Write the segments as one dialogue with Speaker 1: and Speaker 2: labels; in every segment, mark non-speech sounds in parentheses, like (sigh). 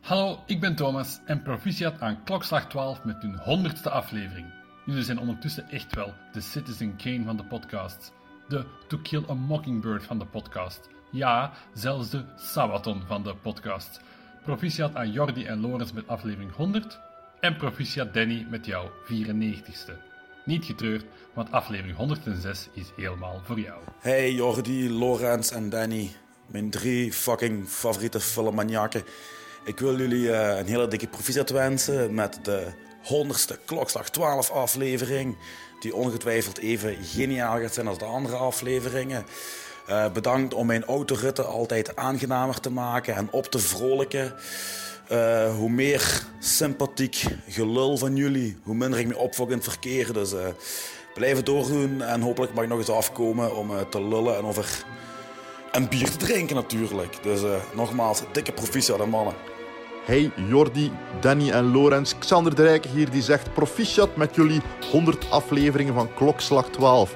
Speaker 1: Hallo, ik ben Thomas en proficiat aan klokslag 12 met hun honderdste aflevering. Jullie zijn ondertussen echt wel de Citizen Kane van de podcast. De To Kill a Mockingbird van de podcast. Ja, zelfs de Sabaton van de podcast. Proficiat aan Jordi en Lorenz met aflevering 100. En proficiat Danny met jouw 94ste. Niet getreurd, want aflevering 106 is helemaal voor jou.
Speaker 2: Hey Jordi, Lorenz en Danny. Mijn drie fucking favoriete filmmaniaken. Ik wil jullie eh, een hele dikke proficiat wensen met de 100ste Klokslag 12 aflevering. Die ongetwijfeld even geniaal gaat zijn als de andere afleveringen. Eh, bedankt om mijn autoritten altijd aangenamer te maken en op te vrolijken. Eh, hoe meer sympathiek gelul van jullie, hoe minder ik me opvok in het verkeer. Dus eh, blijf het doordoen en hopelijk mag ik nog eens afkomen om eh, te lullen en over en bier te drinken natuurlijk. Dus eh, nogmaals, dikke proficiat aan mannen.
Speaker 3: Hey Jordi, Danny en Lorenz. Xander de Rijke hier die zegt proficiat met jullie 100 afleveringen van Klokslag 12.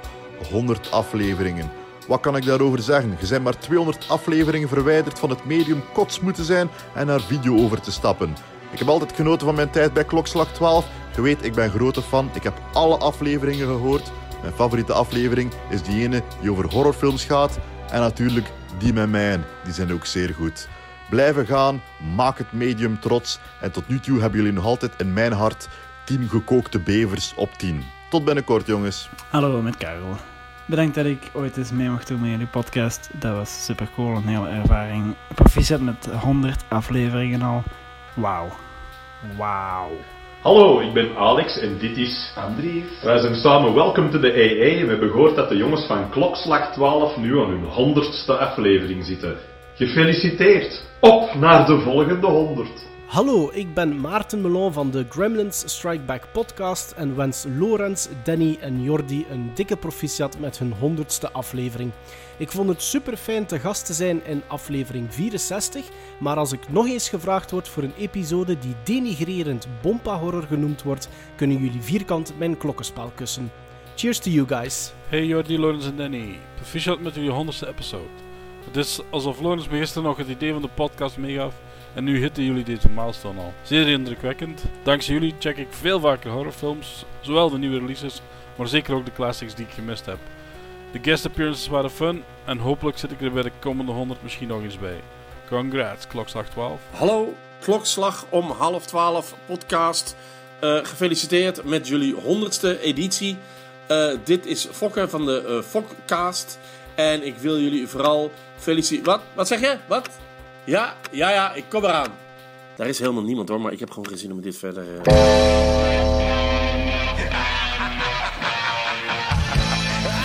Speaker 3: 100 afleveringen. Wat kan ik daarover zeggen? Je zijn maar 200 afleveringen verwijderd van het medium kots moeten zijn en naar video over te stappen. Ik heb altijd genoten van mijn tijd bij Klokslag 12. Je weet, ik ben grote fan. Ik heb alle afleveringen gehoord. Mijn favoriete aflevering is die ene die over horrorfilms gaat. En natuurlijk die met mij. Die zijn ook zeer goed. Blijven gaan, maak het medium trots. En tot nu toe hebben jullie nog altijd in mijn hart 10 gekookte bevers op 10. Tot binnenkort, jongens.
Speaker 4: Hallo, met Karel. Bedankt dat ik ooit eens mee mocht doen met jullie podcast. Dat was super cool, een hele ervaring. Proficiat met 100 afleveringen al. Wauw. Wauw.
Speaker 5: Hallo, ik ben Alex en dit is Andries. Wij zijn samen welkom to de AA en we hebben gehoord dat de jongens van Klokslag 12 nu aan hun honderdste aflevering zitten. Gefeliciteerd! Op naar de volgende 100.
Speaker 6: Hallo, ik ben Maarten Melon van de Gremlins Strike Back podcast en wens Lorenz, Danny en Jordi een dikke proficiat met hun 100ste aflevering. Ik vond het super fijn te gast te zijn in aflevering 64, maar als ik nog eens gevraagd word voor een episode die denigrerend bompa horror genoemd wordt, kunnen jullie vierkant mijn klokkenspel kussen. Cheers to you guys.
Speaker 7: Hey Jordi, Lawrence en Danny. Proficiat met jullie honderdste episode. Het is alsof Lawrence me gisteren nog het idee van de podcast meegaf en nu hitten jullie deze milestone al. Zeer indrukwekkend. Dankzij jullie check ik veel vaker horrorfilms, zowel de nieuwe releases, maar zeker ook de classics die ik gemist heb. De guest appearances waren fun en hopelijk zit ik er bij de komende 100 misschien nog eens bij. Congrats, klokslag 12.
Speaker 8: Hallo, klokslag om half twaalf podcast. Eh, gefeliciteerd met jullie honderdste editie. Eh, dit is Fokke van de eh Fokcast. En ik wil jullie vooral feliciteren. Wat? Wat zeg je? Wat? Ja, ja, ja, ik kom eraan. Daar is helemaal niemand hoor, maar ik heb gewoon geen zin om dit verder... eh,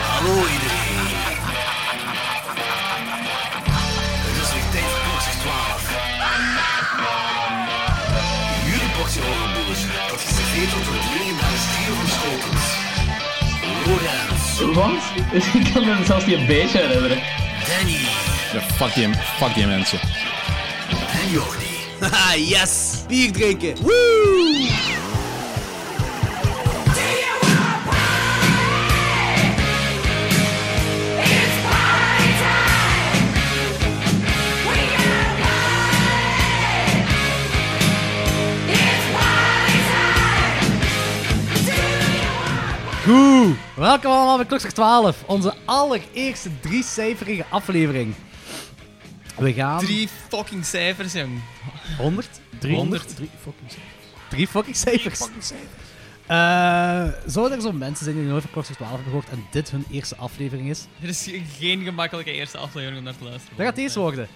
Speaker 9: Hallo iedereen. Het is weer tijd voor klokslag 12. Jullie boxje overboers, dat is geserveerd wordt door het jullie naar de stier van Schotens. Lorenz,
Speaker 10: Wat? Ik kan me zelfs niet een beetje herinneren.
Speaker 9: Danny
Speaker 11: Ja, fuck die, fuck die mensen.
Speaker 9: en Jordi.
Speaker 10: (laughs) Haha, yes! Bier drinken!
Speaker 12: Goed, welkom allemaal bij Klokslag 12, onze allereerste driecijferige aflevering. We gaan...
Speaker 10: Drie fucking cijfers, jong.
Speaker 12: 100?
Speaker 10: 300.
Speaker 12: Drie fucking cijfers. Drie fucking cijfers. Eh, zouden er zo mensen zijn die nog nooit van Klokslag 12 hebben gehoord en dit hun eerste aflevering is?
Speaker 10: Er is geen gemakkelijke eerste aflevering om naar te luisteren.
Speaker 12: Dat gaat deze worden.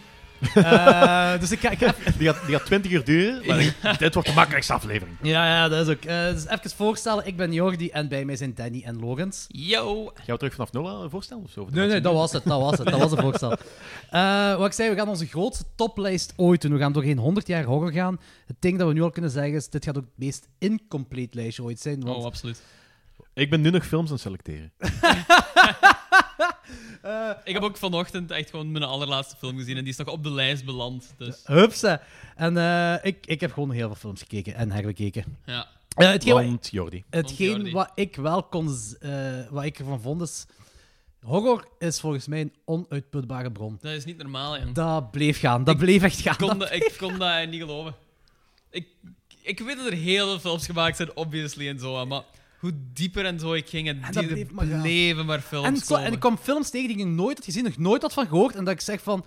Speaker 12: Eh, dus ik ga, (laughs) ik ga even-
Speaker 11: Die gaat, die gaat 20 uur duren, maar
Speaker 5: (laughs)
Speaker 11: dit wordt de makkelijkste aflevering.
Speaker 12: Ja, ja, dat is ook. Eh, dus even voorstellen, ik ben Jordi en bij mij zijn Danny en Lorenz.
Speaker 10: Yo!
Speaker 11: Gaan we terug vanaf nul aan voorstellen of zo?
Speaker 12: Nee, nee, dat was het. Dat was het. Dat was het
Speaker 10: (laughs)
Speaker 12: voorstel. Eh, wat ik zei, we gaan onze grootste toplijst ooit doen. We gaan doorheen 100 jaar horror gaan. Het ding dat we nu al kunnen zeggen is, dit gaat ook het meest incomplete lijstje ooit zijn. Want
Speaker 10: Oh, absoluut.
Speaker 11: Ik ben nu nog films aan het selecteren.
Speaker 10: Ik heb ook vanochtend echt gewoon mijn allerlaatste film gezien en die is nog op de lijst beland. Dus
Speaker 12: hupsa. En eh, ik, ik heb gewoon heel veel films gekeken en herbekeken.
Speaker 10: ja.
Speaker 12: Eh, hetgeen wat-
Speaker 11: Want Jordi.
Speaker 12: hetgeen
Speaker 10: Jordi.
Speaker 12: wat ik wel kon... z- eh, wat ik ervan vond is... Horror is volgens mij een onuitputbare bron.
Speaker 10: Dat is niet normaal, jong.
Speaker 12: Dat bleef gaan. Dat bleef echt gaan.
Speaker 10: Ik kon, dat, ik kon dat niet geloven.
Speaker 12: Ik, ik weet dat er heel veel films gemaakt zijn, obviously, en zo, maar hoe dieper en zo ik ging, en,
Speaker 4: En dat
Speaker 12: die
Speaker 4: bleef
Speaker 12: bleef
Speaker 4: maar gaan.
Speaker 12: maar, films
Speaker 4: En, ik kwa- en
Speaker 12: komen.
Speaker 4: ik kwam films tegen die ik nog nooit had gezien, nog nooit had van gehoord. En dat ik zeg van,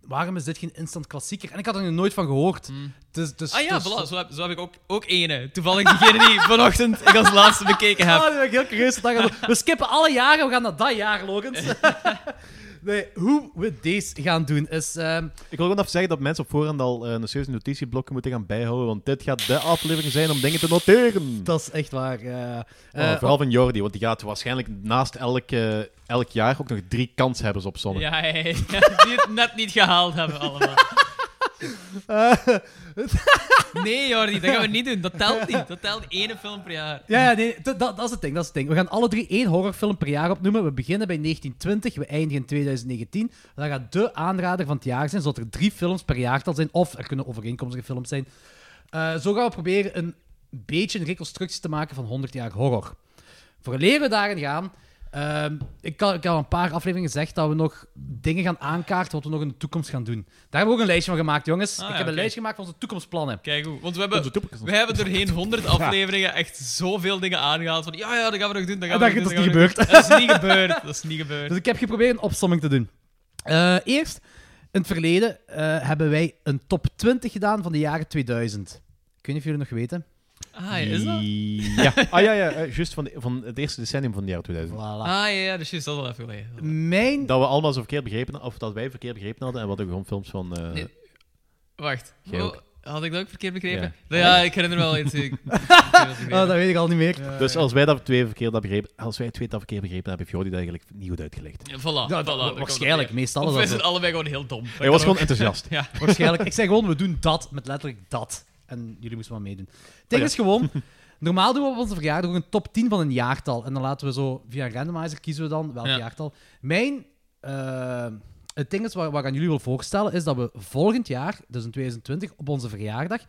Speaker 4: waarom is dit geen instant klassieker? En ik had er nog nooit van gehoord. Dus, dus,
Speaker 12: ah ja,
Speaker 4: dus-
Speaker 12: voilà, zo heb, zo heb ik ook, ook ene. Toevallig diegene die (laughs) vanochtend ik als laatste bekeken heb.
Speaker 4: Ah, die ben ik heel curieus vandaag.
Speaker 12: (laughs)
Speaker 4: We skippen alle jaren, we gaan naar dat jaar, Logans. nee, hoe we deze gaan doen is... ehm,
Speaker 5: Ik wil gewoon even zeggen dat mensen op voorhand al eh, een serieuze notitieblokken moeten gaan bijhouden, want dit gaat de aflevering zijn om dingen te noteren.
Speaker 4: dat is echt waar. eh, eh,
Speaker 5: Oh, vooral van Jordi, want die gaat waarschijnlijk naast elk, eh, elk jaar ook nog drie kanshebbers op zonne.
Speaker 12: Ja, ja, ja, (laughs) ja, die het net niet gehaald hebben allemaal.
Speaker 4: Eh. (laughs)
Speaker 12: Nee, Jordi, dat gaan we niet doen. Dat telt niet. Dat telt ene film per jaar.
Speaker 4: Ja, ja nee, dat, dat, dat is het ding, dat is het ding. We gaan alle drie één horrorfilm per jaar opnoemen. We beginnen bij 1920, we eindigen in 2019. Dat gaat de aanrader van het jaar zijn, zodat er drie films per jaar zal zijn. Of er kunnen overeenkomstige films zijn. Eh, zo gaan we proberen een beetje een reconstructie te maken van 100 jaar horror. Voor leren we daarin gaan... ehm, ik, kan, ik had al een paar afleveringen gezegd dat we nog dingen gaan aankaarten wat we nog in de toekomst gaan doen. Daar hebben we ook een lijstje van gemaakt, jongens.
Speaker 12: Ah,
Speaker 4: ik
Speaker 12: ja,
Speaker 4: heb een
Speaker 12: oké.
Speaker 4: lijstje gemaakt van onze toekomstplannen.
Speaker 12: Kijk goed, want
Speaker 4: Onze
Speaker 12: we hebben,
Speaker 4: toekomst.
Speaker 12: we hebben doorheen 100 afleveringen echt zoveel dingen aangehaald. Van ja, ja, dat gaan we nog doen. Dat, gaan we
Speaker 4: En
Speaker 12: nog
Speaker 4: dat
Speaker 12: doen,
Speaker 4: is
Speaker 12: dat
Speaker 4: niet
Speaker 12: gaan we nog doen. Dat is niet gebeurd. Dat is niet
Speaker 4: (laughs)
Speaker 12: gebeurd.
Speaker 4: Dus ik heb geprobeerd een opsomming te doen. Eh, eerst, in het verleden eh, hebben wij een top 20 gedaan van de jaren 2000. Ik weet niet of jullie nog weten.
Speaker 12: Ah, is dat?
Speaker 5: Ja, ah, ja, ja eh, juist van, de- van het eerste decennium van de jaren 2000.
Speaker 12: Ah, ja, ja, dus je is dat al even geleden.
Speaker 4: Mijn...
Speaker 5: Dat we allemaal zo verkeerd begrepen hadden, of dat wij verkeerd begrepen hadden, en wat ook gewoon films van... eh,
Speaker 12: Nee. Wacht.
Speaker 5: Jij
Speaker 12: Oh,
Speaker 5: ook.
Speaker 12: had ik dat ook verkeerd begrepen?
Speaker 5: Ja. Ah,
Speaker 12: Ja, ik herinner me wel
Speaker 5: (laughs)
Speaker 12: iets. Ik- ik weet wat ik
Speaker 4: Oh, dat weet ik al niet meer.
Speaker 5: dus als wij dat twee verkeerd hebben begrepen, als wij twee dat verkeerd begrepen hebben, heeft Jordi dat eigenlijk niet goed uitgelegd.
Speaker 12: Ja, voilà,
Speaker 4: Ja,
Speaker 12: voilà, daar komt
Speaker 4: waarschijnlijk,
Speaker 12: het neer.
Speaker 4: meestal
Speaker 12: Of
Speaker 4: is
Speaker 12: we
Speaker 4: dat
Speaker 12: zijn
Speaker 4: zo.
Speaker 12: allebei gewoon heel dom. Dat
Speaker 5: Hij
Speaker 12: kan
Speaker 5: was gewoon
Speaker 12: ook.
Speaker 5: enthousiast.
Speaker 12: (laughs) ja.
Speaker 4: Waarschijnlijk. Ik zeg gewoon, we doen dat met letterlijk dat. En jullie moesten wel meedoen. Het ding
Speaker 5: Oh ja.
Speaker 4: is gewoon, normaal doen we op onze verjaardag ook een top 10 van een jaartal. En dan laten we zo, via een randomizer kiezen we dan welk
Speaker 12: Ja.
Speaker 4: jaartal. Mijn, eh, het ding is, wat, wat ik aan jullie wil voorstellen, is dat we volgend jaar, dus in 2020, op onze verjaardag, in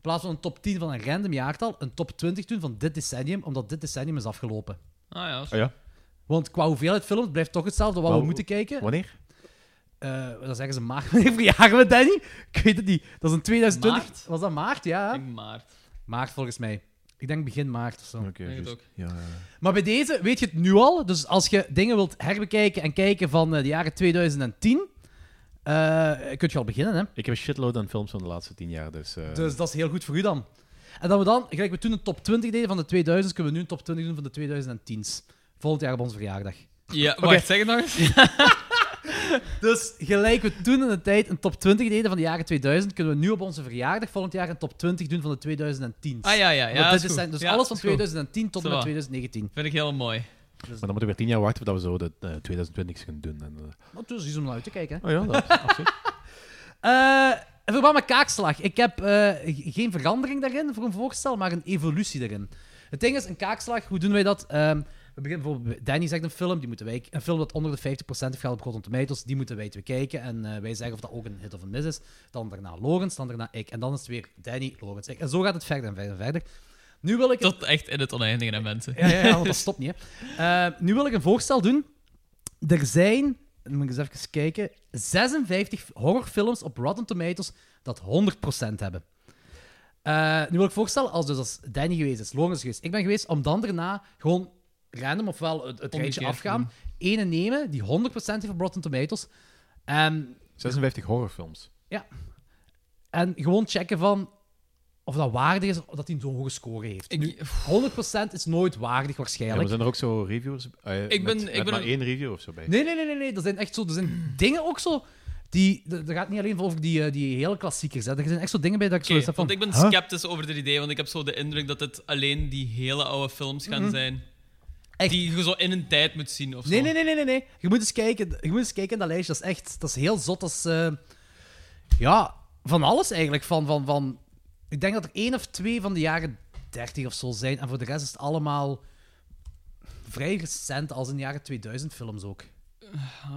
Speaker 4: plaats van een top 10 van een random jaartal, een top 20 doen van dit decennium, omdat dit decennium is afgelopen.
Speaker 12: Ah, ja.
Speaker 5: Oh ja.
Speaker 4: Want qua hoeveelheid films blijft toch hetzelfde wat
Speaker 5: Wel,
Speaker 4: we moeten kijken.
Speaker 5: Wanneer?
Speaker 4: Eh, dan zeggen ze maart. Wanneer verjagen we, Danny? Ik weet het niet. Dat is in 2020.
Speaker 12: Maart?
Speaker 4: Was dat maart? Ja.
Speaker 12: In maart.
Speaker 4: Maart volgens mij. Ik denk begin maart of zo.
Speaker 5: Oké,
Speaker 12: Denk het
Speaker 5: juist.
Speaker 12: ook.
Speaker 5: Ja, ja, ja.
Speaker 4: Maar bij deze weet je het nu al. Dus als je dingen wilt herbekijken en kijken van eh, de jaren 2010, eh kun je al beginnen, hè?
Speaker 5: Ik heb een shitload aan films van de laatste tien jaar, dus... eh,
Speaker 4: Dus dat is heel goed voor u dan. En dat we dan, gelijk we toen een top 20 deden van de 2000, kunnen we nu een top 20 doen van de 2010's. Volgend jaar op onze verjaardag.
Speaker 12: Ja, wacht, zeg het nog eens.
Speaker 4: Dus gelijk we toen in de tijd een top 20 deden van de jaren 2000, kunnen we nu op onze verjaardag volgend jaar een top 20 doen van de 2010.
Speaker 12: Ah, ja, ja. ja
Speaker 4: Want
Speaker 12: dat
Speaker 4: dit
Speaker 12: is
Speaker 4: is
Speaker 12: goed.
Speaker 4: zijn- dus
Speaker 12: Ja,
Speaker 4: alles
Speaker 12: dat
Speaker 4: van
Speaker 12: is goed.
Speaker 4: 2010 tot en met
Speaker 12: Zowat.
Speaker 4: 2019.
Speaker 12: Vind ik heel mooi.
Speaker 5: Maar dan moeten we weer tien jaar wachten voordat we zo de eh, 2020's gaan doen. En, eh,
Speaker 4: Maar dus is om naar uit te kijken. Hè.
Speaker 5: oh ja, dat is absoluut.
Speaker 4: (laughs) Eh, in verband met kaakslag. Ik heb eh, g- geen verandering daarin voor een voorstel, maar een evolutie daarin. Het ding is, een kaakslag, hoe doen wij dat? Ehm, we beginnen bijvoorbeeld, bij- Danny zegt een film, die moeten wij, een film dat onder de 50% heeft gehaald op Rotten Tomatoes, die moeten wij twee kijken. En eh, wij zeggen of dat ook een hit of een miss is. Dan daarna Logans, dan daarna ik. En dan is het weer Danny, Logans, ik. En zo gaat het verder en verder en verder. Nu wil ik...
Speaker 12: Tot echt in het oneindige, hè, mensen.
Speaker 4: Ja, ja, ja, want dat stopt niet. Hè. Eh, nu wil ik een voorstel doen. Er zijn, moet ik eens even kijken, 56 horrorfilms op Rotten Tomatoes dat 100% hebben. Eh, nu wil ik voorstellen, als dus als Danny geweest is, Lorenz geweest, ik ben geweest, om dan daarna gewoon random, ofwel het, het rijtje
Speaker 12: Omgekeerd
Speaker 4: afgaan, ene nemen die 100% heeft op Rotten Tomatoes. Ehm, En,
Speaker 5: 56 horrorfilms.
Speaker 4: en gewoon checken van of dat waardig is of dat hij zo'n hoge score heeft. Nu, 100% is nooit waardig
Speaker 5: Ja,
Speaker 4: waarschijnlijk.
Speaker 5: maar zijn er ook zo reviews? eh,
Speaker 12: Ik ben-
Speaker 5: met,
Speaker 12: ik
Speaker 5: met
Speaker 12: ben
Speaker 5: maar
Speaker 12: een-
Speaker 5: één review of zo bij.
Speaker 4: Nee, nee, nee, nee, nee. Dat zijn echt zo. Er
Speaker 12: (clears throat)
Speaker 4: zijn dingen ook zo. Die, dat dat gaat niet alleen over die, eh, die hele klassiekers. Hè. Er zijn echt zo dingen bij dat ik
Speaker 12: Oké,
Speaker 4: zo eens heb van.
Speaker 12: want ik ben
Speaker 4: huh?
Speaker 12: sceptisch over dit idee, want ik heb zo de indruk dat het alleen die hele oude films gaan
Speaker 4: Mm-hmm.
Speaker 12: zijn.
Speaker 4: Echt.
Speaker 12: Die je zo in een tijd moet zien of zo.
Speaker 4: Nee, nee, nee, nee, nee, nee. Je moet eens kijken. Je moet eens kijken in dat lijstje. Dat is echt. Dat is heel zot. Dat is. eh, ja, van alles eigenlijk. Van, van, van. Ik denk dat er één of twee van de jaren 30 of zo zijn. En voor de rest is het allemaal vrij recent, als in de jaren 2000 films ook.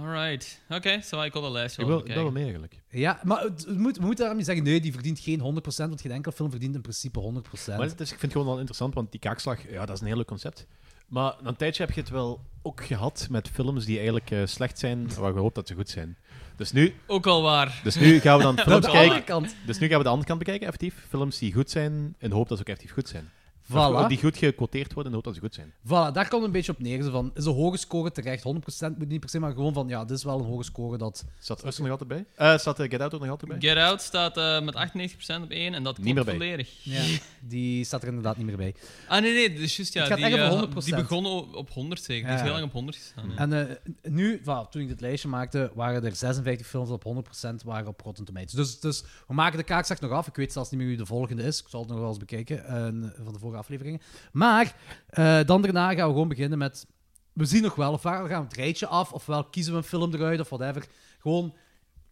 Speaker 12: Alright. Oké, zo ik wil de lijst
Speaker 5: Ik
Speaker 12: wel
Speaker 5: wil dat
Speaker 12: bekijken.
Speaker 5: wel meer eigenlijk.
Speaker 4: Ja, maar het- het moet, we moeten daarom niet zeggen, nee, die verdient geen 100%, want geen enkele film verdient in principe 100%.
Speaker 5: dus Maar het is, ik vind het gewoon wel interessant, want die kaakslag, ja, dat is een heel leuk concept. Maar na een tijdje heb je het wel ook gehad met films die eigenlijk eh, slecht zijn, waar we hopen dat ze goed zijn. Dus nu...
Speaker 12: Ook wel waar.
Speaker 5: Dus nu gaan we dan
Speaker 4: (laughs)
Speaker 12: Ook
Speaker 5: films
Speaker 12: wel
Speaker 5: kijken...
Speaker 12: waar. Kant.
Speaker 5: Dus nu gaan we de andere kant bekijken, effectief. Films die goed zijn, in de hoop dat ze ook effectief goed zijn. Of-
Speaker 4: Voilà.
Speaker 5: Of die goed gequoteerd worden, in de hoop dat ze goed zijn.
Speaker 4: Voilà, daar komt een beetje op neer. Zo van, is een hoge score terecht? 100% moet niet per se, maar gewoon van, ja, dit is wel een hoge score dat...
Speaker 5: Zat Us er nog altijd bij? Eh staat eh, Get Out er nog altijd bij?
Speaker 12: Get Out staat eh, met 98% op 1 en dat
Speaker 5: Niet
Speaker 12: klopt
Speaker 5: meer bij.
Speaker 12: volledig.
Speaker 4: Ja, die staat er inderdaad niet meer bij.
Speaker 12: Ah nee, nee, dus juist ja.
Speaker 4: Het gaat
Speaker 12: die,
Speaker 4: echt op
Speaker 12: eh,
Speaker 4: 100%.
Speaker 12: die begon o- op 100 zeker. Die is
Speaker 4: Ja.
Speaker 12: heel lang op 100 gestaan.
Speaker 4: En eh, nu, voilà, toen ik dit lijstje maakte, waren er 56 films op 100% waren op Rotten Tomatoes. Dus, dus we maken de kaak straks nog af. Ik weet zelfs niet meer wie de volgende is. Ik zal het nog wel eens bekijken eh, van de vorige afleveringen. Maar eh, dan daarna gaan we gewoon beginnen met... We zien nog wel, ofwel gaan we het rijtje af, ofwel kiezen we een film eruit, of whatever. Gewoon,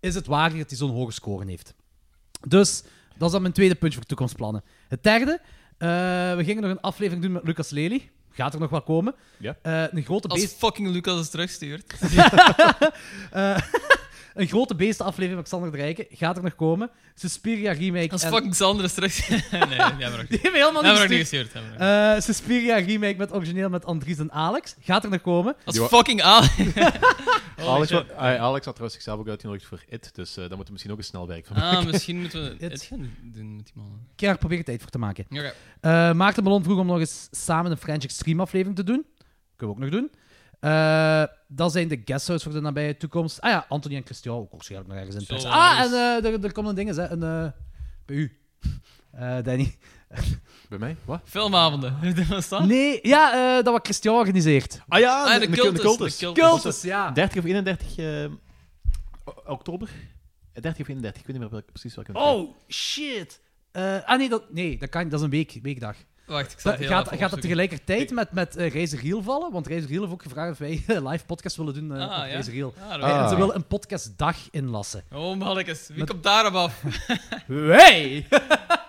Speaker 4: is het waardig dat hij zo'n hoge score heeft? Dus dat is dan mijn tweede puntje voor toekomstplannen. Het derde, eh, we gingen nog een aflevering doen met Lucas Lely. Gaat er nog wel komen.
Speaker 5: Ja.
Speaker 4: Eh, een grote
Speaker 12: Als
Speaker 4: beest...
Speaker 12: fucking Lucas het terugstuurt.
Speaker 4: Eh, een grote beestenaflevering van Xander de Rijken gaat er nog komen. Suspiria remake.
Speaker 12: Als
Speaker 4: en-
Speaker 12: fucking Xander is terug. nee, die hebben we nog
Speaker 4: (laughs)
Speaker 12: niet.
Speaker 4: Die hebben we helemaal
Speaker 12: Die
Speaker 4: niet
Speaker 12: hebben we nog niet
Speaker 4: gestuurd.
Speaker 12: gestuurd, die hebben we
Speaker 4: Eh, Suspiria remake met origineel met Andries en Alex gaat er nog komen.
Speaker 12: Als fucking Alex.
Speaker 5: Alex, wa-
Speaker 4: eh,
Speaker 5: ah, Alex had trouwens zichzelf ook uitgenodigd voor It, dus eh daar moeten we misschien ook een snelwerk van maken.
Speaker 12: (laughs) Ah, misschien moeten we het gaan doen met die mannen.
Speaker 4: Ik ga er proberen tijd voor te maken.
Speaker 12: Oké.
Speaker 4: Eh, Maarten Ballon vroeg om nog eens samen een French Extreme aflevering te doen. Kunnen we ook nog doen. Eh, dat zijn de guesthouse voor de nabije toekomst. Ah ja, Anthony en Christian ook waarschijnlijk nog ergens in.
Speaker 12: Zo,
Speaker 4: Parijs.
Speaker 12: maar
Speaker 4: Ah,
Speaker 12: die
Speaker 4: en
Speaker 12: is-
Speaker 4: eh, er, er komen dingen, hè. Een, eh, bij u, (laughs) Eh, Danny.
Speaker 5: Bij mij? Wat?
Speaker 12: (laughs) Filmavonden. Dat was dat?
Speaker 4: Nee, ja, eh, dat was Christian organiseert.
Speaker 5: Ah ja,
Speaker 12: Ah, de cultus, de cultus.
Speaker 4: Cultus, ja.
Speaker 5: 30 of 31 eh, o- oktober? Eh, 30 of 31, ik weet niet meer welke- precies welke.
Speaker 4: Oh, shit. Eh, ah, nee, dat, nee dat, kan, dat is een week, weekdag.
Speaker 12: Wacht, ik zal
Speaker 4: Dat-
Speaker 12: het heel
Speaker 4: gaat,
Speaker 12: even
Speaker 4: gaat dat
Speaker 12: opzoeken.
Speaker 4: tegelijkertijd met, met eh Reizen Riel vallen? Want Reizen Riel heeft ook gevraagd of wij een live podcast willen doen eh
Speaker 12: Ah,
Speaker 4: met
Speaker 12: ja?
Speaker 4: Reizen Riel.
Speaker 12: Ah, dat
Speaker 4: Eh, en
Speaker 5: weet
Speaker 4: ze
Speaker 5: ik.
Speaker 4: willen een podcastdag inlassen.
Speaker 12: Oh, mannetjes. Wie komt daarop af?
Speaker 4: (laughs) Wij!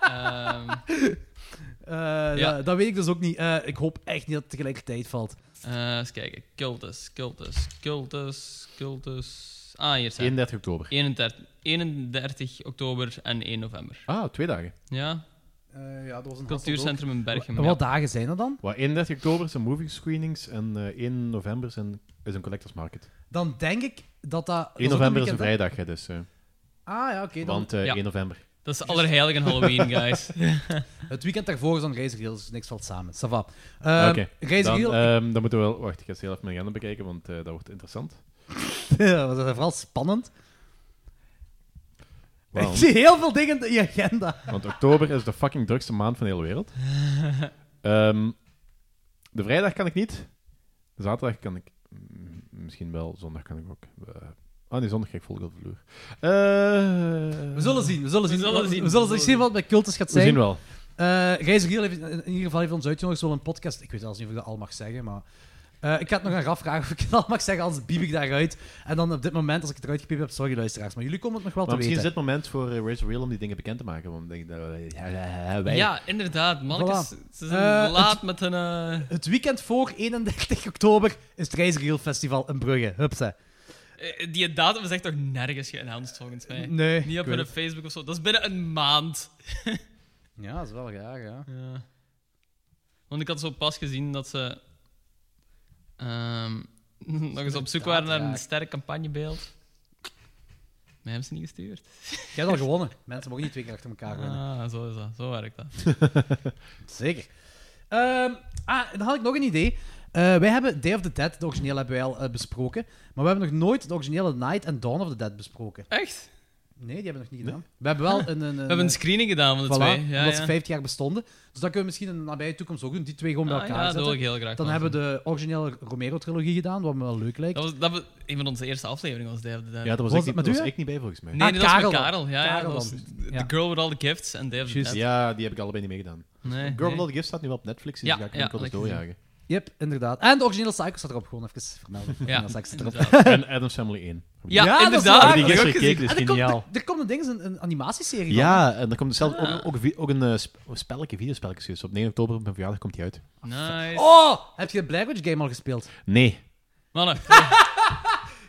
Speaker 12: Ehm,
Speaker 4: Eh,
Speaker 12: Ja.
Speaker 4: dat, dat weet ik dus ook niet. Eh, ik hoop echt niet dat het tegelijkertijd
Speaker 5: (laughs)
Speaker 4: valt. (laughs)
Speaker 12: eh, eens kijken. Cultus, cultus, cultus, cultus. Ah, hier zijn
Speaker 5: 31 oktober.
Speaker 12: 31, 31 oktober en 1 november.
Speaker 5: Ah, twee dagen.
Speaker 12: Ja,
Speaker 4: Eh, ja, dat was een
Speaker 12: cultuurcentrum in Berchem.
Speaker 4: Wat dagen zijn er dan?
Speaker 5: Wat, 31 oktober zijn movie screenings en eh 1 november zijn, is een collectors market.
Speaker 4: Dan denk ik dat dat...
Speaker 5: 1 november is een vrijdag, hè, dus. eh,
Speaker 4: Ah ja, oké. dan-
Speaker 5: want eh,
Speaker 12: Ja.
Speaker 5: 1 november.
Speaker 12: Dat is allerheiligen
Speaker 4: (laughs)
Speaker 12: Halloween, guys.
Speaker 4: Het weekend daarvoor is dan Reizen Riel, dus niks valt samen. Ça va.
Speaker 5: Oké.
Speaker 4: Ehm, Reizen
Speaker 5: Dan,
Speaker 4: Riel...
Speaker 5: ehm, dan moeten we wel. Wacht, ik ga eens heel even mijn agenda bekijken, want eh, dat wordt interessant.
Speaker 4: Ja, dat is vooral spannend. Ik
Speaker 5: Want,
Speaker 4: zie heel veel dingen in je agenda.
Speaker 5: want oktober is de fucking drukste maand van de hele wereld. Ehm, de vrijdag kan ik niet. De zaterdag kan ik. mm, Misschien wel. Zondag kan ik ook. Eh, ah nee, zondag ga ik volgende vloer. Eh,
Speaker 4: We zullen zien, we zullen zien.
Speaker 12: zullen zien,
Speaker 4: We
Speaker 12: we
Speaker 4: zullen
Speaker 12: zullen
Speaker 4: zien wat bij cultus gaat
Speaker 5: We zien
Speaker 4: zijn.
Speaker 5: wel.
Speaker 4: Eh Reizen Riel heeft in ieder geval heeft ons uitgenodigd. Ze willen een podcast... Ik weet zelfs niet of ik dat al mag zeggen, maar... eh, ik ga het nog aan Raf vragen of ik het al mag zeggen, anders bieb ik daaruit. En dan op dit moment, als ik het eruit gepiept heb, sorry luisteraars, maar jullie komen het nog wel
Speaker 5: Maar
Speaker 4: te
Speaker 5: misschien
Speaker 4: weten.
Speaker 5: is dit moment voor eh, Razor Real om die dingen bekend te maken. Want ik denk dat wij- ja, ja, ja, wij-
Speaker 12: ja, inderdaad. Mannetjes,
Speaker 4: Voilà.
Speaker 12: ze zijn
Speaker 4: Eh, het-
Speaker 12: laat met hun... eh,
Speaker 4: Het weekend voor 31 oktober is het Reizen Riel Festival in Brugge. Hupsa.
Speaker 12: eh, Die datum is echt toch nergens geannounced, volgens mij.
Speaker 4: Nee.
Speaker 12: Niet op
Speaker 4: ik weet
Speaker 12: hun Facebook of zo. Dat is binnen een maand.
Speaker 4: het. Ja, dat is wel raar, ja.
Speaker 12: Ja. Want ik had zo pas gezien dat ze ehm, (laughs) nog eens op zoek waren naar
Speaker 4: raar.
Speaker 12: een sterk campagnebeeld. Maar hebben ze niet gestuurd.
Speaker 4: Jij hebt al gewonnen. Mensen mogen niet twee keer achter elkaar winnen.
Speaker 12: Ah, zo is dat. Zo werkt dat.
Speaker 4: Zeker. Ehm, ah, dan had ik nog een idee. Eh, wij hebben Day of the Dead, de originele, hebben wij al eh, besproken. Maar we hebben nog nooit de originele Night and Dawn of the Dead besproken.
Speaker 12: Echt?
Speaker 4: Nee, die hebben we nog niet gedaan. We hebben wel een... een, een
Speaker 12: (laughs) We hebben een screening gedaan van de
Speaker 4: eh, voilà,
Speaker 12: twee. Ja,
Speaker 4: omdat
Speaker 12: ja.
Speaker 4: ze 50 jaar bestonden. Dus dat kunnen we misschien in de nabije toekomst ook doen. Die twee gewoon bij
Speaker 12: Ah,
Speaker 4: elkaar
Speaker 12: ja, dat wil
Speaker 4: zetten.
Speaker 12: ik heel graag.
Speaker 4: Dan
Speaker 12: wel
Speaker 4: hebben we
Speaker 12: doen.
Speaker 4: de originele Romero-trilogie gedaan, wat me wel leuk lijkt.
Speaker 12: dat was, dat was een van onze eerste afleveringen, was Dave the Dead.
Speaker 5: Ja, dat was,
Speaker 4: Was dat
Speaker 5: ik, niet-
Speaker 4: met
Speaker 5: daar
Speaker 4: u,
Speaker 5: was
Speaker 4: hè?
Speaker 5: ik niet bij volgens mij.
Speaker 12: nee, nee, dat was
Speaker 4: Ah, Karel
Speaker 12: met
Speaker 4: dan.
Speaker 12: Karel. Ja, ja,
Speaker 4: Karel
Speaker 12: dat was
Speaker 4: dan.
Speaker 12: The
Speaker 4: Ja.
Speaker 12: Girl with All the Gifts en Dave the
Speaker 4: Juist.
Speaker 12: Dead.
Speaker 5: Ja, die heb ik allebei niet meegedaan.
Speaker 12: Nee,
Speaker 5: Girl
Speaker 12: nee.
Speaker 5: with All the Gifts staat nu wel op Netflix, dus
Speaker 12: Ja,
Speaker 5: die ga ik
Speaker 12: ja,
Speaker 5: enkel eens
Speaker 12: dat heb ik
Speaker 5: doorjagen.
Speaker 4: Yep, inderdaad. En de originele Psycho staat erop, gewoon even vermelden.
Speaker 12: Ja,
Speaker 4: Dat is extra erop.
Speaker 12: inderdaad. (laughs)
Speaker 5: En Adam's Family 1.
Speaker 12: Ja,
Speaker 4: Ja, dat is
Speaker 12: inderdaad.
Speaker 4: waar.
Speaker 5: Heb je die
Speaker 12: dat
Speaker 5: gisteren
Speaker 12: heb ik ook gezien.
Speaker 5: gekeken? dus Dat
Speaker 4: En
Speaker 5: is
Speaker 4: er Ah, komt,
Speaker 5: geniaal.
Speaker 12: Oh.
Speaker 4: er, er komt een ding, een, een animatieserie van.
Speaker 5: Ja, en er komt zelf
Speaker 12: Ah.
Speaker 5: ook, ook, vi- ook een eh, sp- spelletje, videospelletje. Dus op 9 oktober, op mijn verjaardag, komt die uit.
Speaker 12: Nice.
Speaker 4: Oh, heb je de Blair Witch game al gespeeld?
Speaker 5: Nee.
Speaker 12: Mannen,
Speaker 4: Ja,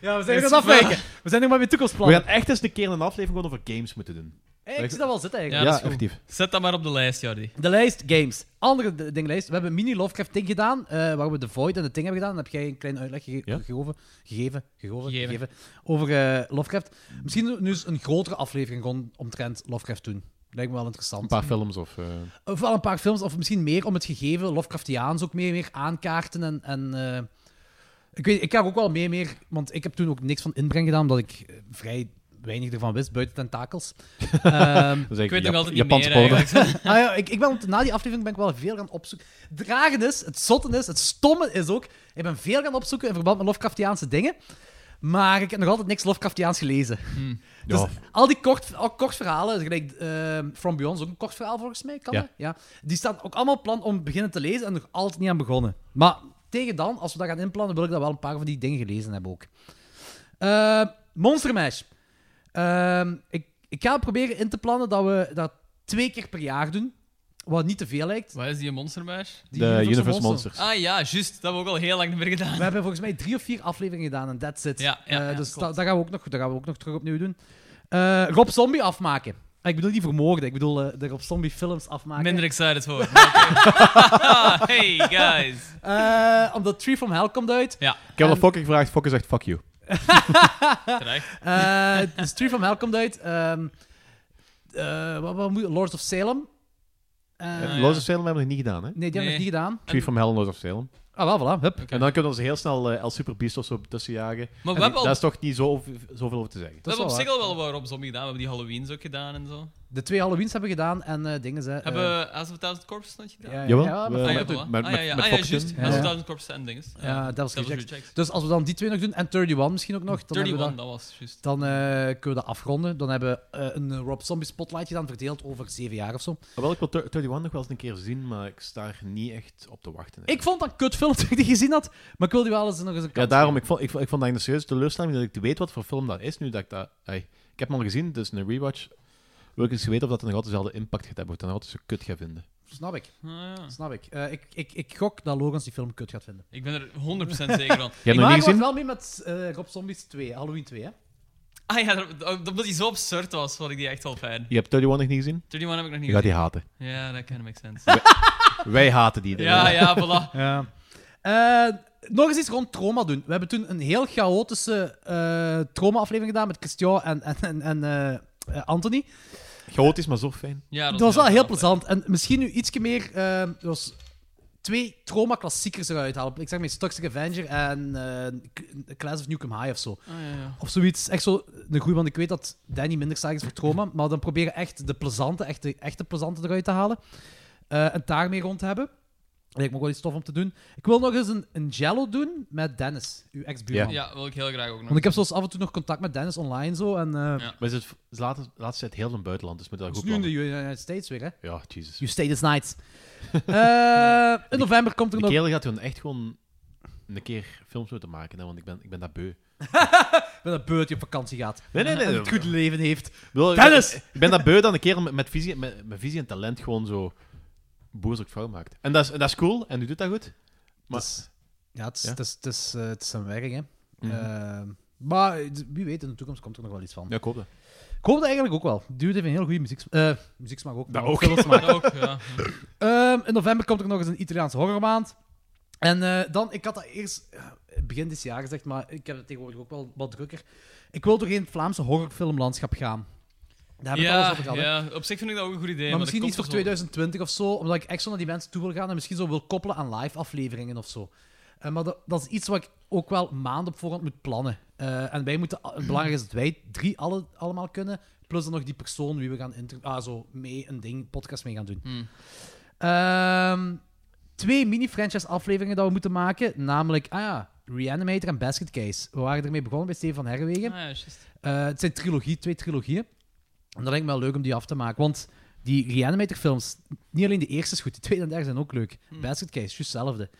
Speaker 4: we zijn
Speaker 12: zijn weer
Speaker 4: nog
Speaker 12: aan het
Speaker 4: afwijken. (laughs) We zijn nog maar weer
Speaker 5: We
Speaker 4: toekomstplannen.
Speaker 5: gaan echt eens een keer een aflevering gewoon over games moeten doen. Ah,
Speaker 4: Hey, ik zie dat wel zitten
Speaker 12: Ja,
Speaker 4: eigenlijk.
Speaker 12: dat is goed. Zet dat maar op de lijst, Jordi.
Speaker 4: De lijst games. Andere d- dinglijst. We hebben een mini Lovecraft ding gedaan, eh, waar we The Void en de Thing hebben gedaan. Dan heb jij een kleine uitleg ge- gegeven, gegeven, gegeven,
Speaker 12: Gegeven.
Speaker 4: gegeven over eh, Lovecraft. Misschien nu eens een grotere aflevering gewoon omtrent Lovecraft doen. Lijkt me wel interessant.
Speaker 5: Een paar films of... eh,
Speaker 4: Of wel een paar films, of misschien meer om het gegeven Lovecraftiaans ook meer, meer aankaarten. En, en, eh, ik, weet, ik ga er ook wel mee meer, want ik heb toen ook niks van inbreng gedaan, omdat ik eh, vrij weinig ervan wist, buiten
Speaker 5: (laughs)
Speaker 4: tentakels. Ehm,
Speaker 5: Dat is eigenlijk Ik weet nog Jap- altijd niet Japans meer, porno.
Speaker 4: ah,
Speaker 5: eigenlijk.
Speaker 4: ja, ik, ik ben, op- na die aflevering ben ik wel veel gaan opzoeken. Dragen is, het zotten is, het stomme is ook, ik ben veel gaan opzoeken in verband met Lovecraftiaanse dingen. Maar ik heb nog altijd niks Lovecraftiaans gelezen. (laughs) Dus
Speaker 5: Ja.
Speaker 4: al die kort, al kort verhalen, gelijk eh, From Beyond is ook een kort verhaal volgens mij, kan
Speaker 5: Ja.
Speaker 4: dat? Ja. Die staan ook allemaal op plan om beginnen te lezen en nog altijd niet aan begonnen. Maar tegen dan, als we dat gaan inplannen, wil ik dat wel een paar van die dingen gelezen hebben ook. Eh, Monster Mash. Ehm, ik, ik ga proberen in te plannen dat we dat twee keer per jaar doen. Wat niet te veel lijkt.
Speaker 12: Wat is die Monster Mash?
Speaker 4: Die Universal Monster.
Speaker 12: Ah ja, juist. Dat hebben we ook al heel lang niet meer gedaan.
Speaker 4: We hebben volgens mij drie of vier afleveringen gedaan en that's it.
Speaker 12: eh, Ja, ja,
Speaker 4: Eh,
Speaker 12: ja,
Speaker 4: dus da-
Speaker 12: klopt.
Speaker 4: dat, gaan we ook nog, dat gaan we ook nog terug opnieuw doen. Eh, Rob Zombie afmaken. Eh, ik bedoel niet vermoorden, ik bedoel eh, de Rob Zombie films afmaken.
Speaker 12: Minder excited
Speaker 4: (laughs)
Speaker 12: voor. Maar oké. (laughs) hey, guys.
Speaker 4: Eh, omdat Tree from Hell komt uit.
Speaker 12: Ja.
Speaker 5: Ik heb
Speaker 4: En-
Speaker 5: al Fokker gevraagd, Fokker zegt fuck you.
Speaker 12: Terecht.
Speaker 4: Eh, dus Tree from Hell komt uit. Ehm eh, wat, wat moet, Lords of Salem. Eh,
Speaker 5: Eh, Lords of Salem hebben we nog niet gedaan, hè?
Speaker 4: Nee, die hebben we nog niet gedaan.
Speaker 5: Tree from Hell en Lords of Salem.
Speaker 4: Ah, wel, voilà. Hup.
Speaker 5: En dan kunnen we ons heel snel eh El Super Beast of zo tussenjagen.
Speaker 12: we
Speaker 5: Maar
Speaker 12: hebben al-
Speaker 5: Daar is toch niet zo, zoveel over te zeggen.
Speaker 12: we hebben op zich al wel wat Rob Zombie gedaan. We hebben die Halloweens ook gedaan en zo.
Speaker 4: De twee Halloweens hebben we gedaan en eh, dingen. Hè,
Speaker 12: Hebben
Speaker 4: eh,
Speaker 12: we House of a Thousand Corpses nog gedaan?
Speaker 4: Ja, Jawel, ja, we-
Speaker 12: ah, ja,
Speaker 4: met-
Speaker 12: voilà.
Speaker 4: met-
Speaker 12: ah, ja, ja,
Speaker 4: met
Speaker 12: ah, ja,
Speaker 4: Foxton.
Speaker 12: juist.
Speaker 4: Ja.
Speaker 12: House of a Thousand Corpses en dinges.
Speaker 4: Ja, dat was
Speaker 12: Devil's
Speaker 4: reject. Dus als we dan die twee nog doen en 31 misschien ook nog. Dan
Speaker 12: 31,
Speaker 4: hebben we
Speaker 12: dat was juist.
Speaker 4: Dan eh, kunnen we dat afronden. Dan hebben we eh, een Rob Zombie spotlight gedaan, verdeeld over zeven jaar of zo.
Speaker 5: Ah, Wel, ik wil 31 nog wel eens een keer zien, maar ik sta er niet echt op te wachten.
Speaker 4: Ik vond dat een kutfilm (laughs) toen ik die gezien had, maar ik wilde die wel eens nog eens een
Speaker 5: Ja,
Speaker 4: kans
Speaker 5: daarom,
Speaker 4: geven.
Speaker 5: ik vond, ik vond, ik vond dat een serieuze teleurstelling dat ik weet wat voor film dat is nu. Dat ik, dat, ey, ik heb hem al gezien, dus een rewatch. Wil ik eens weten of dat nog altijd dezelfde impact gaat hebben, of ik dat nog altijd zo kut ga vinden.
Speaker 4: Snap ik. Snap ik. Eh, ik, ik. Ik gok dat Logans die film kut gaat vinden.
Speaker 12: Ik ben er 100% zeker
Speaker 4: (laughs)
Speaker 5: hem nog
Speaker 12: van.
Speaker 4: maar
Speaker 5: niet
Speaker 4: ik was
Speaker 5: gezien?
Speaker 4: wel mee met eh, Rob Zombies 2, Halloween 2, hè?
Speaker 12: Ah ja, dat, dat, omdat die zo absurd was, vond ik die echt wel fijn.
Speaker 5: Je hebt 31 nog niet gezien?
Speaker 12: 31 heb ik nog niet
Speaker 5: Je gaat die haten.
Speaker 12: gezien. Ja, dat kind of makes sense.
Speaker 5: Wij- (laughs) wij haten die.
Speaker 12: Ja, ja, voilà.
Speaker 4: Ja. Eh, nog eens iets rond trauma doen. We hebben toen een heel chaotische eh, trauma-aflevering gedaan met Christian en, en, en, en eh, eh, Anthony.
Speaker 5: Chaotisch, maar zo fijn.
Speaker 12: Ja,
Speaker 4: dat was wel heel plezant. En misschien nu ietsje meer... eh, er was twee trauma-klassiekers eruit halen. Ik zeg maar iets, Toxic Avenger en eh, Class of Newcomb High of zo.
Speaker 12: Ah, ja, ja.
Speaker 4: Of zoiets. Echt zo een goeie, want ik weet dat Danny minder sterk is voor
Speaker 12: (laughs)
Speaker 4: trauma. Maar dan proberen echt de plezante, echt de, echte plezante eruit te halen. Eh, en daarmee rond te hebben. Lijkt me ook wel iets tof om te doen. Ik wil nog eens een, een jello doen met Dennis, uw ex-buurman.
Speaker 12: Ja, wil ik heel graag ook nog.
Speaker 4: Want ik heb zoals af en toe nog contact met Dennis online zo. En, eh,
Speaker 5: Maar is het is laatste, laatste tijd heel in het buitenland, dus met dat
Speaker 4: het is
Speaker 5: goed
Speaker 4: nu in de
Speaker 5: plannen.
Speaker 4: United States weer, hè?
Speaker 5: Ja, Jesus.
Speaker 4: You stayed this
Speaker 5: (laughs)
Speaker 4: night. Eh, in november komt er
Speaker 5: Die
Speaker 4: nog...
Speaker 5: kerel gaat toen echt gewoon een keer films moeten maken, hè, want ik ben, ik ben dat beu.
Speaker 4: (laughs) Ik ben dat beurt die op vakantie gaat.
Speaker 5: Nee, nee, nee.
Speaker 4: En het goed leven heeft.
Speaker 5: Wil-
Speaker 4: Dennis!
Speaker 5: Ik, ik ben dat beu dan een keer met, met, visie, met, met visie en talent gewoon zo boezelijk vuil maakt. En dat is, en dat is cool, en u doet dat goed. Maar
Speaker 4: Ja, het is,
Speaker 5: Ja?
Speaker 4: Het is, het is, eh, het is zijn werk, hè.
Speaker 5: Mhm.
Speaker 4: Ehm, maar eh, d- wie weet, in de toekomst komt er nog wel iets van.
Speaker 5: Ja, ik hoop dat.
Speaker 4: Ik hoop dat eigenlijk ook wel. Duurt heeft een heel goede muziek, eh muzieksmaak ook. maar
Speaker 5: Dat ook.
Speaker 4: filmsmaak.
Speaker 5: Dat ook, ja.
Speaker 4: Ehm, in november komt er nog eens een Italiaanse horrormaand. En eh, dan, ik had dat eerst eh, begin dit jaar gezegd, maar ik heb het tegenwoordig ook wel wat drukker. Ik wil toch in het Vlaamse horrorfilmlandschap gaan. Daar heb ik alles
Speaker 12: ja,
Speaker 4: over gehad. hè.
Speaker 12: ja, op zich vind ik dat ook een goed idee.
Speaker 4: maar misschien
Speaker 12: dat
Speaker 4: iets voor
Speaker 12: komt er zo-
Speaker 4: 2020 of zo, omdat ik echt zo naar die mensen toe wil gaan en misschien zo wil koppelen aan live afleveringen of zo. Eh, maar dat, dat is iets wat ik ook wel maanden op voorhand moet plannen. Eh, en wij moeten, het belangrijkste is dat wij drie alle, allemaal kunnen, plus dan nog die persoon wie we gaan inter ah, zo mee een ding, podcast mee gaan doen.
Speaker 12: Hmm.
Speaker 4: Ehm, twee mini-franchise afleveringen dat we moeten maken, namelijk, ah ja, Reanimator en Basket Case. We waren ermee begonnen bij Steven van Herwegen.
Speaker 12: Ah, ja, juist.
Speaker 4: Eh, het zijn trilogie, twee trilogieën. En dat lijkt me wel leuk om die af te maken. Want die Reanimator-films, niet alleen de eerste is goed, de tweede en derde zijn ook leuk. Basket Case, juist hetzelfde.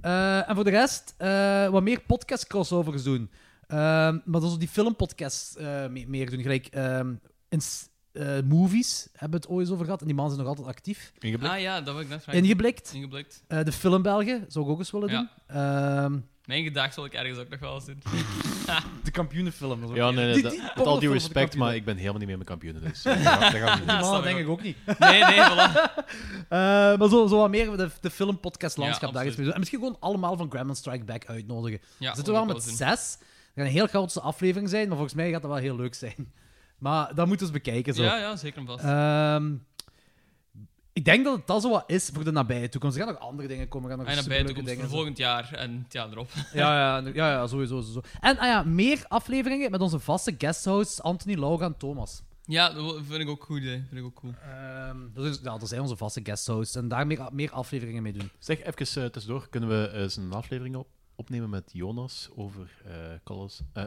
Speaker 4: Eh, en voor de rest, eh, wat meer podcast-crossovers doen. Ehm, maar dan zo die filmpodcasts eh, me- meer doen. Gelijk, ehm, in s- eh, movies hebben we het ooit eens over gehad. En die mannen zijn nog altijd actief.
Speaker 12: Ah ja, dat wil ik net vragen.
Speaker 4: Ingeblikt.
Speaker 12: Ingeblikt.
Speaker 4: Eh, de film Belgen zou ik ook eens willen
Speaker 12: Ja.
Speaker 4: doen. Ehm,
Speaker 12: Mijn gedachten wil ik ergens ook nog wel eens doen.
Speaker 4: de kampioenenfilm. dat is ook
Speaker 5: Ja,
Speaker 4: niet-
Speaker 5: nee, nee,
Speaker 4: die-
Speaker 5: dat-
Speaker 4: die
Speaker 5: met
Speaker 4: pornofilm
Speaker 5: al die
Speaker 4: van de
Speaker 5: respect, maar
Speaker 4: kampioenen.
Speaker 5: ik ben helemaal niet meer met kampioenen. Dus, eh, dat gaat- dat gaat niet.
Speaker 4: Die mannen
Speaker 5: Ja,
Speaker 4: Ah, denk ik ook niet.
Speaker 12: (laughs) Nee, nee, voilà.
Speaker 4: (laughs) Eh, maar zo, zo wat meer de, de filmpodcast landschap
Speaker 12: Ja,
Speaker 4: daar eens
Speaker 12: absoluut.
Speaker 4: mee doen. En misschien gewoon allemaal van Gremlin Strike Back uitnodigen.
Speaker 12: Ja,
Speaker 4: Zitten
Speaker 12: dat
Speaker 4: we
Speaker 12: ook
Speaker 4: wel met
Speaker 12: wel eens
Speaker 4: zes. Er gaat een heel grootste aflevering zijn, maar volgens mij gaat dat wel heel leuk zijn. (laughs) Maar dat moeten we eens bekijken. Zo.
Speaker 12: Ja, ja, zeker en vast.
Speaker 4: Ehm, ik denk dat het dat zo wat is voor de nabije toekomst. Er gaan nog andere dingen komen. Er gaan nog
Speaker 12: en bij de
Speaker 4: superleuke
Speaker 12: toekomst
Speaker 4: dingen
Speaker 12: voor volgend jaar en het jaar erop.
Speaker 4: Ah, ja, ja, ja, ja sowieso, sowieso. En ah ja, meer afleveringen met onze vaste guesthosts Anthony, Laura en Thomas.
Speaker 12: Ja, dat wil- vind ik ook goed, hè. Vind ik ook cool.
Speaker 4: Dat, is, ja, dat zijn onze vaste guesthosts. En daar meer, meer afleveringen mee doen.
Speaker 5: Zeg, even eh, tussendoor, kunnen we eens een aflevering op, opnemen met Jonas over eh Colors, eh,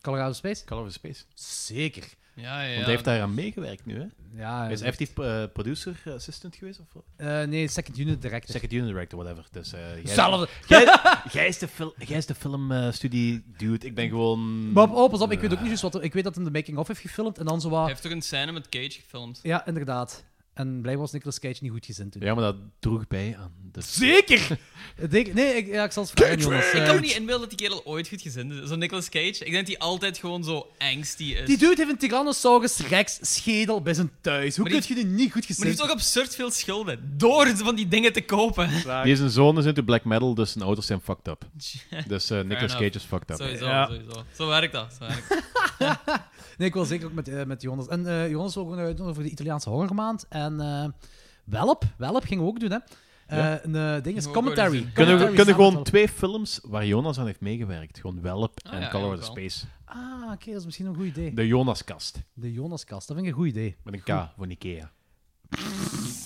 Speaker 4: Colorado Space?
Speaker 5: Color of Space?
Speaker 4: Zeker.
Speaker 12: Ja, ja,
Speaker 5: Want
Speaker 12: ja.
Speaker 5: hij heeft daaraan meegewerkt nu, hè?
Speaker 4: Ja,
Speaker 5: hij is
Speaker 4: dat-
Speaker 5: effectief eh, producer eh, assistant geweest? Of wat?
Speaker 4: Eh, nee, second unit director.
Speaker 5: second unit director, whatever. Dus, eh, jij-
Speaker 4: Hetzelfde. (laughs)
Speaker 5: Jij, jij is de, fil jij is de filmstudie dude. Ik ben gewoon...
Speaker 4: Maar op- oh, pas op, ik weet ook niet juist wat... er- Ik weet dat hij de making-of heeft gefilmd en dan zo
Speaker 12: Hij
Speaker 4: wat...
Speaker 12: heeft toch een scène met Cage gefilmd?
Speaker 4: Ja, inderdaad. En blijkbaar was Nicolas Cage niet goed gezind toen.
Speaker 5: Ja, maar dat droeg bij aan de...
Speaker 4: Zeker! (laughs) Ik denk- nee, ik, ja, ik zal het vragen, Jonas.
Speaker 12: Ik
Speaker 4: Eh,
Speaker 12: kan me niet inbeelden dat die kerel ooit goed gezind is. Zo Nicolas Cage, ik denk dat hij altijd gewoon zo angsty is.
Speaker 4: Die dude heeft een Tyrannosaurus Rex schedel bij zijn thuis. Hoe
Speaker 12: Maar
Speaker 4: kun
Speaker 12: die-
Speaker 4: je die niet goed
Speaker 12: Maar die heeft
Speaker 4: gezind...
Speaker 12: ook absurd veel schulden. Door van die dingen te kopen.
Speaker 5: Die is een zoon, is into black metal, dus zijn ouders zijn
Speaker 4: (laughs)
Speaker 5: fucked up. Dus eh, Nicolas
Speaker 12: enough.
Speaker 5: Cage is fucked up.
Speaker 12: Sowieso,
Speaker 4: Ja.
Speaker 12: sowieso. Zo werkt dat. Zo werkt dat.
Speaker 4: Nee, ik wil zeker ook met, eh, met Jonas. En eh, Jonas wil gewoon uitdoen over de Italiaanse hongermaand. En eh, Welp, Welp gingen we ook doen, hè. Eh,
Speaker 5: Ja.
Speaker 4: Een eh, ding is
Speaker 12: we ook
Speaker 4: commentary.
Speaker 12: wel eens doen.
Speaker 5: Kunnen, we-
Speaker 4: Commentary samen
Speaker 5: kunnen gewoon twee films waar Jonas aan heeft meegewerkt. Gewoon Welp
Speaker 4: Oh,
Speaker 12: Ah,
Speaker 5: en
Speaker 12: ja,
Speaker 5: Color of the
Speaker 12: eigenlijk wel.
Speaker 5: Space.
Speaker 4: met Welp. Ah, oké, dat is misschien een goed idee.
Speaker 5: De Jonas-kast.
Speaker 4: De Jonas-kast, dat vind ik een goed idee.
Speaker 5: Met een K van Ikea.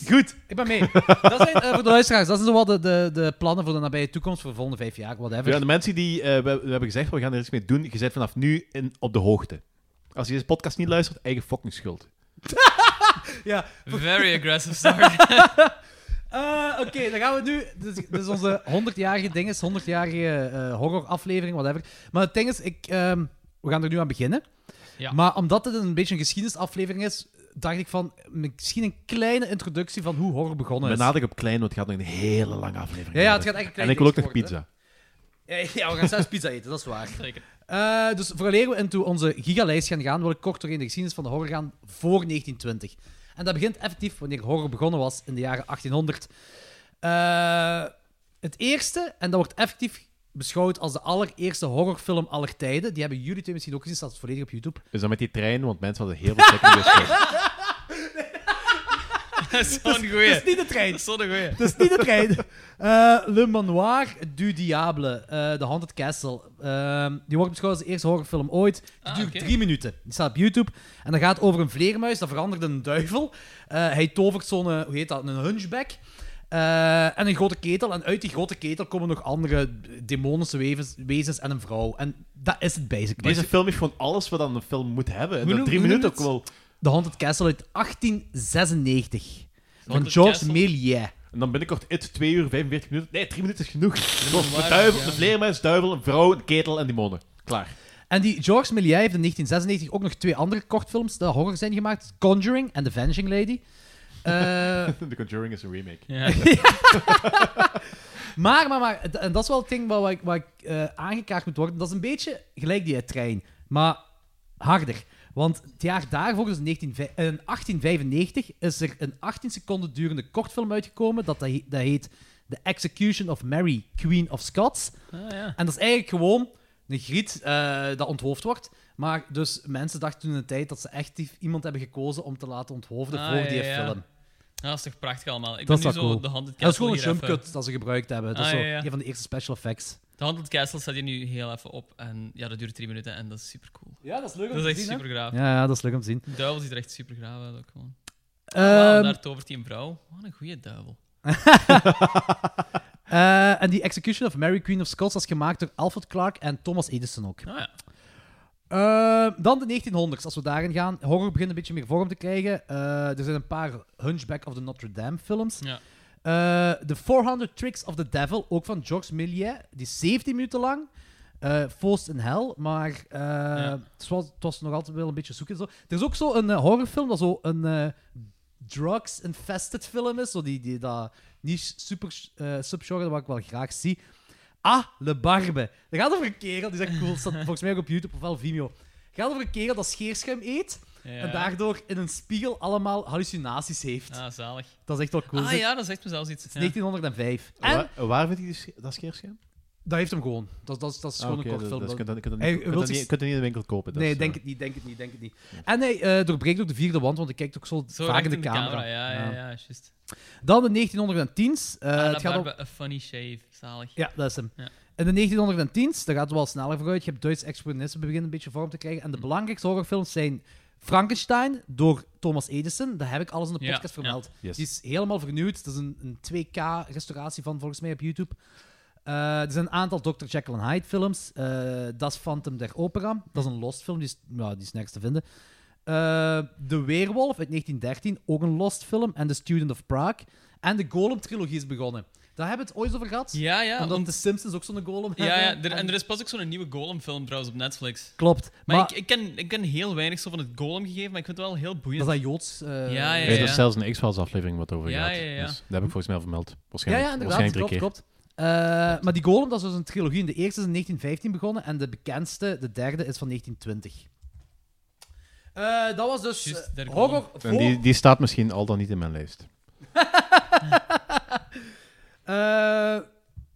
Speaker 4: Goed, ik ben
Speaker 5: (laughs)
Speaker 4: mee. Dat zijn, eh, voor de luisteraars, dat zijn zo wat de, de, de plannen voor de nabije toekomst, voor de volgende vijf jaar, whatever.
Speaker 5: Ja, de mensen die eh, we, we hebben gezegd, we gaan er iets mee doen, je bent vanaf nu in, op de hoogte. Als je deze podcast niet luistert, eigen fucking schuld.
Speaker 12: Very aggressive start.
Speaker 4: Eh, Oké, dan gaan we nu. Dus, dus onze 100-jarige ding is, 100-jarige eh, horroraflevering, whatever. Maar het ding is, ik, ehm, we gaan er nu aan beginnen.
Speaker 12: Ja.
Speaker 4: Maar omdat het een beetje een geschiedenisaflevering is, dacht ik van misschien een kleine introductie van hoe horror begonnen
Speaker 5: Met
Speaker 4: is.
Speaker 5: nadruk op klein, want het gaat nog een hele lange aflevering
Speaker 4: Ja, ja, het
Speaker 5: worden.
Speaker 4: gaat echt een klein
Speaker 5: En ik wil ook nog
Speaker 4: dingetje
Speaker 5: pizza.
Speaker 4: worden, hè. Ja, we gaan zelfs pizza eten, dat is waar.
Speaker 12: Zeker.
Speaker 4: Eh, dus vooraleer we into onze gigalijst gaan gaan, wil ik kort doorheen de geschiedenis van de horror gaan voor 1920. En dat begint effectief wanneer horror begonnen was in de jaren 1800. Eh, het eerste, en dat wordt effectief beschouwd als de allereerste horrorfilm aller tijden. Die hebben jullie twee misschien ook gezien, staat het volledig op YouTube.
Speaker 5: Dus dan met die trein, want mensen hadden heel veel trek in de
Speaker 4: (laughs)
Speaker 5: schuld.
Speaker 12: Dat is zo'n goeie.
Speaker 4: Het is niet de trein.
Speaker 12: Dat is zo'n goeie.
Speaker 4: Dat is niet de trein. Eh, Le Manoir du Diable, eh The Haunted Castle. Ehm, die wordt beschouwd als de eerste horrorfilm ooit. Die
Speaker 12: Ah,
Speaker 4: duurt
Speaker 12: oké.
Speaker 4: drie minuten. Die staat op YouTube. En dat gaat over een vleermuis, dat verandert in een duivel. Eh, hij tovert zo'n, eh, hoe heet dat, een hunchback. Eh, en een grote ketel. En uit die grote ketel komen nog andere demonische wevens- wezens en een vrouw. En dat is het basically.
Speaker 5: Deze film heeft gewoon alles wat dan een film moet hebben. En
Speaker 4: Hoe
Speaker 5: dat
Speaker 4: noem-
Speaker 5: drie
Speaker 4: hoe
Speaker 5: minuten ook
Speaker 4: noem
Speaker 5: wel.
Speaker 4: The Haunted Castle uit 1896. Van
Speaker 12: Haunted
Speaker 4: Georges
Speaker 12: Castle?
Speaker 4: Méliès.
Speaker 5: En dan binnenkort it, 2 uur 45 minuten. Nee, 3 minuten is genoeg.
Speaker 12: (laughs)
Speaker 5: Zoals
Speaker 12: waar,
Speaker 5: een duivel,
Speaker 12: ja.
Speaker 5: een vleermuis, duivel, een vrouw, een ketel en demonen. Klaar.
Speaker 4: En die Georges Méliès heeft in 1996 ook nog twee andere kortfilms die horror zijn gemaakt: Conjuring en The Vanishing Lady. Eh,
Speaker 5: (laughs) The Conjuring is een remake.
Speaker 12: Ja.
Speaker 4: maar, maar, maar, d- en dat is wel het ding wat, ik- wat ik eh, aangekaart moet worden. Dat is een beetje gelijk die trein, maar harder. Want het jaar daarvoor, dus in 19 vij- eh, in 1895, is er een 18 seconden durende kortfilm uitgekomen. Dat, dat, he- dat heet The Execution of Mary, Queen of Scots.
Speaker 12: Ah, ja.
Speaker 4: En dat is eigenlijk gewoon een griet eh, dat onthoofd wordt. Maar dus mensen dachten toen in de tijd dat ze echt die- iemand hebben gekozen om te laten onthoofden
Speaker 12: Ah,
Speaker 4: voor
Speaker 12: ja,
Speaker 4: die
Speaker 12: ja.
Speaker 4: film.
Speaker 12: Dat is toch prachtig allemaal.
Speaker 4: Dat
Speaker 12: Ik ben
Speaker 4: is
Speaker 12: nu
Speaker 4: wel
Speaker 12: zo
Speaker 4: cool.
Speaker 12: de Haunted Castle
Speaker 4: dat is gewoon een
Speaker 12: hier
Speaker 4: jump
Speaker 12: even-
Speaker 4: cut dat ze gebruikt hebben. Dat is zo
Speaker 12: Ah, ja, ja.
Speaker 4: een van de eerste special effects.
Speaker 12: De Haunted Castle staat hier nu heel even op. En ja, dat duurt drie minuten en dat is super cool.
Speaker 4: Ja, dat is leuk
Speaker 12: Dat is echt super gaaf.
Speaker 4: Ja, ja, dat is leuk om te zien.
Speaker 12: De duivel ziet er echt super gaaf uit ook gewoon.
Speaker 4: Ehm,
Speaker 12: Wauw, daar tovert hij een vrouw. Wat een goede duivel.
Speaker 4: eh, en die Execution of Mary Queen of Scots was gemaakt door Alfred Clark en Thomas Edison ook.
Speaker 12: Ah ja.
Speaker 4: Eh, dan de 1900s, als we daarin gaan. Horror begint een beetje meer vorm te krijgen. Eh, er zijn een paar Hunchback of the Notre Dame films.
Speaker 12: ja.
Speaker 4: Eh, The 400 Tricks of the Devil, ook van Georges Méliès. Die is 17 minuten lang. Eh Faust in Hell, maar eh, het, was, het was nog altijd wel een beetje zoeken. Zo. Er is ook zo'n eh, horrorfilm dat zo een eh, drugs-infested film is. Zo die, die, dat niet super eh subgenre wat ik wel graag zie. Ah, Le Barbe. Dat gaat over een kerel, die is echt cool, staat volgens mij ook op YouTube of wel Vimeo. Het gaat over een kerel dat scheerschuim eet
Speaker 12: Ja.
Speaker 4: en daardoor in een spiegel allemaal hallucinaties heeft.
Speaker 12: Ah, zalig.
Speaker 4: Dat is echt wel cool.
Speaker 12: ah
Speaker 4: zeg.
Speaker 12: ja, dat zegt me zelfs iets.
Speaker 4: Het is 1905. En
Speaker 5: Waar, waar vind je die sch- dat scheerscherm?
Speaker 4: dat heeft hem gewoon. Dat, dat, is- dat is
Speaker 5: Ah,
Speaker 4: gewoon
Speaker 5: oké,
Speaker 4: een kort
Speaker 5: dat-
Speaker 4: film.
Speaker 5: dat is-
Speaker 4: Dat-
Speaker 5: kun je- kun je-
Speaker 4: Hij
Speaker 5: kun je
Speaker 4: wil
Speaker 5: dat
Speaker 4: zich-
Speaker 5: niet- kun je niet in de winkel kopen, dat
Speaker 4: Nee,
Speaker 5: is,
Speaker 4: denk
Speaker 5: eh.
Speaker 4: het niet, denk het niet, denk het niet. En hij eh, doorbreekt ook de vierde wand, want hij kijkt ook zo,
Speaker 12: Zo
Speaker 4: vaak
Speaker 12: recht
Speaker 4: in de, camera.
Speaker 12: Ja, ja, ja, juist.
Speaker 4: Dan de 1910s. eh,
Speaker 12: Ah,
Speaker 4: het gaat om-
Speaker 12: A funny shave. Zalig.
Speaker 4: Ja, dat is hem.
Speaker 12: Ja.
Speaker 4: In de 1910s, daar gaat het wel sneller vooruit. Je hebt Duitse expressionisme beginnen een beetje vorm te krijgen. En de belangrijkste horrorfilms zijn Frankenstein door Thomas Edison. Dat heb ik alles in de
Speaker 12: Ja,
Speaker 4: podcast
Speaker 12: ja.
Speaker 4: vermeld.
Speaker 5: Yes.
Speaker 4: Die is helemaal vernieuwd. Dat is een, een 2K-restauratie van, volgens mij, op YouTube. Eh, er zijn een aantal Dr. Jekyll en Hyde films. Eh das Phantom der Opera. Dat is een lost film. Die is, ja, die is nergens te vinden. Eh, de Weerwolf uit 1913, ook een lost film. En The Student of Prague. En de Golem-trilogie is begonnen. Daar hebben we het ooit over gehad.
Speaker 12: Ja, ja,
Speaker 4: Omdat
Speaker 12: om-
Speaker 4: de Simpsons ook zo'n golem
Speaker 12: Ja,
Speaker 4: hebben.
Speaker 12: ja er- en er is pas ook zo'n nieuwe Golem-film trouwens op Netflix.
Speaker 4: Klopt.
Speaker 12: Maar,
Speaker 4: Maar-
Speaker 12: ik, ik, ken, ik ken heel weinig zo van het Golem gegeven, maar ik vind het wel heel boeiend.
Speaker 4: Dat is dat Joods, eh,
Speaker 12: ja, ja, ja.
Speaker 5: Nee, dat is zelfs een X-Files aflevering wat over
Speaker 12: Ja,
Speaker 5: gaat.
Speaker 12: ja, ja.
Speaker 5: Dus, dat heb ik volgens mij al vermeld.
Speaker 4: Ja,
Speaker 5: Waarschijnlijk,
Speaker 4: ja, inderdaad.
Speaker 5: waarschijnlijk drie
Speaker 4: Klopt,
Speaker 5: keer.
Speaker 4: klopt. Eh, maar die Golem, dat is dus een trilogie. De eerste is in 1915 begonnen en de bekendste, de derde, is van 1920. Eh, dat was dus
Speaker 12: Juist,
Speaker 4: eh,
Speaker 12: der Golem.
Speaker 4: horror voor...
Speaker 5: En die, die staat misschien al dan niet in mijn lijst.
Speaker 4: Eh,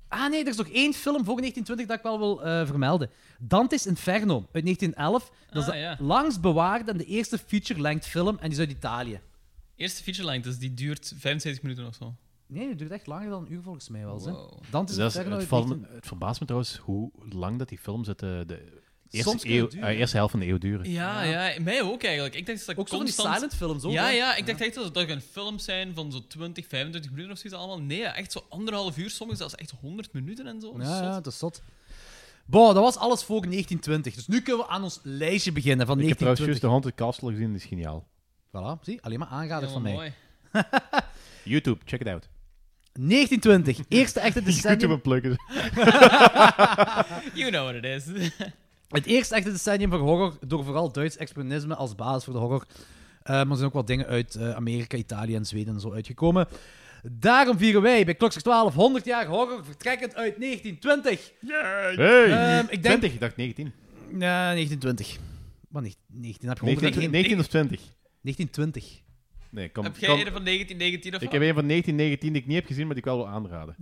Speaker 4: ah nee, er is nog één film voor 1920 dat ik wel wil eh, vermelden. Dante's Inferno uit 1911. Dat is
Speaker 12: Ah,
Speaker 4: de
Speaker 12: ja.
Speaker 4: langst bewaarde en de eerste feature-length film en die is uit Italië.
Speaker 12: Eerste feature length, dus die duurt 75 minuten of zo.
Speaker 4: Nee, die duurt echt langer dan een uur volgens mij wel. hè.
Speaker 12: Wow.
Speaker 4: Dante's
Speaker 5: Dus Dat is-
Speaker 4: Inferno
Speaker 5: het,
Speaker 4: uit
Speaker 5: valt me-
Speaker 4: 1911.
Speaker 5: het verbaast me trouwens hoe lang dat die films uit de, de eerste,
Speaker 4: Soms kan
Speaker 5: eeuw,
Speaker 4: het duren.
Speaker 5: eh, eerste helft van de eeuw duren.
Speaker 12: Ja, ja, mij ook eigenlijk. Ik dacht dat
Speaker 4: Ook zo van die
Speaker 12: constant...
Speaker 4: silent films ook,
Speaker 12: Ja,
Speaker 4: hè?
Speaker 12: ja, ik dacht echt dat het een films zijn van zo'n 20, 25 minuten of zoiets allemaal. Nee, echt zo anderhalf uur, sommige zelfs echt 100 minuten en zo.
Speaker 4: Ja,
Speaker 12: Zot.
Speaker 4: ja, dat is zot. Bon, dat was alles voor 1920. Dus nu kunnen we aan ons
Speaker 12: Ehm,
Speaker 4: lijstje beginnen van
Speaker 5: Ik heb trouwens
Speaker 4: 1920.
Speaker 5: juist de Haunted Castle gezien, die is geniaal.
Speaker 4: Voilà, zie, alleen maar aanraders
Speaker 12: Helemaal
Speaker 4: van mij.
Speaker 12: mooi.
Speaker 5: YouTube, check it out.
Speaker 4: 1920, eerste (laughs) echte
Speaker 5: YouTube
Speaker 4: decennium.
Speaker 5: een plukken.
Speaker 12: You know what it is.
Speaker 4: Het eerste echte decennium van horror, door vooral Duits expressionisme als basis voor de horror. Eh, maar er zijn ook wat dingen uit eh, Amerika, Italië en Zweden en zo uitgekomen. Daarom vieren wij bij Klokster 12 100 jaar horror, vertrekkend uit 1920.
Speaker 5: Hey!
Speaker 4: Ehm, ik denk...
Speaker 5: 20, ik dacht 19.
Speaker 4: Ja, 1920. Maar niet- 19 heb je 100
Speaker 5: 19, 19 of 20?
Speaker 4: 1920.
Speaker 5: Nee, kom.
Speaker 12: Heb jij
Speaker 5: kom.
Speaker 12: een van 1919 of
Speaker 5: Ik
Speaker 12: wat?
Speaker 5: heb een van 1919 die ik niet heb gezien, maar die ik wel wil aanraden.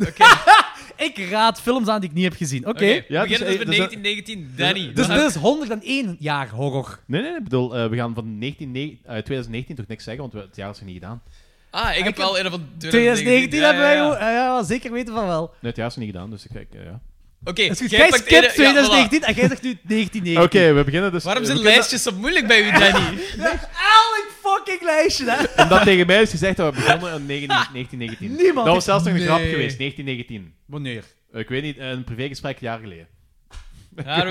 Speaker 4: Ik raad films aan die ik niet heb gezien. Oké.
Speaker 12: Oké,
Speaker 5: Ja,
Speaker 12: we beginnen
Speaker 5: dus,
Speaker 12: dus,
Speaker 5: eh,
Speaker 12: met
Speaker 5: dus dat-
Speaker 12: 1919, Danny.
Speaker 4: Dus
Speaker 12: Dan
Speaker 4: dit is 101 jaar horror.
Speaker 5: Nee, nee, nee, ik bedoel, eh, we gaan van 19, ne- eh, 2019 toch niks zeggen, want we- het jaar is er niet gedaan.
Speaker 12: Ah, ik heb
Speaker 4: Ik heb-
Speaker 12: wel een van
Speaker 4: 2019
Speaker 12: ja,
Speaker 4: hebben wij
Speaker 12: ja, ja.
Speaker 4: gewoon- eh, ja, zeker weten van wel.
Speaker 5: Nee, het jaar is er niet gedaan, dus ik kijk, eh, ja.
Speaker 12: Oké,
Speaker 4: Dus
Speaker 12: jij
Speaker 4: jij
Speaker 12: pakt
Speaker 4: skipt
Speaker 12: eerder- ja, voilà.
Speaker 4: 2019 en jij zegt nu 1919.
Speaker 5: Oké, we beginnen dus...
Speaker 12: Waarom
Speaker 5: eh,
Speaker 12: zijn
Speaker 5: we beginnen-
Speaker 12: lijstjes zo moeilijk bij u, Danny?
Speaker 4: Elk fucking lijstje, hè.
Speaker 5: Omdat (laughs) tegen mij is gezegd dat we begonnen in 19- 1919.
Speaker 4: (laughs) Niemand
Speaker 5: Dat was zelfs nog een
Speaker 4: Nee.
Speaker 5: grap geweest, 1919.
Speaker 4: Wanneer?
Speaker 5: Ik weet niet, een privégesprek een jaar geleden.
Speaker 12: Daar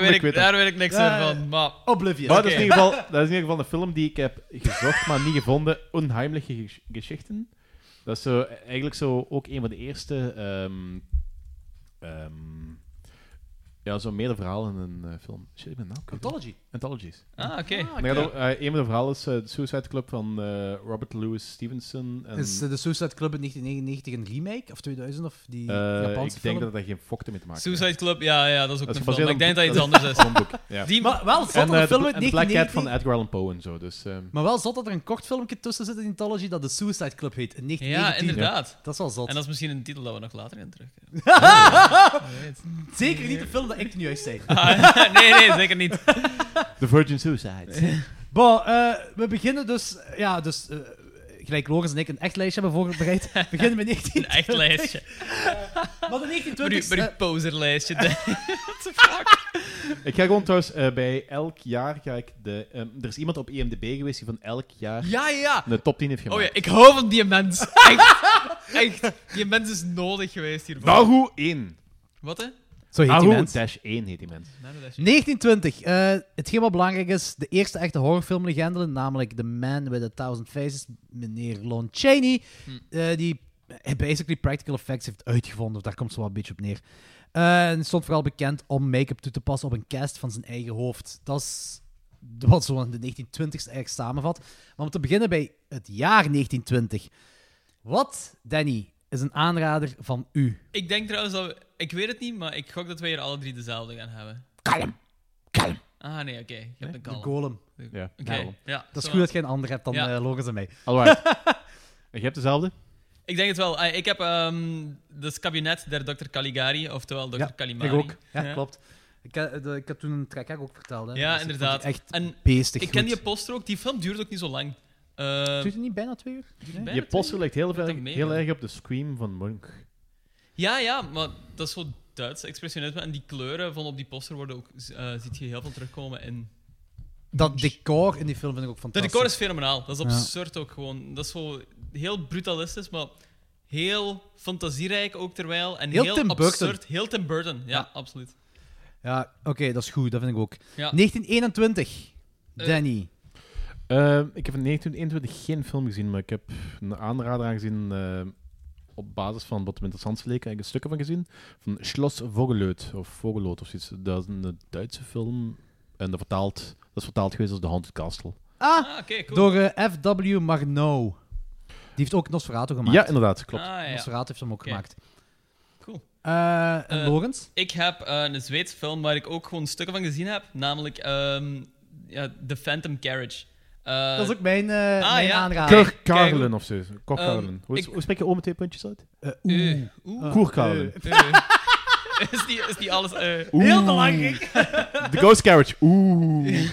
Speaker 5: (laughs)
Speaker 12: weet ik,
Speaker 5: weet dat.
Speaker 12: daar weet ik niks
Speaker 4: Ja,
Speaker 12: meer van. Maar,
Speaker 4: Oblivious.
Speaker 5: Maar dat, is
Speaker 12: Oké.
Speaker 5: in ieder geval, dat is in ieder geval een film die ik heb gezocht, maar niet gevonden. Onheimliche Gesch- Geschichten. Dat is zo, eigenlijk zo ook een van de eerste... ehm, ehm, ja, zo'n meerdere verhalen in een eh, film. Shit, ik ben de naam kwijt.
Speaker 4: Anthology.
Speaker 5: Anthologies.
Speaker 12: ah, oké.
Speaker 5: En dan gaat er, eh, een van de verhalen is eh, de Suicide Club van eh, Robert Louis Stevenson. En,
Speaker 4: Is eh, de Suicide Club in 1999 een remake? Of 2000? Of die
Speaker 5: eh,
Speaker 4: Japanse
Speaker 5: ik denk
Speaker 4: film?
Speaker 5: dat dat geen fokte mee te maken heeft.
Speaker 12: Suicide Club, ja, ja, dat is ook
Speaker 5: Dat is
Speaker 12: een film.
Speaker 5: gebaseerd
Speaker 12: Maar ik denk dat het
Speaker 5: op-
Speaker 12: iets anders
Speaker 5: (laughs)
Speaker 12: is.
Speaker 5: Een boek. Ja.
Speaker 12: Die,
Speaker 4: Maar wel zot
Speaker 5: En
Speaker 4: dat een
Speaker 5: eh,
Speaker 4: film
Speaker 5: de,
Speaker 4: uit
Speaker 5: en de Black Cat van
Speaker 4: 1999...
Speaker 5: Edgar Allan Poe en zo. Dus, ehm,
Speaker 4: Maar wel zot dat er een kort filmpje tussen zit in die Anthology dat de Suicide Club heet. In
Speaker 12: ja,
Speaker 4: 1919.
Speaker 12: inderdaad.
Speaker 4: Dat is wel zot.
Speaker 12: En dat is misschien een titel dat we nog later in terugkrijgen.
Speaker 4: Zeker niet de film dat ik nu juist zei. (laughs)
Speaker 12: Ah, nee, nee, zeker niet.
Speaker 5: The Virgin Suicide.
Speaker 4: Bon, eh, we beginnen dus... Ja, dus... eh, gelijk Loris en ik een echt lijstje hebben voorbereid. We beginnen (laughs) met 19...
Speaker 12: Een echt lijstje.
Speaker 4: Maar de
Speaker 12: Maar
Speaker 4: 1920...
Speaker 12: uw- maar uw poserlijstje.
Speaker 5: ik ga gewoon trouwens eh, bij elk jaar ga ik de. ehm, er is iemand op EMDB geweest die van elk jaar
Speaker 12: Ja, ja, ja.
Speaker 5: de top 10 heeft gemaakt.
Speaker 12: Oh ja, ik hou van die mens. (laughs) Echt. Echt. Die mens is nodig geweest hiervoor.
Speaker 5: Nahu 1.
Speaker 12: Wat, hè?
Speaker 4: Zo
Speaker 12: Ah,
Speaker 4: heet die
Speaker 5: Nahu
Speaker 4: mens.
Speaker 5: dash 1 heet die mens.
Speaker 12: Nou, dat is-
Speaker 4: 1920. Eh hetgeen wat belangrijk is, de eerste echte horrorfilmlegende, namelijk The Man with a Thousand Faces, meneer Lon Chaney, eh, die basically practical effects heeft uitgevonden. Daar komt zo wel een beetje op neer. Eh, en stond vooral bekend om make-up toe te passen op een cast van zijn eigen hoofd. Dat is wat zo in de 1920s eigenlijk samenvat. Maar om te beginnen bij het jaar 1920. Wat, Danny, is een aanrader van u?
Speaker 12: (laughs) Ik denk trouwens dat we Ik weet het niet, maar ik gok dat wij hier alle drie dezelfde gaan hebben.
Speaker 4: Kalm.
Speaker 12: Kalm. Ah, nee, oké. Je hebt
Speaker 4: Nee,
Speaker 12: een
Speaker 4: de
Speaker 12: kalm.
Speaker 4: golem.
Speaker 5: Ja.
Speaker 12: Oké,
Speaker 4: Daarom.
Speaker 12: ja,
Speaker 4: dat is
Speaker 12: zo.
Speaker 4: goed dat je een ander hebt dan
Speaker 12: Ja.
Speaker 4: eh Lorenz en mij.
Speaker 5: Alright. Je hebt dezelfde?
Speaker 12: Ik denk het wel. Ah, Ik heb ehm dus kabinet der Dr. Caligari, oftewel Dr. Calimari.
Speaker 4: Ik ook. Ja, klopt. Ik, eh, de- ik heb toen een track ook verteld. Hè. Dus
Speaker 12: Ja,
Speaker 4: ik vond die
Speaker 12: inderdaad.
Speaker 4: Echt
Speaker 12: en
Speaker 4: beestig
Speaker 12: Ik ken
Speaker 4: goed.
Speaker 12: die poster ook. Die film duurt ook niet zo lang. Eh,
Speaker 4: Duurt het niet bijna twee uur?
Speaker 12: bijna
Speaker 5: je
Speaker 12: twee
Speaker 5: poster lijkt heel,
Speaker 12: dat
Speaker 5: erg-
Speaker 12: mee,
Speaker 5: heel
Speaker 12: ja.
Speaker 5: erg op de Scream van Monk.
Speaker 12: Ja, ja, maar dat is zo Duits expressionisme. En die kleuren van op die poster worden ook, eh ziet je heel veel terugkomen in.
Speaker 4: Dat decor in die film vind ik ook
Speaker 12: De
Speaker 4: fantastisch.
Speaker 12: decor is fenomenaal. Dat is
Speaker 4: Ja.
Speaker 12: absurd ook gewoon. Dat is zo heel brutalistisch, maar heel fantasierijk ook terwijl. En
Speaker 4: Heel
Speaker 12: heel,
Speaker 4: Tim Burton.
Speaker 12: absurd. Heel Tim Burton. Ja, absoluut.
Speaker 4: Ja, oké, dat is goed. Dat vind ik ook.
Speaker 12: Ja. Eh,
Speaker 4: 1921. Danny.
Speaker 5: Ehm, ik heb in 1921 geen film gezien, maar ik heb een aanrader aangezien ehm, op basis van wat me interessant leek. Heb ik een stukken van gezien. Van Schloss Vogelöd of Vogelöd of zoiets. Dat is een Duitse film. En dat, vertaald, dat is vertaald geweest als The Haunted Castle.
Speaker 4: Ah,
Speaker 12: oké, cool.
Speaker 4: door eh, F.W. Marno. Die heeft ook Nosferatu gemaakt.
Speaker 5: Ja, inderdaad, klopt.
Speaker 12: Ah, ja.
Speaker 4: Nosferatu heeft hem ook
Speaker 12: Oké.
Speaker 4: gemaakt.
Speaker 12: Cool.
Speaker 4: Eh, en
Speaker 12: Eh,
Speaker 4: Lorenz?
Speaker 12: Ik heb eh, een Zweedse film waar ik ook gewoon stukken van gezien heb. Namelijk ehm, ja, The Phantom Carriage. Eh,
Speaker 4: Dat is ook mijn, eh, mijn aanrader.
Speaker 12: Kijk,
Speaker 5: Kirk
Speaker 12: kijk,
Speaker 5: Karlen of zo. Kirk Karlen.
Speaker 12: Ehm,
Speaker 5: Hoe, is- hoe spreek je oma twee puntjes uit?
Speaker 12: Eh, oeh.
Speaker 5: Kirk Karlen.
Speaker 12: Eh, is, die, is die alles... eh,
Speaker 5: Oeh. Heel belangrijk. The Ghost Carriage. Oeh.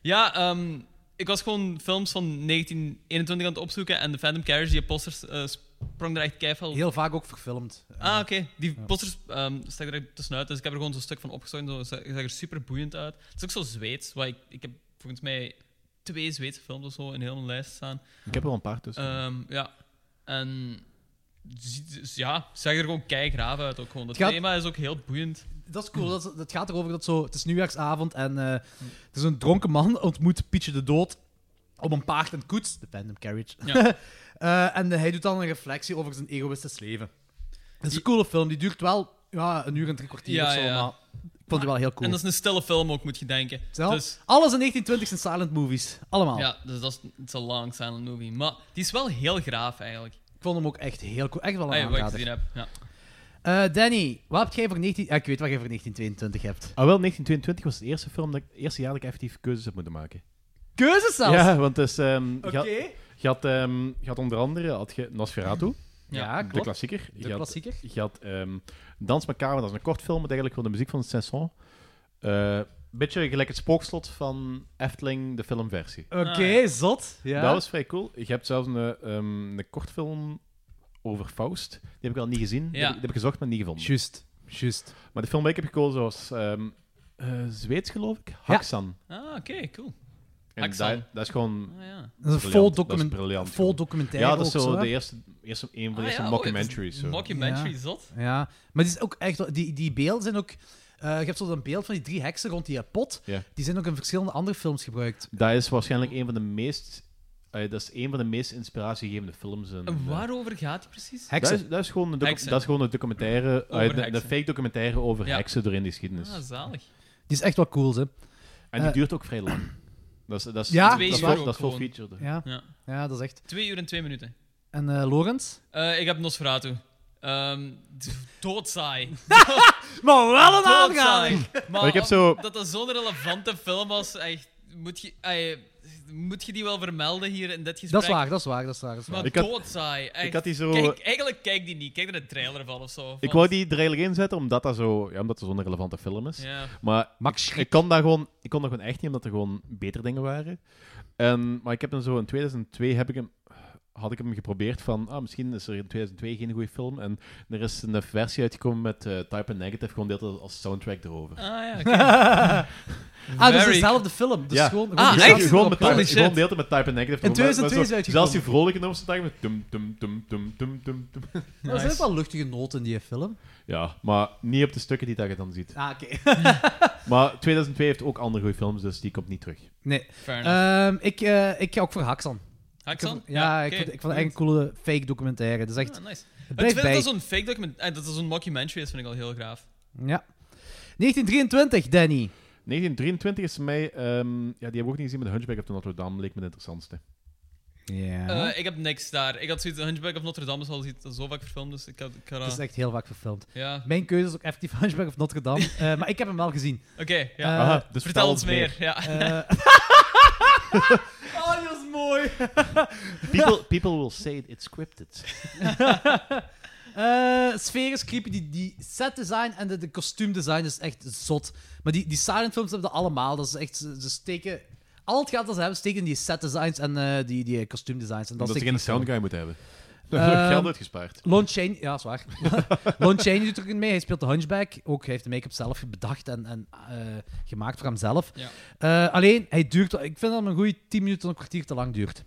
Speaker 12: ja, ehm, ik was gewoon films van 1921 aan het opzoeken en de Phantom Carriage, die posters, eh, sprong er echt keihard.
Speaker 4: Heel vaak ook verfilmd.
Speaker 12: Ah, oké. Die
Speaker 4: Ja.
Speaker 12: posters ehm stak er tussenuit, dus ik heb er gewoon zo'n stuk van opgezocht. en Zo zag zag er super boeiend uit. Het is ook zo Zweeds. Waar ik, ik heb volgens mij twee Zweedse films of zo in heel mijn lijst staan.
Speaker 5: Ik heb er wel een paar tussen.
Speaker 12: Ehm, ja. En ziet- ja, zag er gewoon keigraaf uit ook gewoon. Het
Speaker 4: Het gaat-
Speaker 12: thema is ook heel boeiend.
Speaker 4: Dat is cool. Dat, is- dat gaat erover dat zo... Het is nieuwjaarsavond en eh het is een dronken man (laughs) ontmoet Pietje de Dood op een paard en koets. De Phantom Carriage. (laughs)
Speaker 12: Ja.
Speaker 4: Eh, en hij doet dan een reflectie over zijn egoïstisch leven. Het is een coole film. Die duurt wel ja, een uur en drie kwartier
Speaker 12: Ja,
Speaker 4: of zo,
Speaker 12: ja.
Speaker 4: maar ik vond die wel heel cool.
Speaker 12: En dat is een stille film ook, moet je denken.
Speaker 4: Stel,
Speaker 12: Dus,
Speaker 4: Alles in 1920 zijn silent movies. Allemaal.
Speaker 12: ja, dus dat is het is een lang silent movie. Maar die is wel heel graaf eigenlijk.
Speaker 4: Ik vond hem ook echt heel cool. Echt wel
Speaker 12: Ah,
Speaker 4: een
Speaker 12: ja, wat ik
Speaker 4: aanrader.
Speaker 12: gezien heb. Ja.
Speaker 4: Eh, Danny, wat heb jij voor 19... Ah, ik weet wat jij voor 1922 hebt.
Speaker 5: Ah, wel, 1922 was het eerste film dat ik, het eerste jaar dat ik effectief keuzes heb moeten maken.
Speaker 4: Keuzes zelfs?
Speaker 5: Ja, want dus, ehm, je, had,
Speaker 4: Oké.
Speaker 5: je, had, ehm, je had onder andere had je Nosferatu.
Speaker 4: Ja, Ah, klopt.
Speaker 5: De klassieker.
Speaker 4: De klassieker.
Speaker 5: Had, je had ehm, Dans Macabre, dat is een kort film met eigenlijk gewoon de muziek van Sanson. Een beetje gelijk het spookslot van Efteling, de filmversie.
Speaker 4: Oké, zot. Ah, Ja.
Speaker 5: Dat was vrij cool. Je hebt zelfs een, ehm een kortfilm over Faust. Die heb ik al niet gezien. Die,
Speaker 4: Ja.
Speaker 5: heb, ik- die heb ik gezocht, maar niet gevonden.
Speaker 4: Juist, juist.
Speaker 5: Maar de film die ik heb gekozen was ehm, eh, Zweeds, geloof ik. Haksan.
Speaker 12: Ah, oké, cool.
Speaker 5: En
Speaker 12: Haksan.
Speaker 5: dat- dat is gewoon...
Speaker 12: Ah, ja.
Speaker 4: Dat is een
Speaker 5: briljant.
Speaker 4: vol,
Speaker 5: Dat
Speaker 4: document,
Speaker 5: is briljant
Speaker 4: vol
Speaker 5: gewoon.
Speaker 4: documentaire
Speaker 5: Ja, dat is
Speaker 4: ook,
Speaker 5: zo
Speaker 4: hè?
Speaker 5: de eerste, eerste, een van de
Speaker 12: Ah,
Speaker 5: eerste
Speaker 12: ja, oh,
Speaker 5: mockumentaries.
Speaker 12: het
Speaker 5: zo.
Speaker 12: is Mockumentary, zot.
Speaker 4: Ja, maar het is ook echt... wel- Die, die beelden zijn ook... eh, je hebt zo een beeld van die drie heksen rond die eh, pot.
Speaker 5: Ja.
Speaker 4: Die zijn ook in verschillende andere films gebruikt.
Speaker 5: Dat is waarschijnlijk een van de meest... eh, dat is een van de meest inspiratiegevende films. En,
Speaker 12: En waarover gaat die precies?
Speaker 5: dat, is, dat, is gewoon een docu-
Speaker 12: Heksen.
Speaker 5: dat is gewoon een documentaire, eh,
Speaker 12: Over
Speaker 5: de, de
Speaker 12: heksen.
Speaker 5: fake documentaire over
Speaker 12: Ja.
Speaker 5: heksen doorheen de geschiedenis.
Speaker 12: Ah, zalig.
Speaker 4: Die is echt wel cool, hè.
Speaker 5: En die
Speaker 4: Eh,
Speaker 5: duurt ook vrij lang. Dat is, dat is,
Speaker 4: Ja,
Speaker 5: dat
Speaker 12: Twee
Speaker 5: is,
Speaker 12: uur
Speaker 5: vol-
Speaker 12: ook
Speaker 5: dat is vol
Speaker 12: gewoon.
Speaker 5: featured.
Speaker 4: Ja.
Speaker 12: Ja.
Speaker 4: ja, dat is echt...
Speaker 12: Twee uur en twee minuten.
Speaker 4: En eh Lorenz?
Speaker 12: Eh, ik heb Nosferatu. Ehm d-
Speaker 4: (laughs)
Speaker 12: doodsaai.
Speaker 4: Maar wel een
Speaker 12: Doodsaai.
Speaker 4: aanrader!
Speaker 5: Maar ik heb zo-
Speaker 12: Dat dat zo'n relevante film was, echt, moet, je, ey, moet je die wel vermelden hier in dit gesprek?
Speaker 4: Dat is waar, dat is waar, dat is waar. Dat is waar.
Speaker 12: Maar
Speaker 5: Ik had-
Speaker 12: doodsaai. Echt.
Speaker 5: ik had die zo-
Speaker 12: Kijk, eigenlijk kijk die niet. Kijk er een trailer van of zo.
Speaker 5: Ik wou die er eigenlijk in zetten, omdat dat zo- ja, omdat dat zo'n relevante film is.
Speaker 12: Ja.
Speaker 5: Maar
Speaker 4: Max
Speaker 5: ik kon, daar gewoon, ik kon daar gewoon echt niet, omdat er gewoon betere dingen waren. En, maar ik heb hem zo in 2002 heb ik hem, had ik hem geprobeerd van, ah, misschien is er in 2002 geen goede film. En er is een versie uitgekomen met eh, Type and Negative, gewoon deelt als soundtrack erover.
Speaker 12: Ah ja, oké.
Speaker 4: Ah, dat is
Speaker 12: Very-
Speaker 4: dezelfde film. Dus
Speaker 5: Ja.
Speaker 4: gewoon,
Speaker 12: Ah,
Speaker 4: die
Speaker 12: echt?
Speaker 4: staat
Speaker 5: Gewoon, met,
Speaker 4: erop, hè.
Speaker 12: Holy
Speaker 5: type,
Speaker 12: shit.
Speaker 5: gewoon deelt met Type and Negative.
Speaker 4: In
Speaker 5: gewoon, maar- maar
Speaker 4: 2002 is
Speaker 5: zo-
Speaker 4: uitgekomen.
Speaker 5: Zelfs die vrolijke nummers staan met dum, dum, dum, dum, dum, dum, dum.
Speaker 4: Er zijn
Speaker 12: Nice.
Speaker 4: wel luchtige noten in die film.
Speaker 5: Ja, maar niet op de stukken die dat je dan ziet.
Speaker 4: Ah, oké.
Speaker 5: Maar 2002 heeft ook andere goede films, dus die komt niet terug.
Speaker 4: nee.
Speaker 12: Fair enough.
Speaker 4: Ehm, ik, eh, ik ga ook voor Haksan. Ik
Speaker 12: Haksan?
Speaker 4: vond- Ja, ik,
Speaker 12: oké.
Speaker 4: vond, ik vond het echt een coole fake documentaire. Dat is echt...
Speaker 12: Ah, nice.
Speaker 4: Het
Speaker 12: Het feit
Speaker 4: blijft
Speaker 12: dat
Speaker 4: bij.
Speaker 12: dat zo'n fake document, eh, dat dat zo'n mockumentary is, vind ik al heel graaf.
Speaker 4: Ja. 1923, Danny.
Speaker 5: 1923 is mij, ehm, ja, die hebben we ook niet gezien, maar The Hunchback of the Notre Dame leek me de interessantste.
Speaker 4: Ja.
Speaker 12: Eh, ik heb niks daar. Ik had zoiets, Hunchback of Notre Dame is al iets dat zo vaak verfilmd, dus ik had... Ik had
Speaker 4: Het is echt heel vaak verfilmd.
Speaker 12: Ja.
Speaker 4: Mijn keuze is ook effectief (laughs) Hunchback of Notre Dame. Eh, maar ik heb hem wel gezien.
Speaker 12: Oké, ja.
Speaker 4: Eh,
Speaker 12: Aha, dus vertel ons meer, ja. (laughs)
Speaker 4: Eh,
Speaker 12: Oh, dat is mooi!
Speaker 1: People, people will say it's scripted.
Speaker 4: (laughs) Eh sfeer is creepy. Die, die set design en de, de kostuumdesign is echt zot. Maar die, die silent films hebben dat allemaal. Dat is echt, ze, ze steken... Al het geld dat ze hebben, steken in die set designs en eh, die, die kostuumdesigns. En dat
Speaker 5: Omdat ze
Speaker 4: steken
Speaker 5: geen
Speaker 4: die film.
Speaker 5: sound guy moeten hebben. Dan heb ik
Speaker 4: Ehm,
Speaker 5: geld uitgespaard.
Speaker 4: Lon Chaney, ja, zwaar. Lon Chaney doet er ook in mee. Hij speelt de Hunchback. Ook hij heeft de make-up zelf bedacht en, en eh, gemaakt voor hemzelf. Eh, alleen, hij duurt. wel- Ik vind dat hem een goede 10 minuten en een kwartier te lang duurt.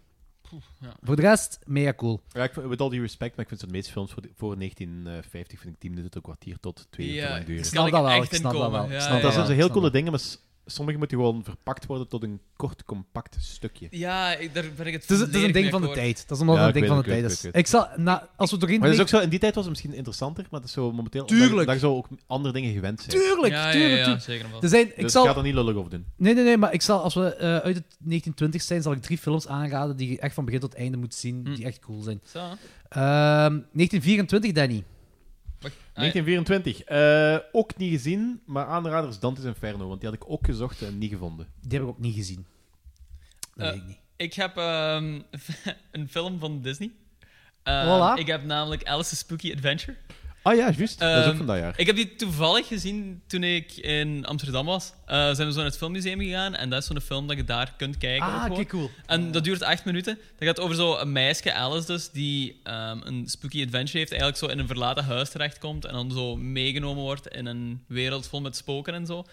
Speaker 12: ja.
Speaker 4: Voor de rest, mega cool.
Speaker 5: Ja, ik, vind- with all due respect, maar ik vind de meeste films voor, voor 1950 vind ik 10 minuten tot een kwartier tot twee uur te
Speaker 12: Ja,
Speaker 5: lang duren.
Speaker 12: ik snap Kan dat ik wel, echt ik snap dat inkomen. wel, ik Ja, snap ja,
Speaker 5: dat
Speaker 12: ja,
Speaker 5: zijn zo heel
Speaker 12: ik snap
Speaker 5: coole
Speaker 12: dat.
Speaker 5: dingen, maar s- sommige moeten gewoon verpakt worden tot een kort, compact stukje.
Speaker 12: Ja, ik, daar ben ik
Speaker 4: Het is,
Speaker 12: het
Speaker 4: het is een
Speaker 12: volledig
Speaker 4: ding
Speaker 12: mee
Speaker 4: van de
Speaker 12: akkoord.
Speaker 4: tijd. Dat is omdat
Speaker 5: Ja,
Speaker 4: het
Speaker 5: ik
Speaker 4: een ding
Speaker 5: weet
Speaker 4: van
Speaker 5: het,
Speaker 4: de
Speaker 5: ik
Speaker 4: tijd
Speaker 5: weet
Speaker 4: is.
Speaker 5: het,
Speaker 4: Ik zal, nou, als we doorheen
Speaker 5: Maar dat is ook
Speaker 4: breken-
Speaker 5: zo, in die tijd was het misschien interessanter, maar dat is zo momenteel...
Speaker 4: Tuurlijk.
Speaker 5: Daar, daar zou ook andere dingen gewend zijn.
Speaker 4: Tuurlijk,
Speaker 12: Ja, ja,
Speaker 4: tuurlijk,
Speaker 12: ja,
Speaker 4: tuurlijk.
Speaker 12: zeker en vast.
Speaker 4: Er zijn, ik
Speaker 5: Dus
Speaker 4: zal,
Speaker 5: ga er niet lullig over doen.
Speaker 4: Nee, nee, nee, maar ik zal, als we eh, uit het 1920 zijn, zal ik drie films aanraden die je echt van begin tot einde moet zien, die echt cool zijn.
Speaker 12: Hm. Zo.
Speaker 4: Ehm, 1924, Danny.
Speaker 5: 1924. eh, ook niet gezien, maar aanraders Dante's Inferno, want die had ik ook gezocht en niet gevonden.
Speaker 4: Die heb ik ook niet gezien. Dat
Speaker 12: Eh,
Speaker 4: weet ik niet.
Speaker 12: Ik heb ehm, (laughs) een film van Disney. Ehm,
Speaker 4: Voilà.
Speaker 12: Ik heb namelijk Alice's Spooky Adventure.
Speaker 5: Ah ja, juist. dat is ook
Speaker 12: Ehm,
Speaker 5: van dat jaar.
Speaker 12: Ik heb die toevallig gezien toen ik in Amsterdam was. Eh, zijn we zo naar het filmmuseum gegaan en dat is zo'n film dat je daar kunt kijken.
Speaker 4: Ah,
Speaker 12: ook gewoon.
Speaker 4: kijk, cool.
Speaker 12: En dat duurt acht minuten. Dat gaat over zo'n meisje, Alice dus, die ehm, een spooky adventure heeft. Eigenlijk zo in een verlaten huis terechtkomt en dan zo meegenomen wordt in een wereld vol met spoken en zo.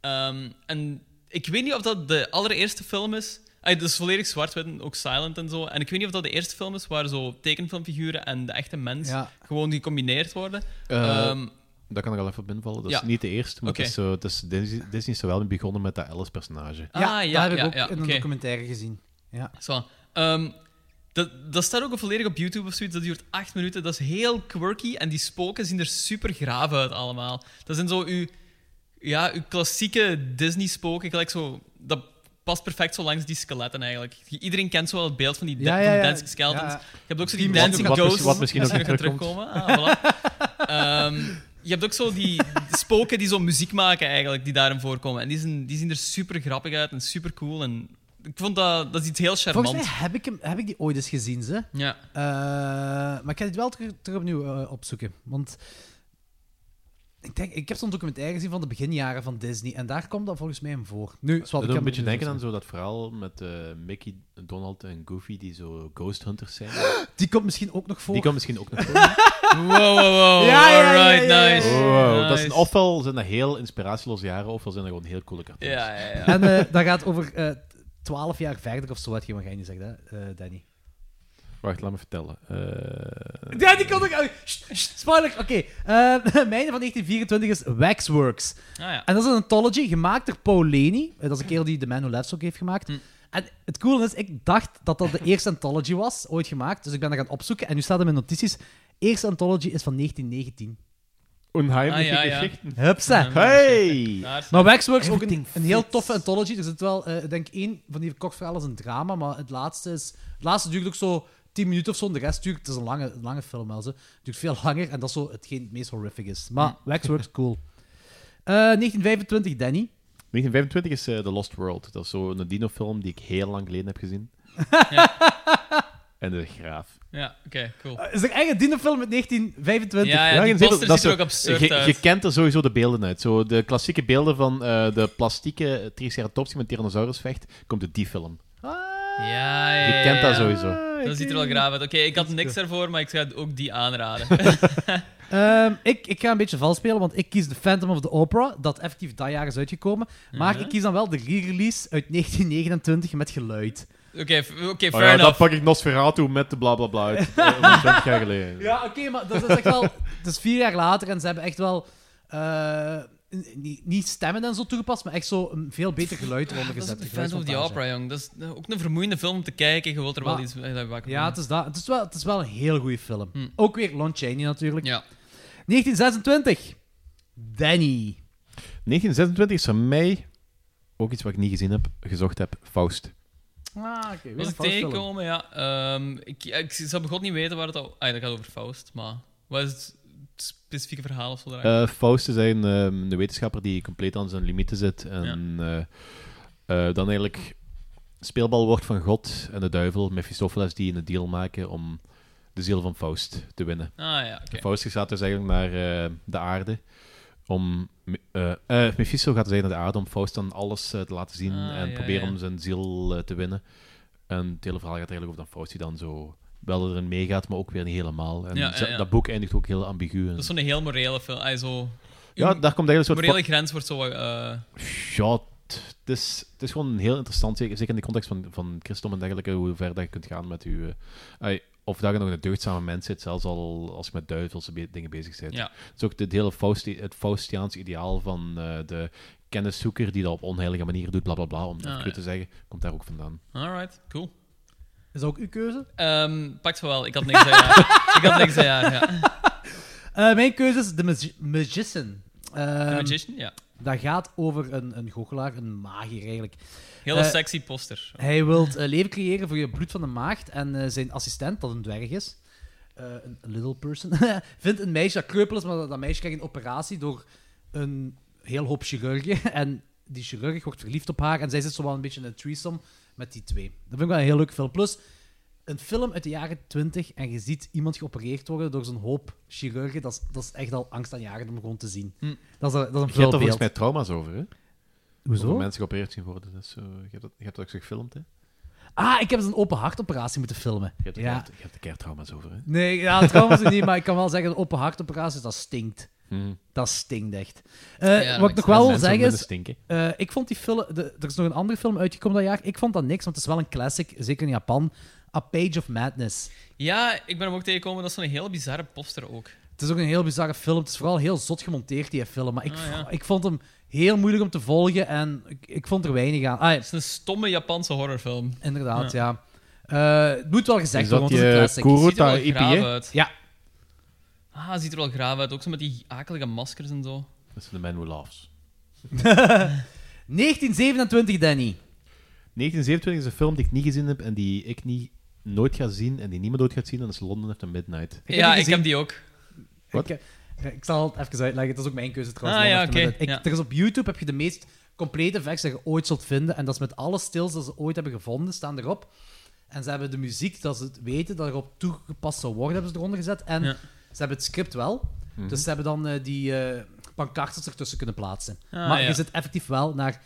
Speaker 12: Ehm, en ik weet niet of dat de allereerste film is. Ah, Het is volledig zwart-wit en ook silent en zo. En ik weet niet of dat de eerste film is waar zo tekenfilmfiguren en de echte mens
Speaker 4: Ja.
Speaker 12: gewoon gecombineerd worden.
Speaker 5: Eh,
Speaker 12: Ehm,
Speaker 5: dat kan ik al even op invallen. Dat
Speaker 12: ja.
Speaker 5: is niet de eerste, maar
Speaker 12: Oké.
Speaker 5: het is zo, het is, Disney, Disney is er wel mee begonnen met dat Alice-personage.
Speaker 12: Ah,
Speaker 4: ja,
Speaker 12: ja,
Speaker 4: dat heb
Speaker 12: ja,
Speaker 4: ik ook
Speaker 12: ja,
Speaker 4: in een
Speaker 12: oké.
Speaker 4: documentaire gezien. Ja.
Speaker 12: Zo. Ehm, dat, dat staat ook volledig op YouTube of zoiets. Dat duurt acht minuten. Dat is heel quirky. En die spoken zien er super graaf uit allemaal. Dat zijn zo uw, ja, uw klassieke Disney-spoken. Gelijk zo, dat past perfect zo langs die skeletten eigenlijk. Je- Iedereen kent zo wel het beeld van die da-
Speaker 4: Ja, ja,
Speaker 12: van
Speaker 4: ja.
Speaker 12: Dancing Skeletons.
Speaker 4: Ja.
Speaker 12: Je hebt ook zo die
Speaker 4: Wat-
Speaker 12: Dancing
Speaker 5: wat mis-
Speaker 12: Ghosts.
Speaker 5: wat misschien
Speaker 12: die
Speaker 5: ook weer
Speaker 12: nog
Speaker 5: terugkomt.
Speaker 12: Ah, voilà. (laughs) Ehm, je hebt ook zo die spoken die zo muziek maken eigenlijk, die daarin voorkomen. En die, zijn, die zien er super grappig uit en super cool. En ik vond dat, dat is iets heel charmants.
Speaker 4: Volgens mij heb ik, hem, heb ik die ooit eens gezien, ze.
Speaker 12: Ja.
Speaker 4: Eh, maar ik ga dit wel terug, terug opnieuw eh, opzoeken. Want ik, denk, ik heb zo'n documentaire gezien van de beginjaren van Disney. En daar komt dat volgens mij hem voor. Nu,
Speaker 5: Dat
Speaker 4: zwart,
Speaker 5: doet
Speaker 4: Oh, ik
Speaker 5: een
Speaker 4: heb-
Speaker 5: beetje denken aan zo dat verhaal met eh, Mickey, Donald en Goofy, die zo ghost hunters zijn.
Speaker 4: (gasps) Die komt misschien ook nog voor.
Speaker 5: Die kan misschien ook nog
Speaker 4: (laughs)
Speaker 5: komen.
Speaker 12: Wow, wow, wow.
Speaker 4: Ja, ja, ja,
Speaker 12: Oh, Alright,
Speaker 4: ja, ja,
Speaker 12: nice.
Speaker 5: Oh, wow. Dat
Speaker 12: Nice.
Speaker 5: zijn, ofwel zijn dat heel inspiratieloze jaren, ofwel zijn dat gewoon heel coole cartoons.
Speaker 12: Ja, ja, ja.
Speaker 4: En eh, dat gaat over eh, 12 jaar verder of zo, wat je mag niet zeggen, hè, eh, Danny.
Speaker 5: Wacht, laat me vertellen. Eh,
Speaker 4: Ja, die komt ook. oh, sst, sst, spoiler! Oké, Eh, (laughs) mijn van 1924 is Waxworks.
Speaker 12: Ah, ja.
Speaker 4: En dat is een anthology gemaakt door Paul Leni. Eh, dat is een kerel die The Man Who Laughs ook heeft gemaakt.
Speaker 12: Mm.
Speaker 4: En het coole is, ik dacht dat
Speaker 12: (laughs)
Speaker 4: dat de eerste anthology was, ooit gemaakt. Dus ik ben dat gaan opzoeken en nu staat in mijn notities. Eerste anthology is van 1919.
Speaker 5: Onheimliche
Speaker 12: Ah, ja, ja.
Speaker 5: geschichten.
Speaker 4: Hupsa!
Speaker 5: Hey!
Speaker 12: Daar is-
Speaker 4: Maar Waxworks ook een,
Speaker 1: Everything
Speaker 4: een heel toffe anthology. Er zit wel, eh, ik denk één van die kokverhalen is een drama, maar het laatste is... Het laatste duurt ook zo 10 minuten of zo, en de rest duurt... Het is een lange, een lange film wel, ze. Het duurt veel (laughs) langer, en dat is zo hetgeen het meest horrific is. Maar (laughs) Waxworks, cool. Eh, 1925, Danny.
Speaker 5: 1925 is eh, The Lost World. Dat is zo'n dino-film die ik heel lang geleden heb
Speaker 12: (laughs)
Speaker 5: gezien. En de graaf.
Speaker 12: Ja, oké, cool.
Speaker 4: Eh, is er echt een dinofilm uit 1925?
Speaker 12: Ja, ja, die
Speaker 5: je ziet
Speaker 12: poster
Speaker 5: dat
Speaker 12: ziet
Speaker 5: zo-
Speaker 12: er ook absurd
Speaker 5: je,
Speaker 12: uit.
Speaker 5: je kent er sowieso de beelden uit. Zo de klassieke beelden van eh, de plastieke Triceratops die met Tyrannosaurus vecht, komt uit die film.
Speaker 12: Ja, ja, ja,
Speaker 5: Je kent dat
Speaker 12: ja.
Speaker 5: sowieso.
Speaker 12: Dat ziet er wel graaf uit. Oké, ik had niks ervoor, maar ik ga ook die aanraden.
Speaker 4: (laughs)
Speaker 12: (laughs)
Speaker 4: Ehm, ik, ik ga een beetje vals spelen, want ik kies The Phantom of the Opera, dat effectief dat jaar is uitgekomen. Maar
Speaker 12: Mhm.
Speaker 4: ik kies dan wel de re-release uit 1929 met geluid.
Speaker 12: Oké, f- oké,
Speaker 5: Oh
Speaker 12: fair
Speaker 5: ja, dan
Speaker 12: enough.
Speaker 5: pak ik Nosferatu met de blablabla uit. Eh,
Speaker 12: (laughs)
Speaker 5: van 20 jaar geleden.
Speaker 4: Ja, oké, maar dat is echt wel... Het is vier jaar later en ze hebben echt wel... eh, n- niet- niet stemmen en zo toegepast, maar echt zo een veel beter geluid eronder
Speaker 12: Ah, Dat is
Speaker 4: gezet.
Speaker 12: de
Speaker 4: een
Speaker 12: Phantom of the
Speaker 4: geluidsmontage.
Speaker 12: Opera, jong. Dat is eh, ook een vermoeiende film om te kijken. Je wilt er wel
Speaker 4: Maar-
Speaker 12: iets eh, bij wakker
Speaker 4: Ja, het is, dat. Het, is wel, het is wel een heel goede film. Ook weer Lon Chaney natuurlijk.
Speaker 12: Hmm. Ja.
Speaker 4: 1926. Danny.
Speaker 5: 1926 is voor mij ook iets wat ik niet gezien heb, gezocht heb. Faust.
Speaker 4: Ah, oké. weer
Speaker 12: was
Speaker 4: een
Speaker 12: ik
Speaker 4: fout film.
Speaker 12: tegengekomen, ja. Ehm, ik, ik zou begot niet weten waar het al... Ah, dat gaat over Faust, maar... Wat is het specifieke verhaal of zo daarachter?
Speaker 5: Eh, Faust is een, ehm, een wetenschapper die compleet aan zijn limieten zit. En eh, eh, dan eigenlijk speelbal wordt van God en de duivel, Mephistopheles, die een deal maken om de ziel van Faust te winnen.
Speaker 12: Ah, ja, oké.
Speaker 5: En Faust gaat dus eigenlijk naar eh, de aarde. Om, eh eh, Mephisto gaat dus eigenlijk naar de aarde om Faust dan alles eh, te laten zien
Speaker 12: Ah,
Speaker 5: en
Speaker 12: ja,
Speaker 5: proberen
Speaker 12: ja.
Speaker 5: om zijn ziel eh, te winnen. En het hele verhaal gaat eigenlijk over dat Faust die dan zo wel erin meegaat, maar ook weer niet helemaal. En
Speaker 12: Ja, ja,
Speaker 5: ze-
Speaker 12: ja.
Speaker 5: dat boek eindigt ook heel ambigu. en-
Speaker 12: Dat is zo'n heel morele film. Ah, zo...
Speaker 5: Ja, daar komt eigenlijk een soort
Speaker 12: morele
Speaker 5: van-
Speaker 12: grens wordt zo... eh,
Speaker 5: Ja, t- het is, het is gewoon heel interessant, zeker zeker in de context van, van christendom en dergelijke, hoe ver dat je kunt gaan met je... eh, ai, of dat je nog een deugdzame mens zit, zelfs al als je met duivelse be- dingen bezig bent.
Speaker 12: Ja.
Speaker 5: Het is ook dit hele Fausti het Faustiaans ideaal van eh, de kenniszoeker die dat op onheilige manier doet, bla bla bla, om het
Speaker 12: Ah,
Speaker 5: goed
Speaker 12: ja.
Speaker 5: te zeggen, komt daar ook vandaan.
Speaker 12: Alright, cool.
Speaker 4: Is dat ook uw keuze?
Speaker 12: pakt van wel, ik had niks aan jaar. ik had niks aan jaar, ja.
Speaker 4: Eh, mijn keuze is The Magi- Magician. Ehm,
Speaker 12: Magician, ja.
Speaker 4: Dat gaat over een, een goochelaar, een magier eigenlijk.
Speaker 12: Hele
Speaker 4: Eh,
Speaker 12: sexy poster.
Speaker 4: Hij wil leven creëren voor je bloed van de maagd. En eh, zijn assistent, dat een dwerg is, eh, een little person, (laughs) vindt een meisje dat kreupel is, maar dat, dat meisje krijgt een operatie door een heel hoop chirurgen. (laughs) En die chirurg wordt verliefd op haar en zij zit zo wel een beetje in een threesome met die twee. Dat vind ik wel een heel leuk film. Plus, een film uit de jaren 20 en je ziet iemand geopereerd worden door zo'n hoop chirurgen, dat is, dat is echt al angstaanjagend om gewoon te zien.
Speaker 5: Hm.
Speaker 4: Dat is, een- dat is een
Speaker 5: Je hebt er
Speaker 4: filmbeeld.
Speaker 5: volgens mij trauma's over, hè?
Speaker 4: Hoezo?
Speaker 5: Over mensen geopereerd zien worden. Dus, eh, je, hebt dat, je hebt dat ook zo gefilmd, hè?
Speaker 4: Ah, ik heb eens een open hartoperatie moeten filmen.
Speaker 5: Je hebt er,
Speaker 4: Ja.
Speaker 5: keer- je hebt er keer trauma's over, hè?
Speaker 4: Nee, ja, trouwens niet, maar ik kan wel zeggen, een open hartoperaties, dat stinkt.
Speaker 5: Hmm.
Speaker 4: Dat stinkt echt.
Speaker 5: Ja,
Speaker 4: Eh,
Speaker 5: ja, dat
Speaker 4: wat ik
Speaker 5: is-
Speaker 4: nog wel wil
Speaker 5: mensen
Speaker 4: zeggen
Speaker 5: willen
Speaker 4: is,
Speaker 5: stinken.
Speaker 4: eh, ik vond die film, de- er is nog een andere film uitgekomen dat jaar, ik vond dat niks, want het is wel een classic, zeker in Japan, A Page of Madness.
Speaker 12: Ja, ik ben hem ook tegengekomen. Dat is zo'n heel bizarre poster ook.
Speaker 4: Het is ook een heel bizarre film, het is vooral heel zot gemonteerd, die film, maar ik,
Speaker 12: Ah,
Speaker 4: vo-
Speaker 12: ja.
Speaker 4: ik vond hem heel moeilijk om te volgen en ik, ik vond er weinig aan. Ah, ja,
Speaker 12: Het is een stomme Japanse horrorfilm.
Speaker 4: inderdaad, ja. Eh, het moet wel gezegd
Speaker 5: Is dat
Speaker 4: worden, want het is een
Speaker 5: die, eh,
Speaker 4: classic.
Speaker 5: Kuroda
Speaker 12: Ziet er
Speaker 5: IPA?
Speaker 12: wel graaf uit.
Speaker 4: Ja.
Speaker 12: Ah, het ziet er wel graaf uit. Ook zo met die akelige maskers en zo.
Speaker 5: Dat is The Man Who Laughs.
Speaker 4: 1927, Danny.
Speaker 5: 1927 is een film die ik niet gezien heb en die ik niet, nooit ga zien en die niemand ooit gaat zien. En dat is London After Midnight.
Speaker 4: Ik heb
Speaker 12: ja,
Speaker 4: die
Speaker 12: ik
Speaker 4: gezien.
Speaker 12: heb die ook.
Speaker 5: Wat?
Speaker 4: Ik, eh, ik zal het even uitleggen. Het is ook mijn keuze trouwens.
Speaker 12: Ah,
Speaker 4: Lord
Speaker 12: ja,
Speaker 4: of the
Speaker 12: oké,
Speaker 4: Rings. Ik-
Speaker 12: ja.
Speaker 4: Er is op YouTube heb je de meest complete effects dat je ooit zult vinden. En dat is met alle stils dat ze ooit hebben gevonden, staan erop. En ze hebben de muziek dat ze het weten dat erop toegepast zou worden, hebben ze eronder gezet. En
Speaker 12: Ja.
Speaker 4: ze hebben het script wel.
Speaker 5: Mhm.
Speaker 4: Dus ze hebben dan eh, die eh pancartes ertussen kunnen plaatsen.
Speaker 12: Ah,
Speaker 4: maar
Speaker 12: ja.
Speaker 4: je zit effectief wel naar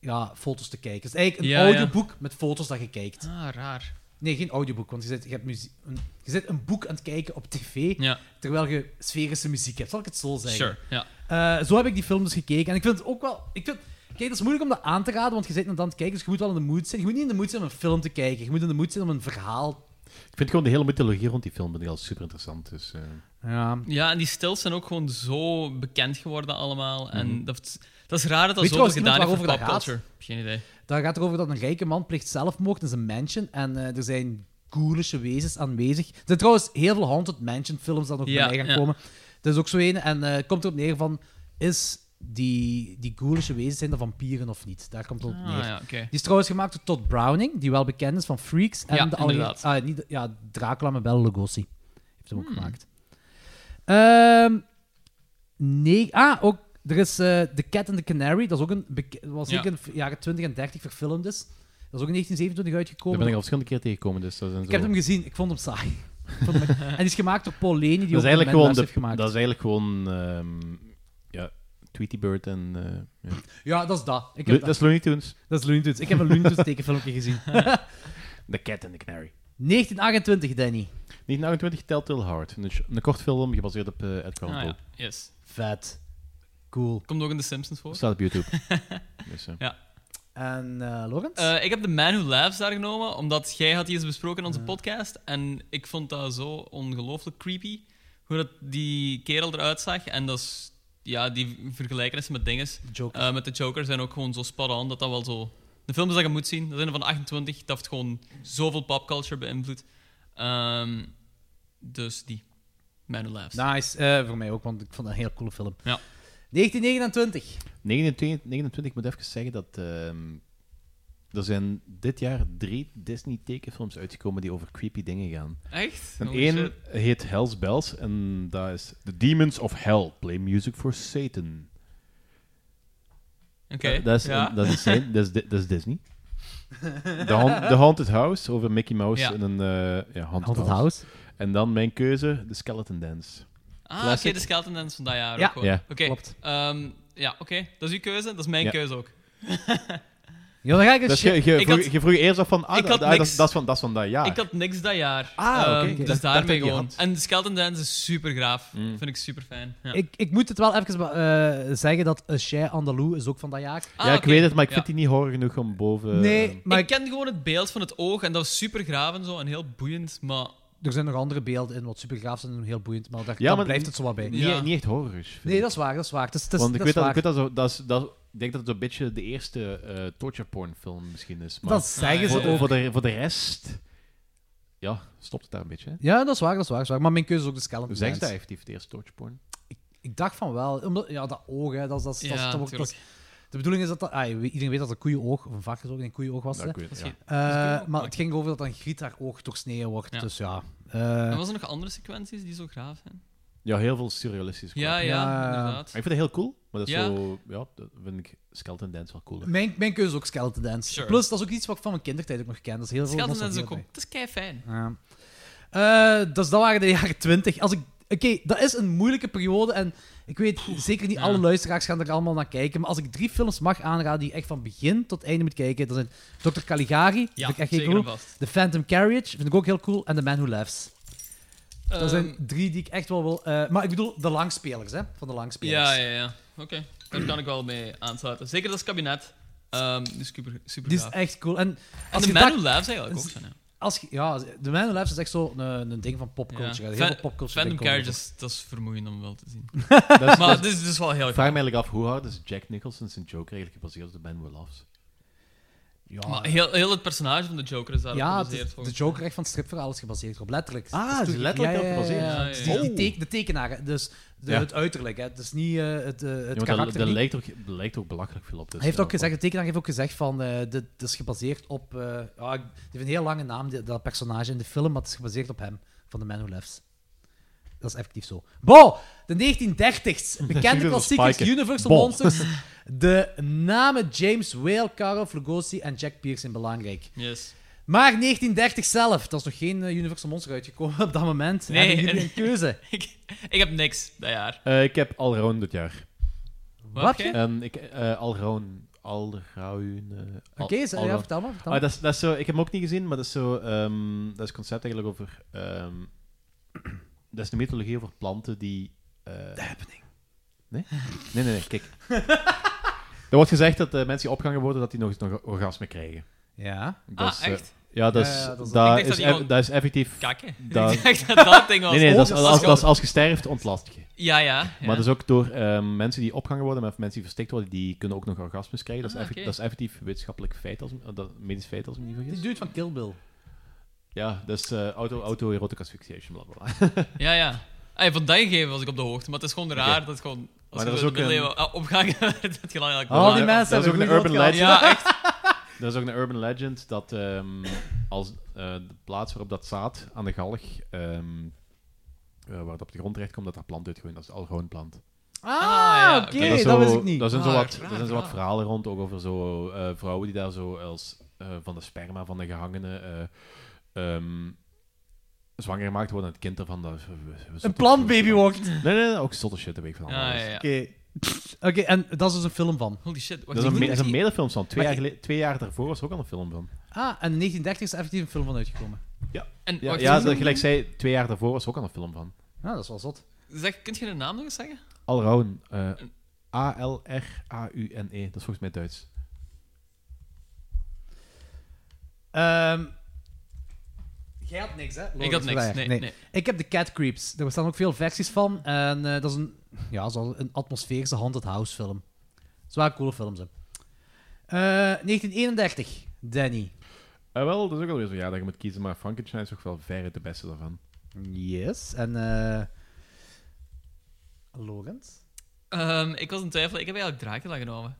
Speaker 4: ja, foto's te kijken. Het is eigenlijk een
Speaker 12: Ja, ja.
Speaker 4: audioboek met foto's dat je kijkt.
Speaker 12: Ah, raar.
Speaker 4: Nee, geen audioboek, want je zit, je, hebt muzie- een, je zit een boek aan het kijken op tv,
Speaker 12: Ja.
Speaker 4: terwijl je sferische muziek hebt. Zal ik het zo zeggen?
Speaker 12: Sure, ja.
Speaker 4: Eh, zo heb ik die film dus gekeken. En ik vind het ook wel... Ik vind, kijk, het is moeilijk om dat aan te raden, want je zit net aan het kijken, dus je moet wel in de mood zijn. Je moet niet in de mood zijn om een film te kijken. Je moet in de mood zijn om een verhaal...
Speaker 5: Ik vind gewoon de hele mythologie rond die film vind ik al super interessant. Dus, eh,
Speaker 4: Ja.
Speaker 12: Ja, en die stils zijn ook gewoon zo bekend geworden allemaal.
Speaker 5: Mhm.
Speaker 12: En dat, dat is raar dat dat
Speaker 4: Weet je
Speaker 12: zo
Speaker 4: trouwens
Speaker 12: gedaan
Speaker 4: iemand
Speaker 12: heeft voor
Speaker 4: waarover dat
Speaker 12: popculture. Geen idee.
Speaker 4: Daar gaat het over dat een rijke man pleegt zelfmoord in zijn mansion. En eh, er zijn ghoulische wezens aanwezig. Er zijn trouwens heel veel Haunted Mansion films dat nog
Speaker 12: Ja,
Speaker 4: bij mij gaan
Speaker 12: ja.
Speaker 4: komen. Dat is ook zo een. En eh, het komt erop neer van... Is die, die ghoulische wezens, zijn dat vampieren of niet? Daar komt het op neer.
Speaker 12: Ah, ja, oké.
Speaker 4: Die is trouwens gemaakt door Todd Browning, die wel bekend is van Freaks. En
Speaker 12: Ja,
Speaker 4: de allereer-
Speaker 12: inderdaad.
Speaker 4: ah, niet, ja, Dracula, maar wel Lugosi. Heeft hem ook gemaakt. Ehm, nee, ah, ook, er is eh, The Cat and the Canary. Dat is ook een, bek- was
Speaker 12: Ja.
Speaker 4: ook in de jaren 20 en 30 verfilmd is. Dat is ook in 1927
Speaker 5: daar
Speaker 4: uitgekomen.
Speaker 5: ben ik al verschillende keer tegengekomen. Dus dat zijn
Speaker 4: Ik heb hem gezien, ik vond hem saai. Ik vond hem- en die is gemaakt door Paul Leni, die
Speaker 5: dat
Speaker 4: ook
Speaker 5: is
Speaker 4: Mad
Speaker 5: eigenlijk gewoon,
Speaker 4: Max
Speaker 5: de,
Speaker 4: heeft gemaakt.
Speaker 5: dat is eigenlijk gewoon ehm, ja, Tweety Bird en... eh, ja.
Speaker 4: Ja, dat is dat. Ik
Speaker 5: Lo-
Speaker 4: heb
Speaker 5: dat is Looney Tunes.
Speaker 4: dat is Looney Tunes. Ik heb een Looney Tunes tekenfilmpje gezien.
Speaker 5: (laughs)
Speaker 4: (laughs)
Speaker 5: The Cat and the Canary.
Speaker 4: 1928, Danny.
Speaker 5: 1929 Telltale Heart. Een, sh- een kort film gebaseerd op eh Edgar Allan
Speaker 12: Ah,
Speaker 5: Poe.
Speaker 12: ja. Yes.
Speaker 4: Vet. Cool.
Speaker 12: Komt ook in The Simpsons voor.
Speaker 5: Staat op YouTube. dus, eh.
Speaker 4: En eh Lorenz?
Speaker 12: Eh, ik heb The Man Who Laughs daar genomen, omdat jij had die eens besproken in onze podcast. En ik vond dat zo ongelooflijk creepy, hoe dat die kerel eruit zag. En dat is, ja, die vergelijkenissen met dingen, Eh,
Speaker 4: Joker.
Speaker 12: met de Joker, zijn ook gewoon zo spot-on, dat dat wel zo... De films dat je moet zien, dat zijn er van 28, dat heeft gewoon zoveel popculture beïnvloed. Ehm, dus die, Man Who Laughs.
Speaker 4: Nice, eh, voor mij ook, want ik vond het een heel coole film.
Speaker 12: Ja.
Speaker 4: 1929.
Speaker 5: 29, 29, ik moet even zeggen dat ehm, Er zijn dit jaar drie Disney-tekenfilms uitgekomen die over creepy dingen gaan.
Speaker 12: Echt?
Speaker 5: En
Speaker 12: Holy
Speaker 5: één
Speaker 12: shit.
Speaker 5: heet Hell's Bells en dat is The Demons of Hell. Play music for Satan.
Speaker 12: Oké,
Speaker 5: Eh, Dat is,
Speaker 12: ja.
Speaker 5: dat,
Speaker 12: (laughs)
Speaker 5: is, Satan- dat, is, Di- dat is Disney. The, Haun- The Haunted House over Mickey Mouse
Speaker 12: Ja.
Speaker 5: en een eh, ja, Haunted,
Speaker 12: Haunted
Speaker 5: House. En dan mijn keuze, The Skeleton Dance.
Speaker 12: Ah, oké,
Speaker 5: Classic.
Speaker 12: de Skeleton Dance van dat jaar
Speaker 5: Ja.
Speaker 12: ook gewoon.
Speaker 5: Ja.
Speaker 12: Oké, ehm, ja, oké. Dat is uw keuze, dat is mijn
Speaker 5: Ja.
Speaker 12: keuze ook.
Speaker 4: Ja, dan ga ik eens
Speaker 5: Dus je, je,
Speaker 12: Ik
Speaker 5: vroeg,
Speaker 12: had-
Speaker 5: je vroeg eerst af van, ah,
Speaker 12: ik had
Speaker 5: dat, dat-
Speaker 12: niks.
Speaker 5: dat is van, dat is van dat jaar.
Speaker 12: Ik had niks dat jaar.
Speaker 4: Ah, oké.
Speaker 12: Ehm,
Speaker 4: Ik dacht
Speaker 12: Dus
Speaker 4: dat
Speaker 12: daarmee
Speaker 4: je die
Speaker 12: gewoon.
Speaker 4: had.
Speaker 12: En de Skeleton Dance is super gaaf.
Speaker 5: Mm.
Speaker 12: Vind ik super fijn. Ja.
Speaker 4: Ik, ik moet het wel even eh, zeggen dat A Chien Andalou is ook van dat jaar.
Speaker 5: ja, ik weet het, maar ik
Speaker 12: Ah, ja.
Speaker 5: vind die Eh, niet hoor genoeg om boven...
Speaker 4: Nee, maar
Speaker 12: ik ken gewoon het beeld van het oog en dat was super graaf en zo en heel boeiend, maar
Speaker 4: er zijn nog andere beelden in wat super gaaf zijn en heel boeiend, maar daar
Speaker 5: Ja,
Speaker 4: daar
Speaker 5: maar
Speaker 4: blijft het zo wat bij.
Speaker 5: niet- niet echt horrorisch, vind
Speaker 4: Nee, dat is waar, dat is waar. Het is, het is,
Speaker 5: Want ik
Speaker 4: dat is
Speaker 5: weet dat, ik
Speaker 4: waar.
Speaker 5: weet dat, zo- dat, is- dat, ik denk dat het zo'n beetje de eerste eh torture porn film misschien is. Maar
Speaker 12: Ah,
Speaker 4: Dat zeggen ze
Speaker 5: voor, de-
Speaker 4: ook.
Speaker 5: Voor de, voor de rest, ja, stopt het daar een beetje. Hè?
Speaker 4: Ja, dat is waar, dat is waar. dat is waar. Maar mijn keuze is ook de skeleton
Speaker 5: Hoe zeggen ze dat
Speaker 4: Dance.
Speaker 5: effectief, het eerste torture porn?
Speaker 4: Ik dacht van wel. Omdat, ja, dat oog, hè, dat is... Dat, is- dat, is-
Speaker 5: Ja,
Speaker 4: dat wordt- dat is- de bedoeling is dat... dat ah, je weet- iedereen weet dat het een koeienoog, of een varkensoog, en een koeienoog was.
Speaker 5: Ja,
Speaker 4: hè.
Speaker 5: ik weet het, ja.
Speaker 4: Eh,
Speaker 5: Dat
Speaker 12: is koeienoog,
Speaker 4: maar het ging over dat een griet haar oog doorsneden wordt,
Speaker 12: Ja.
Speaker 4: dus ja.
Speaker 12: En
Speaker 4: eh
Speaker 12: was er nog andere sequenties die zo graaf zijn?
Speaker 5: Ja, heel veel surrealistisch.
Speaker 12: Ja,
Speaker 5: crap.
Speaker 12: ja, Ja. inderdaad.
Speaker 5: Ik vind dat heel cool, maar dat is
Speaker 12: Ja.
Speaker 5: zo... Ja, dat vind ik Skeleton Dance wel cooler.
Speaker 4: mijn, mijn keuze is ook Skeleton Dance.
Speaker 5: Sure.
Speaker 4: Plus, dat is ook iets wat ik van mijn kindertijd ook nog ken. Dat is heel veel
Speaker 12: Skeleton Dance
Speaker 4: nostalgie
Speaker 12: is ook
Speaker 4: erbij.
Speaker 12: cool. Het is kei fijn.
Speaker 4: Ja. Eh, dus dat waren de jaren 20. Als ik, oké, dat is een moeilijke periode en ik weet zeker niet alle luisteraars gaan er allemaal naar kijken, maar als ik drie films mag aanraden die je echt van begin tot einde moet kijken, dat zijn Dr. Caligari,
Speaker 12: Ja,
Speaker 4: vind ik echt heel
Speaker 12: zeker
Speaker 4: cool.
Speaker 12: en vast.
Speaker 4: The Phantom Carriage, vind ik ook heel cool, en The Man Who Laughs. Dat
Speaker 12: Ehm.
Speaker 4: zijn drie die ik echt wel wil... eh, maar ik bedoel, de langspelers, hè? Van de langspelers.
Speaker 12: Ja, ja, ja. Oké, daar kan ik wel mee aansluiten. Zeker dat kabinet. Ehm die is super, super
Speaker 4: Die is
Speaker 12: gaaf.
Speaker 4: echt cool. En, als
Speaker 12: de
Speaker 4: je
Speaker 12: Man
Speaker 4: dat-
Speaker 12: Who Laughs eigenlijk ook van, ja.
Speaker 4: Als je- ja, de Man Who Laughs is echt zo'n een, een ding van
Speaker 12: Ja.
Speaker 4: popculture. hè. Heel
Speaker 12: Fan-
Speaker 4: veel popculture
Speaker 12: Phantom
Speaker 4: dingen komen
Speaker 12: Carriage, is- dat is vermoeiend om wel te zien.
Speaker 5: Dat is-
Speaker 12: maar dit is dus wel heel
Speaker 5: Ik
Speaker 12: gaaf.
Speaker 5: vraag me eigenlijk af, hoe hard is Jack Nicholson zijn Joker eigenlijk gebaseerd op de Man Who Loves?
Speaker 4: Ja,
Speaker 12: Maar heel, heel het personage van de Joker is daarop
Speaker 4: ja, het is-
Speaker 12: gebaseerd.
Speaker 4: de
Speaker 12: volgens mij.
Speaker 4: Joker echt van het stripverhaal is gebaseerd op, letterlijk.
Speaker 5: Ah,
Speaker 4: Het
Speaker 5: is
Speaker 4: toen-
Speaker 5: letterlijk
Speaker 4: ja,
Speaker 5: op gebaseerd.
Speaker 4: ja, ja, ja.
Speaker 5: Ja,
Speaker 4: Het
Speaker 5: ja,
Speaker 4: is die-
Speaker 5: ja.
Speaker 4: die
Speaker 5: Oh.
Speaker 4: teken- de tekenaar, hè. dus de,
Speaker 5: Ja.
Speaker 4: het uiterlijk. Hè. Het is niet eh, het, eh, het
Speaker 5: Ja, maar
Speaker 4: karakter.
Speaker 5: daar, daar
Speaker 4: niet.
Speaker 5: lijkt, ook, daar lijkt ook belachelijk veel op. Dus
Speaker 4: Hij heeft
Speaker 5: ja,
Speaker 4: ook gezegd, de tekenaar heeft ook gezegd van, eh, dit, dit is gebaseerd op, eh ja, ik- die heeft een heel lange naam, die- dat personage in de film, maar het is gebaseerd op hem, van The Man Who Laughs. Dat is effectief zo. Bo, de 1930s,
Speaker 5: (laughs)
Speaker 4: bekende
Speaker 5: Universal
Speaker 4: klassiekers,
Speaker 5: Spike.
Speaker 4: Universal
Speaker 5: Bo.
Speaker 4: Monsters. De namen James Whale, Karov Lugosi en Jack Pierce zijn belangrijk.
Speaker 12: Yes.
Speaker 4: Maar 1930 zelf, dat is nog geen eh, Universal Monster uitgekomen op dat moment.
Speaker 12: Nee.
Speaker 4: Hebben jullie een keuze?
Speaker 12: ik, ik heb niks dat jaar.
Speaker 5: Eh, ik heb Alround dit jaar.
Speaker 12: Wat Wat heb je?
Speaker 5: En ik, eh Alround. Alround. eh, Al-
Speaker 4: Oké, ze- ja,
Speaker 5: Alround.
Speaker 4: vertel maar, vertel maar.
Speaker 5: Ah, dat is, dat is zo, ik heb hem ook niet gezien, maar dat is zo. ehm, dat is een concept eigenlijk over. ehm, (clears throat) dat is de mythologie over planten die. eh happening. Nee? Nee, nee, nee, kijk. (laughs) er wordt gezegd dat de mensen die opgehangen worden, dat die nog eens nog een orgasme krijgen.
Speaker 4: Ja.
Speaker 5: Dat
Speaker 12: Ah,
Speaker 5: is, eh,
Speaker 12: echt?
Speaker 5: ja, dat is,
Speaker 12: Ja, ja, dat is-
Speaker 5: dat
Speaker 12: Ik dacht dat
Speaker 5: is,
Speaker 12: die
Speaker 5: eff-
Speaker 12: gewoon
Speaker 5: dat is effectief...
Speaker 12: kakken.
Speaker 5: dat-
Speaker 12: (laughs) Ik dacht dat dat ding was.
Speaker 5: Nee, nee, dat is,
Speaker 12: Oh,
Speaker 5: als,
Speaker 12: dat is
Speaker 5: als,
Speaker 12: gewoon-
Speaker 5: als je sterft, ontlast je.
Speaker 12: Ja, ja, ja.
Speaker 5: Maar dat is ook door ehm, mensen die opgehangen worden, maar of mensen die verstikt worden, die kunnen ook nog orgasmes krijgen. Dat is,
Speaker 4: Ah,
Speaker 5: effe-
Speaker 4: oké.
Speaker 5: dat is effectief wetenschappelijk feit, als, eh, dat, medisch feit, als ik me niet vergis.
Speaker 4: Die dude van Kill Bill.
Speaker 5: Ja, dat is eh, auto, auto-erotic asphyxiation, bla bla bla.
Speaker 12: Ja, ja. Ey, van dat gegeven was ik op de hoogte, maar het is gewoon raar dat het gewoon... Als
Speaker 5: Maar dat is
Speaker 12: je zo
Speaker 5: ook
Speaker 12: de middeleeuwen
Speaker 5: een- Ah,
Speaker 12: ah, opgehangen werd, (laughs) dat je lang eigenlijk...
Speaker 5: Dat is ook- Dat is ook
Speaker 4: hebben
Speaker 5: een
Speaker 4: goed
Speaker 5: urban legend.
Speaker 12: gehad. Ja, echt.
Speaker 5: Dat is ook een urban legend dat ehm, als eh, de plaats waarop dat zaad aan de galg, ehm, eh, waar het op de grond terecht komt, dat daar plant uitgroeit. Dat is al gewoon plant.
Speaker 4: Ah, oké,
Speaker 5: En
Speaker 4: dat,
Speaker 5: is zo-
Speaker 4: wist ik niet.
Speaker 5: Daar zijn zo
Speaker 4: Ah,
Speaker 5: wat,
Speaker 4: raar,
Speaker 5: daar zijn zo wat
Speaker 4: raar.
Speaker 5: verhalen rond, ook over zo eh, vrouwen die daar zo als eh, van de sperma van de gevangenen eh, ehm, zwanger gemaakt worden en het kind ervan... Dat,
Speaker 4: Een plantbaby wordt.
Speaker 5: Nee, nee, nee, ook zotte shit, dat weet ik van
Speaker 12: Ja,
Speaker 5: alles.
Speaker 12: ja, ja.
Speaker 4: Oké. Oké, en dat is dus een film van.
Speaker 12: Holy shit.
Speaker 5: Dat is een, me- dat is een
Speaker 4: meer.
Speaker 5: medefilm van. Twee,
Speaker 4: Maar
Speaker 5: jaar geleden- twee jaar daarvoor was er ook al een film van.
Speaker 4: Ah, en in 1930 is er effectief een film van uitgekomen.
Speaker 5: Ja.
Speaker 12: En
Speaker 5: Ja,
Speaker 12: wacht,
Speaker 5: ja
Speaker 12: is-
Speaker 5: dat, gelijk zei, twee jaar daarvoor was er ook al een film van.
Speaker 4: Ja, dat is wel zot.
Speaker 12: Zeg, kunt je de naam nog eens zeggen?
Speaker 5: Alraun. eh, A-L-R-A-U-N-E. E, Dat is volgens mij Duits.
Speaker 4: Ehm, jij had niks, hè? Lorenz
Speaker 12: Ik had niks,
Speaker 4: Verweijer.
Speaker 12: nee, nee.
Speaker 4: Ik heb de Cat Creeps. Daar bestaan ook veel versies van. En eh, dat is een, ja, zo een atmosferische Haunted House film. Zwaar coole films, hè. Eh, 1931, Danny.
Speaker 5: Eh, wel, dat is ook alweer zo'n jaar dat je moet kiezen, maar Frankenstein is toch wel verre de beste daarvan.
Speaker 4: Yes. En, eh Lorenz?
Speaker 12: Ehm, ik was in twijfel. Ik heb eigenlijk Dracula genomen.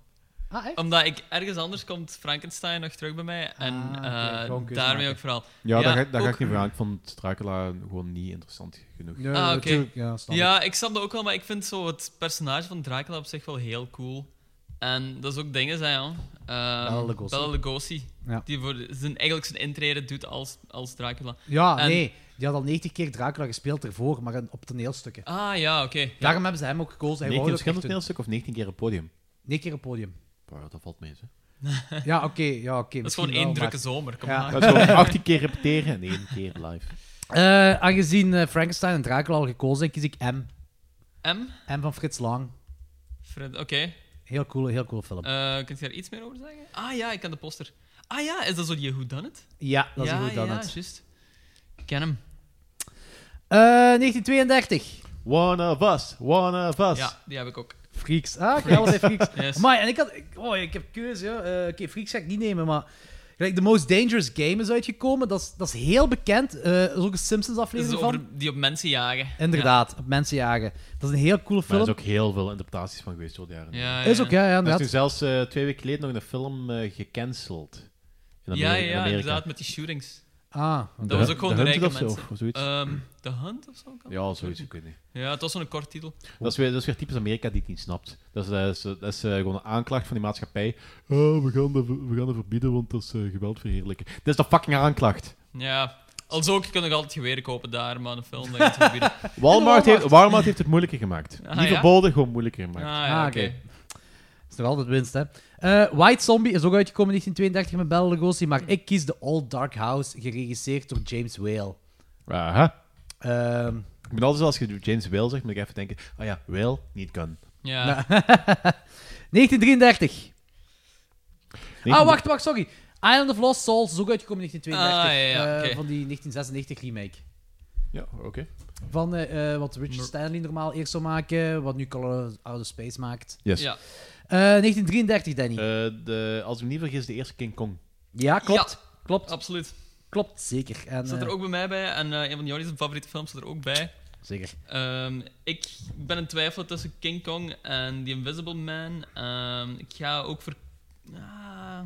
Speaker 4: Ah,
Speaker 12: Omdat ik ergens anders komt Frankenstein nog terug bij mij. En
Speaker 4: Ah,
Speaker 12: eh,
Speaker 5: gewoon keuze
Speaker 12: daarmee
Speaker 5: maken.
Speaker 12: ook vooral.
Speaker 5: Ja, daar, ga, ik- daar ga
Speaker 12: ook-
Speaker 5: ik niet voor aan. Ik vond Dracula gewoon niet interessant genoeg.
Speaker 12: ah, oké. Ja, ik snap dat ook wel, maar ik vind zo het personage van Dracula op zich wel heel cool. En dat is ook dingen zijn, ja. Ehm,
Speaker 4: Bela Lugosi.
Speaker 12: Bela Lugosi,
Speaker 4: Ja.
Speaker 12: Die voor zijn, eigenlijk zijn intrede doet als, als Dracula.
Speaker 4: Ja,
Speaker 12: En-
Speaker 4: nee. Die had al 90 keer Dracula gespeeld ervoor, maar op toneelstukken.
Speaker 12: Ah ja, oké. ja.
Speaker 4: Daarom hebben ze hem ook gekozen. Hij
Speaker 5: 19
Speaker 4: wou het ook echt doen.
Speaker 5: verschillende toneelstuk of 19 keer op podium?
Speaker 4: 9 keer op podium.
Speaker 5: Boah, dat valt mee, hè.
Speaker 4: (laughs) Ja, oké. ja, oké.
Speaker 12: Dat is
Speaker 4: misschien
Speaker 12: gewoon één
Speaker 4: wel,
Speaker 12: drukke
Speaker 4: maar-
Speaker 12: zomer, kom
Speaker 4: Ja. (laughs)
Speaker 12: maar.
Speaker 5: Dat is gewoon 18 keer repeteren en één keer live.
Speaker 4: Eh, aangezien eh, Frankenstein en Dracula al gekozen zijn, kies ik M.
Speaker 12: M?
Speaker 4: M van Frits Lang.
Speaker 12: Fred- Oké.
Speaker 4: Heel cool, heel cool film.
Speaker 12: Eh, kunt je daar iets meer over zeggen? Ah ja, ik ken de poster. Ah ja, is dat zo die Whodunit?
Speaker 4: Ja, dat is een
Speaker 12: Ja,
Speaker 4: whodunit.
Speaker 12: juist. Ik ken hem.
Speaker 4: Eh 1932.
Speaker 5: One of us, one of us.
Speaker 12: Ja, die heb ik ook.
Speaker 4: Freaks. Ah, ik
Speaker 12: Freaks.
Speaker 4: heb allebei Freaks.
Speaker 12: (laughs) Yes.
Speaker 4: Maar en ik had... ik- Oh, ik heb keuze, ja. Eh, Oké, Freaks ga ik niet nemen, maar... Gelijk, The Most Dangerous Game is uitgekomen. Dat is, dat is heel bekend. Eh, er is ook een
Speaker 12: Dat is
Speaker 4: Simpsons-aflevering van.
Speaker 12: dus over die op mensen jagen.
Speaker 4: Inderdaad, op mensen jagen. Dat is een heel coole
Speaker 5: Maar
Speaker 4: film.
Speaker 5: er is ook heel veel interpretaties van geweest door de jaren.
Speaker 12: Ja,
Speaker 4: Is ook, ja, ja,
Speaker 5: Er is
Speaker 4: inderdaad.
Speaker 5: toen zelfs eh, twee weken geleden nog een film eh, gecanceld. In
Speaker 12: Ja, ja,
Speaker 5: Amerika. in
Speaker 12: ja,
Speaker 5: Amerika.
Speaker 12: inderdaad, met die shootings.
Speaker 4: Ah.
Speaker 12: dat
Speaker 5: De
Speaker 12: was
Speaker 5: Hun-
Speaker 12: ook gewoon
Speaker 5: de
Speaker 12: de
Speaker 5: Hunted
Speaker 12: rijke
Speaker 5: of zo,
Speaker 12: mensen.
Speaker 5: of zoiets.
Speaker 12: Ehm, de Hunt of zo? kan dat?
Speaker 5: Ja, zoiets, ik weet niet.
Speaker 12: Ja, het was zo'n kort titel.
Speaker 5: Dat is, weer, dat is weer typisch Amerika die het niet snapt. Dat is, eh, zo- dat is eh, gewoon een aanklacht van die maatschappij. Oh, we, gaan dat, we gaan dat verbieden, want dat is eh, geweld verheerlijken. Dit is de fucking aanklacht.
Speaker 12: Ja. Als ook, je kunt nog altijd geweren kopen daar, maar een film.
Speaker 5: (laughs)
Speaker 12: dat je het verbieden.
Speaker 5: Walmart heeft, Walmart heeft het moeilijker gemaakt.
Speaker 12: Ah,
Speaker 5: niet
Speaker 12: ja?
Speaker 5: verboden, gewoon moeilijker
Speaker 12: Ah,
Speaker 5: gemaakt.
Speaker 12: ja,
Speaker 4: Ah,
Speaker 12: oké.
Speaker 4: oké. Dat is nog altijd winst, hè. Eh, White Zombie is ook uitgekomen in 1932 met Bela Lugosi, maar ik kies The Old Dark House, geregisseerd door James Whale.
Speaker 5: Aha.
Speaker 4: Ehm,
Speaker 5: Ik ben altijd zoals je James Whale zegt, moet ik even denken: oh ja, Whale, niet gun.
Speaker 12: Ja.
Speaker 4: (laughs) nou, 1933. Ah, wacht, wacht, sorry. Island of Lost Souls is ook uitgekomen in 1932.
Speaker 12: Ah, ja, ja,
Speaker 4: eh,
Speaker 12: oké.
Speaker 4: van die 1996 remake.
Speaker 5: Ja, oké.
Speaker 4: Van eh, eh, wat Richard Stanley normaal eerst zou maken, wat nu Color Out of Space maakt.
Speaker 5: Yes.
Speaker 12: Ja.
Speaker 4: Eh, 1933, Danny.
Speaker 5: Eh, de, als ik me niet vergis, de eerste King Kong.
Speaker 4: ja, klopt. Klopt,
Speaker 12: Absoluut.
Speaker 4: klopt, zeker. En,
Speaker 12: Zat er
Speaker 4: eh,
Speaker 12: ook bij mij bij. En eh, een van jouw favoriete films zat er ook bij.
Speaker 4: Zeker.
Speaker 12: Ehm, ik ben in twijfel tussen King Kong en The Invisible Man. Ehm, ik ga ook voor... Ah,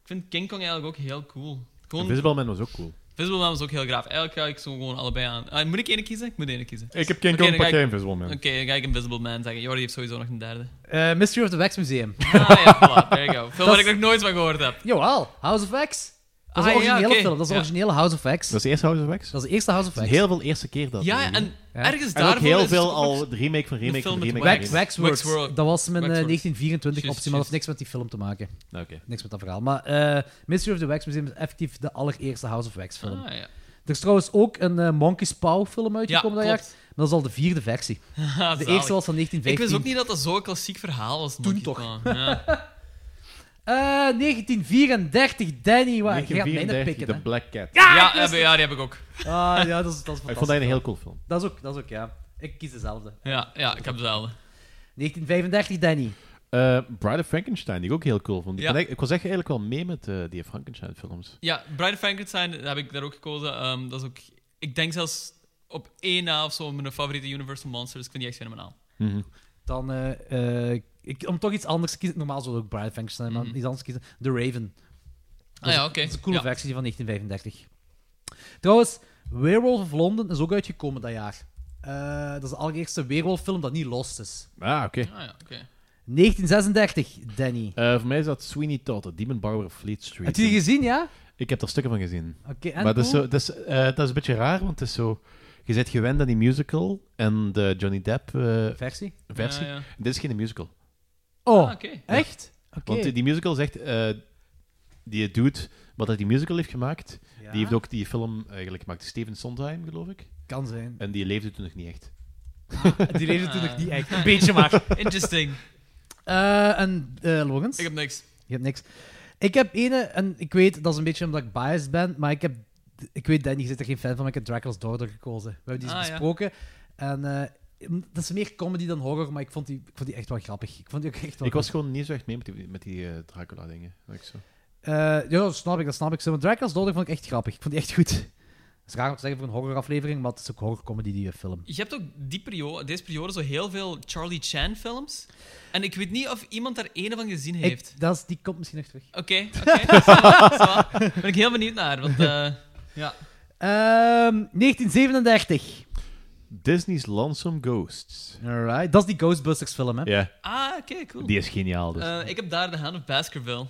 Speaker 12: ik vind King Kong eigenlijk ook heel cool. Gewoon,
Speaker 5: Invisible Man was ook cool.
Speaker 12: Invisible Man was ook heel graaf. Eigenlijk ga ik zo gewoon allebei aan. Ah, moet ik één kiezen? Ik moet één kiezen.
Speaker 5: Ik heb King
Speaker 12: Oké,
Speaker 5: Kong,
Speaker 12: dan ga
Speaker 5: pak jij
Speaker 12: ik-
Speaker 5: Invisible Man.
Speaker 12: Oké, dan ga ik Invisible Man zeggen. Jordi heeft sowieso nog een derde.
Speaker 4: eh, Mystery of the Wax Museum.
Speaker 12: Ah ja, voilà, there you
Speaker 4: (laughs)
Speaker 12: go. Film waar
Speaker 4: Dat
Speaker 12: ik
Speaker 4: is-
Speaker 12: nog nooit van gehoord heb.
Speaker 4: Jawel, House of Wax. Dat
Speaker 12: Ah,
Speaker 4: is
Speaker 12: ja,
Speaker 4: een originele
Speaker 12: oké.
Speaker 4: film. Dat is de
Speaker 12: Ja.
Speaker 4: originele House of Wax.
Speaker 5: Dat is de eerste House of Wax.
Speaker 4: Dat is de eerste House of Wax.
Speaker 5: Heel veel eerste keer dat.
Speaker 12: Ja,
Speaker 5: eh,
Speaker 12: en
Speaker 4: Ja.
Speaker 12: ergens
Speaker 5: En ook
Speaker 12: daarvoor
Speaker 5: heel
Speaker 12: is het
Speaker 5: veel
Speaker 12: ook
Speaker 5: al
Speaker 12: nog-
Speaker 5: de remake van remake
Speaker 12: film
Speaker 5: van
Speaker 12: met
Speaker 5: remake.
Speaker 4: Wax,
Speaker 12: Wax-
Speaker 5: van remake.
Speaker 4: Waxworks.
Speaker 12: Waxworks.
Speaker 4: Dat was mijn eh,
Speaker 12: Waxworks.
Speaker 4: 1924
Speaker 12: Juist,
Speaker 4: optie, maar dat heeft niks
Speaker 12: juist.
Speaker 4: met die film te maken.
Speaker 5: Oké.
Speaker 4: Niks met dat verhaal. Maar eh Mystery of the Wax Museum is effectief de allereerste House of Wax film.
Speaker 12: Ah, ja.
Speaker 4: Er is trouwens ook een eh, Monkey's Paw film
Speaker 12: Ja,
Speaker 4: uitgekomen dat jaar.
Speaker 12: klopt.
Speaker 4: Maar dat is al de vierde
Speaker 12: (laughs)
Speaker 4: versie. De
Speaker 12: Zalig.
Speaker 4: eerste was van
Speaker 12: Ik
Speaker 4: 1915.
Speaker 12: wist ook niet dat dat zo'n klassiek verhaal was.
Speaker 4: Toen
Speaker 12: Monkey
Speaker 4: toch.
Speaker 12: Paw.
Speaker 4: (laughs)
Speaker 12: Ja.
Speaker 4: Eh, 1934, Danny. Waar, je gaat mij
Speaker 5: 1934,
Speaker 4: net pikken,
Speaker 5: The
Speaker 4: hè.
Speaker 5: Black Cat.
Speaker 12: Ja, heb- ja, die heb ik ook.
Speaker 4: Ah, ja, dat is, dat is fantastisch.
Speaker 5: (laughs) ik vond dat een heel cool film.
Speaker 4: Dat is ook, dat is ook, ja. Ik kies dezelfde.
Speaker 12: Ja, ja ik heb dezelfde.
Speaker 4: 1935, Danny.
Speaker 5: Eh Bride of Frankenstein, die ik ook heel cool vond. Ik,
Speaker 12: Ja.
Speaker 5: ben echt- ik was echt eigenlijk wel mee met eh, die Frankenstein-films.
Speaker 12: Ja, Bride of Frankenstein dat heb ik daar ook gekozen. Ehm, dat is ook, ik denk zelfs op één na of zo mijn favoriete Universal Monsters. Ik vind die echt fenomenaal.
Speaker 4: Dan, eh, eh, ik, om toch iets anders te kiezen. Normaal zou ik Bride of Frankenstein, maar iets anders kiezen. The Raven.
Speaker 12: Mhm. Ah ja, oké.
Speaker 4: Dat is een coole
Speaker 12: Ja.
Speaker 4: versie van 1935. Trouwens, Werewolf of London is ook uitgekomen dat jaar. Eh, dat is de allereerste werewolffilm dat niet lost is.
Speaker 5: Ah, oké.
Speaker 12: Ah ja, oké.
Speaker 4: 1936, Danny.
Speaker 5: Eh, voor mij is dat Sweeney Todd, de Demon Barber of Fleet Street.
Speaker 4: Heb je die gezien, ja?
Speaker 5: Ik heb er stukken van gezien.
Speaker 4: Oké, en
Speaker 5: maar dat is,
Speaker 4: cool?
Speaker 5: zo, dat, is, eh, dat is een beetje raar, want het is zo... Je bent gewend aan die musical en de Johnny eh, Depp-versie.
Speaker 4: Versie?
Speaker 12: Ja, ja.
Speaker 5: Dit is geen musical.
Speaker 4: Oh,
Speaker 12: Ah, oké.
Speaker 4: echt? Oké.
Speaker 5: Want die- die musical zegt... eh die doet wat hij die musical heeft gemaakt.
Speaker 4: Ja,
Speaker 5: Die heeft ook die film eigenlijk gemaakt. Steven Sondheim, geloof ik.
Speaker 4: Kan zijn.
Speaker 5: En die leefde toen nog niet echt.
Speaker 4: Die reden toen
Speaker 12: Ah.
Speaker 4: nog niet echt. Een beetje maar.
Speaker 12: (laughs) Interesting.
Speaker 4: Eh, en eh Logans?
Speaker 12: Ik heb niks.
Speaker 4: Je hebt niks. Ik heb ene, en ik weet, dat is een beetje omdat ik biased ben, maar ik heb... Ik weet, Danny, je zit er geen fan van, maar ik heb Dracula's Daughter gekozen. We hebben die eens
Speaker 12: Ah, ja.
Speaker 4: besproken. En eh, m- dat is meer comedy dan horror, maar ik vond die, ik vond die echt wel grappig. Ik vond die ook echt wel
Speaker 5: Ik was gewoon niet zo echt mee met die, met die eh, Dracula-dingen. Dat ik zo-
Speaker 4: grappig. Eh, ja, dat snap ik, dat snap ik. zo. Maar Dracula's Daughter vond ik echt grappig. Ik vond die echt goed. is raar om te zeggen voor een horroraflevering, maar het is ook horrorcomedy die je film.
Speaker 12: Je hebt ook die periode, deze periode zo heel veel Charlie Chan films. En ik weet niet of iemand daar een van gezien
Speaker 4: Ik-
Speaker 12: heeft.
Speaker 4: dat is, die komt misschien nog terug.
Speaker 12: Oké, oké. ça va, ça va. ben ik heel benieuwd naar. Want,
Speaker 4: (laughs)
Speaker 12: eh, ja.
Speaker 4: Ehm, 1937.
Speaker 5: Disney's Lonesome Ghosts.
Speaker 4: Alright, dat is die Ghostbusters film, hè?
Speaker 5: Ja.
Speaker 12: Ah, oké, cool.
Speaker 5: Die is geniaal, dus.
Speaker 12: Eh, ik heb daar de Hand of Baskerville.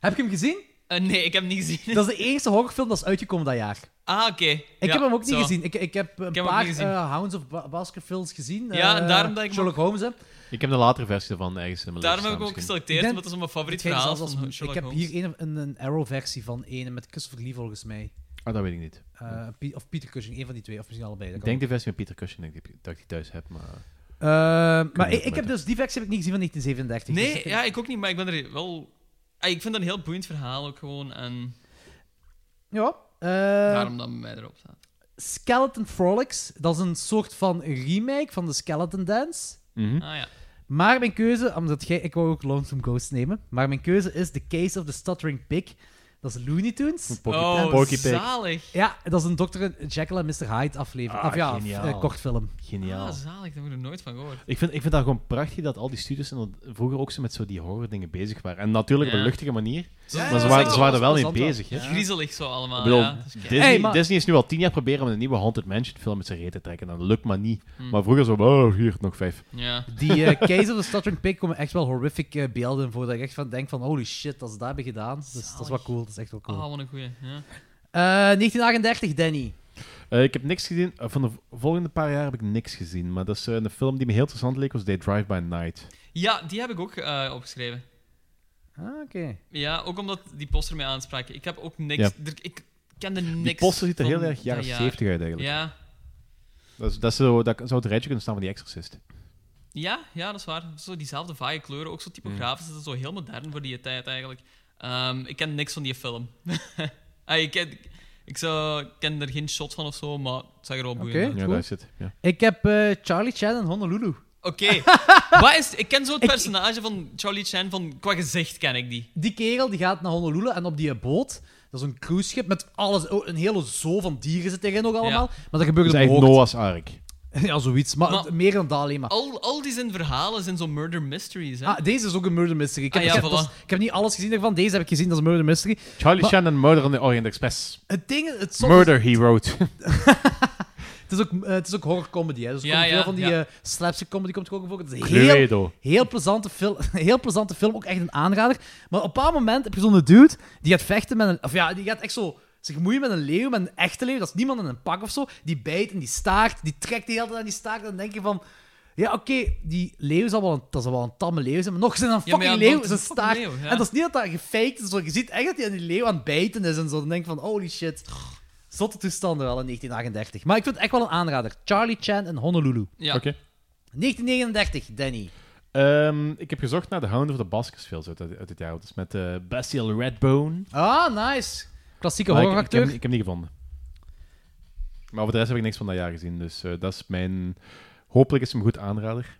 Speaker 4: Heb je hem gezien?
Speaker 12: nee, ik heb hem niet gezien.
Speaker 4: Dat is de enige horrorfilm dat is uitgekomen dat jaar.
Speaker 12: Ah, oké.
Speaker 4: Ik
Speaker 12: Ja,
Speaker 4: heb hem ook niet
Speaker 12: zo.
Speaker 4: gezien. Ik, ik heb een
Speaker 12: Ik heb hem
Speaker 4: paar
Speaker 12: ook niet gezien.
Speaker 4: eh, Hounds of Ba- Baskervilles gezien.
Speaker 12: Ja, en
Speaker 4: eh,
Speaker 12: daarom dat ik hem
Speaker 4: Sherlock Holmes, hè.
Speaker 5: Ik heb de latere versie ervan ergens in mijn
Speaker 12: Daarom heb ik
Speaker 5: leven
Speaker 12: hem ook
Speaker 5: staan
Speaker 12: geselecteerd,
Speaker 4: Ik denk-
Speaker 12: want dat is mijn favoriet
Speaker 4: hetgeen
Speaker 12: verhaal
Speaker 4: zelfs als-
Speaker 12: van Sherlock
Speaker 4: Ik heb
Speaker 12: Holmes.
Speaker 4: hier een, een, een Arrow-versie van ene met Christopher Lee, volgens mij.
Speaker 5: misschien. Ah, dat weet ik niet.
Speaker 4: Eh, Pie- of Peter Cushing, een van die twee. Of misschien allebei. dat
Speaker 5: Ik
Speaker 4: kan
Speaker 5: denk de versie met Peter Cushing dat ik die, dat ik die thuis heb, maar...
Speaker 4: Eh, maar
Speaker 5: Kunnen we
Speaker 4: ik, ik heb
Speaker 5: weten.
Speaker 4: dus die facts heb ik niet gezien van 1937. Dus
Speaker 12: Nee,
Speaker 4: ik-
Speaker 12: ja, ik ook niet, maar ik ben er wel... Ah, ik vind dat een heel boeiend verhaal ook gewoon. En
Speaker 4: ja. eh,
Speaker 12: daarom dat bij mij erop staat.
Speaker 4: Skeleton Frolics, dat is een soort van remake van de Skeleton Dance.
Speaker 5: Mhm.
Speaker 12: Ah ja.
Speaker 4: Maar mijn keuze, omdat jij, ik wou ook Lonesome Ghost nemen, maar mijn keuze is The Case of the Stuttering Pig. Dat is Looney Tunes.
Speaker 5: Porky-
Speaker 12: oh,
Speaker 5: Porky Pig.
Speaker 12: zalig.
Speaker 4: Ja, dat is een Dr. Jekyll en Mr. Hyde aflevering.
Speaker 5: Ah,
Speaker 4: of ja,
Speaker 5: geniaal.
Speaker 4: eh, kortfilm.
Speaker 5: Geniaal.
Speaker 12: Ah, zalig. Daar heb ik er nooit van gehoord.
Speaker 5: Ik vind, ik vind dat gewoon prachtig dat al die studios en dat vroeger ook zo met zo die horror dingen bezig waren. En natuurlijk op
Speaker 12: Ja.
Speaker 5: een luchtige manier,
Speaker 12: Zo-
Speaker 5: maar ze
Speaker 12: zo-
Speaker 5: waren,
Speaker 12: zo-
Speaker 5: ze waren er wel mee
Speaker 4: plezant wel.
Speaker 5: bezig. Hè?
Speaker 12: Griezelig zo allemaal,
Speaker 5: Ik bedoel,
Speaker 12: ja. Dat is kei-
Speaker 5: Disney,
Speaker 4: Hey, maar-
Speaker 5: Disney is nu al tien jaar proberen met een nieuwe Haunted Mansion film met zijn reet te trekken. En dat lukt maar niet.
Speaker 12: Hmm.
Speaker 5: Maar vroeger zo, oh, hier, nog vijf.
Speaker 12: Ja.
Speaker 4: Die eh, Case of the Stuttering Pig komen echt wel horrific eh, beelden voor. Dat ik echt van denk van, holy shit, dat ze dat hebben gedaan. Dus dat is wel
Speaker 12: Zalig.
Speaker 4: cool, dat is echt wel cool.
Speaker 12: Ah, wat een goeie. Ja.
Speaker 4: Eh, 1938, Danny.
Speaker 5: Eh, ik heb niks gezien. eh, van de v- volgende paar jaar heb ik niks gezien. Maar dat is eh, een film die me heel interessant leek, was They Drive By Night.
Speaker 12: ja, die heb ik ook eh, opgeschreven.
Speaker 4: Ah, oké.
Speaker 12: Ja, ook omdat die poster mij aansprak. Ik heb ook niks... er- ik kende niks
Speaker 5: Die poster ziet er
Speaker 12: van
Speaker 5: heel erg
Speaker 12: dat
Speaker 5: jaren
Speaker 12: jaar.
Speaker 5: 70 uit eigenlijk.
Speaker 12: Ja.
Speaker 5: Dat, is, dat, is zo, dat zou het rijtje kunnen staan van die Exorcist.
Speaker 12: Ja, ja, dat is waar. Zo diezelfde vage kleuren, ook zo typografisch. Dat is zo heel modern voor die tijd eigenlijk. Ehm, ik ken niks van die film. (laughs) ah, ik, ken, ik zou, ken er geen shot van of zo, maar het zag er wel boeiend
Speaker 4: Oké.
Speaker 12: uit.
Speaker 5: Ja,
Speaker 4: Goed.
Speaker 5: daar zit. Ja.
Speaker 4: Ik heb eh, Charlie Chan en Honolulu.
Speaker 12: Oké.
Speaker 4: (laughs)
Speaker 12: Wat is- ik ken zo het personage van Charlie Chan, van, qua gezicht ken ik die.
Speaker 4: Die kerel die gaat naar Honolulu en op die eh, boot, dat is een cruiseschip met alles, oh, een hele zoo van dieren zit erin nog allemaal. Maar dat gebeurt
Speaker 5: Dat is
Speaker 4: op
Speaker 5: eigenlijk
Speaker 4: hoogte.
Speaker 5: Noah's Ark.
Speaker 4: Ja, zoiets, maar,
Speaker 12: Maar-
Speaker 4: meer dan dat alleen maar.
Speaker 12: Al, al die zijn verhalen zijn zo'n murder mysteries, hè?
Speaker 4: Ah, deze is ook een murder mystery. Ik heb,
Speaker 12: Ah, ja,
Speaker 4: ik, heb,
Speaker 12: voilà.
Speaker 4: dat is- ik heb niet alles gezien ervan. Deze heb ik gezien, dat is een murder mystery.
Speaker 5: Charlie
Speaker 4: Maar-
Speaker 5: Chan en Murder on the Orient Express.
Speaker 4: Het ding is, het, soms-
Speaker 5: Murder, he wrote.
Speaker 4: het is ook, eh, het is ook horror comedy. Hè. Dus er
Speaker 12: Ja,
Speaker 4: komt
Speaker 12: ja,
Speaker 4: veel van die
Speaker 12: ja.
Speaker 4: eh, slapstick comedy komt er ook voor. Het is een heel,
Speaker 5: Cluedo.
Speaker 4: heel, plezante film, (laughs) heel plezante film, ook echt een aanrader. Maar op een bepaald moment heb je zo'n dude die gaat vechten met een. Of ja, die gaat echt zo. Zich moeien met een leeuw, met een echte leeuw. Dat is niemand in een pak of zo. Die bijt en die staart. Die trekt die hele tijd aan die staart. En dan denk je van. Ja, oké, die leeuw zal wel een, dat zal wel een tamme leeuw zijn. Maar nog zijn een
Speaker 12: Ja, maar
Speaker 4: fucking
Speaker 12: ja,
Speaker 4: leeuw.
Speaker 12: nog
Speaker 4: Is
Speaker 12: een
Speaker 4: een
Speaker 12: fucking
Speaker 4: staart.
Speaker 12: leeuw, ja.
Speaker 4: En dat is niet dat dat gefaked is. want Je ziet echt dat hij aan die leeuw aan het bijten is. En zo. Dan denk je van, holy shit. Zotte toestanden wel in 1938. Maar ik vind het echt wel een aanrader. Charlie Chan en Honolulu.
Speaker 12: ja.
Speaker 5: Oké.
Speaker 4: 1939, Danny.
Speaker 5: Ehm, ik heb gezocht naar The Hound of the Baskervilles uit, uit dit jaar. Dat is met eh Bastille Redbone.
Speaker 4: Ah, nice. Klassieke
Speaker 5: Maar ik- ik, heb,
Speaker 4: horroracteur.
Speaker 5: ik heb niet gevonden. Maar voor de rest heb ik niks van dat jaar gezien. Dus eh, dat is mijn... Hopelijk is hem een goed aanrader.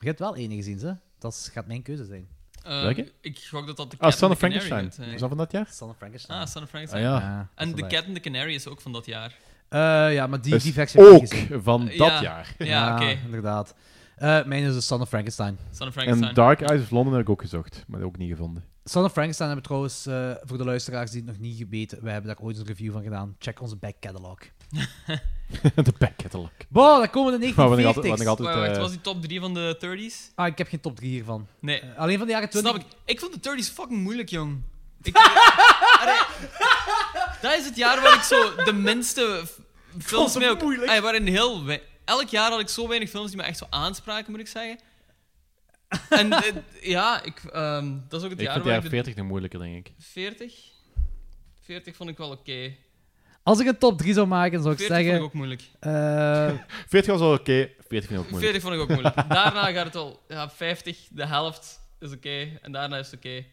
Speaker 4: Je hebt wel ene gezien, hè? Dat is- gaat mijn keuze zijn.
Speaker 12: Eh,
Speaker 5: Welke?
Speaker 12: Ik gok dat dat de
Speaker 5: Ah,
Speaker 12: Cat
Speaker 5: Son
Speaker 12: and
Speaker 5: of
Speaker 12: the Canary
Speaker 5: Frankenstein.
Speaker 12: gaat zijn.
Speaker 5: Is dat van dat jaar?
Speaker 4: Son of Frankenstein.
Speaker 12: Ah, Son of
Speaker 5: Ah
Speaker 12: Frankenstein.
Speaker 5: ja.
Speaker 4: dat is
Speaker 12: En
Speaker 4: wel
Speaker 12: The
Speaker 4: waar.
Speaker 12: Cat and the Canary is ook van dat jaar.
Speaker 4: Eh, ja, maar die,
Speaker 5: Dus
Speaker 4: die facts heb ik
Speaker 5: ook
Speaker 4: niet gezien.
Speaker 5: (laughs) van dat
Speaker 12: Ja.
Speaker 5: jaar.
Speaker 12: Ja, oké.
Speaker 4: inderdaad. Eh, mijn is de Son of Frankenstein.
Speaker 12: Son of
Speaker 5: En
Speaker 12: Frankenstein.
Speaker 5: Dark Eyes of London heb ik ook gezocht. Maar ook niet gevonden.
Speaker 12: (laughs)
Speaker 4: Son of Frankenstein hebben we trouwens, eh, voor de luisteraars die het nog niet weten, wij hebben daar ooit een review van gedaan. Check onze back catalog.
Speaker 5: de back catalog.
Speaker 4: Wow, dan komen we de
Speaker 5: Maar wat ik altijd... Wat ik
Speaker 4: 1940s.
Speaker 5: altijd
Speaker 12: Wacht, wacht,
Speaker 5: eh,
Speaker 12: was die top 3 van de 30s?
Speaker 4: Ah, ik heb geen top 3 hiervan.
Speaker 12: Nee.
Speaker 4: Eh, alleen van de jaren 20.
Speaker 12: Snap ik. Ik vond de 30s fucking moeilijk, jong. Ik, Allee, dat is het jaar waar ik zo de minste f- films mee ook. Ay, waarin heel we- Elk jaar had ik zo weinig films die me echt zo aanspraken, moet ik zeggen. En eh, ja, ik, ehm, dat is ook het
Speaker 5: ik
Speaker 12: jaar
Speaker 5: vind de
Speaker 12: waar
Speaker 5: jaren
Speaker 12: ik de
Speaker 5: 40 nog moeilijker, denk ik.
Speaker 12: 40. 40 vond ik wel oké.
Speaker 4: Als ik een top 3 zou maken, zou ik
Speaker 12: 40 vond
Speaker 4: zeggen.
Speaker 12: ik ook moeilijk.
Speaker 4: eh,
Speaker 5: 40 was al oké. 40 vind ik ook moeilijk.
Speaker 12: 40 vond ik ook moeilijk. Daarna gaat het wel. Ja, 50, de helft is oké. En daarna is het oké.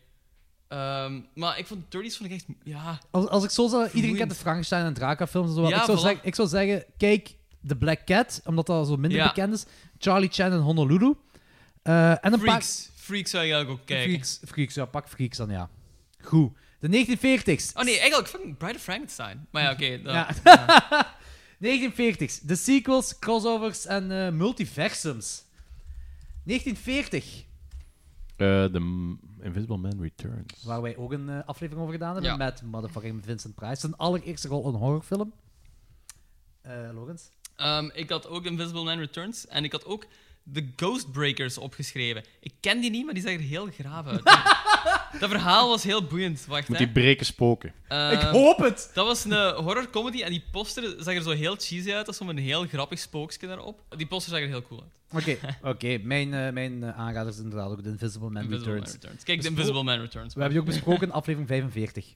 Speaker 12: Ehm, maar ik vond de 30s vond ik echt. Ja,
Speaker 4: als, als ik zo zou. Iedereen
Speaker 12: Vloeiend.
Speaker 4: kent de Frankenstein en Dracula-films en zo. wat.
Speaker 12: Ja,
Speaker 4: ik, zou
Speaker 12: voilà.
Speaker 4: zeggen, ik zou zeggen: kijk, The Black Cat, omdat dat zo minder
Speaker 12: Ja.
Speaker 4: bekend is. Charlie Chan en Honolulu. Eh, en een
Speaker 12: Freaks. Freaks zou je eigenlijk ook
Speaker 4: paar.
Speaker 12: kijken.
Speaker 4: Freaks, Freaks, ja, pak Freaks dan ja. Goed. De 1940s.
Speaker 12: Oh nee, eigenlijk fucking Bride of Frankenstein. Maar ja, oké. dan-
Speaker 4: Ja. 1940s. De sequels, crossovers en eh, multiversums. 1940,
Speaker 5: Eh, de M- Invisible Man Returns.
Speaker 4: waar wij ook een eh, aflevering over gedaan hebben
Speaker 5: Ja.
Speaker 4: met motherfucking Vincent Price. Zijn allereerste rol in een horrorfilm. Eh Lorenz?
Speaker 12: Ehm, ik had ook Invisible Man Returns en ik had ook The Ghostbreakers opgeschreven. Ik ken die niet, maar die zag er heel graaf uit. dat verhaal was heel boeiend. Wacht,
Speaker 5: Moet
Speaker 12: hè.
Speaker 5: die breken spoken.
Speaker 12: Ehm,
Speaker 4: Ik hoop het!
Speaker 12: Dat was een eh, horrorcomedy en die poster zag er zo heel cheesy uit. Dat stond een heel grappig spookje daarop. Die poster zag er heel cool uit.
Speaker 4: Oké,
Speaker 12: (laughs)
Speaker 4: oké. mijn, eh, mijn eh, aanrader is inderdaad ook de Invisible Man
Speaker 12: Invisible Man
Speaker 4: Returns.
Speaker 12: Returns. Kijk,
Speaker 4: Bespro-
Speaker 12: de Invisible Man Returns.
Speaker 4: We hebben die ook besproken in aflevering 45.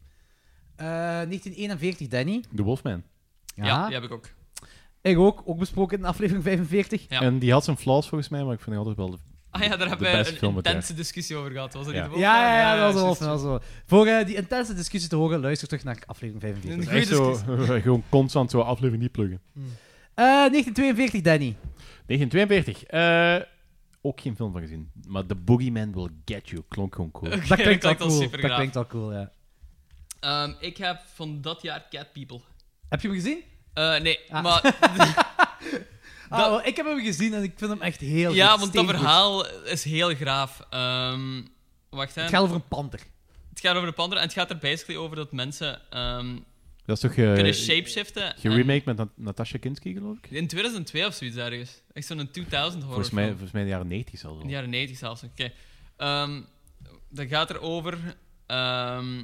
Speaker 4: Eh, 1941, Danny.
Speaker 5: The Wolfman.
Speaker 12: Ja, die heb ik ook.
Speaker 4: Ik ook, ook besproken in aflevering 45.
Speaker 5: En die had zijn flaws volgens mij, maar ik vind die altijd wel de,
Speaker 12: Ah ja, daar
Speaker 5: de
Speaker 12: hebben
Speaker 5: beste
Speaker 12: we een
Speaker 5: film het jaar.
Speaker 12: intense discussie over gehad. Was dat
Speaker 5: Ja.
Speaker 12: niet de
Speaker 4: Ja,
Speaker 12: Wolfman?
Speaker 4: ja, ja, dat was
Speaker 12: juist,
Speaker 4: wel
Speaker 12: juist.
Speaker 4: snel zo. Voor eh, die intense discussie te horen, luister terug naar aflevering 45.
Speaker 5: Echt zo, (laughs) eh, gewoon constant zo'n aflevering niet pluggen.
Speaker 4: Eh, 1942, Danny.
Speaker 5: 1942. eh, ook geen film van gezien. Maar The Boogeyman Will Get You klonk gewoon
Speaker 12: (laughs)
Speaker 5: cool.
Speaker 12: Oké,
Speaker 4: dat
Speaker 12: dat
Speaker 4: klinkt al
Speaker 12: klinkt al
Speaker 4: cool.
Speaker 12: supergraaf.
Speaker 4: dat klinkt al cool, ja.
Speaker 12: Ehm, ik heb van dat jaar Cat People.
Speaker 4: Heb je hem gezien?
Speaker 12: Eh, nee, maar...
Speaker 4: (laughs)
Speaker 12: (laughs)
Speaker 4: Ah, wel, ik heb hem gezien en ik vind hem echt heel
Speaker 12: ja,
Speaker 4: goed,
Speaker 12: want dat
Speaker 4: steengoed.
Speaker 12: verhaal is heel graaf. Ehm, wacht, hè.
Speaker 4: Het gaat over een panter.
Speaker 12: Het gaat over de panter en het gaat er basically over dat mensen ehm,
Speaker 5: Dat is toch... eh,
Speaker 12: kunnen shapeshiften.
Speaker 5: Geremaked met Nat- Natasha Kinski, geloof ik?
Speaker 12: en in 2002 of zoiets ergens. Echt zo'n 2000 horror.
Speaker 5: Volgens mij, volgens mij in de jaren 90 zelfs al.
Speaker 12: In de jaren 90 zelfs. Oké. Ehm, dat gaat erover ehm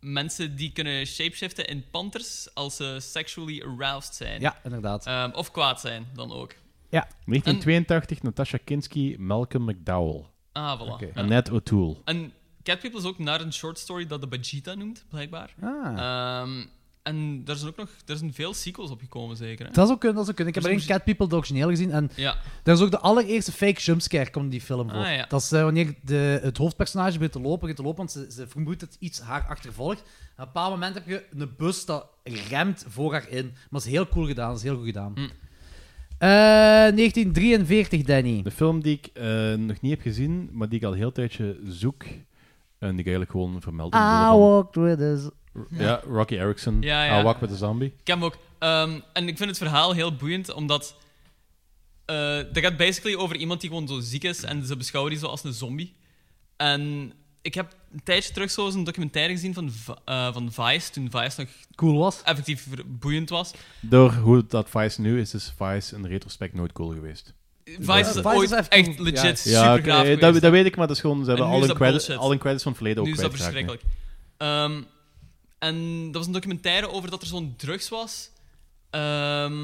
Speaker 12: mensen die kunnen shapeshiften in panters als ze sexually aroused zijn.
Speaker 4: Ja, inderdaad.
Speaker 12: Ehm, of kwaad zijn dan ook.
Speaker 4: Ja.
Speaker 5: 1982, Natasha Kinski, Malcolm McDowell.
Speaker 12: Ah, voilà. Ja.
Speaker 5: Annette O'Toole.
Speaker 12: En Cat People is ook naar een short story dat de Bajita noemt, blijkbaar.
Speaker 4: Ah.
Speaker 12: Ehm, en daar zijn ook nog er zijn veel sequels op gekomen, zeker. Hè?
Speaker 4: Dat zou kunnen, dat zou kunnen. Ik heb
Speaker 12: Dus
Speaker 4: alleen Cat People de origineel gezien. En
Speaker 12: Ja.
Speaker 4: daar is ook de allereerste fake jumpscare komt in die film voor.
Speaker 12: Ah, ja.
Speaker 4: Dat is eh, wanneer de, het hoofdpersonage begint te lopen, begint te lopen want ze, ze vermoedt dat iets haar achtervolgt. En op een bepaald moment heb je een bus dat remt voor haar in. Maar dat is heel cool gedaan, dat is heel goed gedaan.
Speaker 12: Hm.
Speaker 4: Eh, 1943, Danny.
Speaker 5: De film die ik eh, nog niet heb gezien, maar die ik al een heel tijdje zoek. En die ik eigenlijk gewoon vermeld heb.
Speaker 4: I walked Ah, with us.
Speaker 5: Ja, Rocky Erickson.
Speaker 12: Ja,
Speaker 5: Ja,
Speaker 12: ja.
Speaker 5: Walk with a Zombie.
Speaker 12: Ik heb hem ook. Ehm, en ik vind het verhaal heel boeiend, omdat... eh dat gaat basically over iemand die gewoon zo ziek is en ze beschouwen die zo als een zombie. En ik heb een tijdje terug zo eens een documentaire gezien van, V- eh, van Vice, toen Vice nog...
Speaker 4: Cool was.
Speaker 12: Effectief ver- boeiend was.
Speaker 5: Door hoe dat Vice nu is, is Vice in retrospect nooit cool geweest.
Speaker 12: Vice is
Speaker 4: Vice
Speaker 12: ooit
Speaker 4: is even-
Speaker 12: echt legit
Speaker 5: Ja,
Speaker 12: super
Speaker 5: oké,
Speaker 12: graaf
Speaker 5: dat, dat weet ik, maar dat is gewoon, ze hebben
Speaker 12: nu
Speaker 5: al
Speaker 12: is
Speaker 5: hun,
Speaker 12: dat
Speaker 5: credit-
Speaker 12: bullshit.
Speaker 5: al hun credits van het verleden
Speaker 12: Nu
Speaker 5: ook
Speaker 12: is dat
Speaker 5: kwijtgeraakt, nee.
Speaker 12: verschrikkelijk. Ehm, en dat was een documentaire over dat er zo'n drugs was. Ehm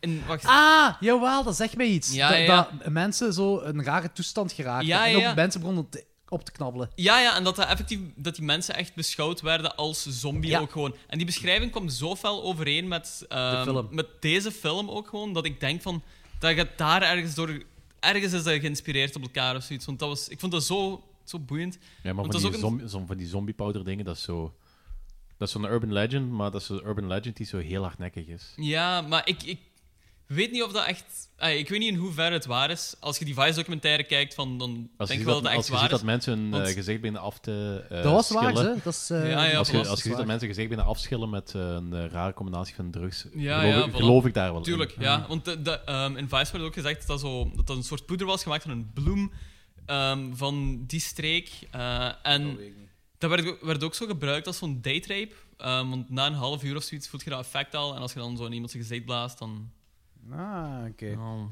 Speaker 12: in, wacht.
Speaker 4: Ah, jawel, dat zegt mij iets.
Speaker 12: Ja,
Speaker 4: dat,
Speaker 12: ja, ja.
Speaker 4: dat mensen zo een rare toestand geraakten.
Speaker 12: Ja, ja,
Speaker 4: En
Speaker 12: ja.
Speaker 4: ook mensen begonnen te- op te knabbelen.
Speaker 12: Ja, ja, en dat, dat, effectief, dat die mensen echt beschouwd werden als zombie
Speaker 4: Ja.
Speaker 12: ook gewoon. En die beschrijving kwam zo fel overeen met, ehm,
Speaker 4: De film.
Speaker 12: met deze film ook gewoon, dat ik denk van, dat gaat daar ergens door... Ergens is dat geïnspireerd op elkaar of zoiets. Want dat was, ik vond dat zo, zo boeiend.
Speaker 5: Ja, maar
Speaker 12: Want
Speaker 5: van die,
Speaker 12: dat is ook een-
Speaker 5: zombie, zo- van die zombie powder dingen, dat is zo... Dat is zo'n urban legend, maar dat is een urban legend die zo heel hardnekkig is.
Speaker 12: Ja, maar ik, ik weet niet of dat echt... ah, ik weet niet in hoeverre het waar is. Als je die Vice-documentaire kijkt, van, dan
Speaker 5: Als je
Speaker 12: denk ik
Speaker 5: ziet
Speaker 12: wel
Speaker 5: dat,
Speaker 12: dat het
Speaker 5: als
Speaker 12: echt
Speaker 5: je
Speaker 12: waar
Speaker 5: ziet
Speaker 12: is.
Speaker 5: dat mensen hun eh,
Speaker 12: Want-
Speaker 5: gezicht beginnen af te eh,
Speaker 4: Dat was waar,
Speaker 5: schillen.
Speaker 4: hè? Dat is, eh,
Speaker 12: Ja, ja,
Speaker 5: als je,
Speaker 12: dat was-
Speaker 5: als
Speaker 12: dat
Speaker 5: je
Speaker 12: is
Speaker 5: ziet
Speaker 12: waar.
Speaker 5: dat mensen gezicht beginnen afschillen met eh, een rare combinatie van drugs,
Speaker 12: Ja,
Speaker 5: geloof,
Speaker 12: ja,
Speaker 5: ik,
Speaker 12: voilà.
Speaker 5: geloof ik daar wel in. Mm.
Speaker 12: Tuurlijk, ja. Want de, de, ehm, in Vice werd ook gezegd dat zo, dat, dat een soort poeder was gemaakt van een bloem ehm, van die streek. eh, en dat, werd, ook- werd ook zo gebruikt als zo'n daytrape. ehm want na een half uur of zoiets voelt je dat effect al. En als je dan zo in iemand zijn gezicht blaast, dan...
Speaker 4: Ah, oké.
Speaker 12: Oh.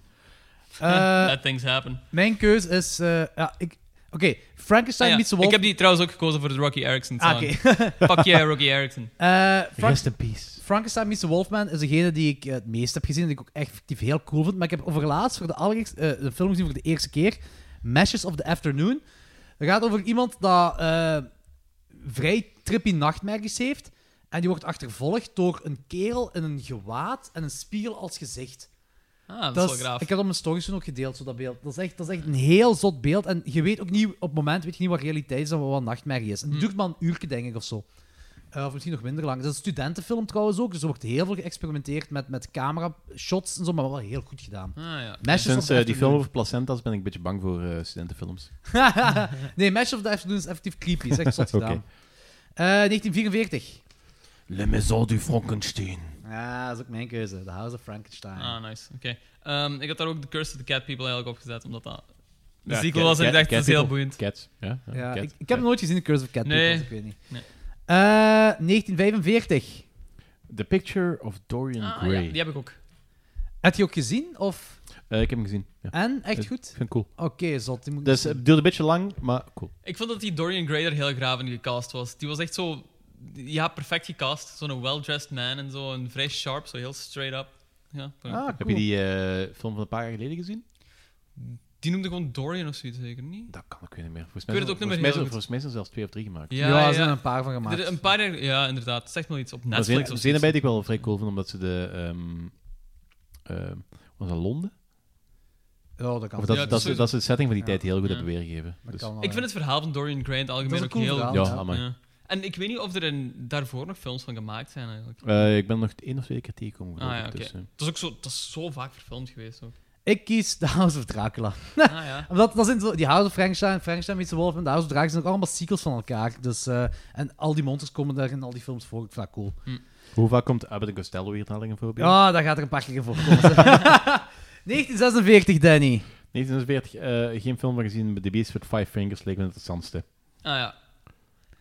Speaker 4: Eh,
Speaker 12: (laughs) Let things happen.
Speaker 4: Mijn keuze is... eh, ja, ik... Oké, Frankenstein
Speaker 12: Ah ja,
Speaker 4: meets the
Speaker 12: ik
Speaker 4: Wolf.
Speaker 12: heb die trouwens ook gekozen voor de Rocky Erickson
Speaker 4: Ah,
Speaker 12: song.
Speaker 4: oké.
Speaker 12: (laughs) Fuck yeah, Rocky Erickson.
Speaker 4: Eh, Frank-
Speaker 5: Rest in peace.
Speaker 4: Frankenstein meets the Wolfman is degene die ik eh, het meest heb gezien. En die ik ook echt effectief heel cool vind. Maar ik heb overlaatst voor de allereerste, eh, een film gezien voor de eerste keer. Meshes of the Afternoon. Het gaat over iemand dat eh, vrij trippy nachtmerries heeft. En die wordt achtervolgd door een kerel in een gewaad en een spiegel als gezicht.
Speaker 12: Ah, dat, is wel graaf.
Speaker 4: Ik heb dat op mijn stories toen ook gedeeld, zo dat beeld. Dat is, echt, dat is echt een heel zot beeld. En je weet ook niet, op het moment weet je niet wat realiteit is en wat een nachtmerrie is. En het
Speaker 12: Hm.
Speaker 4: duurt maar een uurtje, denk ik, of zo. Eh, of misschien nog minder lang. Het is een studentenfilm trouwens ook, dus er wordt heel veel geëxperimenteerd met, met camera-shots en zo, maar wel heel goed gedaan.
Speaker 12: Ah, ja.
Speaker 4: Meshes of
Speaker 5: Sinds
Speaker 4: the
Speaker 5: eh, die film
Speaker 4: Afternoon.
Speaker 5: over placentas ben ik een beetje bang
Speaker 4: (laughs)
Speaker 5: voor eh, studentenfilms.
Speaker 4: nee, Mesh of the Afternoon is effectief creepy. Is echt zot
Speaker 5: (laughs) Oké.
Speaker 4: gedaan. Eh, Eh, 1944.
Speaker 1: Le Maison du Frankenstein.
Speaker 4: Ja, dat is ook mijn keuze. The House of Frankenstein.
Speaker 12: Ah, nice. Oké. Ehm, ik had daar ook The Curse of the Cat People eigenlijk op gezet, omdat dat de
Speaker 4: Ja,
Speaker 12: sequel
Speaker 4: Cat-
Speaker 12: was en ik
Speaker 4: Cat-
Speaker 12: dacht, dat
Speaker 4: Cat
Speaker 12: is heel
Speaker 4: People.
Speaker 12: boeiend.
Speaker 5: Cats, ja.
Speaker 4: Ja, ik, ik heb hem nooit gezien in Curse of Cat
Speaker 12: Nee.
Speaker 4: People, dus ik weet niet.
Speaker 12: Nee.
Speaker 4: Eh, 1945.
Speaker 5: The Picture of Dorian
Speaker 12: Ah,
Speaker 5: Gray.
Speaker 12: ja, die heb ik ook.
Speaker 4: Heb je ook gezien? Of...
Speaker 5: Eh, ik heb hem gezien. Ja.
Speaker 4: En? Echt
Speaker 5: Ik
Speaker 4: goed?
Speaker 5: vind het cool.
Speaker 4: Oké, zot. Die moet ik
Speaker 5: Dus
Speaker 4: zien.
Speaker 5: het duurde een beetje lang, maar cool.
Speaker 12: Ik vond dat die Dorian Gray er heel graaf in gecast was. Die was echt zo... Ja, perfect gecast. Zo'n well-dressed man en zo. En vrij sharp, zo heel straight up. Ja,
Speaker 5: Heb je die eh, film van een paar jaar geleden gezien?
Speaker 12: Die noemde gewoon Dorian of zoiets, zeker niet?
Speaker 5: Dat kan ook weer niet meer. Volgens
Speaker 12: Ik weet het ook niet meer
Speaker 5: volgens mij,
Speaker 12: heel
Speaker 5: zijn-
Speaker 12: goed.
Speaker 5: volgens mij zijn er zelfs twee of drie gemaakt.
Speaker 12: Ja,
Speaker 4: Ja, er zijn er een paar van gemaakt.
Speaker 12: Er- een paar jaar- ja, inderdaad. Zeg maar iets op
Speaker 5: Maar
Speaker 12: Netflix
Speaker 5: Zena-
Speaker 12: of
Speaker 5: Zena
Speaker 12: zoiets.
Speaker 5: weet ik wel vrij cool van, omdat ze de... ehm, ehm, was dat Londen?
Speaker 4: Ja, dat kan.
Speaker 5: Of dat,
Speaker 12: Ja,
Speaker 5: dat,
Speaker 12: dat is
Speaker 5: ze- dat ze de setting van die tijd
Speaker 12: sowieso.
Speaker 5: heel goed
Speaker 12: Ja.
Speaker 5: hebben weergegeven.
Speaker 4: Dat
Speaker 5: Dus-
Speaker 4: kan wel,
Speaker 12: Ik vind
Speaker 4: ja.
Speaker 12: het verhaal van Dorian Gray in het
Speaker 4: Dat is
Speaker 12: algemeen
Speaker 4: een
Speaker 12: ook
Speaker 4: cool
Speaker 12: heel...
Speaker 4: verhaal,
Speaker 5: Ja, ja. amai.
Speaker 12: En ik weet niet of er een, daarvoor nog films van gemaakt zijn, eigenlijk.
Speaker 5: Eh, ik ben nog één of twee keer tegengekomen.
Speaker 12: ah
Speaker 5: geloof
Speaker 12: ja,
Speaker 5: ik,
Speaker 12: oké.
Speaker 5: dus, eh.
Speaker 12: Dat is ook zo, dat is zo vaak verfilmd geweest, ook.
Speaker 4: Ik kies The House of Dracula. (laughs)
Speaker 12: Ah, ja.
Speaker 4: Omdat dat zijn zo, die House of Frankenstein, Frankenstein meets the Wolf en The House of Dracula zijn ook allemaal sequels van elkaar. Dus, eh, en al die monsters komen daar in al die films voor. Ik vind dat cool.
Speaker 5: Hoe vaak komt Abbott en Costello hier telling voorbeeld?
Speaker 4: Ja, daar gaat er een paar keer in voorkomen. (laughs) 1946, Danny.
Speaker 5: 1940, eh, geen film van gezien, maar The Beast with Five Fingers leek me het interessantste.
Speaker 12: Ah ja.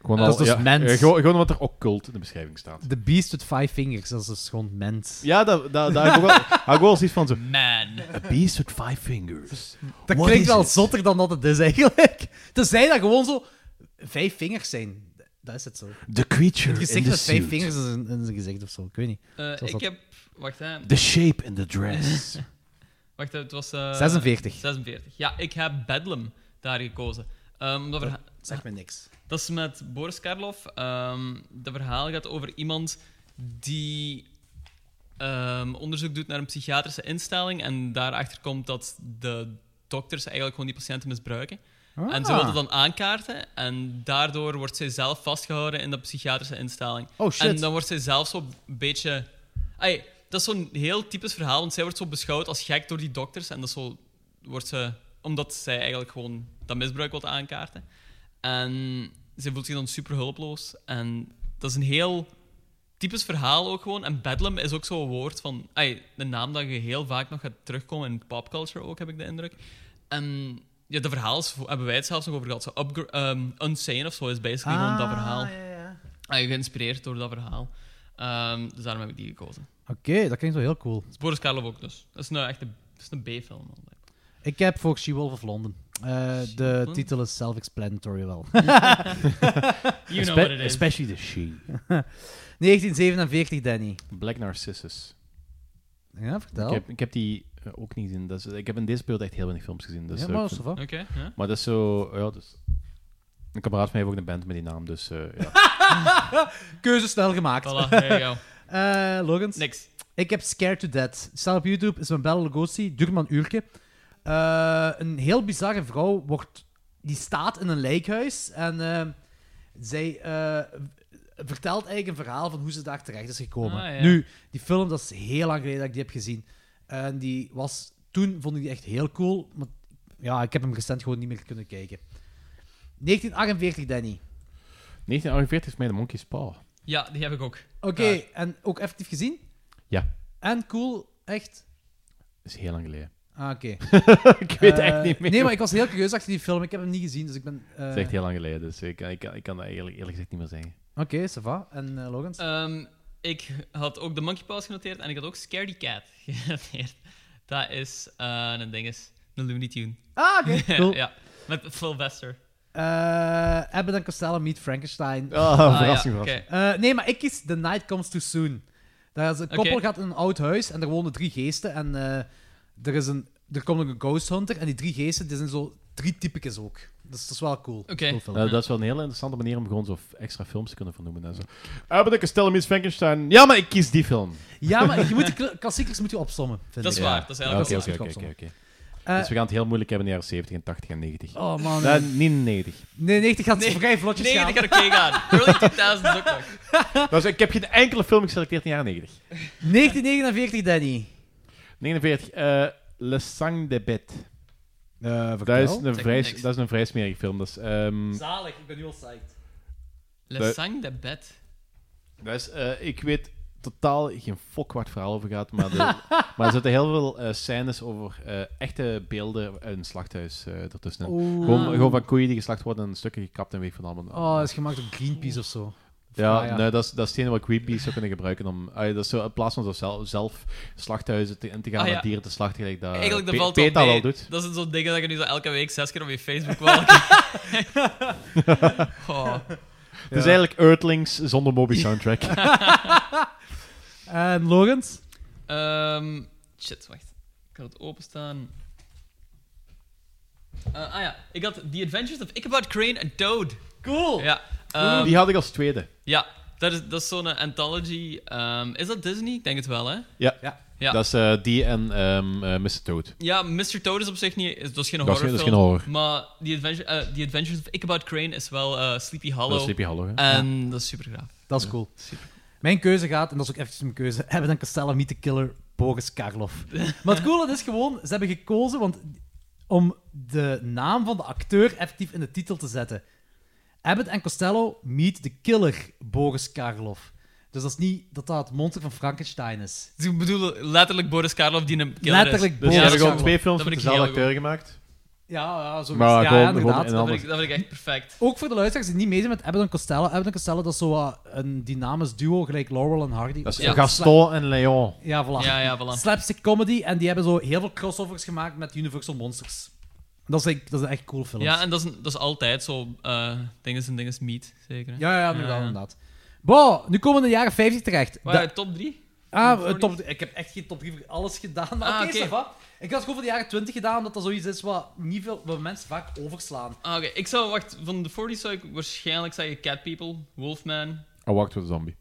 Speaker 5: Gewoon
Speaker 4: Dat is dus mens.
Speaker 5: eh, gewoon, gewoon omdat er occult in de beschrijving staat.
Speaker 4: The Beast with Five Fingers, dat is dus gewoon mens.
Speaker 5: Ja, daar da, da, heb ik ook wel- (laughs) hou ik wel eens iets van zo.
Speaker 12: Man.
Speaker 5: A Beast with Five Fingers.
Speaker 4: Dat
Speaker 5: What
Speaker 4: klinkt
Speaker 5: is
Speaker 4: wel
Speaker 5: it?
Speaker 4: zotter dan dat het is eigenlijk. Tenzij dat gewoon zo vijf vingers zijn. Dat is het zo.
Speaker 5: The creature
Speaker 4: Het
Speaker 5: in
Speaker 4: gezicht
Speaker 5: the
Speaker 4: met vijf
Speaker 5: suit.
Speaker 4: vingers in zijn, in zijn gezicht of zo. Ik weet niet.
Speaker 12: Eh,
Speaker 4: Zoals
Speaker 12: ik
Speaker 4: dat-
Speaker 12: heb... Wacht, hè.
Speaker 5: The shape in the dress.
Speaker 12: Wacht, het was... eh,
Speaker 4: 46.
Speaker 12: 46. Ja, ik heb Bedlam daar gekozen. Ehm, omdat verha-
Speaker 4: Zeg me niks.
Speaker 12: Dat is met Boris Karloff. Ehm dat verhaal gaat over iemand die ehm, onderzoek doet naar een psychiatrische instelling en daarachter komt dat de dokters eigenlijk gewoon die patiënten misbruiken.
Speaker 4: Ah.
Speaker 12: En ze wil dat dan aankaarten en daardoor wordt zij zelf vastgehouden in dat psychiatrische instelling.
Speaker 4: Oh, shit.
Speaker 12: En dan wordt zij zelf zo'n beetje... Ai, dat is zo'n heel typisch verhaal, want zij wordt zo beschouwd als gek door die dokters en dat is zo wordt ze, omdat zij eigenlijk gewoon dat misbruik wil aankaarten. En ze voelt zich dan super hulpeloos. En dat is een heel typisch verhaal ook gewoon. En bedlam is ook zo'n woord van... Ay, de naam dat je heel vaak nog gaat terugkomen in popculture ook, heb ik de indruk. En ja, de verhaal is, hebben wij het zelfs nog over gehad. Zo upgra- ehm, Unsane of zo is basically gewoon dat verhaal. Ay, geïnspireerd door dat verhaal. Ehm, dus daarom heb ik die gekozen.
Speaker 4: Oké, dat klinkt wel heel cool.
Speaker 12: Dus Boris Karloff ook dus. Dat is nou echt een, dat is een B-film. man.
Speaker 4: Ik heb voor She-Wolf of London. Eh, de titel is self-explanatory wel. (laughs)
Speaker 12: You know
Speaker 5: Espe-
Speaker 12: what it is.
Speaker 5: Especially the
Speaker 12: (laughs)
Speaker 5: she.
Speaker 4: 1947, Danny.
Speaker 5: Black Narcissus.
Speaker 4: Ja, vertel.
Speaker 5: Ik, heb, ik heb die eh, ook niet gezien. Dat is, ik heb in deze periode echt heel weinig films gezien. Dus
Speaker 4: ja,
Speaker 5: eh,
Speaker 4: maar
Speaker 5: ik
Speaker 4: dat is
Speaker 5: vind-
Speaker 4: wel.
Speaker 12: Oké, ja.
Speaker 5: Maar dat is zo... Ja, dus, een kameraad van mij heeft ook een band met die naam, dus eh,
Speaker 4: (laughs)
Speaker 5: ja.
Speaker 4: Keuze snel gemaakt.
Speaker 12: Voilà, there you go.
Speaker 4: (laughs) Eh, Logans?
Speaker 12: Niks.
Speaker 4: Ik heb Scared to Death. Staat op YouTube, is mijn Bella Lugosi, duurt maar een uurtje. Eh, een heel bizarre vrouw wordt, die staat in een lijkhuis en eh, zij eh, vertelt eigenlijk een verhaal van hoe ze daar terecht is gekomen.
Speaker 12: Ah, ja.
Speaker 4: Nu, die film, dat is heel lang geleden dat ik die heb gezien. En die was, toen vond ik die echt heel cool, maar ja, ik heb hem recent gewoon niet meer kunnen kijken. 1948, Danny.
Speaker 5: 1948 is mij de Monkey's Paw.
Speaker 12: Ja, die heb ik ook.
Speaker 4: Oké, en ook effectief gezien?
Speaker 5: Ja.
Speaker 4: En cool, echt?
Speaker 5: Dat is heel lang geleden.
Speaker 4: Ah, oké.
Speaker 5: (laughs) ik weet
Speaker 4: Eh,
Speaker 5: echt niet meer.
Speaker 4: Nee, maar ik was heel curieus achter die film. Ik heb hem niet gezien, dus ik ben... eh,
Speaker 5: Dat is echt heel lang geleden, dus ik, ik, ik kan dat eigenlijk eerlijk gezegd niet meer zeggen.
Speaker 4: Oké, ça va. En eh, Logans?
Speaker 12: Ehm, ik had ook de Monkey Paws genoteerd en ik had ook Scaredy Cat (laughs) genoteerd. Dat is eh, een ding is, een Looney Tune.
Speaker 4: ah, oké. Cool.
Speaker 12: (laughs) ja, met Sylvester.
Speaker 4: Eh, Abbott en Costello meet Frankenstein.
Speaker 5: Ah, verrassing,
Speaker 12: ja,
Speaker 5: verrassing.
Speaker 12: oké.
Speaker 4: Eh, nee, maar ik kies The Night Comes Too Soon. Daar is een koppel
Speaker 12: Oké.
Speaker 4: gaat in een oud huis en er wonen drie geesten. En eh, er, is een, er komt ook een ghost hunter. En die drie geesten, die zijn zo drie typekes ook. Dus dat is wel cool.
Speaker 12: Oké.
Speaker 4: Cool film.
Speaker 5: Nou, dat is wel een hele interessante manier om gewoon zo f- extra films te kunnen vernoemen. En zo. Abbott en Costello Miss Frankenstein. Ja, maar ik kies die film.
Speaker 4: Ja, maar je moet de kla- klassiekers moet je opsommen, vind
Speaker 12: Dat is
Speaker 4: ik.
Speaker 12: waar, dat is
Speaker 5: Ja,
Speaker 12: eigenlijk
Speaker 5: Oké,
Speaker 12: wel
Speaker 5: oké,
Speaker 4: wel
Speaker 5: oké,
Speaker 4: goed.
Speaker 5: oké, oké.
Speaker 4: Eh,
Speaker 5: Dus we gaan het heel moeilijk hebben in de jaren 70 en 80 en 90.
Speaker 4: Oh man.
Speaker 5: Nee, niet in 90.
Speaker 4: Nee, 90 gaat
Speaker 12: Nee,
Speaker 4: vrij vlotjes
Speaker 12: Nee,
Speaker 4: gaan.
Speaker 12: dat gaat oké gaan. Early 2000s ook nog.
Speaker 5: Dus ik heb geen enkele film geselecteerd in de jaren 90.
Speaker 4: 1949, Danny.
Speaker 5: 49. eh Le Sang de Bet.
Speaker 4: Eh
Speaker 5: Dat is, een
Speaker 12: me
Speaker 5: vrij,
Speaker 12: niks.
Speaker 5: dat is een vrij smerig film. Dat is, ehm,
Speaker 4: Zalig, ik ben nu al psyched.
Speaker 12: Le
Speaker 5: Dat-
Speaker 12: Sang de Bed.
Speaker 5: Dat is, eh, ik weet totaal geen fok waar het verhaal over gaat, maar, de, (laughs) maar er zitten heel veel eh, scènes over eh, echte beelden uit een slachthuis eh ertussen.
Speaker 4: Oeh.
Speaker 5: Gewoon, gewoon van koeien die geslacht worden en stukken gekapt en weg van allemaal.
Speaker 4: Oh, dat is gemaakt door Greenpeace of zo.
Speaker 5: Ja,
Speaker 4: Ah,
Speaker 5: Nee, dat, is, dat is hetgene wat Greenpeace zou kunnen gebruiken. Om, ah, ja, dat is zo, in plaats van zo zelf, zelf slachthuizen te, in te gaan
Speaker 12: Ah,
Speaker 5: en
Speaker 12: ja.
Speaker 5: dieren te slachten, gelijk dat
Speaker 12: Eigenlijk, dat
Speaker 5: Pe-
Speaker 12: valt
Speaker 5: PETA
Speaker 12: al mee.
Speaker 5: wel doet.
Speaker 12: Dat is zo'n ding dat je nu zo elke week zes keer op je Facebook welkt. oh.
Speaker 5: Het is eigenlijk Earthlings zonder Moby soundtrack.
Speaker 4: En Logans?
Speaker 12: Ehm, shit, wacht. Ik had het openstaan. Eh, ah ja, ik had The Adventures of Ichabod Crane and Toad.
Speaker 4: Cool!
Speaker 12: Ja.
Speaker 5: Oeh,
Speaker 12: ehm,
Speaker 5: die had ik als tweede.
Speaker 12: Ja, dat is, dat is zo'n anthology. ehm, is dat Disney? Ik denk het wel, hè?
Speaker 5: Ja,
Speaker 12: Ja.
Speaker 5: dat is eh, die en ehm eh, Mr. Toad.
Speaker 12: Ja, Mr. Toad is op zich niet... Is, dat is geen
Speaker 5: Dat is geen-
Speaker 12: horrorfilm.
Speaker 5: dat is geen horror.
Speaker 12: Maar The, Adventure, eh, The Adventures of Ichabod Crane is wel eh, Sleepy Hollow.
Speaker 5: Dat is Sleepy Hollow, hè?
Speaker 12: En dat is super gaaf.
Speaker 4: Dat is cool. Mijn keuze gaat, en dat is ook echt mijn keuze, hebben dan Costello Meet the Killer, Boris Karloff. maar het coole is gewoon, ze hebben gekozen want, om de naam van de acteur effectief in de titel te zetten. Abbott en Costello Meet the Killer, Boris Karloff. Dus dat is niet dat dat het monster van Frankenstein is.
Speaker 12: Dus ik bedoel letterlijk Boris Karloff die een killer
Speaker 4: Letterlijk Dus
Speaker 12: is.
Speaker 4: Boris
Speaker 5: Ze hebben
Speaker 12: dat
Speaker 5: gewoon
Speaker 12: is-
Speaker 5: twee films
Speaker 12: dat
Speaker 5: met
Speaker 12: vind ik
Speaker 5: dezelfde
Speaker 12: heel goed.
Speaker 5: acteur gemaakt.
Speaker 4: Ja, ja, zo
Speaker 5: Maar
Speaker 4: ja,
Speaker 5: gewoon-
Speaker 4: ja,
Speaker 5: gewoon
Speaker 4: inderdaad.
Speaker 5: in een
Speaker 12: Dat
Speaker 5: ander-
Speaker 12: vind, ik, dat vind ik echt perfect.
Speaker 4: Ook voor de luisteraars die niet mee zijn met Abbott en Costello. Abbott en Costello, dat is zo eh, wat een dynamisch duo, gelijk Laurel en Hardy.
Speaker 5: Dat is
Speaker 12: Ja.
Speaker 5: Gaston en Leon.
Speaker 4: Ja, voilà.
Speaker 12: Ja, ja, voilà.
Speaker 4: Slapstick comedy. En die hebben zo heel veel crossovers gemaakt met Universal Monsters. Dat is, echt- dat is echt cool films.
Speaker 12: Ja, en dat is, dat is altijd zo. eh dinges en dinges meet, zeker. hè?
Speaker 4: ja, ja, inderdaad.
Speaker 12: Ja, ja.
Speaker 4: inderdaad. Bo, nu komen we in de jaren 50 terecht.
Speaker 12: Maar,
Speaker 4: Da-
Speaker 12: eh, top 3?
Speaker 4: ah, eh, top, ik heb echt geen top 3 voor alles gedaan. Maar
Speaker 12: Ah,
Speaker 4: oké,
Speaker 12: oké.
Speaker 4: ça va. Ik had het gewoon voor de jaren 20 gedaan, omdat dat zoiets is wat, niet veel, wat mensen vaak overslaan.
Speaker 12: Ah, Oké, ik zou, wacht, van de 40 zou ik waarschijnlijk zeggen Cat People, Wolfman.
Speaker 5: I Walked with a Zombie.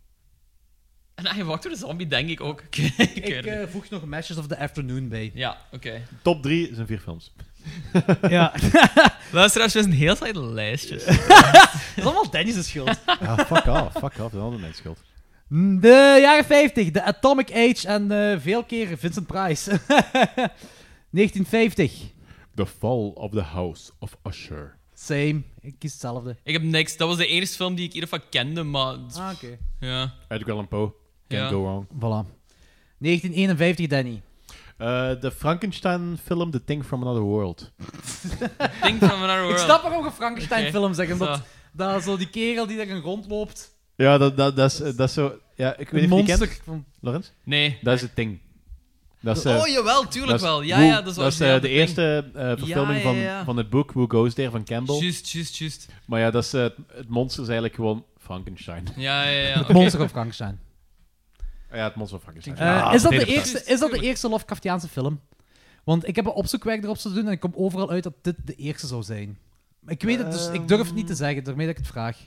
Speaker 12: En hij wacht door de zombie, denk ik ook. ik weet het
Speaker 4: Ik
Speaker 12: niet.
Speaker 4: eh, voeg nog Matches of the Afternoon bij.
Speaker 12: Ja, oké.
Speaker 5: Top drie zijn vier films.
Speaker 4: Ja.
Speaker 12: Luisteraars, we zijn heel slecht lijstjes.
Speaker 4: Dat is allemaal Dennis' schuld.
Speaker 5: Ja, fuck off, fuck off. Dat hadden mensen schuld.
Speaker 4: De jaren 50, de Atomic Age en eh, veel keer Vincent Price. 1950.
Speaker 5: The Fall of the House of Usher.
Speaker 4: Same. Ik kies hetzelfde.
Speaker 12: ik heb niks. Dat was de enige film die ik in ieder geval kende, maar...
Speaker 4: Ah, oké.
Speaker 12: Ja.
Speaker 5: Edgar Allan Poe. Can't
Speaker 12: Ja.
Speaker 5: go wrong.
Speaker 4: Voilà. 1951, Danny.
Speaker 5: Eh, de Frankenstein-film The Thing from Another World.
Speaker 12: Think from another world.
Speaker 4: Ik snap waarom je Frankenstein-film zegt.
Speaker 12: Zo.
Speaker 4: Omdat dat zo die kerel die daarin rondloopt.
Speaker 5: Ja, dat, dat, dat, is, eh, dat is zo... Ja, ik weet
Speaker 4: Een
Speaker 5: niet of je die kent.
Speaker 4: monster. Van...
Speaker 5: Lorenz?
Speaker 12: Nee.
Speaker 5: Dat is The Thing. Dat is, eh,
Speaker 12: oh, jawel, tuurlijk
Speaker 5: dat is-
Speaker 12: wel. Ja,
Speaker 5: Who-
Speaker 12: ja, dat is,
Speaker 5: eh,
Speaker 12: origineel
Speaker 5: de
Speaker 12: Thing.
Speaker 5: eerste eh, verfilming
Speaker 12: ja,
Speaker 5: van,
Speaker 12: ja.
Speaker 5: van het boek Who Goes There van Campbell.
Speaker 12: Juist, juist, juist.
Speaker 5: Maar ja, dat is, eh, het monster is eigenlijk gewoon Frankenstein.
Speaker 12: Ja, ja,
Speaker 5: (laughs)
Speaker 12: ja.
Speaker 4: Het
Speaker 12: oké.
Speaker 4: monster van Frankenstein.
Speaker 5: Ja, het monster van Frankenstein.
Speaker 4: Eh,
Speaker 5: Ah,
Speaker 4: is, dat de
Speaker 5: tweede
Speaker 4: eerste,
Speaker 12: vertaling.
Speaker 4: is dat de eerste Lovecraftiaanse film? Want ik heb een opzoekwerk erop te doen en ik kom overal uit dat dit de eerste zou zijn. Maar Ik weet het, dus ik durf het niet te zeggen, daarmee dat ik het vraag.
Speaker 5: Ik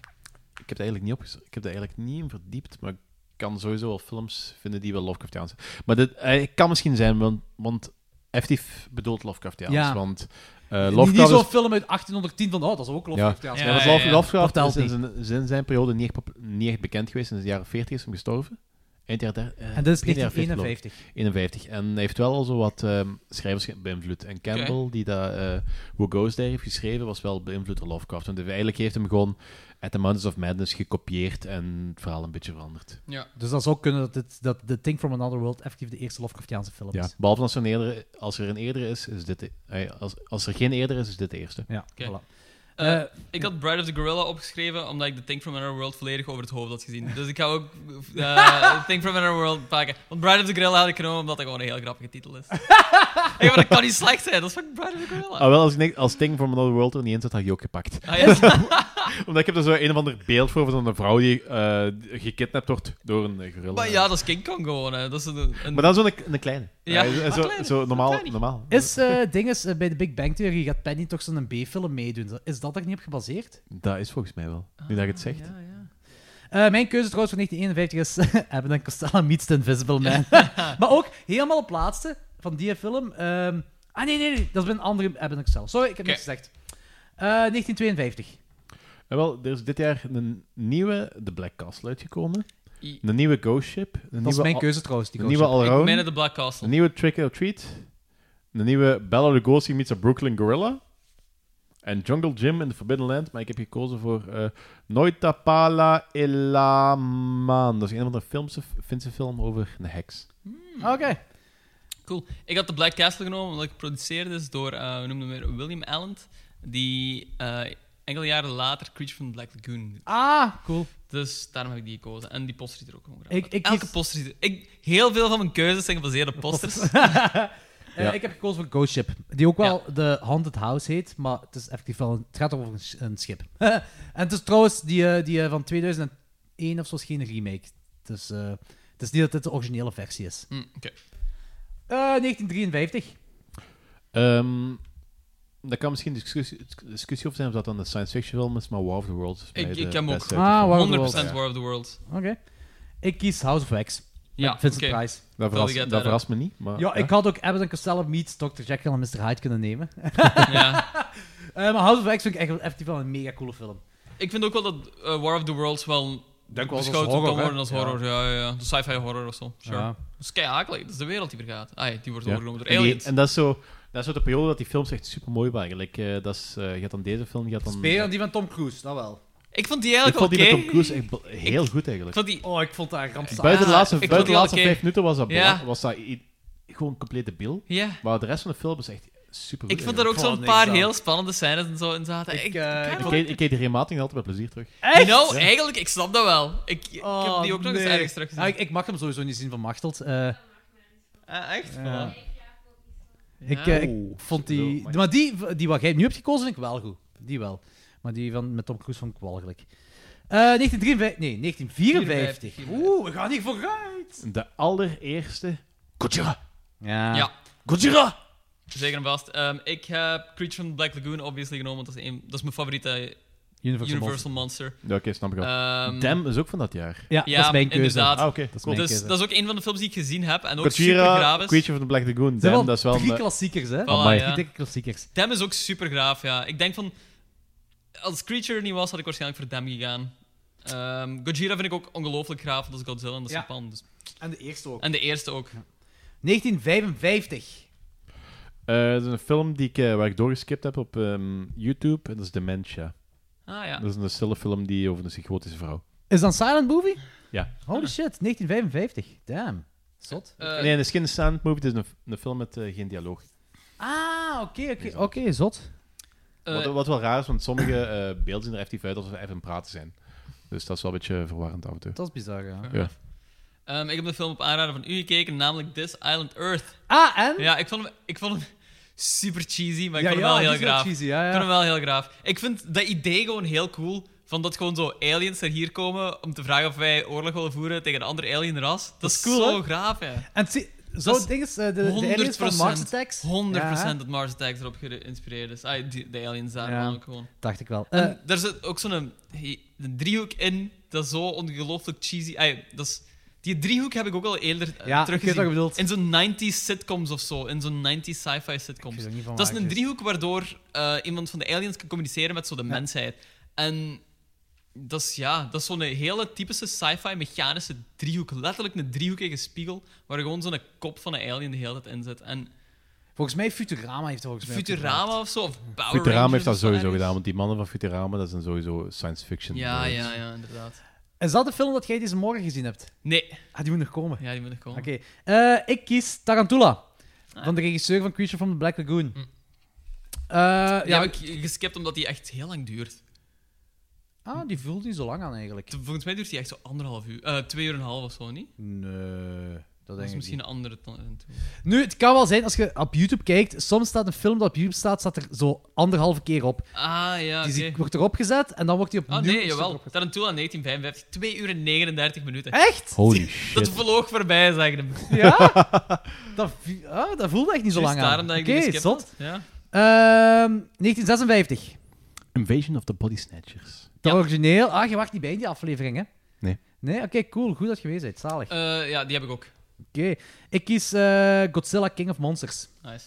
Speaker 5: heb, het eigenlijk niet opgezo- ik heb er eigenlijk niet in verdiept, maar ik kan sowieso wel films vinden die wel Lovecraftiaans zijn. Maar dit eh, kan misschien zijn, want, want effectief bedoelt Lovecraftiaans.
Speaker 4: Ja.
Speaker 5: Want eh,
Speaker 4: Niet
Speaker 5: Lovecraft
Speaker 4: zo'n
Speaker 5: is...
Speaker 4: film uit 1810 van, oh, dat is ook Lovecraftiaans.
Speaker 5: Ja,
Speaker 12: Ja,
Speaker 5: want
Speaker 12: ja,
Speaker 5: Love-
Speaker 12: ja.
Speaker 5: Lovecraft
Speaker 4: Vertelt
Speaker 5: is in
Speaker 4: niet.
Speaker 5: zijn, zijn- zijn periode niet echt, pop- niet echt bekend geweest. Sinds de jaren 40 is hem gestorven. Eind jaren der- eh,
Speaker 4: En dit is
Speaker 5: begin jaren 40 geloof ik.
Speaker 4: 1951.
Speaker 5: 51. En hij heeft wel al zo wat ehm, schrijvers ge- beïnvloed. En Campbell, die dat, eh, Who Goes There heeft geschreven, was wel beïnvloed door Lovecraft. Want eigenlijk heeft hem gewoon At the Mountains of Madness gekopieerd en het verhaal een beetje veranderd.
Speaker 12: Ja.
Speaker 4: Dus dat zou kunnen dat, dit, dat The Thing from Another World effectief de eerste Lovecraftiaanse film
Speaker 5: Ja.
Speaker 4: is.
Speaker 5: Behalve als er, een eerdere, als er een eerdere is, is dit... de- eh, als, als er geen eerder is, is dit de eerste.
Speaker 4: Ja,
Speaker 12: Oké.
Speaker 4: voilà.
Speaker 12: Eh,
Speaker 4: Eh,
Speaker 12: ik had Bride of the Gorilla opgeschreven, omdat ik de Think From Another World volledig over het hoofd had gezien. Dus ik ga ook
Speaker 4: (laughs)
Speaker 12: eh Think From Another World pakken. Want Bride of the Gorilla had ik genomen, omdat dat gewoon een heel grappige titel
Speaker 4: (laughs)
Speaker 12: is. ja, maar dat kan niet slecht zijn, dat is fucking Bride of the Gorilla.
Speaker 5: Ah, wel, als, ik, niks- als Thing from Another World er niet in zit, had ik die ook gepakt.
Speaker 12: Ah, ja.
Speaker 5: (laughs) Omdat ik heb er zo een of ander beeld voor van een vrouw die eh, gekidnapt wordt door een eh, gorilla.
Speaker 12: maar ja, dat is King Kong gewoon. Hè. Dat is een, een-
Speaker 5: Maar dan zo'n een kleine.
Speaker 12: Ja,
Speaker 5: Eh,
Speaker 12: een
Speaker 5: zo,
Speaker 12: kleine,
Speaker 5: zo
Speaker 12: een
Speaker 5: normaal.
Speaker 12: kleine.
Speaker 5: normaal.
Speaker 4: Is eh ding is, eh, bij de Big Bang Theory gaat Penny toch zo'n B-film meedoen? Is dat er niet op gebaseerd?
Speaker 5: Dat is volgens mij wel. Nu dat je het zegt.
Speaker 12: Ah, Ja, ja.
Speaker 4: Eh, mijn keuze trouwens van 1951 is (laughs) Abbott en Costello meets The Invisible (laughs) Man. maar ook helemaal op laatste van die film. ehm, ah, nee, nee, nee. Dat is bij een andere Abbott en Costello. Sorry, ik heb
Speaker 12: Oké.
Speaker 4: niks gezegd. Eh, 1952.
Speaker 5: En wel, er is dit jaar een nieuwe The Black Castle uitgekomen.
Speaker 12: I-
Speaker 5: Een nieuwe Ghost Ship. Een
Speaker 4: Dat
Speaker 5: nieuwe
Speaker 4: is mijn
Speaker 5: al-
Speaker 4: keuze trouwens. Die
Speaker 5: Een nieuwe
Speaker 4: keuze.
Speaker 12: Ik
Speaker 5: Allround.
Speaker 12: meen de Black Castle.
Speaker 5: Een nieuwe Trick or Treat. Een nieuwe Bella Lugosi meets a Brooklyn Gorilla. En Jungle Jim in The Forbidden Land, maar ik heb gekozen voor eh Noitapala Elaman. Dat is een van de filmse, Finse film over een heks.
Speaker 4: Oké.
Speaker 12: Cool. Ik had de Black Castle genomen, omdat ik geproduceerd is door, eh we noemen hem weer William Allen, die eh, enkele jaren later Creature from the Black Lagoon doet.
Speaker 4: Ah, cool.
Speaker 12: Dus daarom heb ik die gekozen. En die poster ziet
Speaker 13: Eh.
Speaker 12: er ook gewoon graag
Speaker 4: Ik-
Speaker 12: uit.
Speaker 4: ik
Speaker 12: Elke
Speaker 4: kies-
Speaker 12: poster ziet er... Ik, heel veel van mijn keuzes zijn gebaseerd
Speaker 4: (laughs)
Speaker 12: op posters.
Speaker 4: Eh, Ik heb gekozen voor Ghost Ship, die ook wel de Haunted House heet, maar het is effectief wel een, het gaat over een, sch- een schip. en het is trouwens die, eh, die eh, van 2001 of zo is geen remake. Dus, eh, het is niet dat dit de originele versie is.
Speaker 12: Mm, Oké.
Speaker 4: Eh, 1953.
Speaker 5: Ehm daar kan misschien discussie, discussie over zijn of dat dan een science fiction film is, maar War of the Worlds is bij
Speaker 12: Ik-
Speaker 5: de
Speaker 12: ik heb hem ook.
Speaker 5: beste
Speaker 4: Ah,
Speaker 5: uit die film.
Speaker 4: War of the Worlds.
Speaker 12: 100% War of the World.
Speaker 4: Oké. Ik kies House of Wax.
Speaker 12: Ja,
Speaker 4: met Vincent
Speaker 12: oké.
Speaker 4: Price.
Speaker 5: Dat verrast,
Speaker 12: Totally get
Speaker 5: dat
Speaker 12: that
Speaker 5: verrast
Speaker 12: up.
Speaker 5: me niet, maar...
Speaker 4: ja, ik had ook Abbott en Costello meets Dr. Jekyll en Mr. Hyde kunnen nemen. (laughs)
Speaker 12: Ja.
Speaker 4: Eh, maar House of Wax vind ik echt wel- effectief wel een mega coole film.
Speaker 12: Ik vind ook wel dat eh, War of the Worlds wel
Speaker 4: Denk wel als
Speaker 12: beschouwd
Speaker 4: horror,
Speaker 12: kan
Speaker 4: hè?
Speaker 12: worden als
Speaker 4: Ja.
Speaker 12: horror. Ja, ja, ja. De sci-fi horror of zo. Sure.
Speaker 5: Ja.
Speaker 12: Dat is kei akelig. Dat is de wereld die vergaat. Ah, ja, die wordt
Speaker 5: Ja.
Speaker 12: overgenomen door
Speaker 5: En, die-
Speaker 12: aliens.
Speaker 5: en dat, is zo, dat is zo de periode dat die films echt super mooi waren. Like, eh, dat is, eh, je had dan deze film, je had dan...
Speaker 4: Spelen die van Tom Cruise, dat wel.
Speaker 12: Ik vond die
Speaker 5: ik
Speaker 12: eigenlijk
Speaker 5: vond die met
Speaker 12: oké.
Speaker 5: Tom Cruise echt be- heel goed, eigenlijk.
Speaker 12: vond die...
Speaker 4: Oh, ik vond daar rampzalig.
Speaker 5: Buiten de laatste,
Speaker 12: ik vond
Speaker 5: buiten de
Speaker 12: die
Speaker 5: laatste
Speaker 12: wel oké.
Speaker 5: vijf minuten was dat,
Speaker 12: Ja.
Speaker 5: belang- was dat i- gewoon compleet debiel.
Speaker 12: Ja.
Speaker 5: Maar de rest van de film is echt super goed.
Speaker 12: Ik vond er ook zo'n paar heel spannende scènes en zo in zaten. Ik, ik-
Speaker 5: Ik keek, ik keek die remating altijd met plezier terug.
Speaker 4: Echt?
Speaker 12: Nou,
Speaker 4: Ja.
Speaker 12: eigenlijk, ik snap dat wel. Ik, ik heb die ook nog eens ergens teruggezien.
Speaker 4: Oh, Ah, ik, ik mag hem sowieso niet zien van Machteld. Eh,
Speaker 12: Ah, echt?
Speaker 4: Ja.
Speaker 12: Voilà.
Speaker 4: ik,
Speaker 12: Ja.
Speaker 4: eh, ik vond die... Maar die, die wat jij nu hebt gekozen, vind ik wel goed. Die wel. Maar die van, met Tom Cruise vond ik walgelijk. Eh 1953... Nee, 1954. Oeh, we gaan hier vooruit.
Speaker 5: De allereerste... Godzilla!
Speaker 4: Ja.
Speaker 12: Ja.
Speaker 5: Godzilla!
Speaker 12: Zeker en vast. Ehm, ik heb Creature from the Black Lagoon obviously genomen, want dat is, een, dat is mijn favoriete eh,
Speaker 4: Universal
Speaker 12: Monster.
Speaker 5: Ja, oké, snap ik al.
Speaker 12: Ehm,
Speaker 5: Dem is ook van dat jaar.
Speaker 4: Ja, dat is mijn keuze.
Speaker 12: Inderdaad.
Speaker 5: Ah, oké, dat is mijn
Speaker 12: dus
Speaker 5: keuze.
Speaker 12: dat is ook een van de films die ik gezien heb en ook super
Speaker 5: Godzilla,
Speaker 12: graaf is.
Speaker 5: Creature from the Black Lagoon,
Speaker 4: zijn
Speaker 5: Dem,
Speaker 4: wel
Speaker 5: dat is wel...
Speaker 4: drie
Speaker 5: een-
Speaker 4: klassiekers, hè?
Speaker 12: Voilà,
Speaker 5: Amai.
Speaker 12: ja.
Speaker 4: Drie klassiekers.
Speaker 12: Dem is ook super graaf, ja. Ik denk van. Als Creature er niet was, had ik waarschijnlijk voor Dem gegaan. Ehm Gojira vind ik ook ongelooflijk graaf, dat is Godzilla en dat is
Speaker 4: Ja.
Speaker 12: Japan. Dus.
Speaker 4: En de eerste ook.
Speaker 12: En de eerste ook.
Speaker 4: 1955.
Speaker 5: Eh, dat is een film die ik, eh, waar ik doorgeskipt heb op ehm, YouTube. En dat is Dementia.
Speaker 12: Ah ja.
Speaker 5: Dat is een stille film die over een psychotische vrouw.
Speaker 4: Is dat een silent movie?
Speaker 5: Ja.
Speaker 12: Ah.
Speaker 4: Holy shit, 1955. Damn. Zot.
Speaker 5: nee, het is geen silent movie. Het is een, f- een film met eh, geen dialoog.
Speaker 4: Ah, oké, oké. Oké, zot.
Speaker 5: wat, wat wel raar is, want sommige eh, beelden zien er effectief uit alsof we even aan het praten zijn. Dus dat is wel een beetje verwarrend af en toe.
Speaker 4: Dat is bizar, ja.
Speaker 5: Ja.
Speaker 12: Ehm, ik heb de film op aanraden van u gekeken, namelijk This Island Earth.
Speaker 4: Ah, en?
Speaker 12: Ja, ik vond hem, ik vond hem (laughs) super cheesy, maar ik
Speaker 4: Ja,
Speaker 12: vond hem
Speaker 4: ja,
Speaker 12: wel
Speaker 4: die
Speaker 12: heel
Speaker 4: is wel
Speaker 12: graaf.
Speaker 4: cheesy, ja, ja.
Speaker 12: Ik vond hem wel heel graaf. Ik vind dat idee gewoon heel cool. Van dat gewoon zo aliens er hier komen om te vragen of wij oorlog willen voeren tegen een ander alien ras. Dat,
Speaker 4: Dat
Speaker 12: is
Speaker 4: is cool,
Speaker 12: zo
Speaker 4: hè?
Speaker 12: graaf, ja.
Speaker 4: En zie, zo
Speaker 12: Dat is
Speaker 4: ding is, eh, de, de aliens van Mars Attacks.
Speaker 12: 100% 100% dat Mars Attacks erop geïnspireerd is. Ah, die, de aliens daar
Speaker 4: Ja.
Speaker 12: ook gewoon.
Speaker 4: Dacht ik wel.
Speaker 12: En
Speaker 4: Eh,
Speaker 12: daar zit ook zo'n he- een driehoek in, dat is zo ongelooflijk cheesy. Ay, dat is, die driehoek heb ik ook al eerder eh,
Speaker 4: Ja, ik weet
Speaker 12: teruggezien.
Speaker 4: wat je bedoelt.
Speaker 12: In zo'n 90s sitcoms of zo, in zo'n 90s sci-fi sitcoms.
Speaker 4: weet er niet van
Speaker 12: Dat is
Speaker 4: waar,
Speaker 12: een
Speaker 4: dus.
Speaker 12: driehoek waardoor eh, iemand van de aliens kan communiceren met zo de mensheid. En dat is, ja, dat is zo'n hele typische sci-fi mechanische driehoek. Letterlijk een driehoekige spiegel waar gewoon zo'n kop van een alien de hele tijd in zit. En
Speaker 4: volgens mij Futurama heeft er volgens mij ook
Speaker 12: Futurama of zo, of Power
Speaker 5: Futurama
Speaker 12: Rangers
Speaker 5: heeft dat
Speaker 12: of zo
Speaker 5: sowieso
Speaker 12: ergens.
Speaker 5: gedaan, want die mannen van Futurama, dat zijn sowieso science fiction.
Speaker 12: Ja,
Speaker 5: nerds.
Speaker 12: ja, ja, inderdaad.
Speaker 4: gedaan. Is dat de film dat jij deze morgen gezien hebt?
Speaker 12: Nee,
Speaker 4: Ah, die moet nog komen.
Speaker 12: ja, die moet nog komen.
Speaker 4: Oké. Eh, ik kies Tarantula.
Speaker 12: Ah.
Speaker 4: Van de regisseur van Creature from the Black Lagoon. Eh,
Speaker 12: Die
Speaker 4: ja,
Speaker 12: heb Hm. ik geskipt omdat die echt heel lang duurt.
Speaker 4: ah, die voelt niet zo lang aan eigenlijk.
Speaker 12: Volgens mij duurt die echt zo anderhalf uur. eh, twee uur en een half of zo, niet?
Speaker 4: Nee, dat
Speaker 12: Dat
Speaker 4: denk
Speaker 12: is
Speaker 4: ik
Speaker 12: misschien
Speaker 4: niet.
Speaker 12: een andere ton- toe.
Speaker 4: Nu, het kan wel zijn, als je op YouTube kijkt, soms staat een film dat op YouTube staat, staat er zo anderhalve keer op.
Speaker 12: Ah, ja,
Speaker 4: Die
Speaker 12: oké.
Speaker 4: zi- wordt erop gezet en dan wordt die opnieuw...
Speaker 12: Ah, nee,
Speaker 4: is
Speaker 12: jawel.
Speaker 4: erop gezet.
Speaker 12: Tarantula 1955. 2 uur en 39 minuten.
Speaker 4: Echt?
Speaker 5: Holy shit.
Speaker 12: Dat vloog voorbij, zeg ik hem.
Speaker 4: (laughs)
Speaker 5: (laughs)
Speaker 4: Ja? dat, vi- ah, dat voelde echt niet zo
Speaker 12: Juist
Speaker 4: lang
Speaker 12: daarom
Speaker 4: aan.
Speaker 12: dat ik
Speaker 4: Oké,
Speaker 12: die geskipt
Speaker 4: zot.
Speaker 12: had. Ja.
Speaker 4: Ehm, 1956.
Speaker 5: Invasion of the Body Snatchers.
Speaker 4: De
Speaker 12: Ja.
Speaker 4: origineel. Ah, je wacht niet bij in die aflevering, hè?
Speaker 5: Nee.
Speaker 4: Nee? Oké, cool. Goed dat je geweest bent. Zalig. Oké.
Speaker 12: Eh, ja, die heb ik ook.
Speaker 4: Ik kies eh, Godzilla King of Monsters.
Speaker 12: Nice.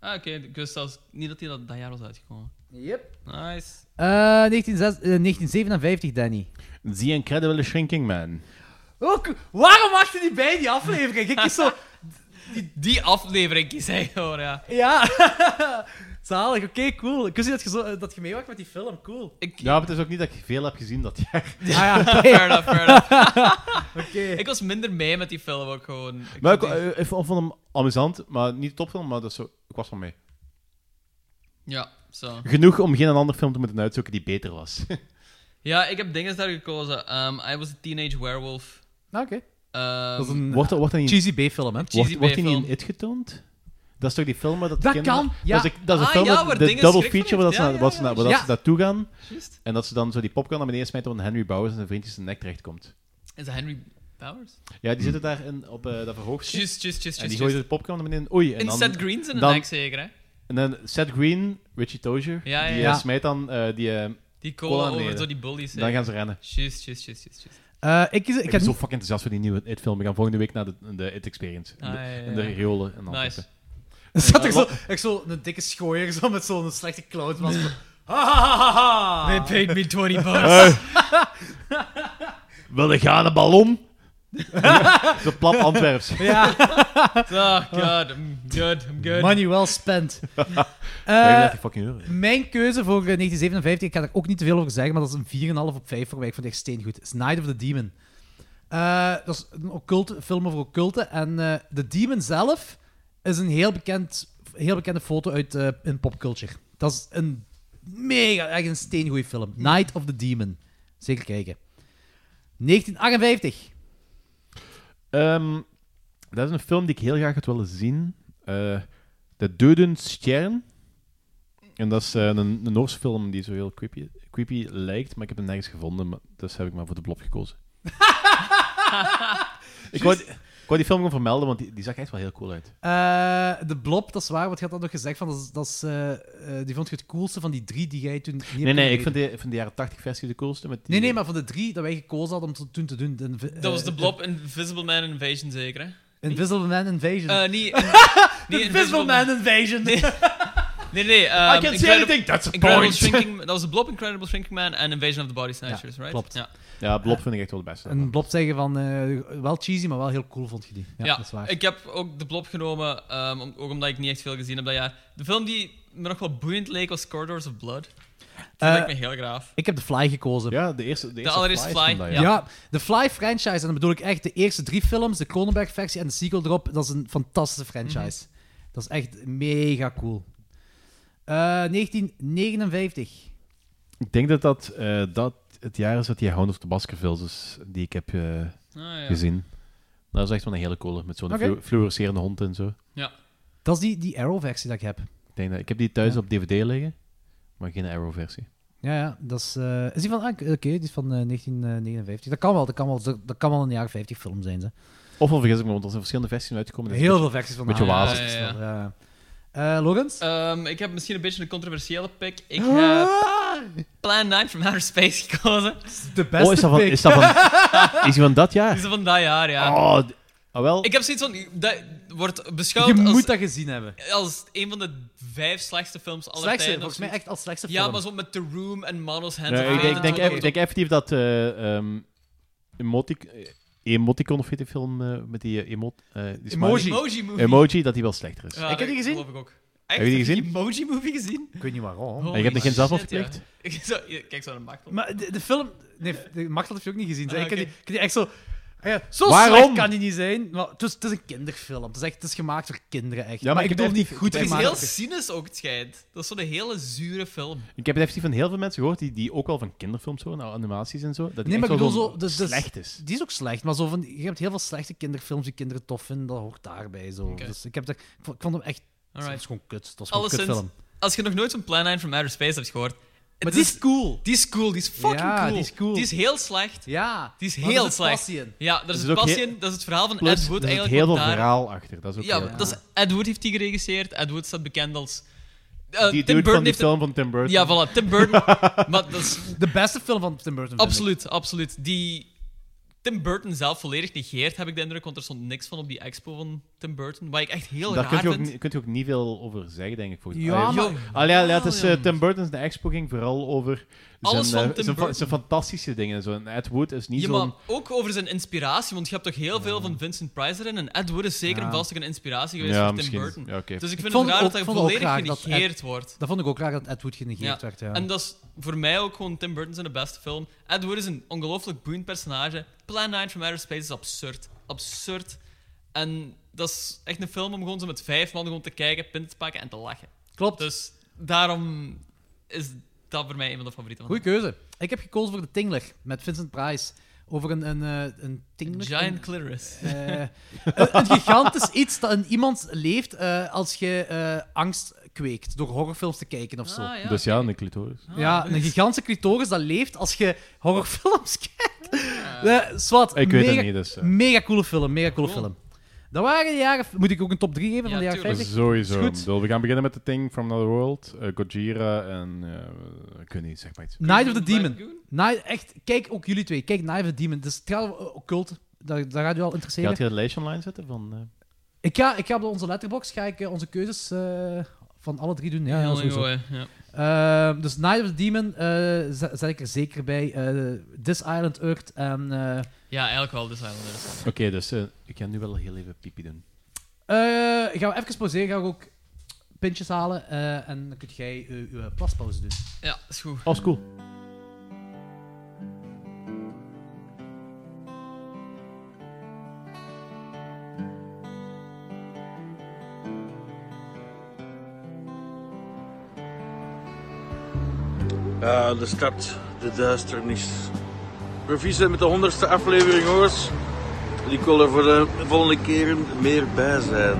Speaker 12: Ah, oké. Ik wist zelfs niet dat die dat, dat jaar was uitgekomen.
Speaker 4: Yep. Eh,
Speaker 12: Nice.
Speaker 4: 1957, Danny.
Speaker 5: The Incredible Shrinking Man.
Speaker 4: Ook, waarom wacht je niet bij die
Speaker 12: (laughs)
Speaker 4: aflevering? Ik kies zo...
Speaker 12: Die aflevering kies hij hoor, ja.
Speaker 4: Ja. (laughs) Zalig, oké, cool. Ik wist niet dat je, zo, eh, dat je meewacht met die film, cool. Ah,
Speaker 5: Ja, maar Nou, het is ook niet dat ik veel heb gezien dat jaar.
Speaker 4: ja,
Speaker 12: (laughs) fair enough, fair enough.
Speaker 4: (laughs) Oké.
Speaker 12: Ik was minder mee met die film ook gewoon. Ik
Speaker 5: Maar ik,
Speaker 12: vond die-
Speaker 5: eh, ik vond vond hem amusant, maar niet topfilm, maar dat is zo, ik was van mee.
Speaker 12: Ja, zo.
Speaker 5: Genoeg om geen andere film te moeten uitzoeken die beter was. (laughs)
Speaker 12: Ja, ik heb dingen daar gekozen. Um, I was a teenage werewolf. Ehm,
Speaker 4: Ah, oké. Dat is een-
Speaker 5: wordt, wordt dat niet...
Speaker 4: cheesy B-film, hè?
Speaker 5: Wordt,
Speaker 12: Cheesy
Speaker 5: wordt die niet
Speaker 12: B-film.
Speaker 5: in It getoond? Dat is toch die film waar dat
Speaker 4: Dat
Speaker 5: kinderen-
Speaker 4: kan, ja.
Speaker 5: Dat is, een- dat is een
Speaker 4: Ah,
Speaker 5: film,
Speaker 4: ja,
Speaker 5: met
Speaker 4: waar
Speaker 5: de
Speaker 4: dingen
Speaker 5: double
Speaker 4: schrik van
Speaker 5: feature, waar dat
Speaker 4: heeft.
Speaker 5: ze,
Speaker 4: Ja,
Speaker 5: na- waar ze, na- waar dat
Speaker 4: ja.
Speaker 5: ze naartoe gaan.
Speaker 12: Juist.
Speaker 5: En dat ze dan zo die popcorn naar beneden smijten, omdat Henry Bowers en zijn vriendjes zijn nek terechtkomt.
Speaker 12: Is dat Henry Powers?
Speaker 5: Ja, die zitten daar in, op eh dat verhoogstje.
Speaker 12: Juist, juist, juist,
Speaker 5: En die
Speaker 12: juist,
Speaker 5: gooien de
Speaker 12: juist.
Speaker 5: popcorn naar beneden. Oei. En
Speaker 12: In
Speaker 5: dan,
Speaker 12: Seth Green zijn
Speaker 5: dan-
Speaker 12: nek zeker, hè?
Speaker 5: En dan Seth Green, Richie Tozier,
Speaker 12: Ja, ja,
Speaker 5: die
Speaker 12: ja.
Speaker 5: eh, smijt dan eh, die, eh,
Speaker 12: Die
Speaker 5: cola
Speaker 12: cola
Speaker 5: naar
Speaker 12: over
Speaker 5: beneden.
Speaker 12: zo die bullies. hè.
Speaker 5: Dan gaan ze rennen.
Speaker 12: Juist, juist, juist, juist. juist.
Speaker 4: Eh, ik,
Speaker 5: Ik,
Speaker 4: ik,
Speaker 5: ben
Speaker 4: heb
Speaker 5: zo fucking enthousiast voor die nieuwe It-film. We gaan volgende week naar de, de It-experience. In,
Speaker 12: Ah,
Speaker 5: de-
Speaker 12: ja, ja, ja.
Speaker 5: in de riolen. En
Speaker 12: Nice.
Speaker 4: Er zat er
Speaker 5: Eh,
Speaker 4: zo,
Speaker 5: wat-
Speaker 4: echt zo een dikke schooier zo, met zo'n slechte clown. Was van, Ah.
Speaker 12: They paid me 20 bucks.
Speaker 5: Wil je gaan een
Speaker 12: (laughs)
Speaker 5: ballon? Zo plat Antwerps.
Speaker 4: (laughs) ja,
Speaker 12: oh god, I'm good, I'm good.
Speaker 4: money well
Speaker 5: (laughs)
Speaker 4: spent. Eh,
Speaker 5: 35 fucking euro.
Speaker 4: mijn keuze voor eh, 1957, ik ga daar ook niet te veel over zeggen, maar dat is een 4,5 op 5 voor mij. Ik vond het echt steengoed. Is Night of the Demon. Eh, dat is een occulte, film over occulte. En eh The Demon zelf is een heel, bekend, heel bekende foto uit eh, in popculture. Dat is een mega, echt een steengoede film. Night of the Demon. Zeker kijken. 1958.
Speaker 5: Ehm, dat is een film die ik heel graag had willen zien. Eh, de Döden Stern. En dat is eh, een, een Noorse film die zo heel creepy, creepy lijkt, maar ik heb hem nergens gevonden. Maar, dus heb ik maar voor de blob gekozen. ik, wou, ik wou die film gewoon vermelden, want die, die zag echt wel heel cool uit.
Speaker 4: Eh, de blob, dat is waar. Wat je had dat nog gezegd? Van, dat is, dat is, eh, eh, die vond je het coolste van die drie die jij toen... niet hebt
Speaker 5: Nee, nee,
Speaker 4: kunnen
Speaker 5: ik vind
Speaker 4: weten.
Speaker 5: de, ik vind de jaren 80 versie de coolste. Met die,
Speaker 4: Nee, nee, maar van de drie dat wij gekozen hadden om te- toen te doen. de inv- eh,
Speaker 12: Dat was de blob Invisible Man Invasion, zeker, hè?
Speaker 4: de Invisible Man Invasion. (laughs)
Speaker 12: Eh, niet... in- niet
Speaker 4: Invisible Man Invasion. (laughs)
Speaker 12: Nee, nee. nee ehm,
Speaker 5: I can see
Speaker 12: Incredible-
Speaker 5: anything, that's a
Speaker 12: Incredible
Speaker 5: point.
Speaker 12: Shrinking, dat was de Blob, Incredible Shrinking Man en Invasion of the Body Snatchers, right?
Speaker 4: klopt.
Speaker 12: Ja,
Speaker 5: Ja, Blob vind ik echt wel de beste.
Speaker 4: Een blob zeggen van... eh, wel cheesy, maar wel heel cool vond je die. Ja,
Speaker 12: Ja,
Speaker 4: dat is waar.
Speaker 12: ik heb ook de Blob genomen, ehm, om- ook omdat ik niet echt veel gezien heb dat jaar. De film die me nog wel boeiend leek was Corridors of Blood. Dat
Speaker 4: Eh,
Speaker 12: lijkt me heel graaf.
Speaker 4: Ik heb de Fly gekozen.
Speaker 5: Ja, de eerste. De, eerste
Speaker 12: allereerste
Speaker 5: Oh, is van
Speaker 12: Fly,
Speaker 5: dat
Speaker 12: ja.
Speaker 5: jaar.
Speaker 4: Ja. de Fly franchise, en dan bedoel ik echt de eerste drie films, de Cronenberg-versie en de sequel erop, dat is een fantastische franchise. Dat is echt mega cool. Eh, 1959.
Speaker 5: Ik denk dat dat, eh, dat het jaar is dat die Hound of the Baskervilles is die ik heb eh,
Speaker 12: Ah, ja.
Speaker 5: gezien. Dat is echt wel een hele coole, met zo'n
Speaker 4: Oké.
Speaker 5: flu- fluorescerende hond en zo.
Speaker 4: Dat is die, die Arrow-versie dat ik heb.
Speaker 5: Ik, denk dat, ik heb die thuis
Speaker 4: Ja.
Speaker 5: op DVD liggen, maar geen Arrow-versie.
Speaker 4: Ja, ja, dat is... eh, is die van... ah, Oké, die is van eh, 1959. Dat kan wel, dat kan wel, dat kan wel een jaar 50 film zijn, ze.
Speaker 5: Of al vergis ik me, want er zijn verschillende versies uitgekomen. dus
Speaker 4: Heel
Speaker 5: het
Speaker 4: veel versies van
Speaker 12: Ah,
Speaker 5: beetje
Speaker 4: de Arrow.
Speaker 12: wazig.
Speaker 4: Ja, ja, ja. Eh, Lorenz?
Speaker 12: Ehm, ik heb misschien een beetje een controversiële pick. Ik
Speaker 4: Ah!
Speaker 12: heb Plan 9 from Outer Space gekozen.
Speaker 4: De
Speaker 5: is-
Speaker 4: beste
Speaker 5: Oh, is dat van,
Speaker 4: pick.
Speaker 5: (laughs) is dat van, is die van dat
Speaker 12: Die
Speaker 5: jaar?
Speaker 12: is van dat jaar,
Speaker 5: (laughs)
Speaker 12: ja.
Speaker 5: Oh, d- ah, wel.
Speaker 12: Ik heb zoiets van... Dat wordt
Speaker 4: Je
Speaker 12: beschouwd
Speaker 4: moet
Speaker 12: als,
Speaker 4: dat gezien hebben.
Speaker 12: als een van de vijf slechtste films aller
Speaker 4: Slechtste,
Speaker 12: tijden. of
Speaker 4: volgens mij
Speaker 12: zoiets.
Speaker 4: echt als slechtste film.
Speaker 12: Ja, maar zo met The Room en Manos Hands.
Speaker 5: Ja,
Speaker 12: of
Speaker 5: ik
Speaker 12: Fate
Speaker 5: denk,
Speaker 12: en
Speaker 5: denk,
Speaker 12: zo.
Speaker 5: eff- ik denk effectief dat eh ehm emotic, eh, Emoticon of heet die film eh, met die eh, emot, eh, die smiley?
Speaker 4: Emoji.
Speaker 12: Emoji Movie.
Speaker 5: Emoji, dat die wel slechter is.
Speaker 12: Ja,
Speaker 4: Ik heb die
Speaker 12: dat
Speaker 4: gezien.
Speaker 12: geloof ik ook. Echt?
Speaker 5: je die
Speaker 12: Heb je
Speaker 5: gezien?
Speaker 12: Emoji Movie gezien?
Speaker 4: Ik weet niet waarom.
Speaker 5: En je hebt er geen zelf
Speaker 12: zelf
Speaker 5: op geprikt?
Speaker 12: Kijk zo naar Martel.
Speaker 4: Maar de, de film... Nee, de Machtel heeft je ook niet gezien. zeg.
Speaker 12: Ah,
Speaker 4: ik, heb
Speaker 12: oké.
Speaker 4: die, ik heb die echt zo... Ah, Ja, zo
Speaker 5: Waarom?
Speaker 4: slecht kan die niet zijn. Maar het, is, het is een kinderfilm. Het is, echt, het is gemaakt voor kinderen, echt.
Speaker 5: maar
Speaker 4: maar,
Speaker 5: ik
Speaker 4: ik
Speaker 5: heb
Speaker 4: bedoel niet goed
Speaker 12: Het is
Speaker 4: gemaakt.
Speaker 12: heel cynisch ook, het schijnt. Dat is zo'n hele zure film.
Speaker 5: Ik heb het effectief van heel veel mensen gehoord die, die ook al van kinderfilms horen, nou, animaties en zo. Dat die
Speaker 4: Nee,
Speaker 5: echt
Speaker 4: maar ik
Speaker 5: wel
Speaker 4: bedoel
Speaker 5: gewoon
Speaker 4: zo, dus- dus-
Speaker 5: slecht is.
Speaker 4: Die is ook slecht, maar zo van, je hebt heel veel slechte kinderfilms die kinderen tof vinden. Dat hoort daarbij. Zo.
Speaker 12: Oké.
Speaker 4: Dus ik, heb dat, ik vond- ik vond hem echt...
Speaker 12: Alright.
Speaker 4: Het is gewoon kut. Het was gewoon een
Speaker 12: Alleszins,
Speaker 4: kutfilm.
Speaker 12: Als je nog nooit van Plan 9 from Outer Space hebt gehoord...
Speaker 4: Maar
Speaker 12: het
Speaker 4: die is cool.
Speaker 12: Die is cool, die is fucking
Speaker 4: Ja,
Speaker 12: cool.
Speaker 4: die is cool.
Speaker 12: Die is heel slecht.
Speaker 4: Ja.
Speaker 12: Die is
Speaker 4: maar er
Speaker 12: heel
Speaker 4: zit
Speaker 12: slecht.
Speaker 4: passie in.
Speaker 12: Ja, daar
Speaker 5: Er
Speaker 12: is
Speaker 5: zit
Speaker 12: een
Speaker 5: ook
Speaker 12: passie
Speaker 5: heel-
Speaker 12: in. Dat is het verhaal van
Speaker 5: Plus,
Speaker 12: Ed Wood
Speaker 5: er zit
Speaker 12: eigenlijk.
Speaker 5: heel veel
Speaker 12: want daar-
Speaker 5: verhaal achter. Dat is ook
Speaker 12: Ja,
Speaker 5: heel-
Speaker 12: dat is, Ed Wood heeft die geregisseerd. Ed Wood staat bekend als...
Speaker 5: die
Speaker 12: Eh, Tim
Speaker 5: dude van
Speaker 12: Burton
Speaker 5: die
Speaker 12: heeft...
Speaker 5: film van Tim Burton.
Speaker 12: Ja,
Speaker 5: (laughs)
Speaker 12: voilà, Tim Burton. maar dat is
Speaker 4: De beste film van Tim Burton. vind ik.
Speaker 12: Absoluut, absoluut. Die Tim Burton zelf volledig negeert, heb ik de indruk, want er stond niks van op die expo van Tim Burton. Wat ik echt heel
Speaker 5: Daar
Speaker 12: raar
Speaker 5: kun je, ook,
Speaker 12: vind.
Speaker 5: ni- kunt je ook niet veel over zeggen, denk ik. Volgens
Speaker 12: Ja,
Speaker 5: Allee,
Speaker 12: maar-
Speaker 5: Allee, allee, het is, eh,
Speaker 12: Jawel,
Speaker 5: Tim Burton's de expo ging vooral over
Speaker 12: Alles
Speaker 5: zijn,
Speaker 12: van
Speaker 5: eh,
Speaker 12: Tim
Speaker 5: zijn, fa-
Speaker 12: Burton.
Speaker 5: zijn fantastische dingen. en Zo. En Ed Wood is niet
Speaker 12: Ja,
Speaker 5: zo'n...
Speaker 12: maar ook over zijn inspiratie, want je hebt toch heel veel van Vincent Price erin. En Ed Wood is zeker
Speaker 5: Ja.
Speaker 12: een vaste inspiratie geweest
Speaker 5: Ja,
Speaker 12: voor Tim
Speaker 5: misschien.
Speaker 12: Burton.
Speaker 5: Ja, oké.
Speaker 12: Dus ik
Speaker 5: Ik
Speaker 12: vind
Speaker 4: vond
Speaker 12: het raar
Speaker 4: ook-
Speaker 12: dat hij
Speaker 4: vond ook
Speaker 12: volledig
Speaker 4: raar dat Ed-
Speaker 12: genegeerd wordt.
Speaker 4: Dat vond ik ook raar dat Ed Wood genegeerd werd. Ja.
Speaker 12: En dat is voor mij ook gewoon Tim Burton zijn de beste film. Ed Wood is een ongelooflijk boeiend personage. Plan 9 from Outer Space is absurd. Absurd. En dat is echt een film om gewoon zo met vijf man gewoon te kijken, pinten te pakken en te lachen.
Speaker 4: Klopt.
Speaker 12: Dus daarom is dat voor mij een van de favorieten. van
Speaker 4: Goeie keuze. Ik heb gekozen voor de Tingler met Vincent Price. Over een, een, eh, een Tingler.
Speaker 12: Giant
Speaker 4: een-
Speaker 12: clitoris.
Speaker 4: eh, een, een gigantisch iets dat in iemand leeft eh, als je eh, angst kweekt door horrorfilms te kijken of zo.
Speaker 12: Ah,
Speaker 5: ja, Dus ja, een clitoris.
Speaker 4: ja,
Speaker 12: dus-
Speaker 4: een gigantische clitoris dat leeft als je horrorfilms (laughs) kijkt. Eh, zwart,
Speaker 5: Ik weet het
Speaker 4: mega-
Speaker 5: niet, dus, eh.
Speaker 4: Mega coole film, mega coole film. Dat waren de jaren... Moet ik ook een top 3 geven van de jaren 50?
Speaker 5: Sowieso.
Speaker 4: Is
Speaker 5: Ik
Speaker 4: goed.
Speaker 5: bedoel, we gaan beginnen met The Thing from Another World, eh, Gojira en... eh ik weet niet, zeg maar iets.
Speaker 4: Night of the Demon. Night, echt, kijk ook jullie twee. Kijk Night of the Demon. Dat is trouwens eh, occult. Daar, daar gaat u al interesseren.
Speaker 5: Gaat je het lijstje online zetten? Van, eh,
Speaker 4: Ik ga, ik ga op onze letterbox ga ik eh, onze keuzes eh, van alle drie doen. Ja, ja,
Speaker 12: Heel
Speaker 4: sowieso.
Speaker 12: mooi, ja.
Speaker 4: Eh, dus Night of the Demon eh, zet, zet ik er zeker bij. Eh, This Island Earth en... eh,
Speaker 12: Ja, eigenlijk wel The Islanders.
Speaker 5: Oké, dus eh, ik ga nu wel heel even pipi doen.
Speaker 4: eh, gaan we even pauzeren. Gaan we ook pintjes halen. eh, en dan kunt jij eh, uw plaspauze doen.
Speaker 12: Ja, is goed.
Speaker 5: Oh, is cool.
Speaker 13: Ja, de stad, de duisternis. We zijn met de honderdste aflevering, hoors. En Ik wil er voor de volgende keren meer bij zijn.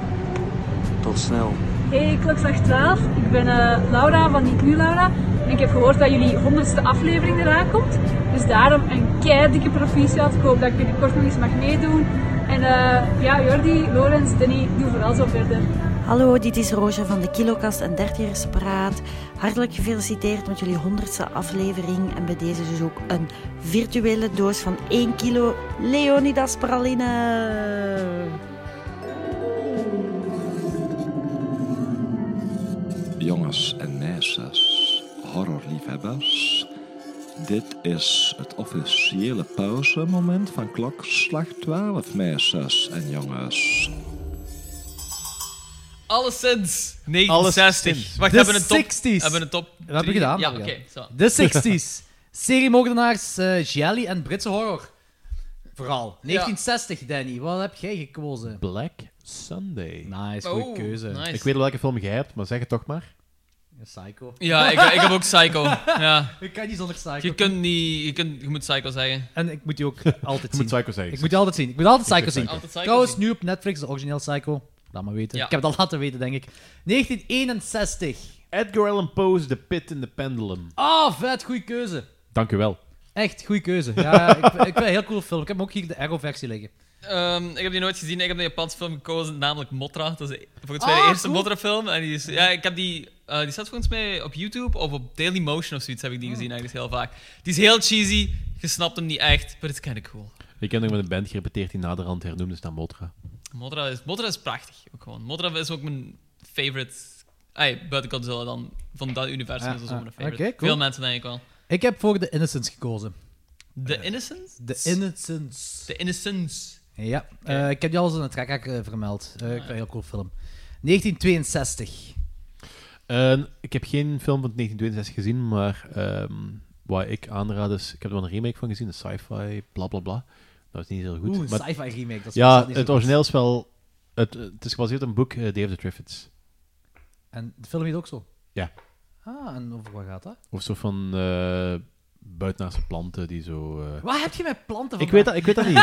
Speaker 13: Tot snel.
Speaker 14: Hey, klokslag 12. Ik ben eh, Laura van Niet Nu Laura. En ik heb gehoord dat jullie 100ste aflevering eraan komt. Dus daarom een kei dikke proficiat. Ik hoop dat ik binnenkort nog eens mag meedoen. En eh, ja, Jordi, Lorenz, Denny, doe vooral zo verder.
Speaker 15: Hallo, dit is Roosje van de Kilokast en Dertigerspraat. Hartelijk gefeliciteerd met jullie honderdste aflevering. En bij deze dus ook een virtuele doos van 1 kilo Leonidas Praline.
Speaker 16: Jongens en meisjes, horrorliefhebbers. Dit is het officiële pauzemoment van klokslag 12, meisjes en jongens.
Speaker 12: Alleszins 1960.
Speaker 4: Alleszins.
Speaker 12: Wacht,
Speaker 4: De
Speaker 12: hebben we een top?
Speaker 4: 60s.
Speaker 12: Hebben we een top?
Speaker 4: Dat hebben we
Speaker 12: drie?
Speaker 4: gedaan.
Speaker 12: Ja,
Speaker 4: dat
Speaker 12: oké.
Speaker 4: hebben we
Speaker 12: zo.
Speaker 4: gedaan.
Speaker 12: (laughs)
Speaker 4: De 60s. Seriemoordenaars, eh Jelly en Britse horror. Vooral. 1960, Danny. Wat heb jij gekozen?
Speaker 5: Black Sunday.
Speaker 4: Nice, goede Oh, keuze. nice.
Speaker 5: Ik weet welke film jij hebt, maar zeg het toch maar.
Speaker 4: Psycho.
Speaker 12: Ja, ik, ik heb ook
Speaker 4: (laughs)
Speaker 12: Psycho. Ja.
Speaker 4: Ik kan niet zonder Psycho.
Speaker 12: Je, kunt niet, je, kunt, je moet Psycho zeggen.
Speaker 4: En ik moet die ook (laughs) altijd
Speaker 5: Je
Speaker 4: zien.
Speaker 5: moet Psycho zeggen.
Speaker 4: Ik moet die altijd zien. Ik moet altijd
Speaker 5: Ik
Speaker 4: Psycho
Speaker 5: moet
Speaker 4: zien.
Speaker 5: Altijd
Speaker 12: Psycho
Speaker 4: Trouwens, nu op Netflix, de origineel Psycho. Laat maar weten.
Speaker 5: Ja.
Speaker 4: Ik heb dat laten weten, denk ik. 1961.
Speaker 5: Edgar Allan Poe's The Pit in the Pendulum.
Speaker 4: Ah, vet. Goede keuze.
Speaker 5: Dank u wel.
Speaker 4: Echt, goede keuze. Ja, ik, ik vind het een heel cool film. Ik heb hem ook hier de Arrow-versie liggen.
Speaker 12: Ehm, ik heb die nooit gezien. Ik heb een Japanse film gekozen, namelijk Motra. Dat is volgens mij
Speaker 4: Ah,
Speaker 12: de eerste
Speaker 4: cool.
Speaker 12: Motra-film. En die, is, ja, ik heb die, eh, die staat volgens mij op YouTube of op Dailymotion of zoiets heb
Speaker 4: Ah.
Speaker 12: ik die gezien eigenlijk heel vaak. Die is heel cheesy, je snapt hem niet echt, maar it's kind of cool.
Speaker 5: Ik heb nog met een band gerepeteerd die naderhand hernoemd is naar Motra.
Speaker 12: Motra is, Motra is prachtig, ook gewoon. Motra is ook mijn favorite... Ai, buiten Godzilla dan, van dat universum
Speaker 4: Ah,
Speaker 12: is dat
Speaker 4: ah,
Speaker 12: zo mijn favorite.
Speaker 4: oké, cool.
Speaker 12: Veel mensen denk ik wel.
Speaker 4: Ik heb voor The Innocents gekozen. Eh,
Speaker 12: The Innocents?
Speaker 4: The Innocents.
Speaker 12: The Innocents.
Speaker 4: Ja, eh, ik heb die al eens in de trekhaak eh, vermeld. Eh, ik vind het een heel cool film. 1962.
Speaker 5: En ik heb geen film van 1962 gezien, maar ehm wat ik aanraad is... Ik heb er wel een remake van gezien, een sci-fi, bla bla bla. Dat is niet heel goed.
Speaker 4: Oeh, een
Speaker 5: maar-
Speaker 4: sci-fi remake, dat is meestal
Speaker 5: ja,
Speaker 4: niet zo
Speaker 5: het
Speaker 4: goed.
Speaker 5: origineel is wel... Het, het is gebaseerd op een boek, eh, David Triffids.
Speaker 4: En de film heet ook zo.
Speaker 5: Ja.
Speaker 4: Ah, en over wat gaat dat?
Speaker 5: Of zo van eh buitenaardse planten die zo... eh,
Speaker 4: Wat heb je met planten
Speaker 5: Ik weet dat, ik weet dat niet.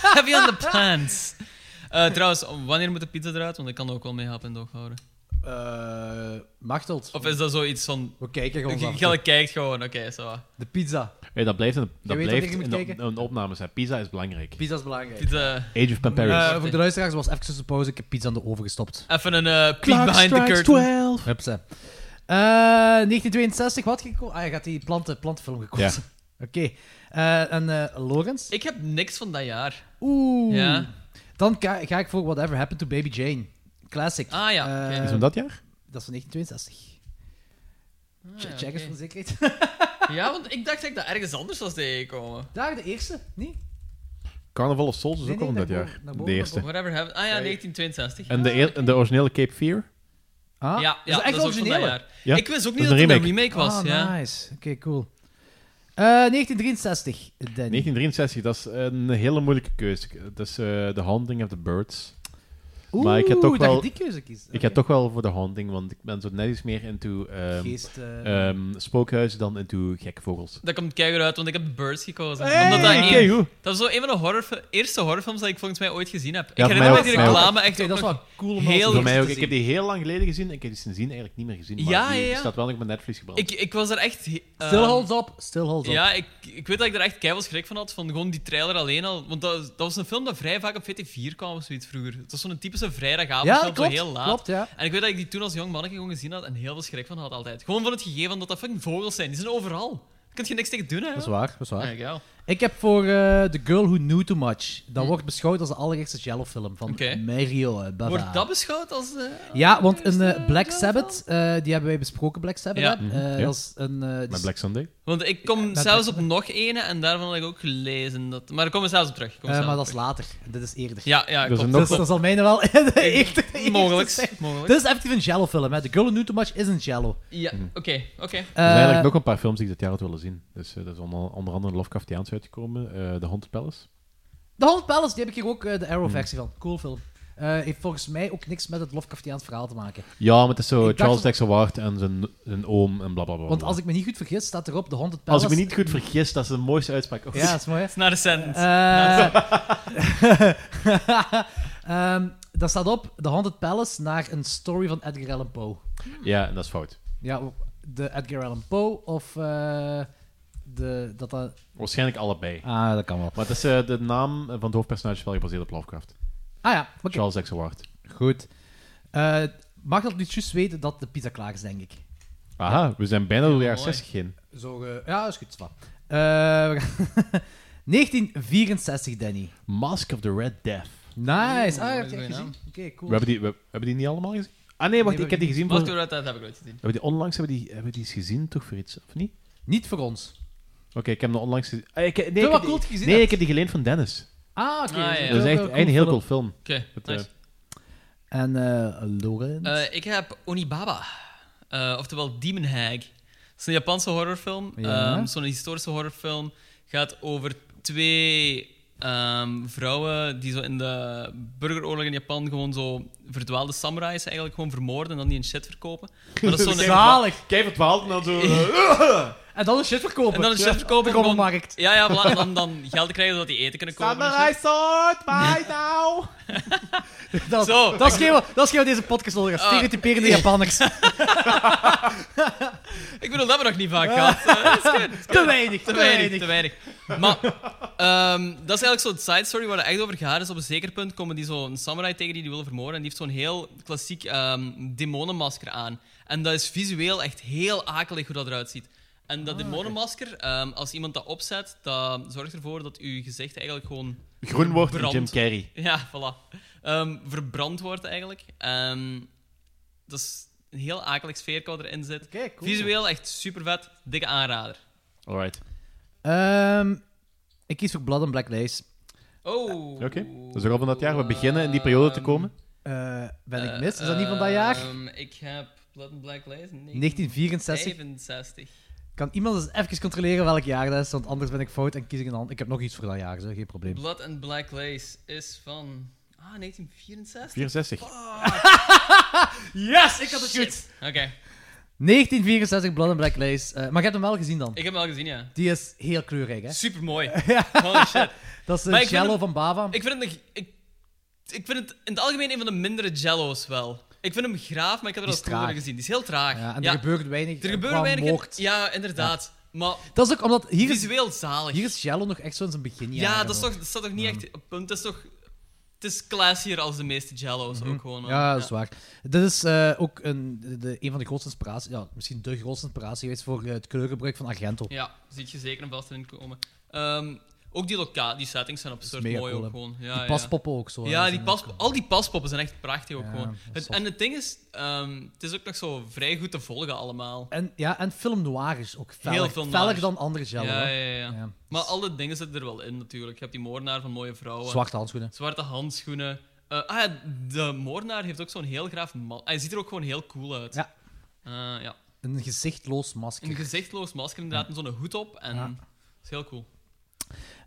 Speaker 12: Heavy on the plants. Eh, trouwens, wanneer moet de pizza eruit? Want ik kan er ook wel mee happen en doog houden.
Speaker 4: Eh, Machteld.
Speaker 12: Of is dat zoiets van...
Speaker 4: We kijken gewoon
Speaker 12: Je, (laughs)
Speaker 4: af.
Speaker 12: je kijkt gewoon, oké, zo.
Speaker 4: De pizza.
Speaker 5: Hey, dat blijft een,
Speaker 4: Jij
Speaker 5: dat
Speaker 4: weet
Speaker 5: blijft
Speaker 4: wat ik
Speaker 5: een,
Speaker 4: moet kijken?
Speaker 5: een opname zijn. Pizza is belangrijk.
Speaker 4: Pizza is belangrijk.
Speaker 12: Pizza.
Speaker 5: Age of Pampers.
Speaker 4: Eh, voor de luisteraars was even tussen pauze. Ik heb pizza aan de oven gestopt.
Speaker 12: Even een eh peek behind the curtain.
Speaker 4: Hupsa. Eh, 1962, wat had je geko- Ah, je gaat die planten, plantenfilm gekozen. (laughs) Oké. Eh, en eh Lorenz?
Speaker 12: Ik heb niks van dat jaar.
Speaker 4: Oeh.
Speaker 12: Ja.
Speaker 4: Dan ga, ga ik voor Whatever Happened to Baby Jane. Classic.
Speaker 12: Ah ja. oké.
Speaker 4: Eh,
Speaker 5: Is van dat jaar?
Speaker 4: Dat is van 1962.
Speaker 12: Ah,
Speaker 4: Check
Speaker 12: ja,
Speaker 4: eens Checkers
Speaker 12: oké.
Speaker 4: van zekerheid.
Speaker 12: Ja, want ik dacht dat ik dat ergens anders was tegengekomen.
Speaker 4: Daar, de eerste? Nee?
Speaker 5: Carnival of Souls is
Speaker 12: Nee,
Speaker 5: ook
Speaker 12: nee,
Speaker 5: al van dat
Speaker 12: naar
Speaker 5: jaar.
Speaker 12: boven, naar boven,
Speaker 5: de
Speaker 12: naar
Speaker 5: eerste.
Speaker 12: boven. Whatever happened- ah ja, 1962.
Speaker 5: En de, eer- en de originele Cape Fear?
Speaker 4: Ah,
Speaker 12: Ja, ja, dat is ook van dat jaar.
Speaker 5: Ja.
Speaker 12: Ik wist ook
Speaker 5: Dat
Speaker 12: niet
Speaker 5: is
Speaker 12: dat
Speaker 5: een
Speaker 12: het een
Speaker 5: remake.
Speaker 12: remake was.
Speaker 4: Ah,
Speaker 12: ja.
Speaker 4: nice. Oké, cool. Eh, 1963, Danny.
Speaker 5: 1963, dat is een hele moeilijke keuze. Dat is eh The Haunting of the Birds. maar ik ga
Speaker 4: Oeh,
Speaker 5: toch
Speaker 4: dat je
Speaker 5: wel,
Speaker 4: die keuze kiest.
Speaker 5: Ik ga toch wel voor The Haunting, want ik ben zo net iets meer into ehm,
Speaker 4: Geest, eh. Oh,
Speaker 5: ehm, spookhuizen dan into gekke vogels.
Speaker 12: Dat komt keihard uit, want ik heb Birds gekozen.
Speaker 5: Hey,
Speaker 12: Omdat dat, een-
Speaker 5: keigoed.
Speaker 12: dat was zo een van de horrorfil- eerste horrorfilms dat ik volgens mij ooit gezien heb.
Speaker 5: Ja,
Speaker 12: ik
Speaker 5: voor
Speaker 12: herinner
Speaker 5: mij
Speaker 12: me
Speaker 5: ook,
Speaker 12: die
Speaker 5: voor mij ook.
Speaker 12: reclame echt
Speaker 5: Oké,
Speaker 12: ook
Speaker 5: dat is
Speaker 12: nog
Speaker 5: wel cool om
Speaker 12: heel
Speaker 5: Voor mij
Speaker 12: goed
Speaker 5: ook.
Speaker 12: te
Speaker 5: Ik heb die heel lang geleden gezien en ik heb die sindsdien eigenlijk niet meer gezien. Maar
Speaker 12: Ja,
Speaker 5: die
Speaker 12: ja, ja.
Speaker 5: staat wel nog op mijn Netflix gebrand.
Speaker 12: Ik, ik was er echt... eh,
Speaker 4: Still holds up, still holds up.
Speaker 12: Ja, ik, ik weet dat ik er echt keihard schrik van had, van gewoon die trailer alleen al. Want dat, dat was een film dat vrij vaak op VT4 kwam of zoiets vroeger. Het was zo'n typische
Speaker 4: Ja,
Speaker 12: vrijdagavondfilm,
Speaker 4: klopt,
Speaker 12: zo heel laat.
Speaker 4: klopt, ja.
Speaker 12: En ik weet dat ik die toen als jong mannetje gewoon gezien had en heel veel schrik van had altijd. Gewoon van het gegeven dat dat fucking vogels zijn. Die zijn overal. Daar kun je niks tegen doen, hè.
Speaker 4: Dat is waar, dat is waar.
Speaker 12: Ja, ja.
Speaker 4: Ik heb voor eh, The Girl Who Knew Too Much. Dat wordt beschouwd als de allereerste Jello-film van
Speaker 12: Hm. Oké.
Speaker 4: Mario eh, Bava.
Speaker 12: Wordt dat beschouwd als... eh,
Speaker 4: Ja, want een eh, Black Sabbath, eh, die hebben wij besproken, Black Sabbath.
Speaker 12: Ja.
Speaker 4: hè?
Speaker 12: Mhm,
Speaker 4: Eh,
Speaker 5: ja.
Speaker 4: Dat is een... eh, die
Speaker 5: Met
Speaker 4: is-
Speaker 5: Black Sunday.
Speaker 12: Want ik kom
Speaker 4: dat-
Speaker 12: zelfs op nog ene en daarvan had ik ook gelezen dat... Maar daar komen we zelfs op terug. daar
Speaker 4: eh,
Speaker 12: komen we
Speaker 4: maar dat
Speaker 12: zelfs
Speaker 4: is
Speaker 12: op
Speaker 4: later. Dit is eerder.
Speaker 12: Ja, ja,
Speaker 4: dus, dat
Speaker 12: klopt. klopt.
Speaker 4: is- dat zal mijne wel (laughs) de eerste,
Speaker 12: (laughs)
Speaker 4: de eerste
Speaker 12: Mogelijks,
Speaker 4: zijn.
Speaker 12: mogelijks.
Speaker 4: Dit is effectief een Jello-film. hè. The Girl Who Knew Too Much is een Jello.
Speaker 12: terug. Ja, oké, oké.
Speaker 5: Er zijn eigenlijk nog een paar films die ik dit jaar had willen zien. Dus eh, dat is onder, onder andere Lovecraftiaans uitgekomen, eh The Haunted Palace.
Speaker 4: The Haunted Palace, die heb ik hier ook eh, de
Speaker 5: Hmm.
Speaker 4: Arrow-versie van. Cool film. Eh, heeft volgens mij ook niks met het Lovecraftiaans verhaal te maken.
Speaker 5: Ja, maar het is zo
Speaker 4: Ik dacht
Speaker 5: Charles
Speaker 4: dat-
Speaker 5: Dexter Ward en zijn, zijn oom en blablabla.
Speaker 4: Want als ik me niet goed vergis, staat erop The Haunted
Speaker 5: Als
Speaker 4: Palace.
Speaker 5: ik me niet goed vergis, dat is de mooiste uitspraak. ooit.
Speaker 4: Dus- Ja, dat is mooi. hè?
Speaker 12: It's not a sentence.
Speaker 4: Eh,
Speaker 12: Not
Speaker 4: (laughs) Ehm, daar staat op The Haunted Palace naar een story van Edgar Allan Poe.
Speaker 5: Ja, en dat is fout.
Speaker 4: Ja, de Edgar Allan Poe of eh, de, dat dat...
Speaker 5: Waarschijnlijk allebei.
Speaker 4: Ah, dat kan wel.
Speaker 5: Maar het is eh, de naam van het hoofdpersonage is wel gebaseerd op Lovecraft.
Speaker 4: Ah ja, oké.
Speaker 5: Charles Dexter Ward.
Speaker 4: Goed. Eh, mag dat niet juist weten dat de pizza klaar is, denk ik.
Speaker 5: Aha, we zijn bijna door de jaren
Speaker 4: mooi.
Speaker 5: 60 heen.
Speaker 4: Zo, ge- ja, is goed. zwaar. Eh, we gaan- (laughs) 1964, Danny.
Speaker 5: Mask of the Red Death.
Speaker 4: Nice.
Speaker 12: Oeh,
Speaker 4: Ah,
Speaker 12: dat
Speaker 4: heb
Speaker 12: is
Speaker 4: je
Speaker 12: een
Speaker 4: echt
Speaker 12: goeie
Speaker 4: gezien?
Speaker 12: naam.
Speaker 4: Oké, cool.
Speaker 5: We hebben, die, we, hebben die niet allemaal gezien? Ah nee, wacht,
Speaker 4: Nee,
Speaker 5: ik heb die gezien
Speaker 12: Mask
Speaker 5: voor...
Speaker 12: of the Red Death heb ik nooit gezien.
Speaker 5: Hebben we die onlangs hebben we die, hebben we die eens gezien, toch, voor iets, of niet?
Speaker 4: Niet voor ons.
Speaker 5: Oké, ik heb hem onlangs gezien. Ah, ik, nee,
Speaker 4: Zo
Speaker 5: ik
Speaker 4: wat
Speaker 5: heb die-
Speaker 4: cool dat je gezien
Speaker 5: Nee,
Speaker 4: hebt.
Speaker 5: ik heb die geleend van Dennis.
Speaker 4: Ah, oké.
Speaker 12: Ah, ja, ja.
Speaker 5: Dat is echt,
Speaker 4: Cool
Speaker 5: echt een heel
Speaker 4: film.
Speaker 5: cool film.
Speaker 12: Oké,
Speaker 5: Het,
Speaker 12: nice.
Speaker 5: eh,
Speaker 4: En eh Loren?
Speaker 12: Eh, ik heb Onibaba, Eh, oftewel Demon Hag. Het is een Japanse horrorfilm,
Speaker 4: Ja.
Speaker 12: ehm, zo'n historische horrorfilm. Gaat over twee ehm, vrouwen die zo in de burgeroorlog in Japan gewoon zo verdwaalde samurais eigenlijk gewoon vermoorden en dan die in shit verkopen. Maar dat is zo'n
Speaker 5: Kijk verdwaald en dan
Speaker 12: (laughs)
Speaker 5: zo... eh,
Speaker 4: en dan een shit verkopen.
Speaker 12: En dan een shit verkopen.
Speaker 4: Op de
Speaker 12: gewoon-
Speaker 4: markt.
Speaker 12: Ja, ja, voilà, en dan, dan geld krijgen zodat die eten kunnen kopen. en shit.
Speaker 4: sword, bye now. dat,
Speaker 12: Zo.
Speaker 4: dat is geen wat- dat is geen wat deze podcast nodig heeft.
Speaker 12: Ah.
Speaker 4: Stereotyperende Japanners.
Speaker 12: (laughs) Ik bedoel, dat hebben we nog niet vaak gehad. Eh, dat is goed, dat is
Speaker 4: Te
Speaker 12: goed.
Speaker 4: weinig, te
Speaker 12: te
Speaker 4: weinig.
Speaker 12: weinig. Te weinig. Maar ehm, dat is eigenlijk zo'n side story waar het echt over gaat. Is op een zeker punt komen die zo'n samurai tegen die die willen vermoorden. En die heeft zo'n heel klassiek ehm, demonenmasker aan. En dat is visueel echt heel akelig hoe dat eruit ziet. En
Speaker 4: Ah,
Speaker 12: dat demonenmasker, ehm, als iemand dat opzet, dat zorgt ervoor dat uw gezicht eigenlijk gewoon...
Speaker 5: Groen wordt en
Speaker 12: verbrandt.
Speaker 5: Jim Carrey.
Speaker 12: Ja, voilà. Ehm, verbrand wordt eigenlijk. Ehm, dat is een heel akelig sfeerkoud erin zit.
Speaker 4: cool.
Speaker 12: Visueel echt super vet. Dikke aanrader.
Speaker 5: Alright.
Speaker 4: Ehm, ik kies voor Blood and Black Lace.
Speaker 12: Oh.
Speaker 5: Oké, dat is ook al van dat jaar. We beginnen in die periode
Speaker 4: Ehm,
Speaker 5: te komen.
Speaker 4: Eh, ben ik mis? Is dat niet van dat jaar?
Speaker 12: Ehm, ik heb Blood and Black lezen.
Speaker 4: 1964.
Speaker 12: 1965.
Speaker 4: Kan iemand eens even controleren welk jaar dat is? Want anders ben ik fout en kies ik een ander. Ik heb nog iets voor dat jaar, zo. geen probleem.
Speaker 12: Blood and Black Lace is van. Ah, 1964? (laughs)
Speaker 5: 64.
Speaker 4: Yes, ik had het goed.
Speaker 12: Oké,
Speaker 4: 1964, Blood and Black Lace. Eh, maar je hebt hem wel gezien dan?
Speaker 12: ik heb hem al gezien, ja.
Speaker 4: Die is heel kleurrijk, hè?
Speaker 12: Super
Speaker 4: (laughs)
Speaker 12: mooi. Holy shit.
Speaker 4: Dat is
Speaker 12: Maar
Speaker 4: een
Speaker 12: ik vind
Speaker 4: Jello
Speaker 12: hem-
Speaker 4: van Bava.
Speaker 12: Ik vind, het, een- ik, ik vind het in het algemeen een van de mindere jello's wel. Ik vind hem graaf, maar ik heb
Speaker 4: Die
Speaker 12: er al
Speaker 4: is traag.
Speaker 12: cooler gezien. Die is heel traag.
Speaker 4: Ja, en er gebeurt weinig. eh,
Speaker 12: Er gebeuren
Speaker 4: qua
Speaker 12: weinig. in-
Speaker 4: moord.
Speaker 12: Ja, inderdaad. Maar
Speaker 4: Dat is ook omdat hier is,
Speaker 12: visueel zalig.
Speaker 4: hier is Jello nog echt zo in zijn
Speaker 12: ja,
Speaker 4: beginjaren.
Speaker 12: dat, is
Speaker 4: nog.
Speaker 12: toch, dat staat toch niet echt op punt. Dat is toch Het is classier als de meeste jello's ook gewoon. hoor.
Speaker 4: Mhm. Ja, dat is waar. Dit is eh, ook een, de, een van de grootste inspiraties, ja, misschien de grootste inspiratie geweest voor eh, het kleurgebruik van Argento.
Speaker 12: Ja, ziet je zeker een vast in komen. Ehm, ook die, loca- die settings zijn absurd
Speaker 4: mega
Speaker 12: mooi
Speaker 4: cool,
Speaker 12: ook
Speaker 4: hè.
Speaker 12: gewoon.
Speaker 4: Die
Speaker 12: Ja, ja.
Speaker 4: paspoppen ook zo, hè,
Speaker 12: Ja,
Speaker 4: dat
Speaker 12: die
Speaker 4: zijn
Speaker 12: pas, al die paspoppen zijn echt prachtig ook
Speaker 4: Ja,
Speaker 12: gewoon.
Speaker 4: dat
Speaker 12: Het- en het ding is, ehm, het is ook nog zo vrij goed te volgen allemaal.
Speaker 4: En, ja, en film noir is ook fel.
Speaker 12: Heel veel
Speaker 4: Feller
Speaker 12: noir.
Speaker 4: dan andere genre.
Speaker 12: Ja,
Speaker 4: hè.
Speaker 12: ja, ja. Maar alle dingen zitten er wel in natuurlijk. Je hebt die moordenaar van mooie vrouwen.
Speaker 4: Zwarte handschoenen.
Speaker 12: Zwarte handschoenen. Eh, ah ja, de moordenaar heeft ook zo'n heel graaf man. Hij ziet er ook gewoon heel cool uit.
Speaker 4: Ja.
Speaker 12: Eh, ja.
Speaker 4: Een gezichtloos masker.
Speaker 12: Een gezichtloos masker inderdaad, met zo'n hoed op. En
Speaker 4: Ja.
Speaker 12: dat is heel cool.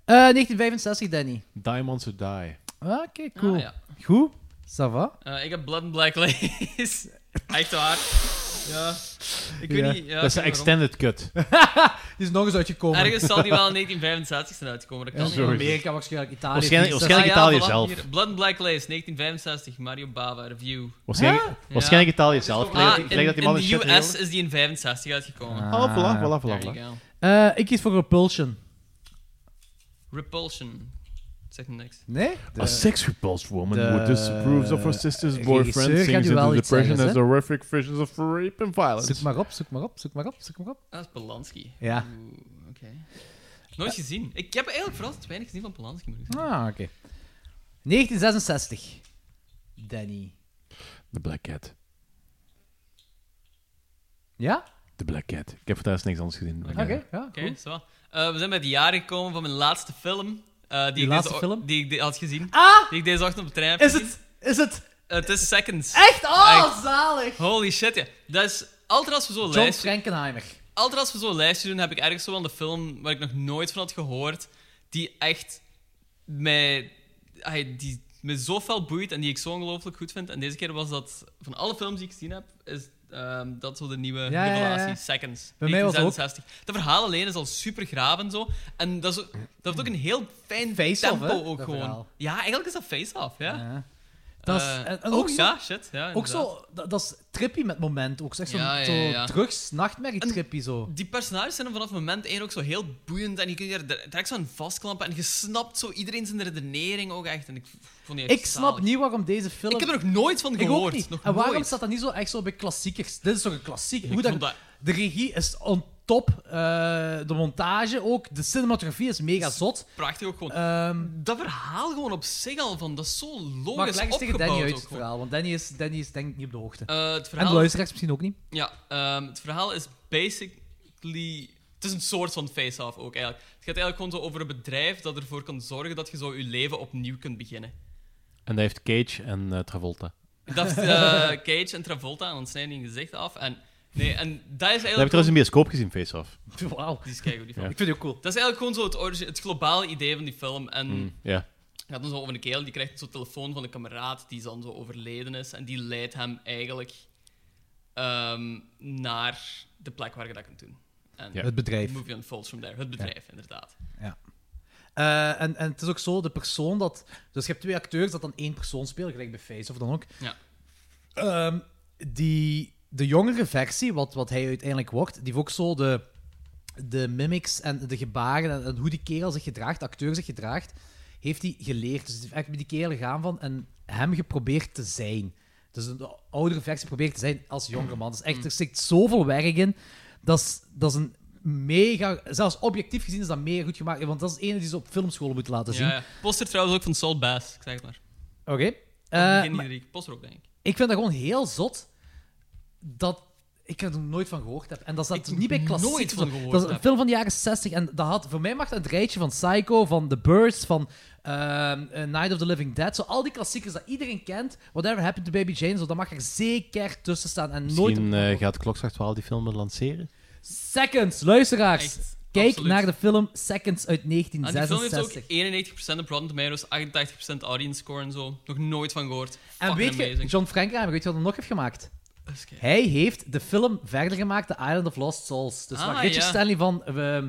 Speaker 4: Eh, 1965, Danny.
Speaker 5: Diamonds to Die.
Speaker 4: Ah, Oké, cool.
Speaker 12: Ah, ja.
Speaker 4: Goed. Ça va?
Speaker 12: Eh, ik heb Blood and Black Lace. Echt waar. Ja. Ik weet
Speaker 5: Ja. Dat
Speaker 12: niet. Ja,
Speaker 5: is de
Speaker 12: ik weet niet waarom.
Speaker 5: extended cut.
Speaker 4: Die is nog eens uitgekomen.
Speaker 12: Ergens zal die wel in 1965 zijn uitgekomen. Dat
Speaker 4: Ja,
Speaker 12: kan niet.
Speaker 4: zo is het. Amerika, waarschijnlijk Italië,
Speaker 5: Waarschijnlijk- waarschijnlijk Italië
Speaker 12: voilà,
Speaker 5: zelf.
Speaker 12: hier. Blood and Black Lace, 1965, Mario Bava, review.
Speaker 4: Oh,
Speaker 5: Waarschijnlijk- waarschijnlijk Italië zelf. Ik
Speaker 12: Ah,
Speaker 5: leg dat- ik
Speaker 12: in-
Speaker 5: leg dat die man
Speaker 12: in
Speaker 5: een
Speaker 12: de
Speaker 5: shit
Speaker 12: US
Speaker 5: heeft.
Speaker 12: is die in 65 uitgekomen.
Speaker 5: Ah, voilà, voilà, voilà,
Speaker 12: There
Speaker 5: voilà.
Speaker 12: you go.
Speaker 4: Eh, ik kies voor Repulsion.
Speaker 12: Repulsion. Zegt niks.
Speaker 4: Nee?
Speaker 1: Ah,
Speaker 5: A sex-repulsed woman who
Speaker 4: de-
Speaker 5: disapproves of her sister's
Speaker 4: regisseur
Speaker 5: boyfriend
Speaker 4: gaat
Speaker 5: sings
Speaker 4: u wel
Speaker 5: into
Speaker 4: iets
Speaker 5: depression
Speaker 4: zeggen, hè?
Speaker 5: as horrific visions of rape and violence.
Speaker 4: Zoek maar op, zoek maar op, zoek maar op, zoek maar op.
Speaker 12: Dat is Polanski.
Speaker 4: Ja.
Speaker 12: Oeh, Oké. Nooit gezien. Ik heb eh, eigenlijk verrast weinig gezien van Polanski. moet ik zeggen.
Speaker 4: Ah, oké. 1966. Danny.
Speaker 5: The Black Cat.
Speaker 4: Ja?
Speaker 5: The Black Cat. Ik heb voor thuis niks anders gezien.
Speaker 12: Oké.
Speaker 4: Oké, ja,
Speaker 12: Oké, zo. Eh, we zijn bij het jaar gekomen van mijn laatste film. eh, die ik
Speaker 4: laatste
Speaker 12: deze,
Speaker 4: film?
Speaker 12: Die ik de- had gezien.
Speaker 4: Ah!
Speaker 12: Die ik deze ochtend op de trein heb
Speaker 4: Is
Speaker 12: gezien.
Speaker 4: het... Is het...
Speaker 12: Eh, Het is Seconds.
Speaker 4: Echt? Oh,
Speaker 12: Echt.
Speaker 4: zalig!
Speaker 12: Holy shit, ja. Dat is... Altijd als we zo'n
Speaker 4: John
Speaker 12: lijstje...
Speaker 4: Frankenheimer.
Speaker 12: Altijd als we zo'n lijstje doen, heb ik ergens zo aan de film waar ik nog nooit van had gehoord, die echt mij... ai, die me zo fel boeit en die ik zo ongelooflijk goed vind. En deze keer was dat... Van alle films die ik gezien heb, is ehm, dat zo de nieuwe
Speaker 4: ja, ja.
Speaker 12: revelatie. Seconds.
Speaker 4: Bij mij was het ook.
Speaker 12: 1966. Dat verhaal alleen is al super graaf en zo. En dat, is, ook- dat heeft ook een heel fijn
Speaker 4: Face-off,
Speaker 12: tempo
Speaker 4: hè,
Speaker 12: ook
Speaker 4: dat
Speaker 12: gewoon.
Speaker 4: verhaal.
Speaker 12: Ja, eigenlijk is dat face-off, ja.
Speaker 4: Dat is-
Speaker 12: Eh,
Speaker 4: en- en
Speaker 12: ook,
Speaker 4: ook zo-
Speaker 12: ja, shit. Ja,
Speaker 4: ook
Speaker 12: inderdaad.
Speaker 4: zo... Dat, dat is trippy met moment ook. Zeg zo'n
Speaker 12: Ja, ja,
Speaker 4: zo
Speaker 12: ja.
Speaker 4: drugs, nachtmerrie trippy zo.
Speaker 12: Die personages zijn vanaf moment één ook zo heel boeiend en je kunt je er direct zo aan vastklampen en je snapt zo iedereen zijn redenering ook echt. En ik vond die echt
Speaker 4: Ik snap
Speaker 12: zalig.
Speaker 4: niet waarom deze film...
Speaker 12: Ik heb er nog nooit van
Speaker 4: Ik ook
Speaker 12: gehoord.
Speaker 4: niet.
Speaker 12: Nog
Speaker 4: en waarom
Speaker 12: nooit.
Speaker 4: staat dat niet zo echt zo bij klassiekers? Dit is toch een klassieker?
Speaker 12: Ik
Speaker 4: Hoe
Speaker 12: vond
Speaker 4: dat,
Speaker 12: dat-
Speaker 4: de regie is on top. eh, de montage ook. De cinematografie is mega zot.
Speaker 12: Prachtig ook gewoon.
Speaker 4: Ehm,
Speaker 12: dat verhaal gewoon op zich al van, dat is zo logisch
Speaker 4: maar ik leg eens tegen
Speaker 12: opgebouwd
Speaker 4: Danny uit
Speaker 12: ook
Speaker 4: het
Speaker 12: gewoon.
Speaker 4: verhaal, want Danny is, Danny is denk ik niet op de hoogte.
Speaker 12: Eh, het
Speaker 4: En
Speaker 12: verhaal-
Speaker 4: de luisteraars misschien ook niet.
Speaker 12: Ja, ehm, het verhaal is basically. Het is een soort van face-off ook eigenlijk. Het gaat eigenlijk gewoon zo over een bedrijf dat ervoor kan zorgen dat je zo je leven opnieuw kunt beginnen.
Speaker 5: En dat heeft Cage en eh, Travolta.
Speaker 12: Dat
Speaker 4: (laughs)
Speaker 12: is eh, Cage en Travolta en dan snijden die hun gezicht af. En, nee, en dat is eigenlijk.
Speaker 5: Dat heb ik trouwens in de bioscoop gezien, Face Off.
Speaker 4: Wauw.
Speaker 12: Die is keigoed, die film.
Speaker 5: Ja.
Speaker 4: Ik vind die ook cool.
Speaker 12: Dat is eigenlijk gewoon zo het, origi- het globale idee van die film. En
Speaker 5: Mm, ja.
Speaker 12: het gaat dan zo over een kerel die krijgt zo'n telefoon van een kameraad die dan zo overleden is. En die leidt hem eigenlijk ehm, naar de plek waar je dat kunt doen. En
Speaker 4: Ja. Het bedrijf.
Speaker 12: the Movie unfolds from there. Het bedrijf, inderdaad.
Speaker 4: Ja. Eh, en, en het is ook zo, de persoon dat... Dus je hebt twee acteurs dat dan één persoon spelen, gelijk bij Face of dan ook.
Speaker 12: Ja.
Speaker 4: Ehm, die, de jongere versie, wat, wat hij uiteindelijk wordt, die heeft ook zo de, de mimics en de gebaren en, en hoe die kerel zich gedraagt, de acteur zich gedraagt, heeft hij geleerd. Dus hij heeft echt met die kerel gaan van en hem geprobeerd te zijn. Dus een oudere versie probeert te zijn als jongere man. Dus echt, er zit zoveel werk in. Dat is, dat is een mega... Zelfs objectief gezien is dat mega goed gemaakt. Want dat is de ene die ze op filmscholen moeten laten zien.
Speaker 12: Ja, ja. Poster trouwens ook van Saul Bass, ik zeg het maar.
Speaker 4: Oké.
Speaker 12: Uh,
Speaker 4: Eh,
Speaker 12: begin
Speaker 4: maar-
Speaker 12: iedere week. Poster ook, denk ik.
Speaker 4: ik vind dat gewoon heel zot dat ik er nog nooit van gehoord heb. En dat zat
Speaker 12: Ik
Speaker 4: niet bij klassiek.
Speaker 12: nooit van gehoord
Speaker 4: Dat is een
Speaker 12: heb.
Speaker 4: film van de jaren 60 en dat had, voor mij mag dat het rijtje van Psycho, van The Birds, van ehm, eh, Night of the Living Dead, zo al die klassiekers dat iedereen kent, Whatever Happened to Baby Jane, zo, dat mag er zeker tussen staan en nooit...
Speaker 5: Misschien eh, gaat Klokslag 12 die film lanceren.
Speaker 4: Seconds, luisteraars!
Speaker 12: Echt,
Speaker 4: Kijk
Speaker 12: absoluut.
Speaker 4: naar de film Seconds uit
Speaker 12: En die film heeft ook
Speaker 4: 1966.
Speaker 12: 91% op Rotten Tomatoes, 88% audience score en zo. Nog nooit van gehoord.
Speaker 4: En
Speaker 12: Fucking
Speaker 4: weet je,
Speaker 12: amazing.
Speaker 4: John Frankenheimer, weet je wat hij nog heeft gemaakt?
Speaker 12: Eens kijken.
Speaker 4: Hij heeft de film verder gemaakt, The Island of Lost Souls. Dus waar
Speaker 12: Ah,
Speaker 4: Richard
Speaker 12: ja.
Speaker 4: Stanley van, eh,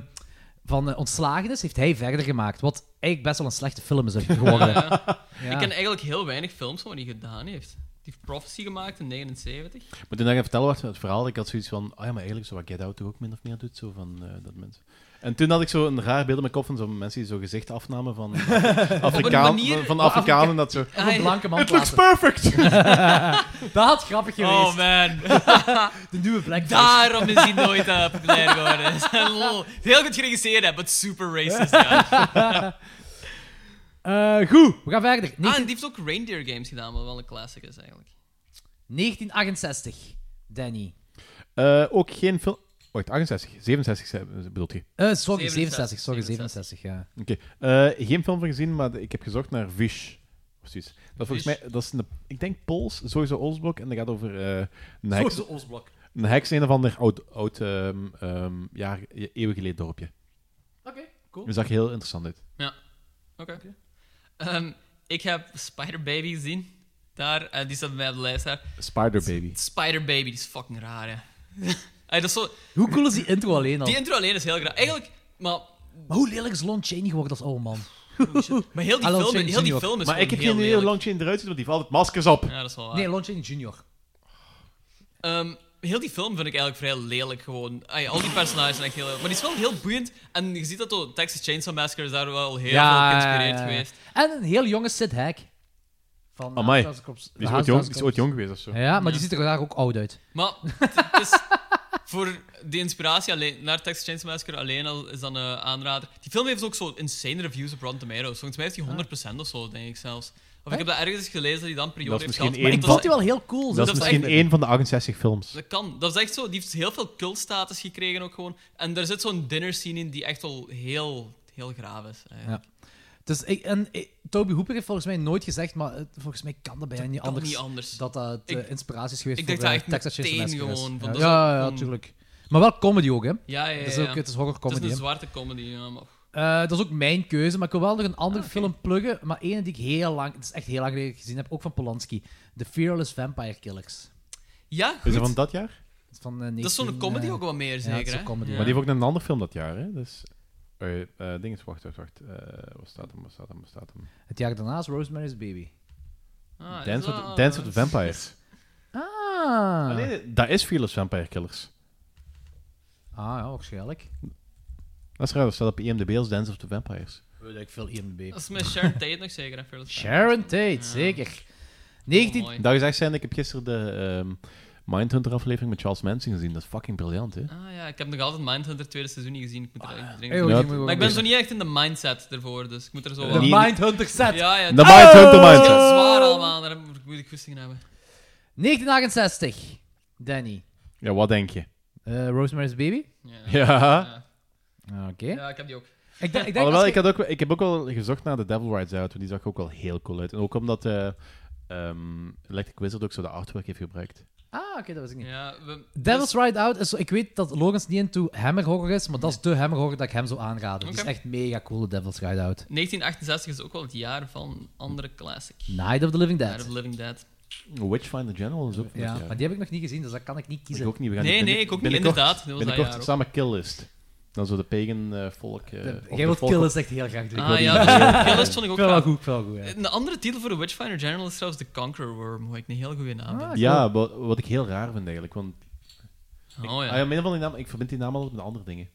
Speaker 4: van eh, ontslagen is, heeft hij verder gemaakt. Wat eigenlijk best wel een slechte film is
Speaker 12: (laughs)
Speaker 4: geworden.
Speaker 12: Ja, ja.
Speaker 4: Ja.
Speaker 12: Ik ken eigenlijk heel weinig films van wat hij gedaan heeft. Die heeft Prophecy gemaakt in 79.
Speaker 5: Maar toen ik aan het vertellen werd, het verhaal, ik had zoiets van, ah ja, maar eigenlijk zo wat Get Out toch ook min of meer doet, zo van eh, dat mensen...
Speaker 1: En toen had ik zo een raar beeld in mijn kop van zo'n mensen die zo gezicht afnamen
Speaker 12: (laughs)
Speaker 1: van,
Speaker 4: Op een
Speaker 1: Afrikaan,
Speaker 4: manier-
Speaker 1: van Afrikanen. Dat zo,
Speaker 4: Op een blanke man
Speaker 1: It looks
Speaker 4: plaatsen.
Speaker 1: perfect!
Speaker 4: (laughs) dat had grappig geweest.
Speaker 12: Oh man.
Speaker 4: (laughs) De nieuwe blackface.
Speaker 12: Daarom is hij nooit eh, populair geworden. (laughs) Lol. Heel goed geregisseerd, maar super racist. Ja.
Speaker 4: (laughs) Eh, goed, we gaan verder.
Speaker 12: Ah, en die heeft ook Reindeer Games gedaan, wat wel een classic is eigenlijk.
Speaker 4: 1968, Danny.
Speaker 1: Eh, ook geen film... Wacht, 68, 67 zei- bedoelt je?
Speaker 4: Eh, sorry, 67, sorry, 67, ja.
Speaker 1: Oké. eh, geen film van gezien, maar ik heb gezocht naar Vish. Of zoiets. Dat is volgens
Speaker 4: Vish.
Speaker 1: mij, dat is een, ik denk Pools, sowieso Oostblok. En dat gaat over eh, een heks.
Speaker 4: Sowieso Oostblok.
Speaker 1: Een heks in een of ander oud, oud ehm, ehm, jaar, eeuwen geleden dorpje. Oké,
Speaker 12: cool.
Speaker 1: Dat zag heel interessant uit.
Speaker 12: Ja, oké. Ehm, ik heb Spider Baby gezien. Daar, eh, die staat bij mij op de lijst. Daar.
Speaker 1: Spider Baby.
Speaker 12: Spider Baby, die is fucking raar, hè. Ey, dat is zo...
Speaker 4: Hoe cool is die intro alleen al?
Speaker 12: Die intro alleen is heel raar. Eigenlijk, maar,
Speaker 4: Maar hoe lelijk is Lon Chaney geworden als oude man?
Speaker 12: (laughs) maar heel die
Speaker 4: Ah, Lon
Speaker 12: film,
Speaker 4: Chaney
Speaker 12: heel die
Speaker 4: Jr..
Speaker 12: film is
Speaker 1: maar ik heb
Speaker 12: gewoon
Speaker 1: geen
Speaker 12: heel
Speaker 1: hele launchje in eruit zitten, want die valt maskers op.
Speaker 12: Ja, dat is wel waar.
Speaker 4: Nee, Lon Chaney Jr.
Speaker 12: Ehm, heel die film vind ik eigenlijk vrij lelijk gewoon. Ai, al die personages zijn echt heel lelijk. Maar die is wel heel boeiend. En je ziet dat de Texas Chainsaw Massacre is daar wel heel veel geïnspireerd
Speaker 4: ja, ja.
Speaker 12: geweest.
Speaker 4: En een heel jonge Sid Hack. Van
Speaker 1: Amai.
Speaker 4: Haas- Haas-
Speaker 1: Die is ooit jong- die is ooit jong geweest of zo.
Speaker 4: Ja, maar
Speaker 12: Ja.
Speaker 4: die ziet er daar ook oud uit.
Speaker 12: Maar het het
Speaker 4: (laughs)
Speaker 12: is voor de inspiratie alleen, naar Texas Chainsaw Massacre alleen al is dan een aanrader. Die film heeft ook zo insane reviews op Rotten Tomatoes. Volgens mij heeft hij 100% of zo, denk ik zelfs. Of ik heb dat ergens gelezen dat hij dan per jaar
Speaker 1: Dat is
Speaker 12: heeft
Speaker 1: misschien
Speaker 12: gehad.
Speaker 1: één
Speaker 12: Maar
Speaker 1: van- Dat
Speaker 12: dat-
Speaker 4: dus
Speaker 1: is misschien
Speaker 12: echt-
Speaker 1: één van de 68 films.
Speaker 12: Dat kan. Dat is echt zo. Die heeft heel veel cultstatus gekregen ook gewoon. En er zit zo'n dinner scene in die echt al heel, heel graaf is. eigenlijk.
Speaker 4: Ja. Dus ik, en ik- Toby Hooper heeft volgens mij nooit gezegd, maar het- volgens mij kan dat bijna niet,
Speaker 12: kan
Speaker 4: anders,
Speaker 12: niet anders.
Speaker 4: Dat dat eh,
Speaker 12: Ik-
Speaker 4: inspiratie is geweest
Speaker 12: ik
Speaker 4: voor
Speaker 12: denk dat
Speaker 4: eh,
Speaker 12: echt
Speaker 4: Texas Chainsaw
Speaker 12: meteen
Speaker 4: Massacre.
Speaker 12: gewoon,
Speaker 4: Ja,
Speaker 12: want dat is
Speaker 4: ja,
Speaker 12: ook
Speaker 4: ja,
Speaker 12: gewoon-
Speaker 4: tuurlijk. Maar wel comedy ook, hè?
Speaker 12: Ja, ja, ja.
Speaker 4: Dat is ook,
Speaker 12: ja.
Speaker 4: het is horror
Speaker 12: Het
Speaker 4: comedy.
Speaker 12: is
Speaker 4: hè.
Speaker 12: een zwarte comedy, ja. Maar...
Speaker 4: Eh, dat is ook mijn keuze, maar ik wil wel nog een
Speaker 12: Ah,
Speaker 4: andere film pluggen, maar één die ik heel lang, het is echt heel lang geleden gezien heb, ook van Polanski. The Fearless Vampire Killers.
Speaker 12: Ja,
Speaker 1: Is dat van dat jaar?
Speaker 4: Het Van, eh,
Speaker 12: Dat is zo'n
Speaker 4: 19,
Speaker 12: comedy
Speaker 4: eh,
Speaker 12: ook wel meer,
Speaker 4: Ja, het is
Speaker 12: zeker,
Speaker 4: een
Speaker 12: hè?
Speaker 4: comedy.
Speaker 1: Maar die heeft ook een ander film dat jaar, hè? Dus... eh eh, ding is, wacht, wacht, wacht. Eh, wat staat hem, wat staat hem, wat staat hem?
Speaker 4: Het jaar daarna is Rosemary's Baby.
Speaker 12: Ah,
Speaker 1: Dance, with, Dance with the Vampires.
Speaker 4: Ah.
Speaker 1: Ah, nee, dat is Fearless Vampire Killers.
Speaker 4: Ah, ja, waarschijnlijk.
Speaker 1: Dat is raar, dat staat op IMDb als Dance of the Vampires.
Speaker 4: Weet ik veel IMDb.
Speaker 12: Dat is met Sharon Tate nog zeker. hè, Fearless
Speaker 4: Sharon Tate, zeker. 19...
Speaker 12: Oh, mooi.
Speaker 1: Dat gezegd zijn, ik heb gisteren de ehm, Mindhunter-aflevering met Charles Manson gezien. Dat is fucking briljant, hè?
Speaker 12: Ah ja, ik heb nog altijd Mindhunter het tweede seizoen niet gezien. Ik moet er eigenlijk dringend
Speaker 1: Eeuw,
Speaker 12: op-
Speaker 1: die moet je
Speaker 12: Maar ik
Speaker 1: wel
Speaker 12: ben zo niet echt in de mindset ervoor, dus ik moet er zo
Speaker 4: De
Speaker 12: wel-
Speaker 4: Mindhunter set.
Speaker 12: Ja, ja.
Speaker 4: De
Speaker 12: dat-
Speaker 4: Mindhunter
Speaker 12: dat is
Speaker 4: mindset.
Speaker 12: heel zwaar allemaal, daar moet ik- moet ik goesting in hebben.
Speaker 4: 1968. Danny.
Speaker 1: Ja, wat denk je?
Speaker 4: Eh, Rosemary's Baby?
Speaker 1: Ja.
Speaker 4: Ah, Oké.
Speaker 12: Ja, ik heb die ook.
Speaker 4: Ik, denk- ik denk
Speaker 1: Alhoewel,
Speaker 4: als
Speaker 1: ik,
Speaker 4: je-
Speaker 1: had ook, ik heb ook wel gezocht naar The Devil Rides Out, want die zag ook wel heel cool uit. En ook omdat eh, ehm, Electric Wizard ook zo de artwork heeft gebruikt.
Speaker 4: Ah, oké, dat was ik niet.
Speaker 12: Ja, we-
Speaker 4: Devil's Ride Out is zo- Ik weet dat Logans niet into hammer horror is, maar dat is de hammer horror dat ik hem zou aanraden. Die
Speaker 12: Oké.
Speaker 4: is echt mega cool, de Devil's Ride Out.
Speaker 12: 1968 is ook wel het jaar van andere classic.
Speaker 4: Night of the Living Dead.
Speaker 12: Night of the Living Dead.
Speaker 1: Witchfinder General is ook van
Speaker 4: Ja,
Speaker 1: dat jaar.
Speaker 4: maar die heb ik nog niet gezien, dus dat kan ik niet kiezen.
Speaker 1: Ik ook niet. We gaan
Speaker 12: Nee,
Speaker 1: die
Speaker 12: nee, ik ook niet.
Speaker 1: binnenkort-
Speaker 12: Inderdaad, dat was dat
Speaker 1: Binnenkort
Speaker 12: jaar ook.
Speaker 1: samen Killlist. Dan zo de pagan eh, volk... eh,
Speaker 4: De-
Speaker 1: of
Speaker 4: jij
Speaker 1: de
Speaker 4: wilt
Speaker 1: volk-
Speaker 4: Killlist echt heel graag doen.
Speaker 1: Ik wil
Speaker 12: ah
Speaker 1: die
Speaker 12: ja,
Speaker 1: heel
Speaker 12: dat-
Speaker 1: graag
Speaker 12: ja,
Speaker 1: doen.
Speaker 12: dat vond ik ook
Speaker 4: Ik vind wel
Speaker 12: graag.
Speaker 4: goed, ik vind wel goed, ja.
Speaker 12: Een andere titel voor de Witchfinder General is trouwens The Conqueror Worm, wat ik een heel goede
Speaker 4: Ah.
Speaker 12: naam vind.
Speaker 1: Ja, wat, wat ik heel raar vind eigenlijk, want...
Speaker 12: Oh,
Speaker 1: ik,
Speaker 12: ja.
Speaker 1: ah, om een of andere naam, ik verbind die naam altijd met andere dingen.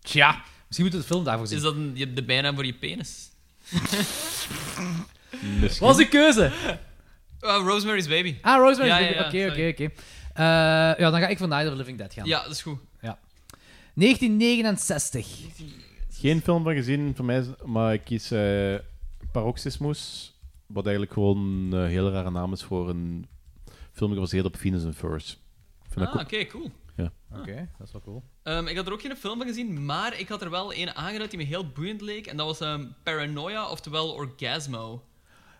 Speaker 4: Tja, misschien moeten we de film daarvoor zien.
Speaker 12: Is dat een, je- de bijnaam voor je
Speaker 4: (laughs)
Speaker 12: penis?
Speaker 1: Misschien.
Speaker 4: Wat is de keuze?
Speaker 12: Ah, Rosemary's Baby.
Speaker 4: Ah, Rosemary's
Speaker 12: Ja,
Speaker 4: Baby.
Speaker 12: ja, ja,
Speaker 4: Oké,
Speaker 12: sorry.
Speaker 4: oké, oké. Eh, Ja, dan ga ik voor Night of the Living Dead gaan.
Speaker 12: Ja, dat is goed.
Speaker 4: Ja. 1969.
Speaker 1: Geen film van gezien voor mij, is- maar ik kies eh, Paroxysmus, wat eigenlijk gewoon een eh, heel rare naam is voor een film gebaseerd op Venus and Furs. Vind dat
Speaker 12: Ah,
Speaker 1: cool.
Speaker 12: oké, cool.
Speaker 1: Ja.
Speaker 4: Oké, dat is wel cool.
Speaker 12: Ehm, ik had er ook geen film van gezien, maar ik had er wel een aangeduid die me heel boeiend leek. En dat was ehm, Paranoia, oftewel Orgasmo.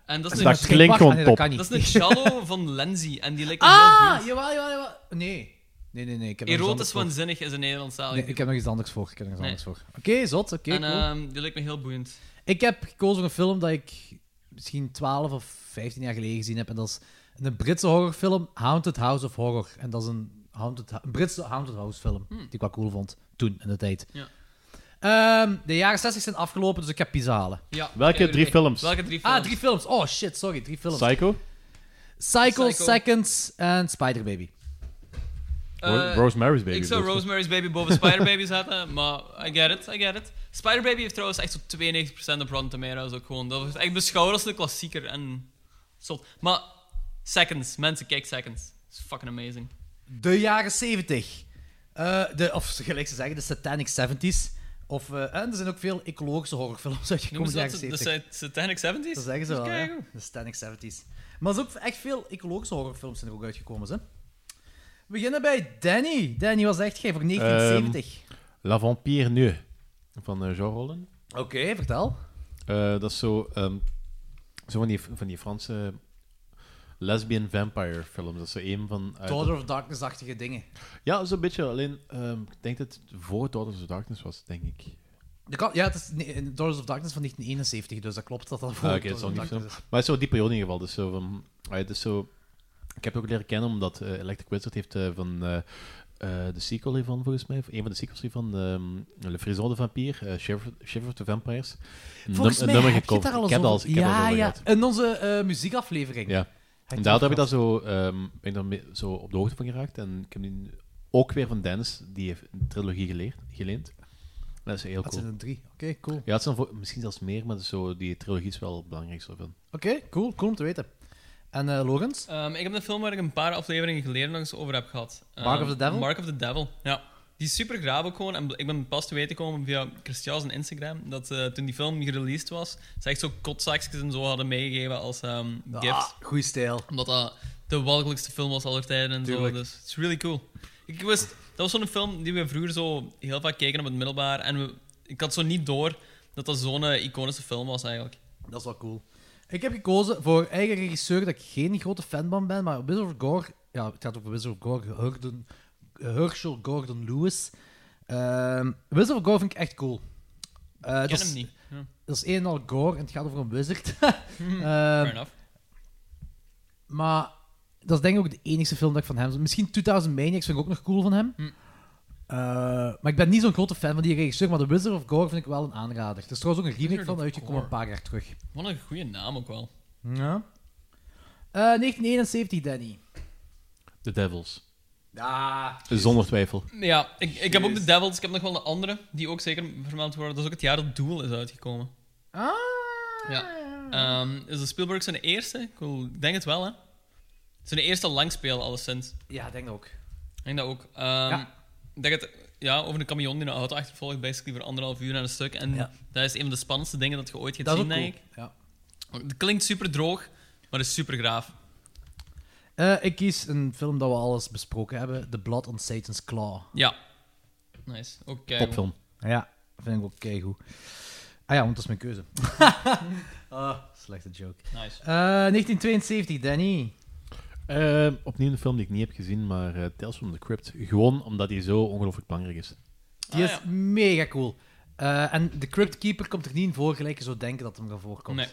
Speaker 12: En dat is
Speaker 1: Dat
Speaker 12: een,
Speaker 1: klinkt Wacht, gewoon nee, dat
Speaker 12: dat
Speaker 1: top. kan niet.
Speaker 12: is een shallow van Lenzi. En die lijkt me heel
Speaker 4: Ah,
Speaker 12: boeiend.
Speaker 4: jawel, jawel, jawel. Nee. Nee, nee, nee. Ik heb nog iets anders
Speaker 12: Erotisch
Speaker 4: voor.
Speaker 12: waanzinnig is een Nederlandstalig.
Speaker 4: Nee, ik heb nog iets anders voor. Ik heb nog iets
Speaker 12: Nee.
Speaker 4: anders voor. Oké, zot. Oké,
Speaker 12: en
Speaker 4: cool.
Speaker 12: ehm, die lijkt me heel boeiend.
Speaker 4: Ik heb gekozen voor een film dat ik misschien 12 of 15 jaar geleden gezien heb. En dat is een Britse horrorfilm, Haunted House of Horror. En dat is een, haunted, een Britse Haunted House film, die ik wel cool vond toen, in de tijd.
Speaker 12: Ja.
Speaker 4: Ehm, de jaren 60 zijn afgelopen, dus ik heb pizza halen.
Speaker 12: Ja,
Speaker 1: Welke
Speaker 12: oké,
Speaker 1: drie
Speaker 12: oké.
Speaker 1: films?
Speaker 12: Welke drie
Speaker 4: Ah,
Speaker 12: films?
Speaker 4: drie films. Oh shit, sorry, drie films.
Speaker 1: Psycho?
Speaker 4: Psycho,
Speaker 12: Psycho.
Speaker 4: Seconds en Spider Baby.
Speaker 12: Eh,
Speaker 5: Rosemary's Baby
Speaker 12: Ik zou
Speaker 5: bedoelt je?
Speaker 12: Rosemary's Baby
Speaker 4: (laughs)
Speaker 12: boven Spider Baby zetten, maar I get it, I get it. Spider Baby heeft trouwens echt zo'n 92% op Rotten Tomatoes ook gewoon. Dat wordt echt beschouwd als een klassieker en zot. Maar Seconds, mensen, kijk Seconds. It's fucking amazing.
Speaker 4: De jaren 70. Eh, de, of gelijk ze zeggen, de Satanic 70s. Of, eh, en er zijn ook veel ecologische horrorfilms uitgekomen
Speaker 12: Noemen
Speaker 4: in
Speaker 12: ze
Speaker 4: de jaren
Speaker 12: dat
Speaker 4: 70.
Speaker 12: de, de Satanic 70s?
Speaker 4: Dat zeggen ze wel, ja.
Speaker 12: Keigoed.
Speaker 4: De Satanic 70s. Maar er zijn ook echt veel ecologische horrorfilms zijn er ook uitgekomen, hè. We beginnen bij Danny. Danny was echt gij voor 1970.
Speaker 5: Ehm, La Vampire Nu van eh, Jean Rollin.
Speaker 4: Oké, vertel.
Speaker 5: Eh, dat is zo, ehm, zo van, die, van die Franse lesbian vampire films. Dat is zo een van.
Speaker 1: eh,
Speaker 5: uit-
Speaker 4: Daughter of Darkness-achtige dingen.
Speaker 5: Ja, zo'n beetje. Alleen, ehm, ik denk dat het voor Daughters of Darkness was, denk ik.
Speaker 4: De kan- ja, het is nee, Daughters of Darkness van 1971, dus dat klopt dat dat voor
Speaker 5: Ah, Oké,
Speaker 4: Daughters
Speaker 5: dat zal
Speaker 4: of
Speaker 5: niet zo.
Speaker 4: Darkness
Speaker 5: Maar het is zo die periode in ieder geval. Dus zo van, ah ja, dus zo, ik heb het ook leren kennen omdat eh, Electric Wizard heeft eh, van eh, eh, de sequel hiervan, volgens mij, of een van de sequels hiervan, ehm Le Frison de Vampire, eh Shiver, Shiver of the Vampires. een
Speaker 4: Volgens
Speaker 5: num-
Speaker 4: mij
Speaker 5: een nummer
Speaker 4: heb je het
Speaker 5: gecoverd.
Speaker 4: daar al
Speaker 5: Ik
Speaker 4: eens
Speaker 5: heb dat al
Speaker 4: over-
Speaker 5: ik heb dat al
Speaker 4: Ja,
Speaker 5: over
Speaker 4: ja.
Speaker 5: gehad.
Speaker 4: In onze eh, muziekaflevering.
Speaker 5: Ja. En daar heb ik dat zo, ehm, ben ik daar mee- zo op de hoogte van geraakt. En ik heb nu ook weer van Dennis, die heeft een trilogie geleerd, geleend. Dat is heel cool.
Speaker 4: Dat zijn er drie. Oké, cool.
Speaker 5: Ja, het zijn voor- misschien zelfs meer, maar zo, die trilogie is wel het belangrijkste van.
Speaker 4: Oké, cool. Cool om te weten. En eh Logans?
Speaker 12: Ehm, ik heb een film waar ik een paar afleveringen geleden nog eens over heb gehad. Ehm,
Speaker 4: Mark of the Devil?
Speaker 12: Mark of the Devil, ja. Die is super graaf ook gewoon. En bl- ik ben pas te weten gekomen via Christian's Instagram dat eh, toen die film gereleased was, ze echt zo kotzakjes en zo hadden meegegeven als ehm
Speaker 4: Ah,
Speaker 12: gift.
Speaker 4: goeie stijl.
Speaker 12: Omdat dat de walgelijkste film was aller tijden en
Speaker 4: Tuurlijk.
Speaker 12: zo. Dus it's really cool. Ik wist, dat was zo'n film die we vroeger zo heel vaak keken op het middelbaar. En we, ik had zo niet door dat dat zo'n eh, iconische film was eigenlijk.
Speaker 4: Dat is wel cool. Ik heb gekozen voor eigen regisseur dat ik geen grote fan van ben, maar Wizard of Gore... Ja, het gaat over Wizard of Gore, Gordon, Herschel Gordon Lewis. Ehm, Wizard of Gore vind ik echt cool. Eh, dat
Speaker 12: ken
Speaker 4: is-
Speaker 12: hem niet, ja.
Speaker 4: Dat is een en al gore en het gaat over een
Speaker 12: (laughs)
Speaker 4: wizard. (laughs) Ehm,
Speaker 12: Fair enough.
Speaker 4: Maar dat is denk ik ook de enige film dat ik van hem... Misschien 2000 Maniacs vind ik ook nog cool van
Speaker 12: Hm.
Speaker 4: hem. Eh, maar ik ben niet zo'n grote fan van die regisseur, maar The Wizard of Gore vind ik wel een aanrader. Er is trouwens ook een remake
Speaker 12: Wizard
Speaker 4: van
Speaker 12: of
Speaker 4: uitgekomen een
Speaker 12: Gore.
Speaker 4: paar jaar terug.
Speaker 12: Wat een goede naam ook wel.
Speaker 4: Ja. Eh, 1971, Danny.
Speaker 5: The Devils.
Speaker 4: Ja.
Speaker 5: Zonder twijfel.
Speaker 12: Ja, ik, ik heb ook de Devils. Ik heb nog wel een andere die ook zeker vermeld worden. Dat is ook het jaar dat Doel is uitgekomen.
Speaker 4: Ah.
Speaker 12: Ja. Ehm, is dat Spielberg zijn eerste? Ik wil- ik denk het wel, hè? Zijn eerste langspeel, alleszins.
Speaker 4: Ja, ik denk dat ook.
Speaker 12: Ik denk dat ook. Ehm, Ik denk het ja, over een camion die een auto achtervolgt, basically voor anderhalf uur aan een stuk. En dat is een van de spannendste dingen dat je ooit gaat
Speaker 4: Dat is
Speaker 12: zien,
Speaker 4: ook
Speaker 12: denk ik.
Speaker 4: cool,
Speaker 12: Het klinkt super droog, maar is super graaf.
Speaker 4: Eh, ik kies een film dat we alles besproken hebben: The Blood on Satan's Claw.
Speaker 12: Ja. Nice. ehm, Oké.
Speaker 4: Popfilm. Ja, vind ik ook keigoed. Ah ja, want dat is mijn
Speaker 12: (laughs)
Speaker 4: keuze. Ah, slechte joke.
Speaker 12: Nice.
Speaker 4: Eh, 1972, Danny.
Speaker 5: Ehm, opnieuw een film die ik niet heb gezien, maar eh, Tales from the Crypt. Gewoon omdat hij zo ongelooflijk belangrijk is.
Speaker 12: Ah,
Speaker 4: Die is mega cool. Eh, en de Crypt Keeper komt er niet in voor, gelijk je zou denken dat hem ervoor voorkomt.
Speaker 12: Nee.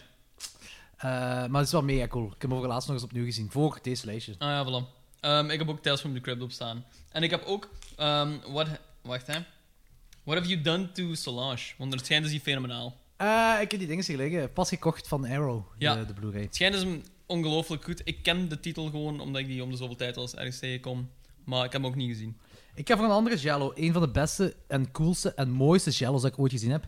Speaker 4: Eh, maar het is wel mega cool. Ik heb hem over laatst nog eens opnieuw gezien, voor deze lijstje.
Speaker 12: Ah ja, voilà. Ehm, ik heb ook Tales from the Crypt op staan. En ik heb ook... ehm, what, wacht, hè. What have you done to Solange? Want het schijnt is die fenomenaal.
Speaker 4: Eh, ik heb die dingen zien liggen, pas gekocht van Arrow,
Speaker 12: Ja.
Speaker 4: de, de Blu-ray.
Speaker 12: Het schijnt is hem ongelooflijk goed. Ik ken de titel gewoon, omdat ik die om de zoveel tijd als ergens tegenkom. Maar ik heb hem ook niet gezien.
Speaker 4: Ik heb voor een andere Jello, een van de beste en coolste en mooiste Jello's dat ik ooit gezien heb.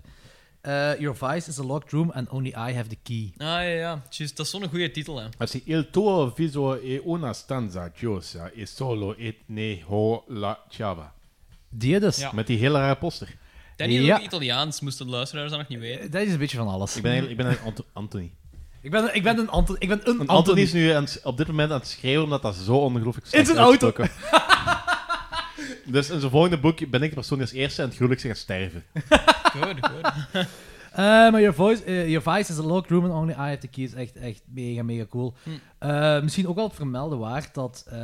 Speaker 4: Eh, Your Vice is a locked room and only I have the key.
Speaker 12: Ah ja, ja. Just, dat is zo'n goede titel, hè.
Speaker 5: Als il tuo viso è una stanza chiosa e solo et ne ho la chava.
Speaker 4: Die dus.
Speaker 12: Ja.
Speaker 5: Met die hele rare poster.
Speaker 12: Danny is
Speaker 5: Ja.
Speaker 12: ook Italiaans, moesten de luisteraars dat nog niet weten.
Speaker 4: Dat is een beetje van alles.
Speaker 5: Ik ben eigenlijk, ik ben eigenlijk Anto- Anthony.
Speaker 4: Ik ben, ik ben een Anton. Ik ben een
Speaker 5: Want
Speaker 4: Anthony.
Speaker 5: Anthony is nu aan het- op dit moment aan het schreeuwen omdat dat zo ongelooflijk
Speaker 4: In
Speaker 5: slecht
Speaker 4: zijn auto.
Speaker 5: uitgesproken wordt. (laughs) dus in zijn volgende boek ben ik de persoon die als eerste aan het huwelijk gaat sterven.
Speaker 12: Goed, goed.
Speaker 4: Eh, maar your, voice, eh, your Vice is a locked room and only I have the key is echt, echt mega, mega cool.
Speaker 12: Hm.
Speaker 4: Eh, misschien ook wel het vermelden waard dat eh,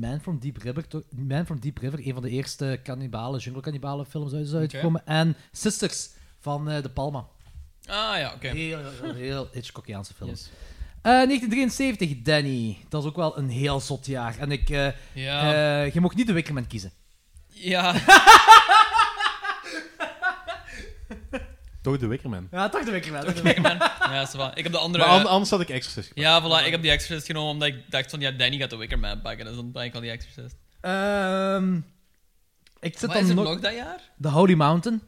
Speaker 4: Man, from Deep River, toch- Man from Deep River een van de eerste kannibalen, jungle kannibalen films uit is uitgekomen. En Sisters van eh, De Palma.
Speaker 12: Ah ja, oké.
Speaker 4: Heel, heel, heel Hitchcockiaanse film. Eh, 1973, Danny. Dat is ook wel een heel zot jaar. En ik, eh,
Speaker 12: Ja.
Speaker 4: eh, je mocht niet de Wickerman kiezen.
Speaker 12: Ja.
Speaker 5: Toch de Wickerman.
Speaker 4: Ja, toch de Wickerman. toch de
Speaker 12: Wickerman. (laughs) ja, zo Ik heb de andere...
Speaker 5: Maar an- anders had ik Exorcist
Speaker 12: Ja, voilà. Ik heb die Exorcist genomen omdat ik dacht van, ja, Danny gaat de Wicker Man pakken. Dus dan ben ik al die Exorcist.
Speaker 4: Eh, Ehm, ik zit
Speaker 12: Wat
Speaker 4: dan
Speaker 12: is er
Speaker 4: nog...
Speaker 12: nog dat jaar?
Speaker 4: The Holy Mountain.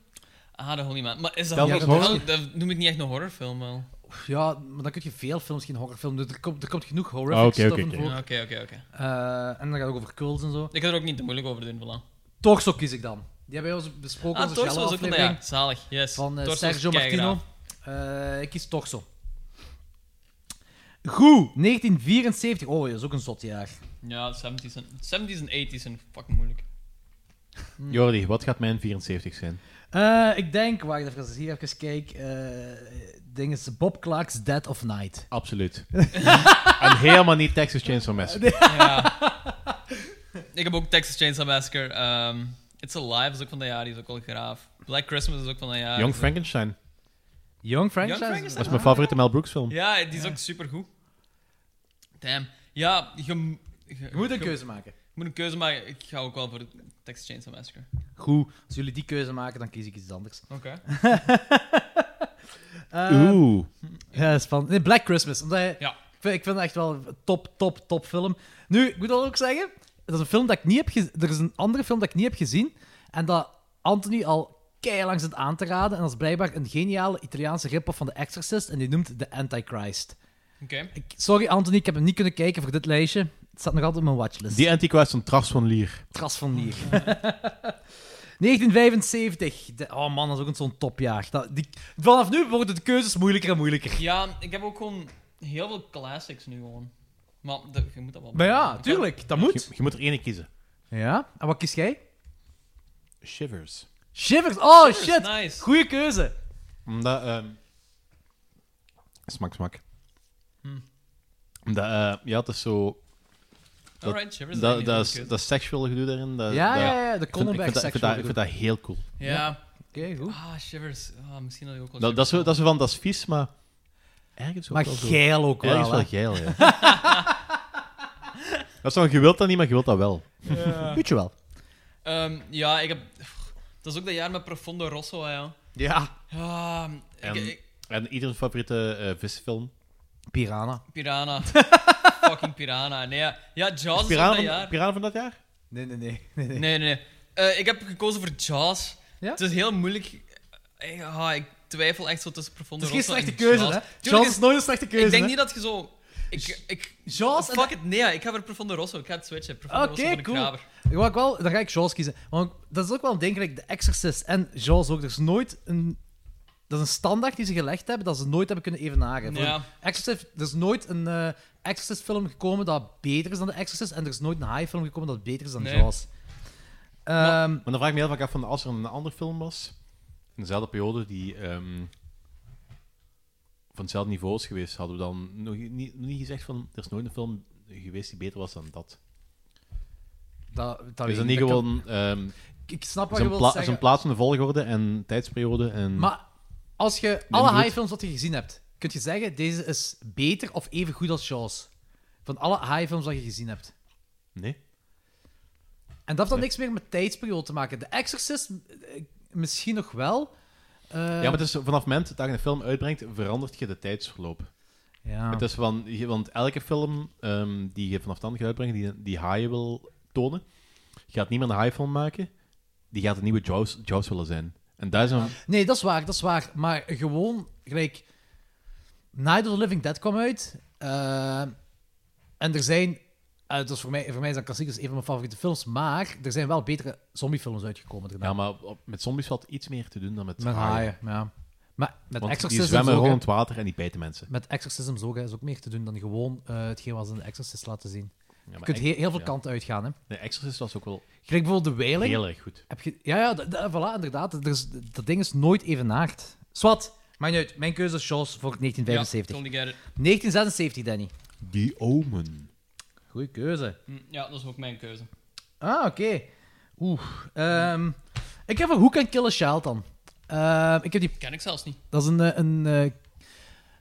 Speaker 12: Ah, de Holy Man. Maar is dat,
Speaker 4: Dat
Speaker 12: horror-
Speaker 4: was
Speaker 12: dat,
Speaker 4: horror.
Speaker 12: dat noem ik niet echt een horrorfilm wel.
Speaker 4: Ja, maar dan kun je veel films, geen horrorfilm. doen. Er komt, er komt genoeg horror
Speaker 17: Ah, oké,
Speaker 4: stuff
Speaker 17: oké,
Speaker 4: in
Speaker 17: oké.
Speaker 4: voor.
Speaker 12: Ah, oké, oké, oké.
Speaker 4: Eh, en dan gaat het ook over cults en zo.
Speaker 12: Ik ga er ook niet te moeilijk over doen, voilà.
Speaker 4: Torso kies ik dan. Die hebben we ons besproken.
Speaker 12: Ah,
Speaker 4: onze
Speaker 12: Torso was ook van dat
Speaker 4: Giallo-aflevering.
Speaker 12: jaar. Zalig, yes.
Speaker 4: Van eh,
Speaker 12: Torso is
Speaker 4: Sergio
Speaker 12: keigraaf.
Speaker 4: Martino. Eh, ik kies Torso. Goed, 1974. Oh, dat is ook een zot jaar.
Speaker 12: Ja, 70s en, 70s en 80s zijn fucking moeilijk.
Speaker 5: Jordi, wat gaat mijn 74 zijn?
Speaker 4: Eh, ik denk, wacht even, als ik hier even kijk. eh ding is Bob Clark's Dead of Night.
Speaker 5: Absoluut. (laughs) en helemaal niet Texas Chainsaw Massacre.
Speaker 12: Ja. ik heb ook Texas Chainsaw Massacre. ehm, It's Alive is ook van dat jaar, die is ook wel graaf. Black Christmas is ook van dat jaar.
Speaker 5: Young
Speaker 12: Dus-
Speaker 5: Frankenstein.
Speaker 4: Young
Speaker 12: Frankenstein? Frankenstein?
Speaker 5: Dat is mijn favoriete Mel Brooks film.
Speaker 12: Ja, die is ook supergoed. Damn. Ja, je... m- je-
Speaker 4: moet een
Speaker 12: je-
Speaker 4: keuze maken.
Speaker 12: Je moet een keuze maken. Ik ga ook wel voor Texas Chainsaw Massacre.
Speaker 4: Goed, als jullie die keuze maken, dan kies ik iets anders. (laughs)
Speaker 12: Oké.
Speaker 4: Eh,
Speaker 5: Oeh.
Speaker 4: Ja, dat is spannend. Nee, Black Christmas. Omdat hij-
Speaker 12: Ja.
Speaker 4: ik, vind, ik vind het echt wel een top, top, top film. Nu, ik moet dat ook zeggen. Dat is een film dat ik niet heb gezien. Er is een andere film dat ik niet heb gezien. En dat Anthony al langs het aan te raden. En dat is blijkbaar een geniale Italiaanse rip van The Exorcist. En die noemt The Antichrist.
Speaker 12: Oké.
Speaker 4: Ik- Sorry, Anthony, ik heb hem niet kunnen kijken voor dit lijstje. Het staat nog altijd op mijn watchlist.
Speaker 5: Die Antichrist van Tras van Lier.
Speaker 4: Tras van Nier. 1975. De- oh man, dat is ook zo'n topjaar. Dat, die, vanaf nu worden de keuzes moeilijker en moeilijker.
Speaker 12: Ja, ik heb ook gewoon heel veel classics nu gewoon. Maar de- je moet dat wel...
Speaker 4: Maar ja, tuurlijk, dat moet.
Speaker 5: Je, je moet er ene kiezen.
Speaker 4: Ja, en wat kies jij?
Speaker 5: Shivers.
Speaker 4: Shivers. Oh
Speaker 5: Shivers,
Speaker 4: shit,
Speaker 5: nice.
Speaker 4: goeie keuze.
Speaker 5: Omdat... ehm, Smak, smak.
Speaker 12: Hm.
Speaker 5: Omdat, eh, ja, het is zo... Dat,
Speaker 12: Alright, Shivers is
Speaker 5: dat,
Speaker 12: een
Speaker 5: dat,
Speaker 12: goede
Speaker 5: is,
Speaker 12: keuze.
Speaker 5: dat seksueel gedoe daarin. Dat,
Speaker 4: Ja,
Speaker 5: dat-
Speaker 4: Ah, ja, ja, de
Speaker 5: ik vind- ik vind
Speaker 4: Cronenberg
Speaker 5: dat- ik vind
Speaker 4: seksueel
Speaker 5: dat- Ik vind dat heel cool.
Speaker 12: Ja.
Speaker 4: Oké, goed.
Speaker 12: Ah, Shivers. Ah, misschien had ik ook wel
Speaker 5: Dat, dat, is, zo- dat is zo van, dat is vies, maar... Ergens ook
Speaker 4: Maar
Speaker 5: wel zo.
Speaker 4: geil ook wel,
Speaker 5: Ergens wel
Speaker 4: hè?
Speaker 5: geil, ja. (laughs) dat is van, je wilt dat niet, maar je wilt dat wel.
Speaker 12: Ja.
Speaker 4: Weet je wel.
Speaker 12: Ehm, ja, ik heb... Dat is ook dat jaar met Profondo Rosso, hè, ja.
Speaker 5: Ja.
Speaker 12: Ja,
Speaker 5: En,
Speaker 12: ik- ik-
Speaker 5: en ieders favoriete eh, visfilm?
Speaker 4: Piranha.
Speaker 12: Piranha. Fucking Piranha. Nee, ja, ja Jaws is,
Speaker 5: Piranha
Speaker 12: ook
Speaker 5: van-
Speaker 12: dat jaar.
Speaker 5: Piranha van dat jaar?
Speaker 4: Nee, nee, nee.
Speaker 12: Nee, nee. Eh, ik heb gekozen voor Jaws. Het is heel moeilijk. Ik, ah, ik twijfel echt zo tussen Profondo
Speaker 4: Het is geen
Speaker 12: Rosso en
Speaker 4: slechte keuze,
Speaker 12: Jaws.
Speaker 4: hè?
Speaker 12: Tuurlijk
Speaker 4: Jaws is nooit een slechte keuze,
Speaker 12: Ik denk
Speaker 4: hè?
Speaker 12: niet dat je zo... Ik, ik,
Speaker 4: Jaws en-
Speaker 12: Fuck it, nee. Ik ga voor Profondo Rosso. Ik ga het switchen. Profondo
Speaker 4: Oké,
Speaker 12: Rosso voor de
Speaker 4: cool.
Speaker 12: Kraber.
Speaker 4: Ik wou ook wel, dan ga ik Jaws kiezen. Want dat is ook wel een ding, gelijk The Exorcist en Jaws ook. Er is nooit een... Dat is een standaard die ze gelegd hebben, dat ze nooit hebben kunnen evenaren. Voor
Speaker 12: Ja.
Speaker 4: een Exorcist, er is nooit een eh, Exorcist-film gekomen dat beter is dan The Exorcist. En er is nooit een high-film gekomen dat beter is dan
Speaker 5: Nee.
Speaker 4: Jaws. Ehm,
Speaker 5: Maar dan vraag ik me heel vaak af van als er een andere film was, in dezelfde periode, die ehm, van hetzelfde niveau is geweest, hadden we dan nog niet, nog niet gezegd van er is nooit een film geweest die beter was dan dat.
Speaker 4: dat, dat
Speaker 5: is dat
Speaker 4: weet
Speaker 5: niet
Speaker 4: ik.
Speaker 5: gewoon. ehm,
Speaker 4: ik snap wat
Speaker 5: is
Speaker 4: je
Speaker 5: een
Speaker 4: wilt
Speaker 5: pla-
Speaker 4: zeggen.
Speaker 5: Is een plaats in de volgorde en tijdsperiode. En...
Speaker 4: Maar als je
Speaker 5: maar
Speaker 4: alle
Speaker 5: goed.
Speaker 4: high-films wat je gezien hebt, kun je zeggen, deze is beter of even goed als Jaws. Van alle high-films dat je gezien hebt.
Speaker 5: Nee.
Speaker 4: En dat heeft dan niks meer met tijdsperiode te maken. De Exorcist eh, misschien nog wel. Eh,
Speaker 5: ja, maar het is, vanaf het moment dat je een film uitbrengt, verandert je de tijdsverloop.
Speaker 4: Ja.
Speaker 5: Het is van, je- want elke film ehm, die je vanaf dan gaat uitbrengen, die, die haaien wil tonen, gaat niet meer een high-film maken, die gaat een nieuwe Jaws, Jaws willen zijn. En daar is een,
Speaker 4: Nee, dat is waar, dat is waar. Maar gewoon, gelijk... Night of the Living Dead kwam uit. eh, en er zijn... eh, dat is voor, mij, voor mij is dat klassiek, dat is een van mijn favoriete films. Maar er zijn wel betere zombiefilms uitgekomen daarna.
Speaker 5: Ja, maar op- met zombies valt iets meer te doen dan met,
Speaker 4: Met haaien, ja. Maar met
Speaker 5: Want
Speaker 4: Exorcism
Speaker 5: die zwemmen
Speaker 4: ook, hè.
Speaker 5: rond het water en die bijten mensen.
Speaker 4: Met exorcisms ook, hè, is ook meer te doen dan gewoon eh, hetgeen wat ze in de exorcist laten zien. je
Speaker 5: maar
Speaker 4: kunt
Speaker 5: ex-
Speaker 4: heel, heel veel
Speaker 5: ja.
Speaker 4: kanten uitgaan, hè.
Speaker 5: De Exorcist was ook wel
Speaker 4: Gelijk bijvoorbeeld de Wailing.
Speaker 5: heel erg goed.
Speaker 4: Heb je, ja, ja, d- d- voilà, inderdaad. Er is- dat ding is nooit evenaard. Swat, maakt niet uit. Mijn keuze is Jaws voor 1975.
Speaker 12: Ja, totally get it.
Speaker 4: 1976, Danny.
Speaker 5: Die Omen.
Speaker 4: Goeie keuze.
Speaker 12: Hm, Ja, dat is ook mijn keuze.
Speaker 4: Ah, oké. Oeh. ehm, ik heb een Hoek en Kill a Child dan. Ehm, ik heb die...
Speaker 12: Ken ik zelfs niet.
Speaker 4: Dat is een... eh, een eh,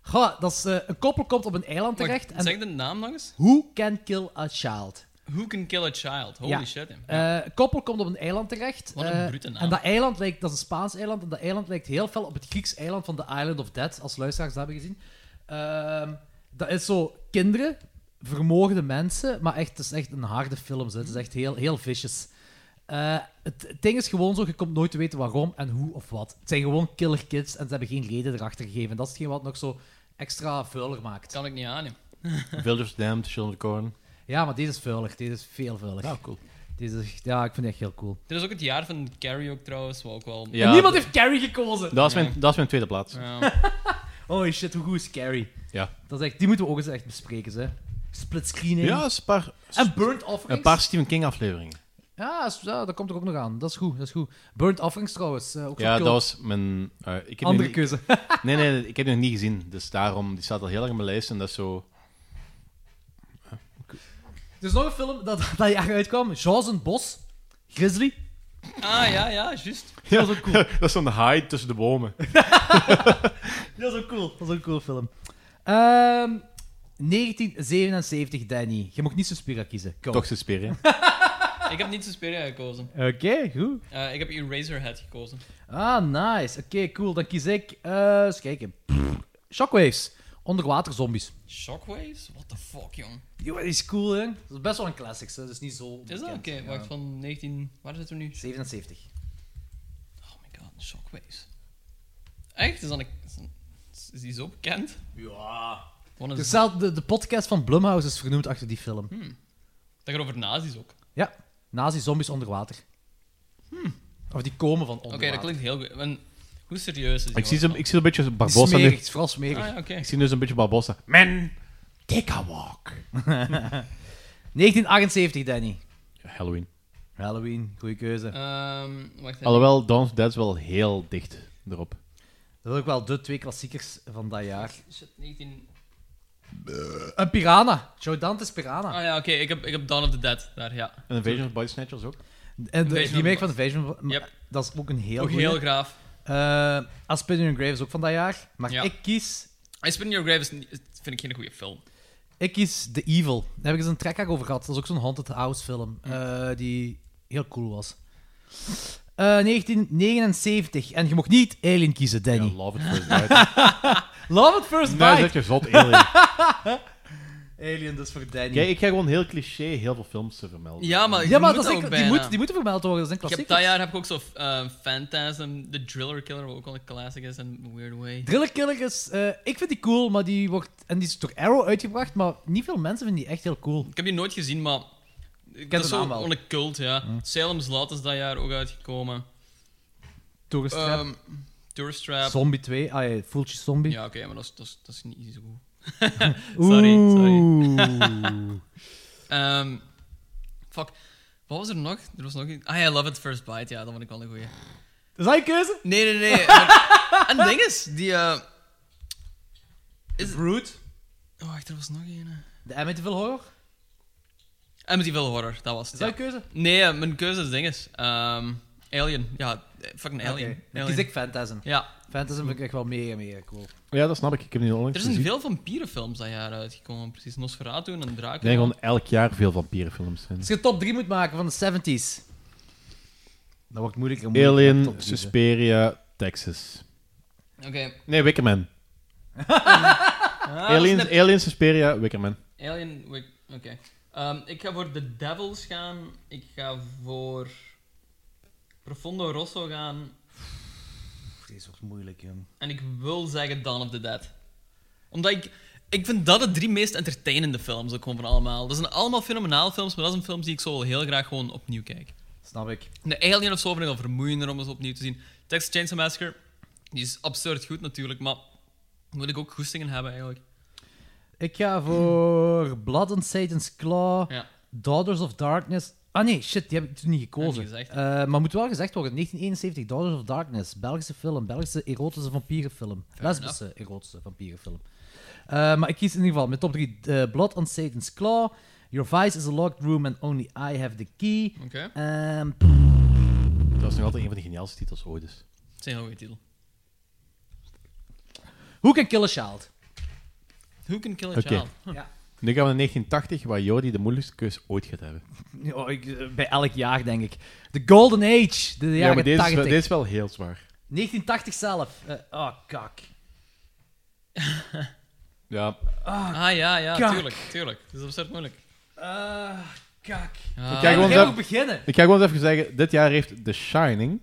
Speaker 4: goh, dat is, eh, een koppel komt op een eiland
Speaker 12: Wacht,
Speaker 4: terecht. en
Speaker 12: Zeg de naam nog eens.
Speaker 4: Who can kill a child?
Speaker 12: Who can kill a child? Holy
Speaker 4: Ja.
Speaker 12: shit. hè.
Speaker 4: Eh, een koppel komt op een eiland terecht.
Speaker 12: Wat een
Speaker 4: eh,
Speaker 12: brute naam.
Speaker 4: En dat eiland lijkt, dat is een Spaans eiland, en dat eiland lijkt heel fel op het Grieks eiland van The Island of Dead, als luisteraars dat hebben gezien. Ehm, dat is zo kinderen vermoorde mensen, maar echt, het is echt een harde film. Zo. Het is echt heel, heel vicious. Eh, het, het ding is gewoon zo, je komt nooit te weten waarom en hoe of wat. Het zijn gewoon killer kids en ze hebben geen reden erachter gegeven. Dat is hetgeen wat het nog zo extra vuiler maakt.
Speaker 12: Kan ik niet aan,
Speaker 1: Villagers Damned, Children of Corn.
Speaker 4: Ja, maar deze is vuiler. Deze is veel vuiler.
Speaker 1: Nou,
Speaker 4: Ja, cool. Deze is, echt- ja, ik vind die echt heel cool.
Speaker 12: Er is ook het jaar van Carrie ook trouwens, wat ook wel...
Speaker 1: Ja. En niemand
Speaker 4: heeft Carrie gekozen!
Speaker 1: Dat is mijn, dat is mijn tweede plaats.
Speaker 4: Holy shit, hoe goed is Carrie?
Speaker 1: Ja.
Speaker 4: Dat is echt, die moeten we ook eens echt bespreken, hè. Split screening.
Speaker 1: Ja, is een paar...
Speaker 4: En Burnt Offerings.
Speaker 1: Een paar Stephen King afleveringen.
Speaker 4: Ja, is- ja, dat komt er ook nog aan. Dat is goed, dat is goed. Burnt Offerings trouwens. eh, ook zo'n
Speaker 1: Ja,
Speaker 4: cult.
Speaker 1: dat was mijn... eh, ik heb nog
Speaker 4: Andere
Speaker 1: niet-
Speaker 4: keuze.
Speaker 1: (laughs) nee, nee, ik heb die nog niet gezien. Dus daarom, die staat al heel erg in mijn lijst. En dat is zo...
Speaker 4: (laughs) Er is nog een film dat (laughs) dat jaar uitkwam. Jaws en Bos. Grizzly.
Speaker 12: Ah, ja, ja, juist.
Speaker 4: Dat is ook cool.
Speaker 1: (laughs) dat is zo'n hide tussen de bomen.
Speaker 4: Dat is ook cool. Dat is ook een cool film. Ehm, 1977, Danny. Je mocht niet Suspiria kiezen. Go.
Speaker 1: Toch Suspiria.
Speaker 12: (laughs) Ik heb niet Suspiria gekozen.
Speaker 4: Oké, goed.
Speaker 12: Eh, ik heb Eraserhead gekozen.
Speaker 4: Ah, nice. Oké, cool. Dan kies ik... eh eens kijken. Shockwaves. Onderwaterzombies.
Speaker 12: Shockwaves? What the fuck, jong?
Speaker 4: Yo, dat is cool, hè? Dat is best wel een classic, hè? Dat is niet zo.
Speaker 12: Is dat?
Speaker 4: bekend.
Speaker 12: Oké,
Speaker 4: Ja.
Speaker 12: wacht, van 19... Waar zitten we nu?
Speaker 4: 77.
Speaker 12: Oh my god, Shockwaves. Echt? Is, dat een- is, een- is die zo bekend?
Speaker 4: Ja.
Speaker 12: Wat
Speaker 4: Dus
Speaker 12: is dat?
Speaker 4: zelf de, de podcast van Blumhouse is vernoemd achter die film.
Speaker 12: Dat gaat over nazi's ook.
Speaker 4: Ja, nazi-zombies onder water. Hm. Of die komen van onder
Speaker 12: Oké, dat klinkt heel goed. En hoe serieus is die?
Speaker 1: Ik zie, ze,
Speaker 12: wel?
Speaker 1: ik zie een beetje Barbossa
Speaker 4: Smerig,
Speaker 1: nu.
Speaker 4: het is vooral smerig.
Speaker 12: Ah, ja, oké.
Speaker 1: Ik zie dus een beetje Barbossa. Men, take a
Speaker 4: (laughs)
Speaker 1: walk.
Speaker 4: 1978, Danny.
Speaker 1: Halloween.
Speaker 4: Halloween, goede keuze.
Speaker 12: Ehm, wacht even.
Speaker 1: Alhoewel, Dawn of the Dead is wel heel dicht erop.
Speaker 4: Dat zijn ook wel de twee klassiekers van dat jaar.
Speaker 12: Shit, 19...
Speaker 4: Eh, Een Piranha. Joe Dante's Piranha.
Speaker 12: Ah ja, oké, ik, heb, ik heb Dawn of the Dead daar, ja.
Speaker 1: En Invasion of Body Snatchers ook.
Speaker 4: En de,
Speaker 12: Invasion
Speaker 4: die
Speaker 12: of
Speaker 4: make
Speaker 12: the
Speaker 4: van Invasion, maar dat is ook een heel
Speaker 12: Ook
Speaker 4: goeie.
Speaker 12: heel graaf.
Speaker 4: Eh, Aspidon Grave is ook van dat jaar. Maar
Speaker 12: Ja.
Speaker 4: ik kies
Speaker 12: I Spin Your Grave is, niet- vind ik geen goede film.
Speaker 4: Ik kies The Evil. Daar heb ik eens een track over gehad. Dat is ook zo'n Haunted House film.
Speaker 12: Hm.
Speaker 4: eh, die heel cool was. Eh, 1979. En je mocht niet Alien kiezen, Danny.
Speaker 5: (laughs)
Speaker 1: love it first bite.
Speaker 4: love it first
Speaker 1: Nee,
Speaker 4: bite.
Speaker 1: zeg je (laughs) zot, Alien.
Speaker 4: Alien dus voor Danny.
Speaker 1: Kijk, ik ga gewoon heel cliché heel veel films te vermelden.
Speaker 12: Ja, maar,
Speaker 4: ja, maar
Speaker 12: je
Speaker 4: dat
Speaker 12: moet
Speaker 4: is echt-
Speaker 12: ook
Speaker 4: die,
Speaker 12: bijna.
Speaker 4: moet, die moeten vermeld worden. Dat is een
Speaker 12: Ik heb
Speaker 4: klassiek.
Speaker 12: dat jaar heb ik ook zo eh, Phantasm, The Driller Killer, wat ook wel een classic is, en Weird Way.
Speaker 4: Driller Killer is... eh, ik vind die cool, maar die wordt... En die is door Arrow uitgebracht, maar niet veel mensen vinden die echt heel cool.
Speaker 12: Ik heb die nooit gezien, maar... Ik
Speaker 4: de
Speaker 12: dat is zo
Speaker 4: naam wel.
Speaker 12: gewoon een cult, ja. Salem's Lot is dat jaar ook uitgekomen.
Speaker 4: Tourist Trap.
Speaker 12: Ehm, Tourist Trap.
Speaker 4: Zombie 2. Ah ja, Fooltje Zombie.
Speaker 12: Ja, oké, maar dat is, dat, is, dat is niet zo goed.
Speaker 4: (laughs)
Speaker 12: sorry,
Speaker 4: Oeh.
Speaker 12: sorry. Ehm, fuck. Wat was er nog? Er was nog iets. Ah ja, Love It First Bite. Ja, dat vond ik wel een goeie.
Speaker 4: Is dat je keuze?
Speaker 12: Nee, nee, nee. maar-
Speaker 4: (laughs)
Speaker 12: en het ding is, die... eh is...
Speaker 4: Brood.
Speaker 12: Oh, wacht, er was nog één. hè.
Speaker 4: De Amityville Horror.
Speaker 12: Amityville Horror, dat was het.
Speaker 4: Is dat
Speaker 12: ja.
Speaker 4: je keuze?
Speaker 12: Nee, eh, mijn keuze is dinges. Ehm, Alien. Ja, eh, fucking
Speaker 4: Oké,
Speaker 12: Alien.
Speaker 4: dan
Speaker 12: Alien.
Speaker 4: kies ik Phantasm.
Speaker 12: Ja.
Speaker 4: Phantasm vind ik echt wel mega, mega cool.
Speaker 1: Ja, dat snap ik. Ik heb die
Speaker 12: Er
Speaker 1: onlangs
Speaker 12: zijn
Speaker 1: gezien.
Speaker 12: veel vampierenfilms dat jaar uitgekomen, precies. Nosferatu en Dracula.
Speaker 1: Ik denk gewoon elk jaar veel vampierenfilms. zijn.
Speaker 4: Als je top 3 moet maken van de 70s, dan wordt het moeilijker. en moeilijker om
Speaker 1: Alien,
Speaker 4: top drie te-
Speaker 1: Susperia, Texas.
Speaker 12: Oké.
Speaker 1: Nee,
Speaker 4: (laughs)
Speaker 1: Wickerman.
Speaker 12: Ah,
Speaker 1: Aliens,
Speaker 12: dat is
Speaker 1: Alien, Susperia, Wickerman.
Speaker 12: net- Alien, Wick- oké. Ehm, ik ga voor The Devils gaan. Ik ga voor Profondo Rosso gaan.
Speaker 4: Deze wordt moeilijk, jong.
Speaker 12: En ik wil zeggen Dawn of the Dead. Omdat ik... Ik vind dat de drie meest entertainende films ook gewoon van allemaal. Dat zijn allemaal fenomenale films, maar dat zijn films die ik zo wel heel graag gewoon opnieuw kijk.
Speaker 4: Snap ik.
Speaker 12: De Alien of zo vind ik al vermoeiender om eens opnieuw te zien. Texas Chainsaw Massacre, die is absurd goed natuurlijk, maar daar moet ik ook goestingen hebben eigenlijk.
Speaker 4: Ik ga voor Blood on Satan's Claw,
Speaker 12: Ja.
Speaker 4: Daughters of Darkness. Ah nee, shit, die heb ik toen niet gekozen.
Speaker 12: Heb je gezegd.
Speaker 4: Eh, maar moet wel gezegd worden, 1971, Daughters of Darkness, Belgische film, Belgische erotische vampierenfilm. Lesbische erotische vampierenfilm. Eh, maar ik kies in ieder geval met top 3 Blood on Satan's Claw, Your Vice is a Locked Room and Only I Have the Key.
Speaker 12: Oké.
Speaker 4: Ehm,
Speaker 1: Dat is nog altijd een van de geniaalste titels ooit. Dus.
Speaker 12: Dat is een heel goede titel.
Speaker 4: Who Can Kill a Child?
Speaker 12: Who Can Kill a
Speaker 1: Oké.
Speaker 12: Child? Huh.
Speaker 4: Ja.
Speaker 1: Nu gaan we naar 1980, waar Jody de moeilijkste keus ooit gaat hebben.
Speaker 4: Ja, ik, eh, bij elk jaar, denk ik. The Golden Age, de jaren
Speaker 1: ja, maar deze is, wel-
Speaker 4: 80.
Speaker 1: deze is wel heel zwaar.
Speaker 4: 1980 zelf. Eh, oh, kak.
Speaker 5: Ja.
Speaker 12: Ah ja, ja,
Speaker 4: kak.
Speaker 12: tuurlijk, tuurlijk. Dus Dat is absurd moeilijk.
Speaker 4: Ah, kak.
Speaker 12: Ah,
Speaker 5: ik, ga gewoon
Speaker 4: Jij
Speaker 5: eens
Speaker 4: moet beginnen.
Speaker 5: ik ga gewoon eens even zeggen, dit jaar heeft The Shining,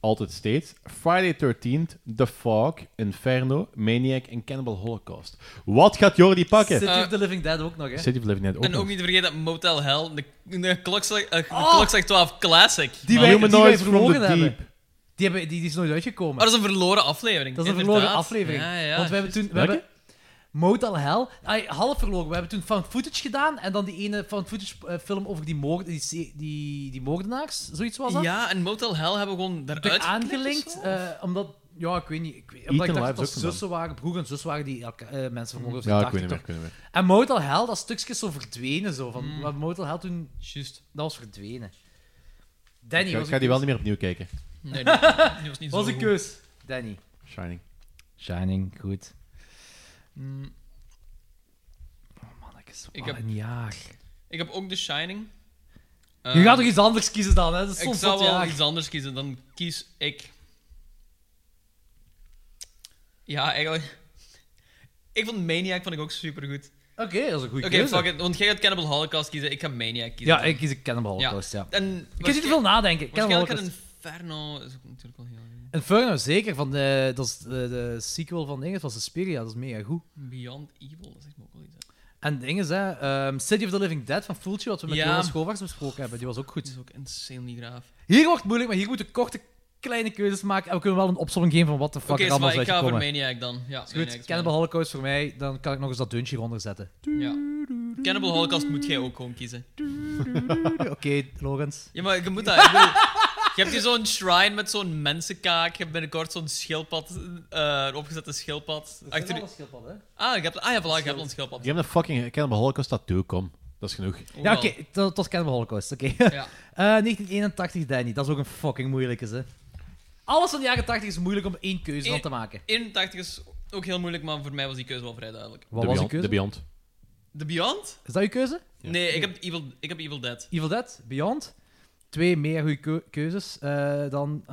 Speaker 5: altijd steeds, Friday 13th, The Fog, Inferno, Maniac en Cannibal Holocaust. Wat gaat Jordi pakken?
Speaker 4: City of the Living Dead ook nog, hè?
Speaker 5: City of the Living Dead ook
Speaker 12: Eh, En
Speaker 5: nog.
Speaker 12: ook niet te vergeten dat Motel Hell, de, de klokslag, eh, de
Speaker 4: Oh!
Speaker 12: klokslag 12 Classic.
Speaker 4: Die
Speaker 12: Maar-
Speaker 4: wij, die wij verloren hebben. Die, hebben die, die is nooit uitgekomen.
Speaker 12: Maar dat is een verloren aflevering.
Speaker 4: Dat is een
Speaker 12: inderdaad.
Speaker 4: verloren aflevering.
Speaker 12: Ja, ja,
Speaker 4: Want we hebben toen... We
Speaker 12: Welke?
Speaker 4: hebben Motel Hell. Ay, half verloren. We hebben toen found footage gedaan. En dan die ene found footage eh, film over die, moord, die, se- die, die moordenaars. Zoiets was dat.
Speaker 12: Ja, en Motel Hell hebben we gewoon
Speaker 4: Toen
Speaker 12: daaruit
Speaker 4: aangelinkt. eh, omdat... Ja, ik weet niet. Ik, weet- omdat ik
Speaker 5: Ethan
Speaker 4: dacht
Speaker 5: Live
Speaker 4: dat
Speaker 5: is
Speaker 4: dat
Speaker 5: ook gedaan.
Speaker 4: zussen waren, broer en zus waren die elka- eh, mensen vermoorden. of
Speaker 5: Ja, ik
Speaker 4: dacht
Speaker 5: weet niet
Speaker 4: toch.
Speaker 5: meer, ik weet niet meer.
Speaker 4: En Motel Hell, dat stukje is zo verdwenen. Zo, van,
Speaker 12: Mm.
Speaker 4: Wat Motel Hell toen...
Speaker 12: Juist.
Speaker 4: Dat was verdwenen.
Speaker 5: Ik
Speaker 4: Danny,
Speaker 5: ga,
Speaker 4: was uw
Speaker 5: ik ga die wel
Speaker 4: keus?
Speaker 5: niet meer opnieuw kijken.
Speaker 12: Nee, die- die was niet zo
Speaker 4: was een
Speaker 12: goed.
Speaker 4: keus. Danny.
Speaker 5: Shining.
Speaker 4: Shining, goed. Hmm.
Speaker 12: Mm,
Speaker 4: Oh, Ik
Speaker 12: Ik
Speaker 4: heb
Speaker 12: heb-
Speaker 4: een jaar.
Speaker 12: ik heb ook The Shining.
Speaker 4: Je
Speaker 12: Eh,
Speaker 4: gaat toch iets anders kiezen dan, hè? Dat is
Speaker 12: Ik
Speaker 4: soms
Speaker 12: zou
Speaker 4: wat
Speaker 12: wel
Speaker 4: jaar.
Speaker 12: iets anders kiezen, dan kies ik. Ja, eigenlijk. Ik vond Maniac vond ik ook supergoed.
Speaker 4: Oké, dat is een goede
Speaker 12: Oké,
Speaker 4: keuze.
Speaker 12: fuck it, want jij gaat Cannibal Holocaust kiezen, ik ga Maniac kiezen.
Speaker 4: Ja, ik kies een Cannibal Holocaust, ja.
Speaker 12: En
Speaker 4: Ik kan niet te veel nadenken. Cannibal
Speaker 12: Waarschijnlijk gaat
Speaker 4: Holocaust.
Speaker 12: Inferno... Is ook natuurlijk wel heel...
Speaker 4: Inferno, zeker. Van de, dat is de, de sequel van dingen, van Suspiria. Dat is mega goed.
Speaker 12: Beyond Evil, dat zegt me ook wel iets. hè.
Speaker 4: En dingen, hè. ehm, City of the Living Dead van Fulci, wat we met
Speaker 12: Ja.
Speaker 4: Jonas Govaerts besproken hebben. Die was ook goed.
Speaker 12: Dat is ook insanely graaf.
Speaker 4: Hier wordt het moeilijk, maar hier moeten we korte, kleine keuzes maken. En we kunnen wel een opsomming geven van wat de fuck
Speaker 12: Oké,
Speaker 4: er
Speaker 12: is
Speaker 4: allemaal
Speaker 12: waar,
Speaker 4: is
Speaker 12: ik ga voor
Speaker 4: uitgekomen.
Speaker 12: Maniac dan. Ja,
Speaker 4: Is
Speaker 12: Maniac
Speaker 4: goed,
Speaker 12: is
Speaker 4: Cannibal Holocaust voor mij. Dan kan ik nog eens dat deuntje eronder zetten.
Speaker 12: Ja. Cannibal Holocaust moet jij ook gewoon kiezen.
Speaker 4: (laughs) Oké, Lorenz.
Speaker 12: Ja, maar je moet dat... ik bedoel, je hebt hier zo'n shrine met zo'n mensenkaak. Je hebt binnenkort zo'n schildpad, eh opgezette schildpad. Achter...
Speaker 4: een schildpad, hè?
Speaker 12: Ah, ik heb... ah ja, voilà, je hebt een schildpad.
Speaker 5: Je hebt een fucking Cannibal Holocaust tattoo, kom. Dat is genoeg.
Speaker 4: Ja, oké, tot, tot Cannibal Holocaust. Oké.
Speaker 12: Ja.
Speaker 4: (laughs) Eh, 1981, Danny. Dat is ook een fucking moeilijke, hè. Alles van de jaren 80 is moeilijk om één keuze van te maken.
Speaker 12: 81 is ook heel moeilijk, maar voor mij was die keuze wel vrij duidelijk.
Speaker 4: Wat was uw keuze?
Speaker 5: Beyond.
Speaker 12: The Beyond?
Speaker 4: Is dat uw keuze?
Speaker 12: Nee, ik heb, Evil, ik heb Evil Dead.
Speaker 4: Evil Dead, Beyond. Twee meer goede keu- keuzes. Eh, dan...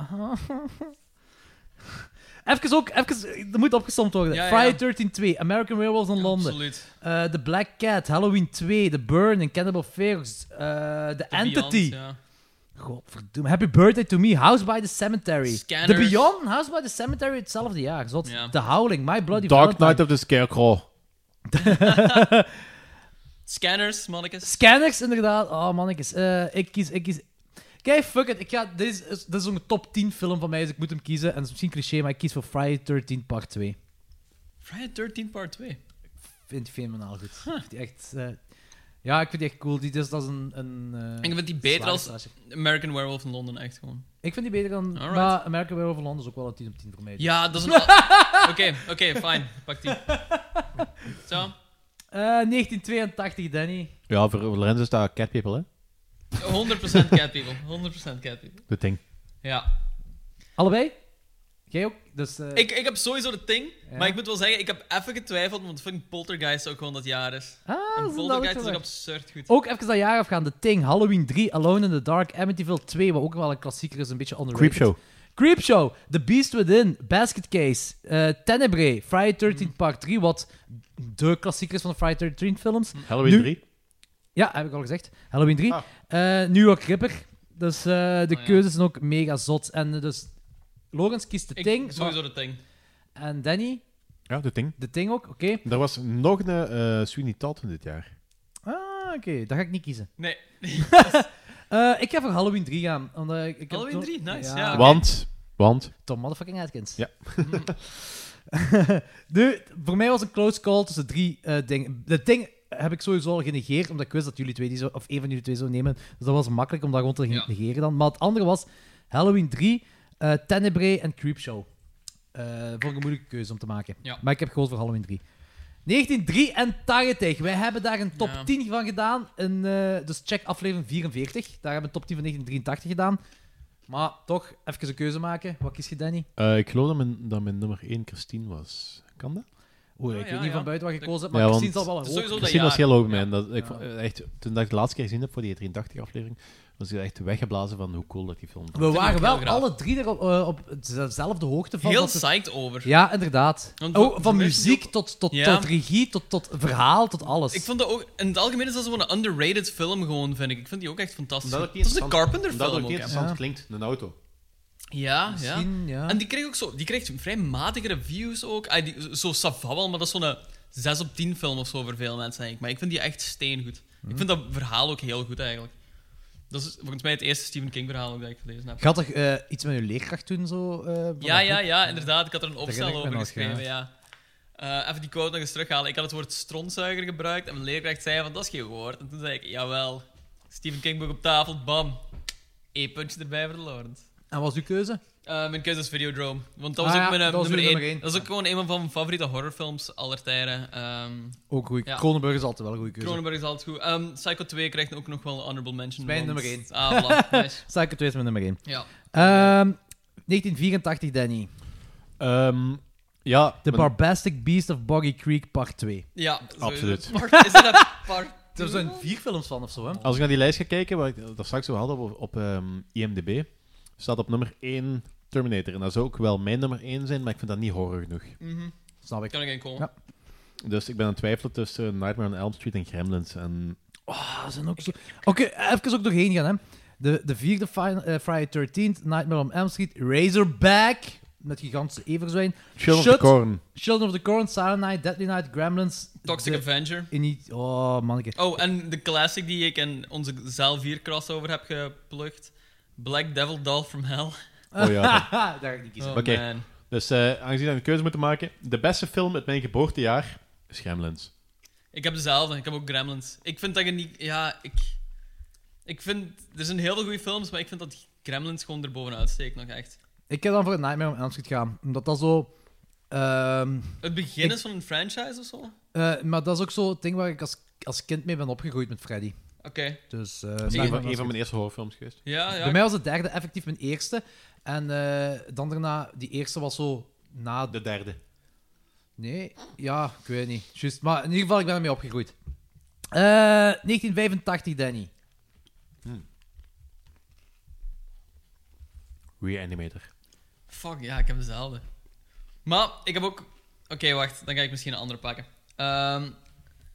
Speaker 4: (laughs) even ook... Even, dat moet opgesomd worden.
Speaker 12: Ja, ja, ja.
Speaker 4: Friday 13 2, American Werewolves in Londen.
Speaker 12: Absoluut.
Speaker 4: Eh, The Black Cat, Halloween 2, The Burn, Cannibal Ferox, eh, The, Entity.
Speaker 12: Beyond, ja.
Speaker 4: Godverdomme. Happy Birthday to Me, House by the Cemetery.
Speaker 12: Scanners.
Speaker 4: The Beyond, House by the Cemetery, hetzelfde jaar. Zot.
Speaker 12: Ja.
Speaker 4: The Howling, My Bloody
Speaker 5: Dark
Speaker 4: Valentine.
Speaker 5: Knight of the Scarecrow.
Speaker 12: Scanners, mannetjes.
Speaker 4: Scanners, inderdaad. Oh, mannetjes. Eh, ik kies... Ik kies... Kijk, fuck it. Ik ga, dit is, is- dit is een top 10 film van mij, dus ik moet hem kiezen. En het is misschien cliché, maar ik kies voor Friday 13 part 2.
Speaker 12: Friday 13 part 2.
Speaker 4: Vind ik fenomenaal goed. Ik vind die echt... eh, ja, ik vind die echt cool. Die, dus, dat is een... een eh,
Speaker 12: En ik vind die beter
Speaker 4: zware
Speaker 12: als
Speaker 4: stage.
Speaker 12: American Werewolf in Londen, echt gewoon.
Speaker 4: Ik vind die beter dan...
Speaker 12: Alright.
Speaker 4: Maar American Werewolf in London is ook wel een 10 op 10 voor mij.
Speaker 12: Ja, dat
Speaker 4: (laughs)
Speaker 12: is een. al- Oké, oké, fijn. Pak die. Zo.
Speaker 4: Eh, 1982, Danny.
Speaker 5: Ja, voor Lorenzo is dat Cat People, hè?
Speaker 12: 100% cat people. 100% cat people.
Speaker 5: Dat ding.
Speaker 12: Ja.
Speaker 4: Allebei? Jij ook? Dus, eh,
Speaker 12: Ik, ik heb sowieso de thing,
Speaker 4: Ja.
Speaker 12: maar ik moet wel zeggen, ik heb even getwijfeld, want fucking Poltergeist ook gewoon dat jaar is.
Speaker 4: Ah, dat
Speaker 12: en
Speaker 4: is inderdaad
Speaker 12: Poltergeist is ook
Speaker 4: waar.
Speaker 12: absurd goed.
Speaker 4: Ook even dat jaar afgaan. The Thing, Halloween 3, Alone in the Dark, Amityville 2, wat ook wel een klassieker is, een beetje underrated.
Speaker 5: Creepshow.
Speaker 4: Creepshow, The Beast Within, Basket Case, eh Tenebrae, Friday
Speaker 12: Mm.
Speaker 4: 13 Part 3, wat de klassieker is van de Friday 13 films.
Speaker 5: Halloween
Speaker 4: Nu-
Speaker 5: 3.
Speaker 4: Ja, heb ik al gezegd. Halloween 3. Eh, New York Ripper. Dus eh, de
Speaker 12: Oh
Speaker 4: keuzes zijn ook mega zot. En eh, dus, Logans kiest The
Speaker 12: Ik-
Speaker 4: Thing.
Speaker 12: Sowieso de thing.
Speaker 4: maar- En Danny,
Speaker 5: Ja, dat ding.
Speaker 4: The Thing ook, oké.
Speaker 5: Er was nog een eh Sweeney Todd van dit jaar.
Speaker 4: Ah, oké, dat ga ik niet kiezen.
Speaker 12: Nee.
Speaker 4: Eh, ik ga voor Halloween 3 gaan. Omdat ik, ik
Speaker 12: Halloween
Speaker 4: heb zo-
Speaker 12: 3, nice, ja,
Speaker 4: Ah,
Speaker 12: oké.
Speaker 5: Want, want...
Speaker 4: Tom motherfucking Atkins.
Speaker 5: Ja.
Speaker 4: nu, voor mij was een close call tussen drie eh, dingen. Dat ding heb ik sowieso al genegeerd, omdat ik wist dat jullie twee die zo, of één van jullie twee zou nemen. Dus dat was makkelijk om dat gewoon te
Speaker 12: Ja.
Speaker 4: negeren dan. Maar het andere was Halloween 3, eh Tenebrae en Creepshow. Eh voor een moeilijke keuze om te maken.
Speaker 12: Ja.
Speaker 4: Maar ik heb gekozen voor Halloween 3. 1983. Wij hebben daar een top
Speaker 12: Ja.
Speaker 4: 10 van gedaan. Een, eh, dus check aflevering 44. Daar hebben we een top 10 van 1983 gedaan. Maar toch, even een keuze maken. Wat kies je, Danny?
Speaker 5: Eh, ik geloof dat mijn, dat mijn nummer 1 Christine was. Kan dat?
Speaker 4: Oeh, ik
Speaker 12: ja,
Speaker 4: weet niet
Speaker 12: ja.
Speaker 4: van buiten wat je gekozen hebt, maar
Speaker 5: Ja, want
Speaker 4: Christine zal wel
Speaker 12: Sowieso
Speaker 4: hoog.
Speaker 12: dat
Speaker 5: Christine was
Speaker 12: jaar.
Speaker 5: heel hoog bij mij. en Dat, ik, vond- eh, echt, toen dat ik de laatste keer gezien heb voor die 83-aflevering, was ik echt weggeblazen van hoe cool dat die film
Speaker 4: We waren wel alle drie er op, eh, op dezelfde hoogte van.
Speaker 12: Heel
Speaker 4: dat het-
Speaker 12: psyched over.
Speaker 4: Ja, inderdaad.
Speaker 12: Want
Speaker 4: Oh,
Speaker 12: voor-
Speaker 4: van
Speaker 12: voor
Speaker 4: muziek tot, tot,
Speaker 12: Ja.
Speaker 4: tot regie, tot, tot verhaal, tot alles.
Speaker 12: Ik vond dat ook... In het algemeen is dat zo'n underrated film, gewoon, vind ik. Ik vind die ook echt fantastisch.
Speaker 5: Omdat
Speaker 12: Dat
Speaker 5: ook niet
Speaker 12: is een
Speaker 5: interessant-
Speaker 12: Carpenter
Speaker 5: omdat
Speaker 12: film
Speaker 5: ook niet
Speaker 12: hè.
Speaker 5: interessant klinkt, een auto.
Speaker 12: Ja, ja.
Speaker 5: Misschien, ja.
Speaker 12: En die kreeg ook zo... Die kreeg vrij matige reviews ook. Ah, die, zo savabbel, maar dat is zo'n 6 op 10 film of zo voor veel mensen, denk ik. Maar ik vind die echt steengoed.
Speaker 4: Mhm.
Speaker 12: Ik vind dat verhaal ook heel goed, eigenlijk. Dat is volgens mij het eerste Stephen King verhaal ook dat ik gelezen heb.
Speaker 4: Gaat er eh, iets met je leerkracht toen zo? eh, van
Speaker 12: Ja,
Speaker 4: dat
Speaker 12: ja,
Speaker 4: boek?
Speaker 12: ja, inderdaad. Ik had er een
Speaker 4: Dat
Speaker 12: opstel
Speaker 4: herinner ik
Speaker 12: over
Speaker 4: me nog,
Speaker 12: geschreven,
Speaker 4: ja.
Speaker 12: ja. Eh, even die quote nog eens terughalen. Ik had het woord strontzuiger gebruikt en mijn leerkracht zei van, dat is geen woord. En toen zei ik, jawel. Stephen King boek op tafel, bam. Eén puntje erbij voor de Lawrence.
Speaker 4: En wat was uw keuze?
Speaker 12: Eh, mijn keuze is Videodrome. Want dat was
Speaker 4: Ah
Speaker 12: ook
Speaker 4: ja,
Speaker 12: mijn eh,
Speaker 4: dat was uw
Speaker 12: nummer,
Speaker 4: nummer
Speaker 12: één.
Speaker 4: één.
Speaker 12: Dat is ook gewoon een van mijn favoriete horrorfilms aller tijden. Ehm,
Speaker 4: Ook goed.
Speaker 12: ja.
Speaker 4: Kronenburg is altijd wel een goede keuze.
Speaker 12: Cronenberg is altijd goed. Ehm, Psycho 2 krijgt ook nog wel een honorable mention.
Speaker 4: Mijn
Speaker 12: want-
Speaker 4: nummer 1.
Speaker 12: Ah, voilà. Nice.
Speaker 4: Sta ik het tweede met nummer 1.
Speaker 12: Ja.
Speaker 4: 1984, Ehm, Danny.
Speaker 5: Ehm, ja.
Speaker 4: The
Speaker 5: mijn-
Speaker 4: Barbastic Beast of Boggy Creek, part 2.
Speaker 12: Ja,
Speaker 5: Absoluut. (laughs)
Speaker 12: Is dat part
Speaker 4: Er zijn vier films van of zo, hè?
Speaker 5: Als ik naar die lijst ga kijken, wat ik daar straks over had op, op ehm, IMDb, staat op nummer 1 Terminator. En dat zou ook wel mijn nummer 1 zijn, maar ik vind dat niet horror genoeg.
Speaker 12: Mhm.
Speaker 4: Snap ik.
Speaker 12: Kan ik in komen.
Speaker 4: Ja.
Speaker 5: Dus ik ben aan het twijfelen tussen Nightmare on Elm Street en Gremlins. En
Speaker 4: Oh, dat zijn ook zo... Oké, even ook doorheen gaan, hè. De, de vierde fi- eh, Friday 13th, Nightmare on Elm Street, Razorback, met gigantische everzwijn.
Speaker 5: Children of
Speaker 4: Shut,
Speaker 5: the Corn.
Speaker 4: Children of the Corn, Silent Night, Deadly Night, Gremlins.
Speaker 12: Toxic
Speaker 4: de-
Speaker 12: Avenger.
Speaker 4: In niet... Oh, manneke.
Speaker 12: Oh, en de classic die ik in onze zaal 4 crossover heb geplukt. Black Devil Doll from Hell.
Speaker 5: Oh ja.
Speaker 4: (laughs) Daar ga ik niet kiezen.
Speaker 12: Oh,
Speaker 5: Oké.
Speaker 12: man.
Speaker 5: Dus eh, aangezien we een keuze moeten maken, de beste film uit mijn geboortejaar is Gremlins.
Speaker 12: Ik heb dezelfde. Ik heb ook Gremlins. Ik vind dat je niet... Ja, ik... Ik vind... Er zijn heel veel goede films, maar ik vind dat Gremlins gewoon erbovenuit steekt nog echt.
Speaker 4: Ik heb dan voor Nightmare on Elm Street gaan, omdat dat zo... ehm,
Speaker 12: Het begin
Speaker 4: ik-
Speaker 12: is van een franchise of zo? Oké.
Speaker 4: eh, maar dat is ook zo het ding waar ik als, als kind mee ben opgegroeid met Freddy. Dus, eh,
Speaker 5: dat is
Speaker 4: Nightmare
Speaker 5: een
Speaker 4: on Elm
Speaker 5: van, een van
Speaker 4: Street.
Speaker 5: mijn eerste horrorfilms geweest.
Speaker 12: Ja, ja.
Speaker 4: Bij mij was de derde effectief mijn eerste. En eh, dan daarna, die eerste was zo na... De
Speaker 5: derde.
Speaker 4: Nee, ja, ik weet niet. Juist, maar in ieder geval, ik ben ermee opgegroeid. Eh, 1985, Danny.
Speaker 5: Reanimator.
Speaker 12: Fuck, ja, ik heb dezelfde. Maar ik heb ook... Oké, wacht. Dan ga ik misschien een andere pakken. Ehm,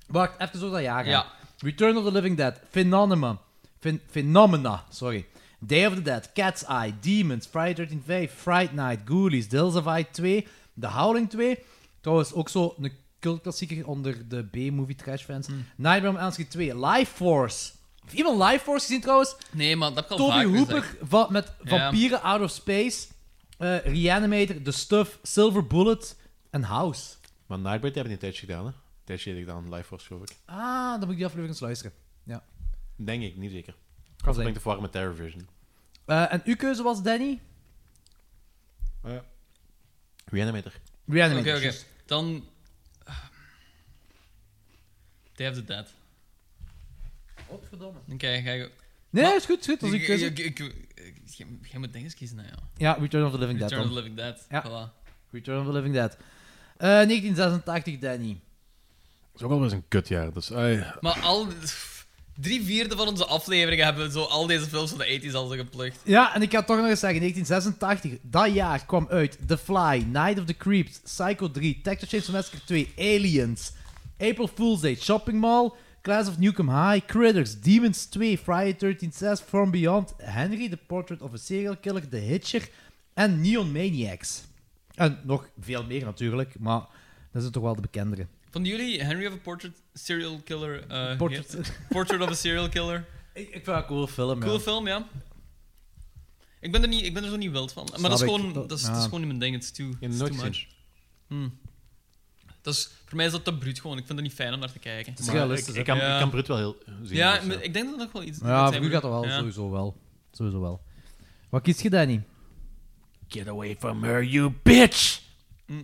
Speaker 4: Wacht, even zo dat jaar.
Speaker 12: Ja.
Speaker 4: Return of the Living Dead, Phenomena. Phen- phenomena, sorry. Day of the Dead, Cat's Eye, Demons, Friday 13 5, Fright Night, Ghoulies, Tales of Eye 2, The Howling 2. Trouwens, ook zo een cultklassieker onder de B-movie trash fans. Nightmare on Elm Street 2, Life Force. Heeft iemand Life Force gezien trouwens?
Speaker 12: nee, maar dat heb ik al
Speaker 4: Toby
Speaker 12: vaker
Speaker 4: Hooper
Speaker 12: gezegd.
Speaker 4: va- met
Speaker 12: Ja.
Speaker 4: Vampieren Out of Space, eh, Reanimator, The Stuff, Silver Bullet en House.
Speaker 5: Maar Nightbreed hebben niet een tijdje gedaan, hè? Een tijdje heb ik gedaan, Life Force, geloof ik.
Speaker 4: Ah, dan moet ik die aflevering eens luisteren. Ja.
Speaker 5: Denk ik, niet zeker.
Speaker 4: zijn.
Speaker 5: Of ben ik te verwarren met Terror Vision.
Speaker 4: Eh, en uw keuze was, Danny?
Speaker 5: Reanimator.
Speaker 12: Oké,
Speaker 4: Reanimator.
Speaker 12: oké.
Speaker 4: juist.
Speaker 12: Dan... Day of the Dead.
Speaker 4: Godverdomme.
Speaker 12: Oké, ga je...
Speaker 4: Nee, is goed, is goed. Dat is uw
Speaker 12: Ik-
Speaker 4: keuze.
Speaker 12: ik- ik- ik- Jij jij moet dingen kiezen, hè, joh.
Speaker 4: Ja, Return of the Living Dead
Speaker 12: Return of the
Speaker 4: dan.
Speaker 12: Living Dead.
Speaker 4: Ja.
Speaker 12: Voilà.
Speaker 4: Return of the Living Dead. Eh, 1986, Danny.
Speaker 5: Dat is ook alweer een kutjaar, dus... ai.
Speaker 12: Maar al... pff, Drie vierde van onze afleveringen hebben we zo al deze films van de 80s al zo geplukt.
Speaker 4: Ja, en ik ga het toch nog eens zeggen, 1986, dat jaar kwam uit The Fly, Night of the Creeps, Psycho 3, Texas Chainsaw Massacre 2, Aliens, April Fool's Day, Shopping Mall, Class of Newcomb High, Critters, Demons 2, Friday 13 6, From Beyond, Henry, The Portrait of a Serial Killer, The Hitcher en Neon Maniacs. En nog veel meer natuurlijk, maar dat zijn toch wel de bekendere.
Speaker 12: Vonden jullie Henry of a Portrait Serial Killer... eh,
Speaker 4: Portrait- (laughs)
Speaker 12: heet- Portrait of a Serial Killer.
Speaker 4: Ik, vind dat een coole film,
Speaker 12: Cool film, ja. Ik ben, er niet, ik ben er zo niet wild van. Maar
Speaker 4: Snap
Speaker 12: dat is,
Speaker 4: ik.
Speaker 12: gewoon,
Speaker 4: Dat-
Speaker 12: dat, is,
Speaker 4: ja.
Speaker 12: dat is gewoon niet mijn ding. Het is too, it's
Speaker 5: nooit
Speaker 12: too
Speaker 5: gezien?
Speaker 12: much. Hm. Dat is, voor mij is dat te bruut gewoon. Ik vind het niet fijn om naar te kijken.
Speaker 4: is Maar realistisch, ik- hè? ik kan- ik kan bruut wel heel- zien,
Speaker 12: Ja,
Speaker 5: eh,
Speaker 4: dus, ja.
Speaker 12: ik denk dat dat nog wel iets...
Speaker 4: Ja,
Speaker 12: iets
Speaker 4: voor u gaat dat wel,
Speaker 12: ja.
Speaker 4: sowieso wel. Sowieso wel. Wat kies je, Danny?
Speaker 5: Get away from her, you bitch!
Speaker 12: Mm.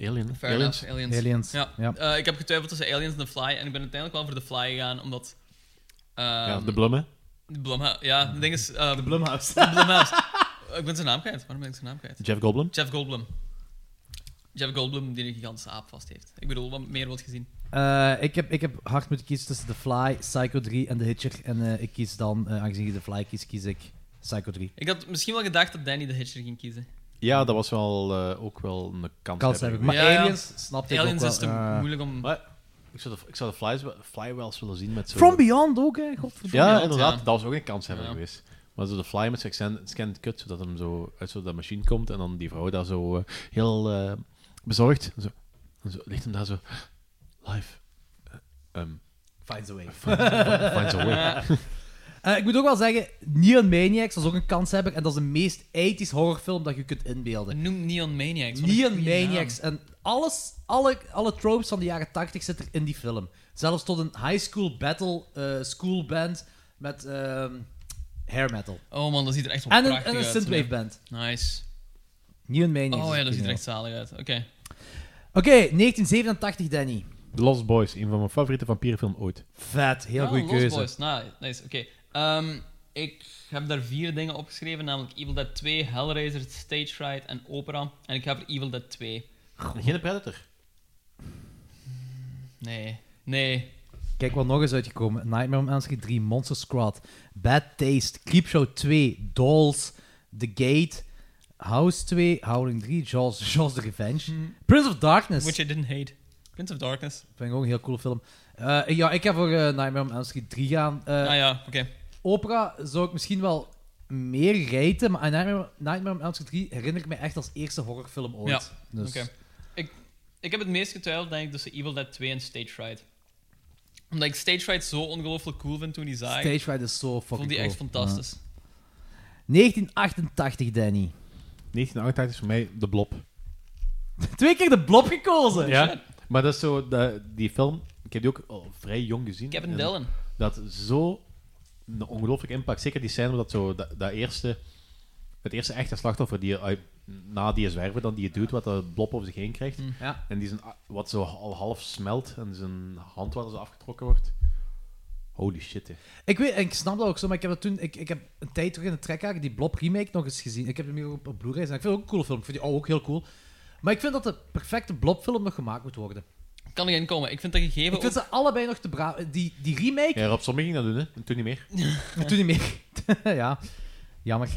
Speaker 5: Alien.
Speaker 12: Fair
Speaker 5: Aliens.
Speaker 12: enough, aliens.
Speaker 4: Aliens,
Speaker 12: Ja.
Speaker 4: ja.
Speaker 12: Eh, ik heb getwijfeld tussen Aliens en The Fly. En ik ben uiteindelijk wel voor The Fly gegaan, omdat... ehm,
Speaker 5: Ja, de Blum, hè?
Speaker 12: De Blumhouse. Ja, het ding is... ehm, de
Speaker 4: Blumhouse.
Speaker 12: Blumhouse. ik ben zijn naam kwijt. Waarom ben ik zijn naam kwijt?
Speaker 5: Jeff Goldblum?
Speaker 12: Jeff Goldblum. Jeff Goldblum, die een gigantische aap vast heeft. Ik bedoel, wat meer wordt gezien.
Speaker 4: Eh, ik, heb, ik heb hard moeten kiezen tussen The Fly, Psycho 3 en The Hitcher. En eh, ik kies dan, eh, aangezien je The Fly kiest, kies ik Psycho 3.
Speaker 12: Ik had misschien wel gedacht dat Danny de Hitcher ging kiezen.
Speaker 5: Ja, dat was wel eh, ook wel een kans.
Speaker 4: Kans hebben. Maar
Speaker 12: Ja, ja.
Speaker 4: Aliens snapte ik
Speaker 12: Aliens
Speaker 4: ook
Speaker 12: is
Speaker 4: wel.
Speaker 12: te
Speaker 4: Eh,
Speaker 12: moeilijk om...
Speaker 5: Ik zou de, ik zou de flies, wel- fly wel eens willen zien met zo...
Speaker 4: From Beyond ook, hè? Godverdomme.
Speaker 5: Ja, inderdaad. Dat was ook een kans hebben geweest. Maar zo de fly met zijn accent- scant kut, zodat hem zo uit zo dat machine komt en dan die vrouw daar zo eh, heel eh, bezorgd. Zo, en zo ligt hem daar zo... Live. Eh, ehm,
Speaker 4: Finds a way.
Speaker 5: Finds a- finds a way.
Speaker 4: Eh, ik moet ook wel zeggen, Neon Maniacs was ook een kanshebber. En dat is de meest 80s horrorfilm dat je kunt inbeelden.
Speaker 12: Noem Neon Maniacs. wat een
Speaker 4: Neon
Speaker 12: goeie naam.
Speaker 4: Maniacs. En alles, alle, alle tropes van de jaren 80 zitten er in die film. Zelfs tot een high school battle eh, school band met ehm, hair metal.
Speaker 12: Oh man, dat ziet er echt wel
Speaker 4: En een-
Speaker 12: prachtig
Speaker 4: en een
Speaker 12: uit.
Speaker 4: synthwave
Speaker 12: ja.
Speaker 4: band.
Speaker 12: Nice.
Speaker 4: Neon Maniacs.
Speaker 12: Oh ja,
Speaker 4: is
Speaker 12: dat ziet er
Speaker 4: geniaal.
Speaker 12: echt zalig uit. Oké.
Speaker 4: Oké, 1987, Danny.
Speaker 5: The Lost Boys, een van mijn favoriete vampierfilm ooit.
Speaker 4: Vet, heel
Speaker 12: Ah,
Speaker 4: goede
Speaker 12: Lost
Speaker 4: keuze.
Speaker 12: Boys. Nou, nice. Oké. Ehm, ik heb daar vier dingen opgeschreven, namelijk Evil Dead 2, Hellraiser, Stage Fright en Opera. En ik heb er Evil Dead 2.
Speaker 5: Geen Predator?
Speaker 12: Nee. Nee.
Speaker 4: Kijk wat nog eens uitgekomen. Nightmare on Elm Street 3, Monster Squad, Bad Taste, Creepshow 2, Dolls, The Gate, House 2, Howling 3, Jaws, (laughs) Jaws The Revenge, Prince of Darkness.
Speaker 12: Which I didn't hate. Prince of Darkness.
Speaker 4: Vind ik ook een heel coole film. Eh, ja, ik ga voor eh, Nightmare on Elm Street 3 gaan. Eh,
Speaker 12: ah ja, oké.
Speaker 4: Opera zou ik misschien wel meer rijten, maar aan Nightmare, Nightmare on Elm Street 3 herinner ik me echt als eerste horrorfilm ooit.
Speaker 12: Ja,
Speaker 4: Dus-
Speaker 12: oké. Ik, ik heb het meest getwijfeld, denk ik, tussen Evil Dead 2 en Stage Fright. Omdat ik Stage Fright zo ongelooflijk cool vind toen die zag.
Speaker 4: Stage Fright is zo fucking
Speaker 12: Vond die echt
Speaker 4: cool.
Speaker 12: fantastisch.
Speaker 4: 1988, Danny.
Speaker 5: 1988 is voor mij de blob.
Speaker 4: Twee keer de blob gekozen.
Speaker 5: Ja, maar dat is zo, dat- die film, ik heb die ook al vrij jong gezien.
Speaker 12: Kevin
Speaker 5: En
Speaker 12: Dillon.
Speaker 5: Dat zo een ongelooflijk impact. Zeker die scène, dat zo, dat, dat eerste, het eerste echte slachtoffer die uit, na die zwerver, dan die doet wat de blob over zich heen krijgt.
Speaker 4: Mm. Ja.
Speaker 5: En die zijn, a- wat zo al half smelt en zijn hand waar zo afgetrokken wordt. Holy shit, hè.
Speaker 4: Ik weet, en ik snap dat ook zo, maar ik heb dat toen, ik, ik heb een tijd terug in de trekhaak die Blob remake nog eens gezien. Ik heb hem hier op, op Blu-ray en ik vind het ook een coole film. Ik vind die oude ook heel cool. Maar ik vind dat de perfecte Blob-film nog gemaakt moet worden.
Speaker 12: Kan erin komen. Ik vind dat gegeven
Speaker 4: ik vind
Speaker 12: ook-
Speaker 4: ze allebei nog te braaf. Die, die remake,
Speaker 5: Ja, Rob Zombie ging dat doen, hè. En toen niet meer.
Speaker 4: maar toen niet meer. (laughs) ja, jammer.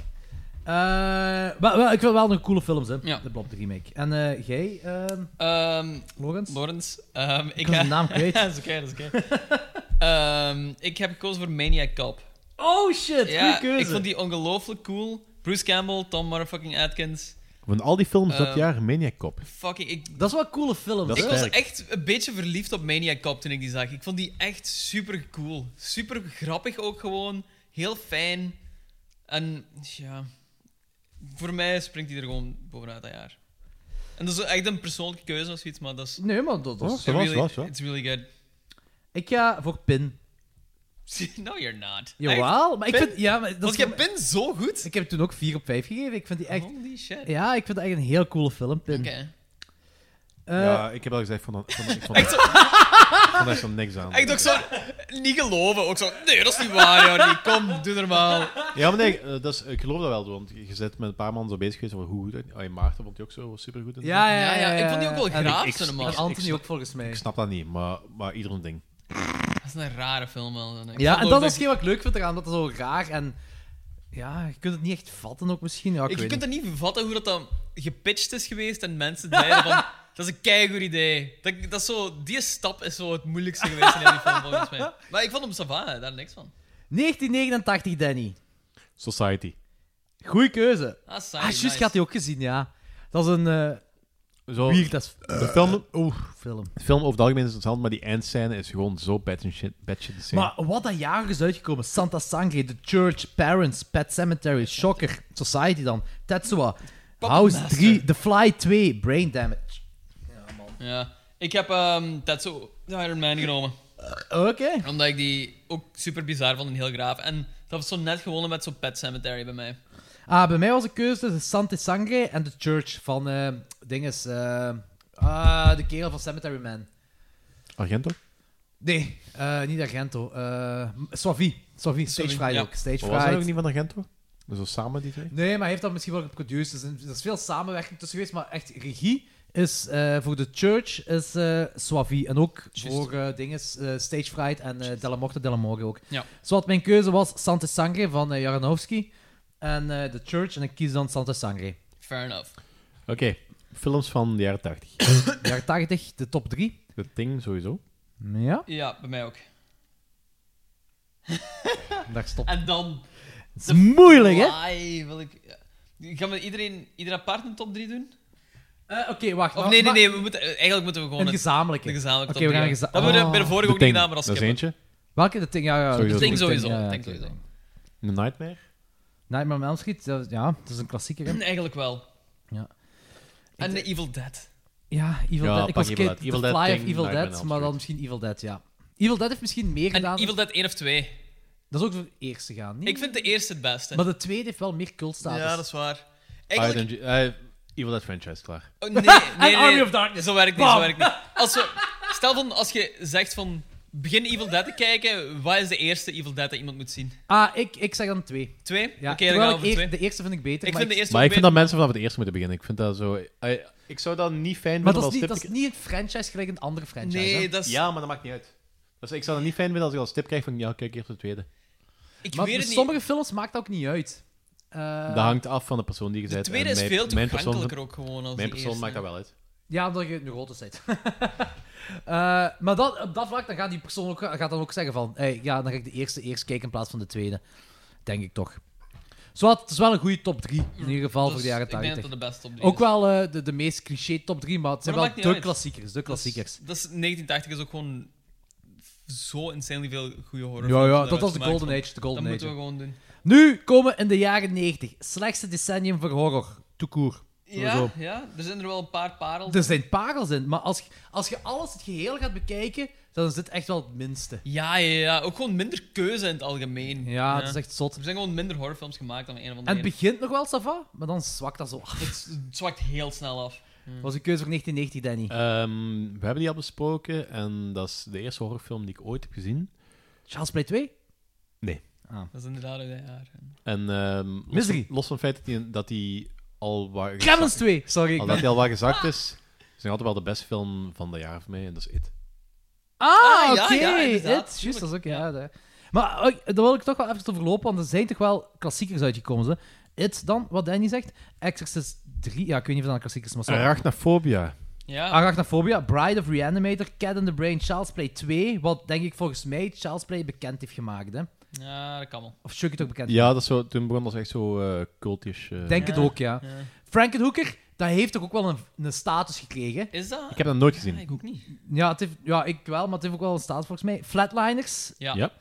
Speaker 4: Eh, maar, wel, ik vind wel nog coole films, hè. De Blob de remake. En eh, jij, ehm,
Speaker 12: Ehm,
Speaker 4: Lawrence?
Speaker 12: Lawrence. ehm, ik
Speaker 4: Ik was
Speaker 12: ga-
Speaker 4: de
Speaker 12: (laughs)
Speaker 4: naam kwijt.
Speaker 12: dat is oké, dat is oké. Ehm, ik heb gekozen voor Maniac Cop.
Speaker 4: Oh shit,
Speaker 12: Ja,
Speaker 4: goede keuze.
Speaker 12: ik vond die ongelooflijk cool. Bruce Campbell, Tom motherfucking Atkins.
Speaker 5: Van al die films dat
Speaker 12: Eh,
Speaker 5: jaar, Maniac Cop.
Speaker 12: Fucking, ik...
Speaker 4: Dat is wel een coole film.
Speaker 5: Dat is
Speaker 12: ik was
Speaker 5: sterk.
Speaker 12: echt een beetje verliefd op Maniac Cop toen ik die zag. Ik vond die echt super cool. Super grappig ook gewoon. Heel fijn. En ja, voor mij springt die er gewoon bovenuit dat jaar. En dat is echt een persoonlijke keuze of zoiets, maar dat is...
Speaker 4: Nee, maar dat- dat
Speaker 5: Oh,
Speaker 4: is-
Speaker 12: It's
Speaker 4: Ja, dat was-
Speaker 12: really-
Speaker 4: was, ja.
Speaker 12: It's really good.
Speaker 4: Ik ga voor Pin.
Speaker 12: (laughs) No, you're not.
Speaker 4: Jawel, maar ik
Speaker 12: Pin?
Speaker 4: vind... Ja, maar dat
Speaker 12: Want
Speaker 4: is-
Speaker 12: jij Pin zo goed?
Speaker 4: Ik heb toen ook 4 op 5 gegeven. Ik vind die echt...
Speaker 12: Holy shit.
Speaker 4: Ja, ik vind het echt een heel coole film, Pin.
Speaker 12: Oké.
Speaker 4: Eh,
Speaker 5: ja, ik heb al gezegd van... van,
Speaker 4: (laughs)
Speaker 5: van, van
Speaker 12: Echt zo-
Speaker 5: ik vond daar zo niks aan.
Speaker 12: Echt ook zo... Niet geloven, ook zo... Nee, dat is niet waar, Jordi. Kom, doe normaal.
Speaker 5: Ja, maar nee, eh, dat is, ik geloof dat wel, want je bent met een paar man zo bezig geweest over hoe goed... hij- Ah, Maarten vond hij ook zo supergoed. en zo.
Speaker 4: Ja, ja, ja, Ja, ja, Eh, ik vond die ook wel
Speaker 5: En ik-
Speaker 4: graaf,
Speaker 5: ik-
Speaker 4: zo'n
Speaker 5: ik-
Speaker 4: man.
Speaker 5: ik- ik
Speaker 4: Anthony
Speaker 5: snap-
Speaker 4: ook volgens mij.
Speaker 5: Ik snap dat niet, maar, maar ieder een ding.
Speaker 12: Dat is een rare film wel. dan. Ik
Speaker 4: ja,
Speaker 12: vond
Speaker 4: en
Speaker 12: ook
Speaker 4: dat is geen wat ik leuk vind eraan. Dat is zo raar en... Ja, je kunt het niet echt vatten ook misschien. Ja, ik
Speaker 12: Ik, je
Speaker 4: weet
Speaker 12: kunt
Speaker 4: niet.
Speaker 12: er niet bevatten hoe dat dan gepitcht is geweest en mensen zeiden
Speaker 4: (laughs)
Speaker 12: van... Dat is een keigoed idee. Dat, dat is zo, die stap is zo het moeilijkste geweest in heel die film, volgens
Speaker 4: (laughs)
Speaker 12: mij. Maar ik vond hem sava, daar niks van.
Speaker 4: 1989, Danny.
Speaker 5: Society.
Speaker 4: Goeie keuze.
Speaker 12: Ah, saai,
Speaker 4: ah juist,
Speaker 12: nice.
Speaker 4: gaat die ook gezien, ja. Dat is een... eh
Speaker 5: Zo,
Speaker 4: weird as...
Speaker 5: de film,
Speaker 4: Oeh, film.
Speaker 5: de film over het algemeen is interessant, maar die eindscène is gewoon zo bad and shit. Bad shit insane.
Speaker 4: Maar ah, wat dat jaar is uitgekomen. Santa Sangre, The Church, Parents, Pet Cemetery, Shocker, Society dan, Tetsuwa, House
Speaker 12: Master.
Speaker 4: 3, The Fly 2, Brain Damage.
Speaker 12: Ja. Ik heb ehm Tetsu de Iron Man genomen.
Speaker 4: Oké.
Speaker 12: Omdat ik die ook super bizar vond en heel graaf. En dat was zo net gewonnen met zo'n Pet Cemetery bij mij.
Speaker 4: Ah, bij mij was de keuze tussen Santa Sangre en The Church van eh dinges. eh, ah, de kerel van Cemetery Man.
Speaker 5: Argento?
Speaker 4: Nee, eh, niet Argento. eh Suavi. Suavi, Stage
Speaker 5: Sorry.
Speaker 4: Fright
Speaker 5: Ja.
Speaker 4: ook. Stage
Speaker 5: Maar Was dat ook
Speaker 4: Fright.
Speaker 5: niet van Argento? Zo samen die twee?
Speaker 4: Nee, maar hij heeft dat misschien wel geproduceerd. Dus er is veel samenwerking tussen geweest, maar echt regie is eh, voor de Church is eh Suavi. En ook voor eh dingen, eh, Stage Fright en eh Della Morte, Della More ook.
Speaker 12: Ja.
Speaker 4: Zoals mijn keuze was Sante Sangre van eh, Jaranowski en eh The Church. En ik kies dan Sante Sangre.
Speaker 12: Fair enough.
Speaker 5: Oké, films van de jaren 80.
Speaker 4: (coughs) Jaren 80, de top 3.
Speaker 5: Dat ding sowieso.
Speaker 4: Ja.
Speaker 12: Ja, bij mij ook.
Speaker 4: Daar stopt.
Speaker 12: En dan...
Speaker 4: Het is moeilijk, hè?
Speaker 12: Fly, wil ik... ja. Gaan we iedereen, ieder apart een top 3 doen?
Speaker 4: Oké, wacht. nou,
Speaker 12: Of nee, nee,
Speaker 4: maar-
Speaker 12: nee. We moeten, eh, eigenlijk moeten we gewoon...
Speaker 4: Een gezamenlijke.
Speaker 12: Een gezamenlijke
Speaker 4: Oké,
Speaker 12: top
Speaker 4: we gaan
Speaker 12: drie
Speaker 4: een geza-
Speaker 12: hebben. Dat hebben we
Speaker 4: Oh.
Speaker 12: bij de vorige
Speaker 5: De
Speaker 12: ook niet
Speaker 5: Thing.
Speaker 12: gedaan, maar als
Speaker 5: Dat is
Speaker 12: skipper.
Speaker 5: eentje.
Speaker 4: Welke? De Ting? Ja, ja,
Speaker 5: Sowieso.
Speaker 12: De Ting
Speaker 4: de
Speaker 12: sowieso,
Speaker 4: Ja, ja,
Speaker 12: de Ting
Speaker 4: oké,
Speaker 12: sowieso.
Speaker 5: The Nightmare.
Speaker 4: Nightmare on Elm Street, dat, ja, dat is een klassieker. hè.
Speaker 12: (laughs) Eigenlijk wel.
Speaker 4: Ja.
Speaker 12: En de Evil Dead.
Speaker 4: Ja, Evil
Speaker 5: Ja,
Speaker 4: Dead. Ik
Speaker 5: pak
Speaker 4: was
Speaker 5: Evil
Speaker 4: kind,
Speaker 5: Dead. Evil
Speaker 4: The
Speaker 5: Dead,
Speaker 4: Fly
Speaker 5: Thing,
Speaker 4: of Evil
Speaker 5: Nightmare on
Speaker 4: Dead,
Speaker 5: Elm
Speaker 4: maar dan misschien Evil Dead, ja. Evil Dead heeft misschien meer gedaan.
Speaker 12: Evil Dead 1 of 2.
Speaker 4: Dat is ook de eerste gaan, niet?
Speaker 12: Ik vind de eerste het beste.
Speaker 4: Maar de tweede heeft wel meer cultstatus.
Speaker 12: Ja, dat is waar.
Speaker 5: Eigenlijk...
Speaker 12: Eigenlijk...
Speaker 5: eh, Evil Dead franchise, klaar.
Speaker 12: Oh, nee, nee,
Speaker 4: (laughs)
Speaker 12: nee,
Speaker 4: En Army
Speaker 12: nee.
Speaker 4: of Darkness.
Speaker 12: Zo werkt niet, zo
Speaker 4: Bam.
Speaker 12: werkt niet. Als we, stel van, als je zegt van... Begin Evil Dead te kijken, wat is de eerste Evil Dead dat iemand moet zien?
Speaker 4: Ah, ik, ik zeg dan twee.
Speaker 12: Twee?
Speaker 4: Ja,
Speaker 12: Oké, dan
Speaker 4: terwijl
Speaker 12: gaan we
Speaker 4: ik
Speaker 12: voor
Speaker 4: eer-
Speaker 12: twee.
Speaker 4: De eerste vind ik beter.
Speaker 12: Ik
Speaker 4: maar
Speaker 12: vind de eerste
Speaker 5: Maar ik vind dat
Speaker 12: beter.
Speaker 5: mensen vanaf het eerste moeten beginnen. Ik vind dat zo... I- ik zou dat niet fijn
Speaker 4: Maar
Speaker 5: vinden
Speaker 4: dat is,
Speaker 5: als
Speaker 4: niet,
Speaker 5: tip...
Speaker 4: dat is niet een franchise gelijk een andere franchise. hè?
Speaker 5: Ja, maar dat maakt niet uit. Dus ik zou dat niet fijn vinden als ik als tip krijg van... Ja, kijk eerst de tweede.
Speaker 12: Ik
Speaker 4: maar
Speaker 12: weet
Speaker 4: bij
Speaker 12: het niet.
Speaker 4: sommige films maakt dat ook niet uit. Eh,
Speaker 5: dat hangt af van de persoon die je
Speaker 12: de
Speaker 5: bent.
Speaker 12: tweede
Speaker 5: en
Speaker 12: is
Speaker 5: mijn-
Speaker 12: veel
Speaker 5: mijn persoon-
Speaker 12: toegankelijker ook gewoon als
Speaker 5: Mijn
Speaker 12: die
Speaker 5: persoon
Speaker 12: eerste.
Speaker 5: maakt dat wel uit.
Speaker 4: Ja, omdat je neurotisch bent. (laughs) Eh, maar dat, op dat vlak dan gaat die persoon ook, gaat dan ook zeggen van... Hey, ja, dan ga ik de eerste eerst kijken in plaats van de tweede. Denk ik toch. Zowat, het is wel een goede top 3, in ieder geval
Speaker 12: Dus
Speaker 4: voor de jaren
Speaker 12: ik denk
Speaker 4: 80.
Speaker 12: dat dat de beste top drie
Speaker 4: Ook
Speaker 12: is.
Speaker 4: wel eh, de, de meest cliché top 3, maar het
Speaker 12: Maar
Speaker 4: zijn
Speaker 12: dat maakt
Speaker 4: wel
Speaker 12: niet
Speaker 4: de
Speaker 12: uit.
Speaker 4: klassiekers. De klassiekers.
Speaker 12: Dat is, 1980 is ook gewoon zo insanely veel goede horror.
Speaker 4: Ja, ja, dat was de Golden Age. De golden
Speaker 12: dat
Speaker 4: age.
Speaker 12: moeten we gewoon doen.
Speaker 4: Nu komen in de jaren 90. Slechtste decennium voor horror. Toekoer.
Speaker 12: Ja, ja, er zijn er wel een paar parels.
Speaker 4: Er zijn parels in, maar als, je- als je alles het geheel gaat bekijken, dan is dit echt wel het minste.
Speaker 12: Ja, ja, ja, ook gewoon minder keuze in het algemeen. Ja,
Speaker 4: het is echt zot.
Speaker 12: Er zijn gewoon minder horrorfilms gemaakt dan een of
Speaker 4: En
Speaker 12: andere.
Speaker 4: het begint nog wel, Sava, maar dan zwakt dat zo af.
Speaker 12: Het, het zwakt heel snel af. Hm.
Speaker 4: was een keuze voor 1990, Danny.
Speaker 5: Ehm, we hebben die al besproken en dat is de eerste horrorfilm die ik ooit heb gezien.
Speaker 4: Charles Play 2?
Speaker 5: Nee.
Speaker 12: Dat is inderdaad uit dat jaar.
Speaker 5: En ehm, los,
Speaker 4: Misery.
Speaker 5: Van, los van het feit dat die, dat die al waar
Speaker 4: Gremlins 2, sorry, ik
Speaker 5: Al
Speaker 4: ben-
Speaker 5: dat die al waar gezakt is, is nog altijd wel de beste film van dat jaar voor mij en dat is It.
Speaker 4: Ah,
Speaker 12: Ah,
Speaker 4: oké.
Speaker 12: ja, ja,
Speaker 4: It,
Speaker 12: inderdaad,
Speaker 4: Juist, dat is ook, ja. dat- Maar oh, daar wil ik toch wel even over lopen, want er zijn toch wel klassiekers uitgekomen. Hè? It dan, wat Danny zegt. Exorcist 3, ja, ik weet niet of dat een klassieker is, maar zo.
Speaker 5: Arachnophobia.
Speaker 12: Ja.
Speaker 4: Arachnophobia, Bride of Reanimator, Cat in the Brain, Child's Play 2, wat denk ik volgens mij Child's Play bekend heeft gemaakt, hè?
Speaker 12: Ja, dat kan wel.
Speaker 4: Of Chucky toch bekend
Speaker 5: Ja, dat is zo, toen begon dat echt zo eh, cultish. eh.
Speaker 4: Denk het ook, ja.
Speaker 12: ja.
Speaker 4: Frankenhoeker, dat heeft toch ook wel een, een status gekregen?
Speaker 12: Is dat?
Speaker 5: Ik heb dat nooit gezien. Ja, ik
Speaker 12: ook niet.
Speaker 4: Ja, het heeft, ja, ik wel, maar het heeft ook wel een status volgens mij. Flatliners.
Speaker 12: Ja. Ja.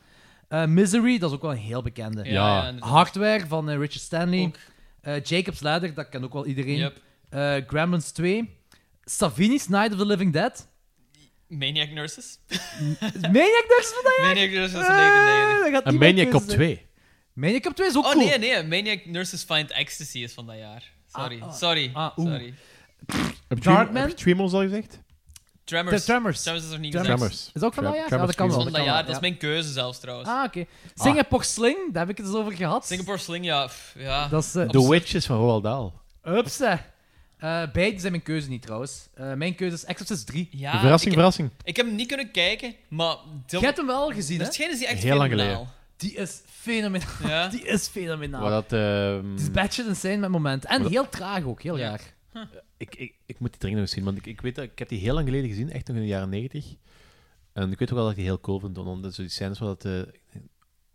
Speaker 4: Eh, Misery, dat is ook wel een heel bekende.
Speaker 5: Ja, ja, inderdaad.
Speaker 4: Hardware van eh, Richard Stanley. Eh, Jacob's Ladder, dat kan ook wel iedereen.
Speaker 12: Yep.
Speaker 4: Eh, Gremlins 2. Savini's Night of the Living Dead.
Speaker 12: Maniac Nurses.
Speaker 4: Maniac Nurse van dat jaar?
Speaker 12: Maniac Nurses van
Speaker 4: Eh,
Speaker 12: 1999.
Speaker 4: dat gaat
Speaker 5: En
Speaker 4: niemand
Speaker 5: Maniac
Speaker 4: weten.
Speaker 5: Cop 2.
Speaker 4: Maniac Cop 2 is ook
Speaker 12: oh
Speaker 4: cool.
Speaker 12: nee, nee. Maniac Nurses Find Ecstasy is van dat jaar.
Speaker 4: Ah,
Speaker 12: Sorry,
Speaker 4: oh.
Speaker 12: sorry, sorry.
Speaker 5: Heb je
Speaker 4: Darkman?
Speaker 5: Dream- Heb je Tremors al gezegd?
Speaker 12: Tremors.
Speaker 4: De Tremors.
Speaker 12: Tremors is er niet
Speaker 4: Tremors.
Speaker 5: gezegd.
Speaker 4: Is ook van dat jaar?
Speaker 5: Tremors.
Speaker 4: Ja, dat kan
Speaker 5: Tremors.
Speaker 4: wel.
Speaker 12: Van dat
Speaker 4: kan wel,
Speaker 12: jaar, dat is
Speaker 4: ja.
Speaker 12: mijn keuze zelfs trouwens.
Speaker 4: Ah, oké. Singapore Sling, daar heb ik het eens over gehad.
Speaker 12: Singapore Sling, ja. pff, ja.
Speaker 4: Dat is, eh,
Speaker 5: The Witches van Roald Dahl.
Speaker 4: Upsa. Eh beide zijn mijn keuze niet trouwens. Eh, mijn keuze is Exorcist 3.
Speaker 12: Ja,
Speaker 5: Verrassing,
Speaker 12: ik heb-
Speaker 5: verrassing.
Speaker 12: Ik heb hem niet kunnen kijken, maar... Je
Speaker 4: hebt hem wel gezien, hè?
Speaker 12: Misschien is die echt
Speaker 5: Heel lang
Speaker 12: fenomenaal.
Speaker 5: geleden.
Speaker 4: Die is fenomenaal.
Speaker 12: Ja.
Speaker 4: (laughs) Die is fenomenaal.
Speaker 5: Waar dat, ehm,
Speaker 4: Het is batshit insane met moment. En
Speaker 5: Wat-
Speaker 4: heel traag ook, heel raar.
Speaker 5: ik, ik, ik moet die dringend nog eens zien, want ik, ik weet dat, ik heb die heel lang geleden gezien, echt nog in de jaren negentig. En ik weet ook wel dat ik die heel cool vind, want omdat zo die scènes waar dat eh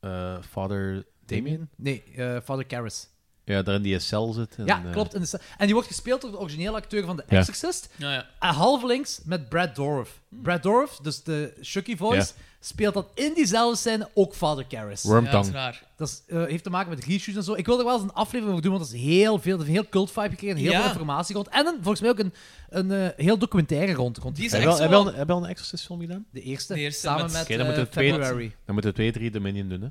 Speaker 5: eh, vader Damien,
Speaker 4: Nee, eh Father Karras.
Speaker 5: ja, daar in die cel zit. En,
Speaker 4: Ja,
Speaker 5: eh,
Speaker 4: klopt. in de sta- En die wordt gespeeld door de originele acteur van The
Speaker 5: Ja.
Speaker 4: Exorcist.
Speaker 12: Ja, ja. Hmm.
Speaker 4: En half links met Brad Dorff. Brad Dorff, dus de Chucky voice, speelt dat in diezelfde scène ook Father Karras.
Speaker 5: Wormtongue. Ja, dat is
Speaker 12: raar.
Speaker 4: Dat is, eh, heeft te maken met reshoots en zo. Ik wil er wel eens een aflevering over doen, want dat is heel veel, dat heeft een heel cult vibe gekregen, heel
Speaker 12: Ja.
Speaker 4: veel informatie rond. En een, volgens mij ook een, een eh, heel documentaire rond. rond
Speaker 12: Die is
Speaker 5: Heb je
Speaker 12: echt
Speaker 5: wel,
Speaker 12: zo
Speaker 5: heb je wel
Speaker 12: wel-
Speaker 5: een, heb je wel een Exorcist film gedaan?
Speaker 4: De eerste,
Speaker 12: De eerste
Speaker 4: samen
Speaker 12: met-
Speaker 4: met,
Speaker 12: Oké,
Speaker 5: Oké, dan
Speaker 4: eh,
Speaker 5: moeten we twee,
Speaker 4: February.
Speaker 5: dan moeten we twee, drie Dominion doen, hè.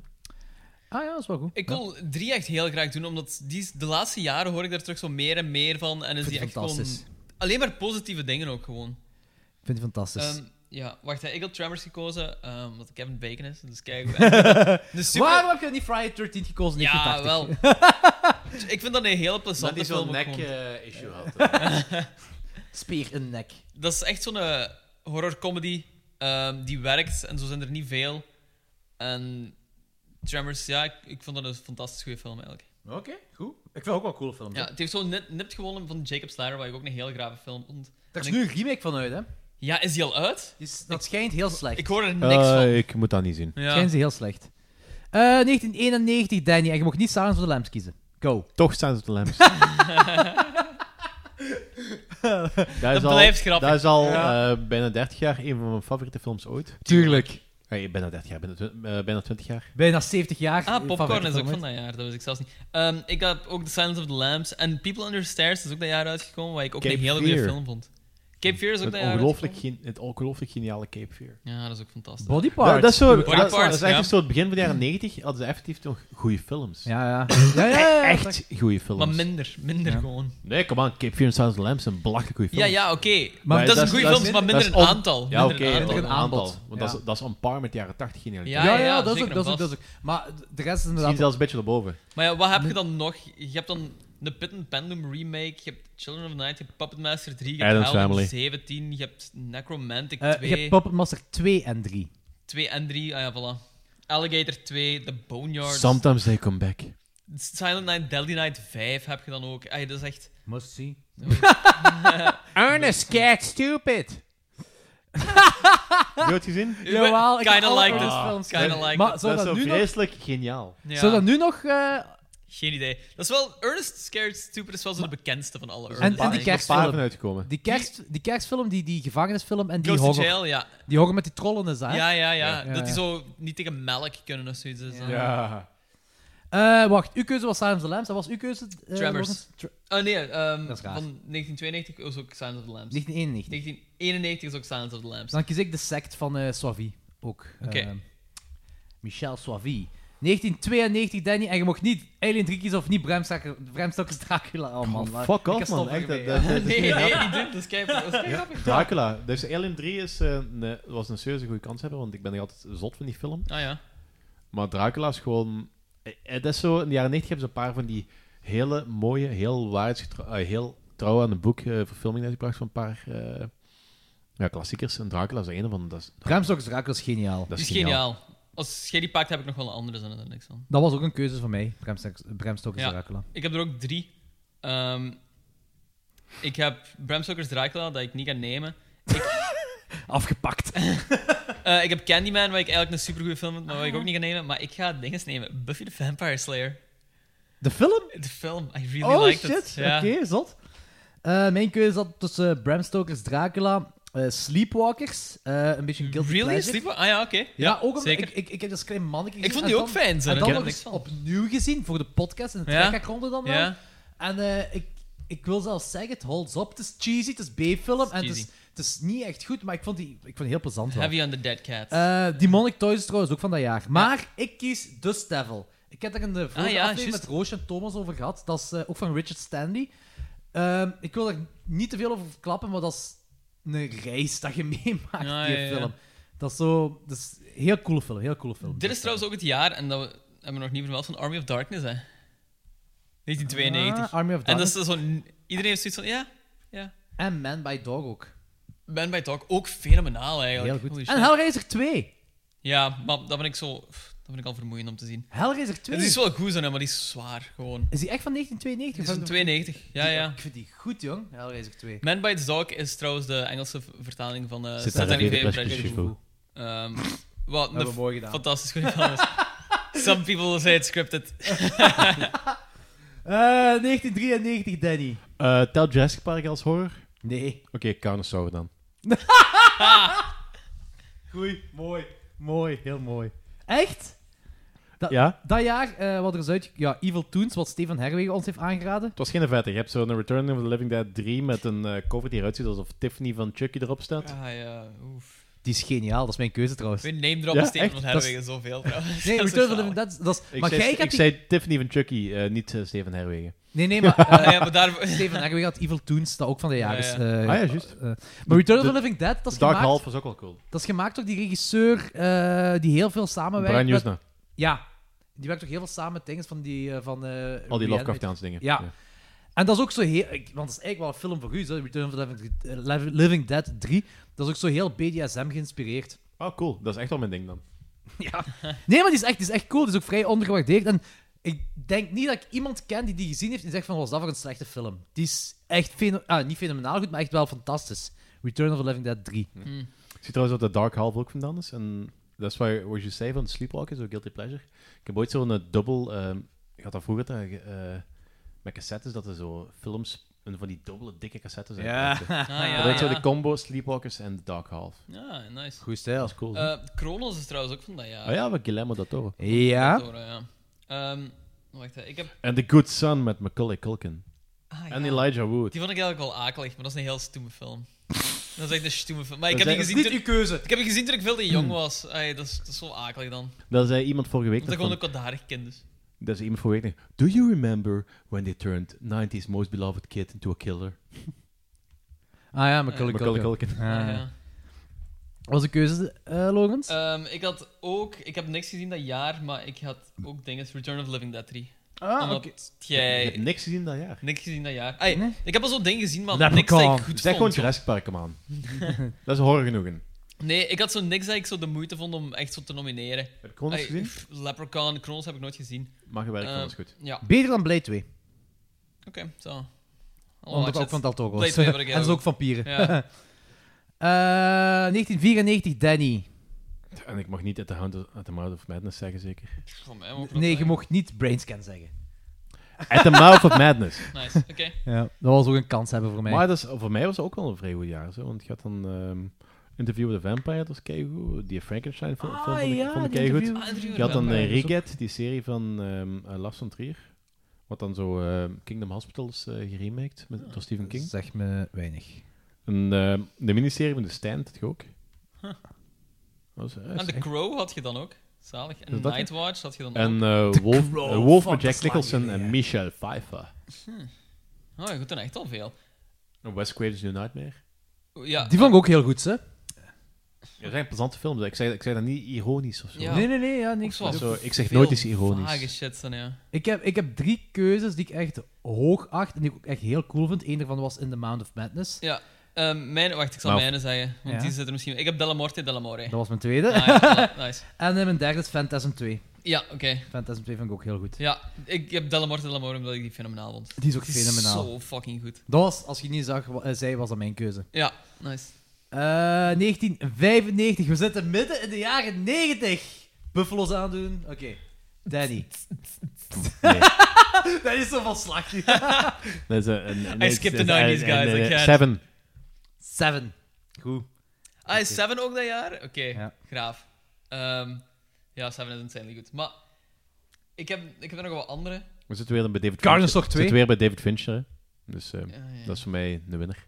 Speaker 4: Ah ja, dat is wel goed.
Speaker 12: Ik wil drie echt heel graag doen, omdat die, is- de laatste jaren hoor ik daar terug zo meer en meer van. En is
Speaker 4: vind
Speaker 12: die
Speaker 4: het
Speaker 12: echt gewoon...
Speaker 4: fantastisch.
Speaker 12: Alleen maar positieve dingen ook gewoon.
Speaker 4: Ik vind die fantastisch.
Speaker 12: Ehm, ja, wacht, hè, ik had Tremors gekozen, ehm omdat Kevin Bacon is.
Speaker 4: (laughs)
Speaker 12: Dus kijk. de super-
Speaker 4: Waarom heb je niet Friday 13 gekozen?
Speaker 12: Ja,
Speaker 4: 1980?
Speaker 12: wel.
Speaker 4: (laughs)
Speaker 12: Dus
Speaker 4: eh,
Speaker 12: (laughs) ik vind dat een heel plezante film. ook gewoon.
Speaker 5: issue had.
Speaker 4: Speer in nek.
Speaker 12: Dat is echt zo'n eh, horrorcomedy ehm, die werkt en zo zijn er niet veel. En Tremors, ja, ik, ik vond dat een fantastisch goede film eigenlijk.
Speaker 4: Oké, goed. Ik vind het ook wel een coole film.
Speaker 12: Ja, het heeft zo net, nipt gewonnen van Jacob Slayer, wat ik ook een heel grave film vond.
Speaker 4: Er is
Speaker 12: En
Speaker 4: nu
Speaker 12: ik-
Speaker 4: een remake van uit, hè?
Speaker 12: Ja, is die al uit?
Speaker 4: dat schijnt heel slecht.
Speaker 12: Ik hoor er niks
Speaker 5: Eh,
Speaker 12: van.
Speaker 5: ik moet dat niet zien.
Speaker 12: Ja.
Speaker 4: Schijnt ze heel slecht. Eh, 1991, Danny. En je mocht niet Silence of the Lambs kiezen. Go.
Speaker 5: Toch Silence of the
Speaker 4: (laughs)
Speaker 5: (laughs) Lambs.
Speaker 4: Dat
Speaker 5: al-
Speaker 4: blijft grappig.
Speaker 5: Dat is al
Speaker 4: Ja.
Speaker 5: eh, bijna 30 jaar een van mijn favoriete films ooit.
Speaker 4: Tuurlijk.
Speaker 5: Nee, bijna 30 jaar, bijna, twi- eh, bijna 20 jaar.
Speaker 4: Bijna 70 jaar. eh,
Speaker 12: Ah, Popcorn
Speaker 4: favoriete
Speaker 12: is
Speaker 4: film,
Speaker 12: ook
Speaker 4: hè?
Speaker 12: van dat jaar, dat wist ik zelfs niet. Ehm, ik heb ook The Silence of the Lambs en People Under Stairs is ook dat jaar uitgekomen, waar ik ook
Speaker 5: Cape
Speaker 12: een hele goede
Speaker 5: Fear.
Speaker 12: film vond. Cape Fear is ook
Speaker 5: Het
Speaker 12: dat jaar
Speaker 5: ongelooflijk, gen- het ongelooflijk geniale Cape Fear.
Speaker 12: Ja, dat is ook fantastisch.
Speaker 4: Body
Speaker 5: Ja, Dat, is zo,
Speaker 12: Body
Speaker 5: dat, dat
Speaker 12: Parts,
Speaker 5: is eigenlijk
Speaker 12: ja.
Speaker 5: zo het begin van de jaren 90 hadden ze effectief nog goede films.
Speaker 4: Ja, ja.
Speaker 12: Ja, ja, ja, dat
Speaker 5: Echt
Speaker 12: is-
Speaker 5: goede films.
Speaker 12: Maar minder, minder gewoon.
Speaker 5: Nee, kom aan, Cape Fear en Silence of the Lambs zijn belachelijk goede
Speaker 12: Ja,
Speaker 5: films.
Speaker 12: ja, oké. Maar dat is een goede films, maar minder
Speaker 5: dat
Speaker 12: een
Speaker 5: is
Speaker 12: aantal.
Speaker 5: Ja, oké,
Speaker 12: Minder een
Speaker 5: minder een
Speaker 12: aantal.
Speaker 5: aantal.
Speaker 12: Ja.
Speaker 5: Want dat, is, dat is on par met de jaren 80
Speaker 12: Ja,
Speaker 5: genialiteit.
Speaker 12: ja, ja,
Speaker 4: dat is ook,
Speaker 12: zeker
Speaker 4: dat is
Speaker 12: en
Speaker 4: ook, dat is ook. Maar de rest is
Speaker 5: Misschien
Speaker 4: inderdaad...
Speaker 5: zelfs een beetje erboven.
Speaker 12: Maar ja, wat heb je dan nog? Je hebt dan de Pit and Pendulum remake, je hebt Children of the Night, je hebt Puppet Master 3, je hebt
Speaker 5: Addams
Speaker 12: Hell in
Speaker 5: Family.
Speaker 12: 17, je hebt Necromantic
Speaker 4: Eh,
Speaker 12: 2,
Speaker 4: je hebt Puppet Master 2 en 3.
Speaker 12: 2 en 3, ah ja, voilà. Alligator 2, The Boneyard,
Speaker 5: Sometimes they come back.
Speaker 12: Silent Night, Deadly
Speaker 4: Ah,
Speaker 12: Night 5 heb je dan ook. Ay, dat is echt...
Speaker 4: Must see.
Speaker 5: Ernest Cat Stupid. Heb je het gezien?
Speaker 4: Jawel, ik heb
Speaker 12: Kinda
Speaker 4: alle
Speaker 12: like
Speaker 4: Ernest
Speaker 12: this.
Speaker 4: films
Speaker 12: Kinda
Speaker 4: gezien.
Speaker 12: like
Speaker 4: Maar
Speaker 12: this.
Speaker 4: zou
Speaker 5: dat
Speaker 4: dat
Speaker 5: is
Speaker 4: nu
Speaker 5: zo
Speaker 4: nog...
Speaker 5: vreselijk geniaal.
Speaker 12: Ja.
Speaker 4: Zou dat nu nog... eh,
Speaker 12: Geen idee. Dat is wel... Ernest Scared Stupid is wel zo de bekendste van alle
Speaker 4: En,
Speaker 12: Ernest.
Speaker 4: en die
Speaker 12: denk ik.
Speaker 4: kerstfilm.
Speaker 5: uitgekomen.
Speaker 4: Die, kerst, die kerstfilm, die, die gevangenisfilm en die
Speaker 12: Ghost in
Speaker 4: horror.
Speaker 12: Jail, ja.
Speaker 4: Die horror met die trollen is dat, hè?
Speaker 12: Ja, ja, ja.
Speaker 4: Ja,
Speaker 12: Dat die
Speaker 4: ja. Dus,
Speaker 12: zo niet tegen melk kunnen of zoiets. is, eh.
Speaker 5: Ja.
Speaker 4: Eh, wacht, uw keuze was Silence of the Lambs. Dat was uw keuze? eh,
Speaker 12: Tremors.
Speaker 4: Lorenz? Tre-
Speaker 12: Oh nee, ehm,
Speaker 4: Dat is raar.
Speaker 12: van 1992 is ook Silence of the Lambs.
Speaker 4: 1991.
Speaker 12: 1991 is ook Silence of the Lambs.
Speaker 4: Dus dan kies ik de sect van eh Soivy. Ook.
Speaker 12: Oké.
Speaker 4: Eh, Michel Soivy. 1992, Danny. En je mocht niet Alien 3 kiezen of niet Bram Stoker- Bram Stoker's Dracula. Oh, man. maar
Speaker 5: fuck
Speaker 4: ik
Speaker 5: off,
Speaker 4: heb
Speaker 5: man.
Speaker 4: stoppen
Speaker 5: Echt,
Speaker 4: ermee, ja.
Speaker 5: dat- dat- dat is
Speaker 12: (laughs) Nee,
Speaker 5: niet
Speaker 12: nee,
Speaker 5: grappig.
Speaker 12: niet doen. Dat is kei dat is kei grappig.
Speaker 5: Dracula. Dus Alien 3 is, eh, nee, was een serieuze goede kans hebben, want ik ben nog altijd zot van die film.
Speaker 12: Ah ja.
Speaker 5: Maar Dracula is gewoon... eh, Het is zo, in de jaren 90 hebben ze een paar van die hele mooie, heel waardig, getro- eh, heel trouw aan het boek eh, verfilming uitgebracht van een paar eh, ja, klassiekers. En Dracula is er een van. Dat is,
Speaker 4: Bram Stoker's Dracula is geniaal.
Speaker 5: dat
Speaker 12: Die is geniaal. Als jij die pakt, heb ik nog wel een andere zin er niks van.
Speaker 4: Dat was ook een keuze van mij, Bram Stoker's, Bram Stoker's
Speaker 12: Ja.
Speaker 4: Dracula.
Speaker 12: Ik heb er ook drie. Ehm, ik heb Bram Stoker's Dracula, dat ik niet kan nemen.
Speaker 4: Afgepakt.
Speaker 12: Eh, ik heb Candyman, wat ik eigenlijk een supergoeie film vind, maar wat oh, ik ook
Speaker 4: Ah.
Speaker 12: niet kan nemen. Maar ik ga dingen nemen. Buffy the Vampire Slayer.
Speaker 4: De film?
Speaker 12: De film. I really
Speaker 4: Oh
Speaker 12: liked
Speaker 4: shit,
Speaker 12: it. Ja.
Speaker 4: oké, zot. Eh, mijn keuze zat tussen Bram Stoker's Dracula, eh, Sleepwalkers, eh, een beetje een guilty
Speaker 12: Really?
Speaker 4: pleasure.
Speaker 12: Sleepwa- Ah ja, oké.
Speaker 4: Oh. Ja, ook omdat
Speaker 12: zeker.
Speaker 4: ik, ik, ik heb als klein mannetje
Speaker 12: Ik
Speaker 4: gezien en
Speaker 12: vond die ook
Speaker 4: dan-
Speaker 12: fijn, zo,
Speaker 4: En
Speaker 12: hè?
Speaker 4: dan
Speaker 12: Ja,
Speaker 4: nog
Speaker 12: niks
Speaker 4: eens
Speaker 12: van.
Speaker 4: opnieuw gezien voor de podcast en de
Speaker 12: Ja.
Speaker 4: trekkerronde dan wel.
Speaker 12: Ja.
Speaker 4: En eh, ik, ik wil zelfs zeggen, het holds op. Het is cheesy, het is B-film en het is,
Speaker 12: cheesy.
Speaker 4: het is niet echt goed, maar ik vond die, ik vond die heel plezant wel.
Speaker 12: Heavy on the Dead Cat.
Speaker 4: Eh, Demonic Toys is trouwens ook van dat jaar. Maar ik kies The Devil. Ik heb daar in de vorige
Speaker 12: Ah, ja,
Speaker 4: aflevering
Speaker 12: juist.
Speaker 4: met Roosje en Thomas over gehad. Dat is eh, ook van Richard Stanley. Ehm, ik wil er niet te veel over verklappen, maar dat is een reis dat je (laughs) meemaakt,
Speaker 12: Ah, Ja,
Speaker 4: die
Speaker 12: ja, ja.
Speaker 4: film. Dat is zo... Dat is een heel coole film, heel coole film.
Speaker 12: Dit is trouwens ook het jaar, en dat we, hebben we nog niet vermeld, van Army of Darkness, hè. 1992.
Speaker 4: Ah, Army of
Speaker 12: En dat is
Speaker 4: Ah, Darkness.
Speaker 12: zo'n... Iedereen heeft zoiets van, ja, ja.
Speaker 4: En Man by Dog ook.
Speaker 12: Man by Dog, ook fenomenaal eigenlijk.
Speaker 4: Heel goed.
Speaker 12: Holy
Speaker 4: En
Speaker 12: shit.
Speaker 4: Hellraiser 2.
Speaker 12: Ja, maar dat ben ik zo... pff, Dat vind ik al vermoeiend om te zien.
Speaker 4: Hellraiser 2.
Speaker 12: Het is wel goed, zo, hè, maar die is zwaar, gewoon.
Speaker 4: Is die echt van 1992?
Speaker 12: Die is van 92, ja,
Speaker 4: Die-
Speaker 12: ja.
Speaker 4: Ik vind die goed, jong. Hellraiser 2.
Speaker 12: Man by Dog is trouwens de Engelse v- vertaling van eh
Speaker 5: Zit daar
Speaker 12: Satanic
Speaker 5: een
Speaker 12: Vampire
Speaker 5: flesje
Speaker 12: Diaries.
Speaker 5: Shifu?
Speaker 12: Ehm, Wat
Speaker 4: Hebben
Speaker 12: een
Speaker 4: we mooi gedaan.
Speaker 12: fantastisch goede film is. Some people say it's scripted.
Speaker 4: Eh, 1993, Danny.
Speaker 5: Eh, tel Jurassic Park als horror?
Speaker 4: Nee.
Speaker 5: Oké,
Speaker 4: (laughs)
Speaker 5: Carnosaur dan.
Speaker 4: Goeie, mooi. Mooi, heel mooi. Echt? Dat,
Speaker 5: Ja?
Speaker 4: dat jaar, eh, wat er is uit... Ja, Evil Toons, wat Stefan Herwegen ons heeft aangeraden.
Speaker 5: Het was geen vette. Je hebt zo'n Return of the Living Dead 3 met een eh, cover die eruit ziet alsof Tiffany van Chucky erop staat.
Speaker 12: Ah ja, oef.
Speaker 4: Die is geniaal, dat is mijn keuze trouwens.
Speaker 12: We name drop
Speaker 5: Ja,
Speaker 12: ja, Stefan
Speaker 5: echt?
Speaker 12: van
Speaker 5: Dat is-
Speaker 12: Herwegen zoveel trouwens.
Speaker 4: Nee,
Speaker 12: (laughs) Dat is
Speaker 4: Return of the
Speaker 12: zalig.
Speaker 4: Living Dead, dat is...
Speaker 5: Ik,
Speaker 4: maar
Speaker 5: zei,
Speaker 4: jij
Speaker 5: ik
Speaker 4: hebt die...
Speaker 5: zei Tiffany van Chucky, eh, niet eh, Steven Herwegen.
Speaker 4: Nee, nee,
Speaker 5: (laughs)
Speaker 4: maar... eh,
Speaker 12: Ah, ja, maar
Speaker 4: (laughs)
Speaker 12: daar-
Speaker 4: Stefan Herwegen had Evil Toons, dat ook van de jaar is.
Speaker 12: ja.
Speaker 4: eh,
Speaker 5: Ah ja, juist.
Speaker 4: eh, maar Return of
Speaker 5: De-
Speaker 4: the Living Dead, dat is
Speaker 5: Dark
Speaker 4: gemaakt...
Speaker 5: Half was ook wel cool.
Speaker 4: Dat is gemaakt door die regisseur eh, die heel veel samenwerkt
Speaker 5: Brian
Speaker 4: met-
Speaker 5: Usna.
Speaker 4: Ja. Die werkt toch heel veel samen met dingen van die... eh, van, eh,
Speaker 5: Al die
Speaker 4: Reanimator.
Speaker 5: Lovecraftiaanse dingen.
Speaker 4: Ja. En dat is ook zo heel... ik- Want dat is eigenlijk wel een film voor u, zo, Return of the Living, eh, Living Dead 3. Dat is ook zo heel BDSM geïnspireerd.
Speaker 5: Oh, cool. Dat is echt wel mijn
Speaker 12: (laughs)
Speaker 5: ding dan.
Speaker 4: Ja. Nee, maar die is echt, die is echt cool. Die is ook vrij ondergewaardeerd. En ik denk niet dat ik iemand ken die die gezien heeft en zegt van, was dat voor een slechte film? Die is echt feno- ah, niet fenomenaal goed, maar echt wel fantastisch. Return of the Living Dead 3.
Speaker 12: Hmm.
Speaker 5: Ik zie trouwens dat de Dark Half ook vandaan is. En dat is waar, wat je zei van Sleepwalken, zo Guilty Pleasure. Ik heb ooit zo'n eh, dubbel... ehm ik had dat vroeger dat, je, eh, met cassettes, dat er zo films... Een van die dubbele, dikke cassettes
Speaker 4: Ja.
Speaker 5: uitmaakten.
Speaker 12: Ah, ja,
Speaker 5: Dat heet zo
Speaker 12: ja.
Speaker 5: de combo Sleepwalkers en de Dark Half.
Speaker 12: Ja, nice.
Speaker 5: Goed stijl. Dat is cool.
Speaker 12: Eh, Kronos is trouwens ook van dat jaar.
Speaker 5: Ah ja, wat Guillermo dat toch.
Speaker 4: Ja.
Speaker 12: Door, eh, ja. Ehm, wacht, hè, ik heb...
Speaker 5: En The Good Son met Macaulay Culkin.
Speaker 12: Ah,
Speaker 5: En
Speaker 12: ja.
Speaker 5: Elijah Wood.
Speaker 12: Die vond ik eigenlijk wel akelig, maar dat is een heel stoeme film. Dat is echt een stoeme film. Maar ik
Speaker 5: Dat
Speaker 12: heb
Speaker 5: is
Speaker 12: die gezien
Speaker 5: niet uw
Speaker 4: keuze. Hmm.
Speaker 12: Ik heb die gezien toen ik veel te jong was. Eh, Ai, dat, is, dat is wel akelig dan.
Speaker 5: Dat zei iemand vorige week...
Speaker 12: Omdat ik
Speaker 5: dat
Speaker 12: gewoon ook kwaadaardig kind dus.
Speaker 5: Dat is iemand voor weten. Do you remember when they turned 90s most beloved kid into a killer?
Speaker 4: Ah ja, Macaulay Culkin.
Speaker 5: Culkin.
Speaker 4: Ah,
Speaker 12: ja.
Speaker 4: Wat was de keuze, eh Logans?
Speaker 12: Ehm, ik had ook... Ik heb niks gezien dat jaar, maar ik had ook dingen als Return of the Living Dead 3.
Speaker 4: Ah,
Speaker 12: Omdat
Speaker 4: oké.
Speaker 12: jij...
Speaker 5: Je hebt niks gezien dat jaar.
Speaker 12: Niks gezien dat jaar. Ai, Ik heb al zo'n dingen gezien, maar niks dat ik
Speaker 5: Leprechaun.
Speaker 12: goed vond.
Speaker 5: Zeg gewoon
Speaker 12: zo.
Speaker 5: Jurassic Park, come on. dat is horror genoegen.
Speaker 12: Nee, ik had zo niks dat ik zo de moeite vond om echt zo te nomineren.
Speaker 5: Heb je Kronos
Speaker 12: Ai,
Speaker 5: gezien?
Speaker 12: pff, Leprechaun, Kronos heb ik nooit gezien.
Speaker 5: Maar je werkt
Speaker 12: Eh,
Speaker 5: Kronos goed.
Speaker 12: Ja,
Speaker 4: Beter dan Blade 2.
Speaker 12: Oh, oké, zo.
Speaker 4: Omdat het ook van Del Toro
Speaker 12: Blade
Speaker 4: is.
Speaker 12: 2 vond ik
Speaker 4: en is
Speaker 12: heel
Speaker 4: ook
Speaker 12: goed.
Speaker 4: vampieren. (laughs)
Speaker 12: Ja.
Speaker 4: Eh, 1994, Danny.
Speaker 5: En ik mag niet uit de Hound of, uit the Mouth of Madness zeggen, zeker.
Speaker 12: Van mij ook.
Speaker 4: Nee, je mocht niet Brainscan zeggen.
Speaker 5: At the Mouth of Madness.
Speaker 12: Nice, oké.
Speaker 4: Ja, dat was ook een kans hebben voor mij.
Speaker 5: Maar dat is, voor mij was het ook wel een vrij goed jaar. Zo, want je had dan ehm, Interview with a Vampire, dat was keigoed. Die Frankenstein film,
Speaker 4: Ah,
Speaker 5: film vond ik,
Speaker 4: ja,
Speaker 5: vond ik
Speaker 4: die
Speaker 5: keigoed.
Speaker 4: Interview with a Ah, Interview
Speaker 5: Je had
Speaker 4: with a
Speaker 5: dan
Speaker 4: Vampire
Speaker 5: eh,
Speaker 4: was ook-
Speaker 5: Riget, die serie van ehm eh, Lars von Trier. Wat dan zo ehm, Kingdom Hospitals eh geremaked met, door Stephen King.
Speaker 4: Zeg me weinig.
Speaker 5: En, ehm, de miniserie van The Stand, had je ook. Dat was, eh, is
Speaker 12: En The
Speaker 5: echt-
Speaker 12: Crow had je dan ook. Zalig. En
Speaker 5: Is dat-
Speaker 12: Nightwatch had je dan
Speaker 5: En
Speaker 12: ook.
Speaker 5: eh,
Speaker 12: The
Speaker 5: Wolf,
Speaker 12: Crow,
Speaker 5: eh, Wolf
Speaker 12: fuck,
Speaker 5: met Jack
Speaker 12: dat is lang
Speaker 5: Nicholson en Michelle Pfeiffer.
Speaker 12: Hm. Oh ja, goed, dan echt al veel.
Speaker 5: En West Craven's New Nightmare.
Speaker 12: Ja,
Speaker 4: Die vond ik ook heel goed, hè?
Speaker 5: Ja, dat zijn plezante films. Ik zei, ik zei dat niet ironisch of zo.
Speaker 12: ja.
Speaker 4: Nee, nee, nee, ja, niks
Speaker 12: Ook
Speaker 4: van.
Speaker 5: Zo, ik zeg
Speaker 12: veel
Speaker 5: nooit iets ironisch.
Speaker 12: Vage shit dan, Ah, ja.
Speaker 4: Ik heb, ik heb drie keuzes die ik echt hoog acht en die ik ook echt heel cool vind. Eén daarvan was In the Mound of Madness.
Speaker 12: Ja, ehm, mijn, wacht, ik zal
Speaker 4: Nou.
Speaker 12: mijne zeggen. Want
Speaker 4: Ja.
Speaker 12: die zit er misschien... Ik heb Delamorte Delamore.
Speaker 4: Dat was mijn tweede.
Speaker 12: Ah, ja, voilà, nice.
Speaker 4: (laughs) en eh, mijn derde is Phantasm 2.
Speaker 12: Ja, oké.
Speaker 4: Phantasm 2 vind ik ook heel goed.
Speaker 12: Ja, ik heb Delamorte Delamore omdat ik die fenomenaal vond.
Speaker 4: Die is ook fenomenaal.
Speaker 12: Zo fucking goed.
Speaker 4: Dat was, als je niet zag, wa- eh, zei, was dat mijn keuze.
Speaker 12: Ja, nice.
Speaker 4: Eh, 1995, we zitten midden in de jaren 90. Buffalo's aandoen. Oké,
Speaker 12: (laughs)
Speaker 4: Danny. (laughs) dat is zo van slag.
Speaker 5: Dat is een- een-
Speaker 12: I
Speaker 5: nee,
Speaker 12: skipped
Speaker 5: het
Speaker 12: the
Speaker 5: is-
Speaker 12: 90s,
Speaker 5: een- een-
Speaker 12: guys. I
Speaker 5: een-
Speaker 12: can't.
Speaker 5: Seven.
Speaker 4: Seven. Goed.
Speaker 12: Ah, is Seven ook dat jaar? Oké, graaf. Ehm, ja, Seven is insanely goed. Maar ik heb, ik heb er nog wel andere.
Speaker 5: We zitten weer bij David
Speaker 4: Guardians
Speaker 5: Fincher.
Speaker 4: of twee.
Speaker 5: We zitten weer bij David Fincher. hè. Dus eh,
Speaker 12: Ah, Ja, ja.
Speaker 5: dat is voor mij de winnaar.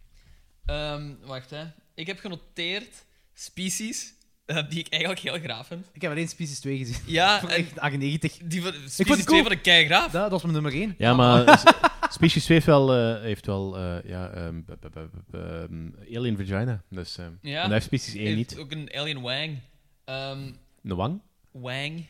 Speaker 12: Ehm, wacht, hè. Ik heb genoteerd species eh, die ik eigenlijk heel graaf vind.
Speaker 4: Ik heb alleen Species 2 gezien. (laughs)
Speaker 12: Ja,
Speaker 4: Van
Speaker 12: en-
Speaker 4: echt 98.
Speaker 12: Die van, Species
Speaker 4: vond het cool.
Speaker 12: 2 van de keigraaf.
Speaker 4: Dat, dat was mijn nummer 1.
Speaker 5: Ja, maar s- (laughs) Species 2 heeft wel... eh, heeft wel eh, ja, ehm, b- b- b- b- ehm, alien Vagina. Dus, ehm,
Speaker 12: Ja.
Speaker 5: En hij heeft Species 1
Speaker 12: Heeft
Speaker 5: niet.
Speaker 12: Ook een alien wang. Ehm,
Speaker 5: De wang?
Speaker 12: wang.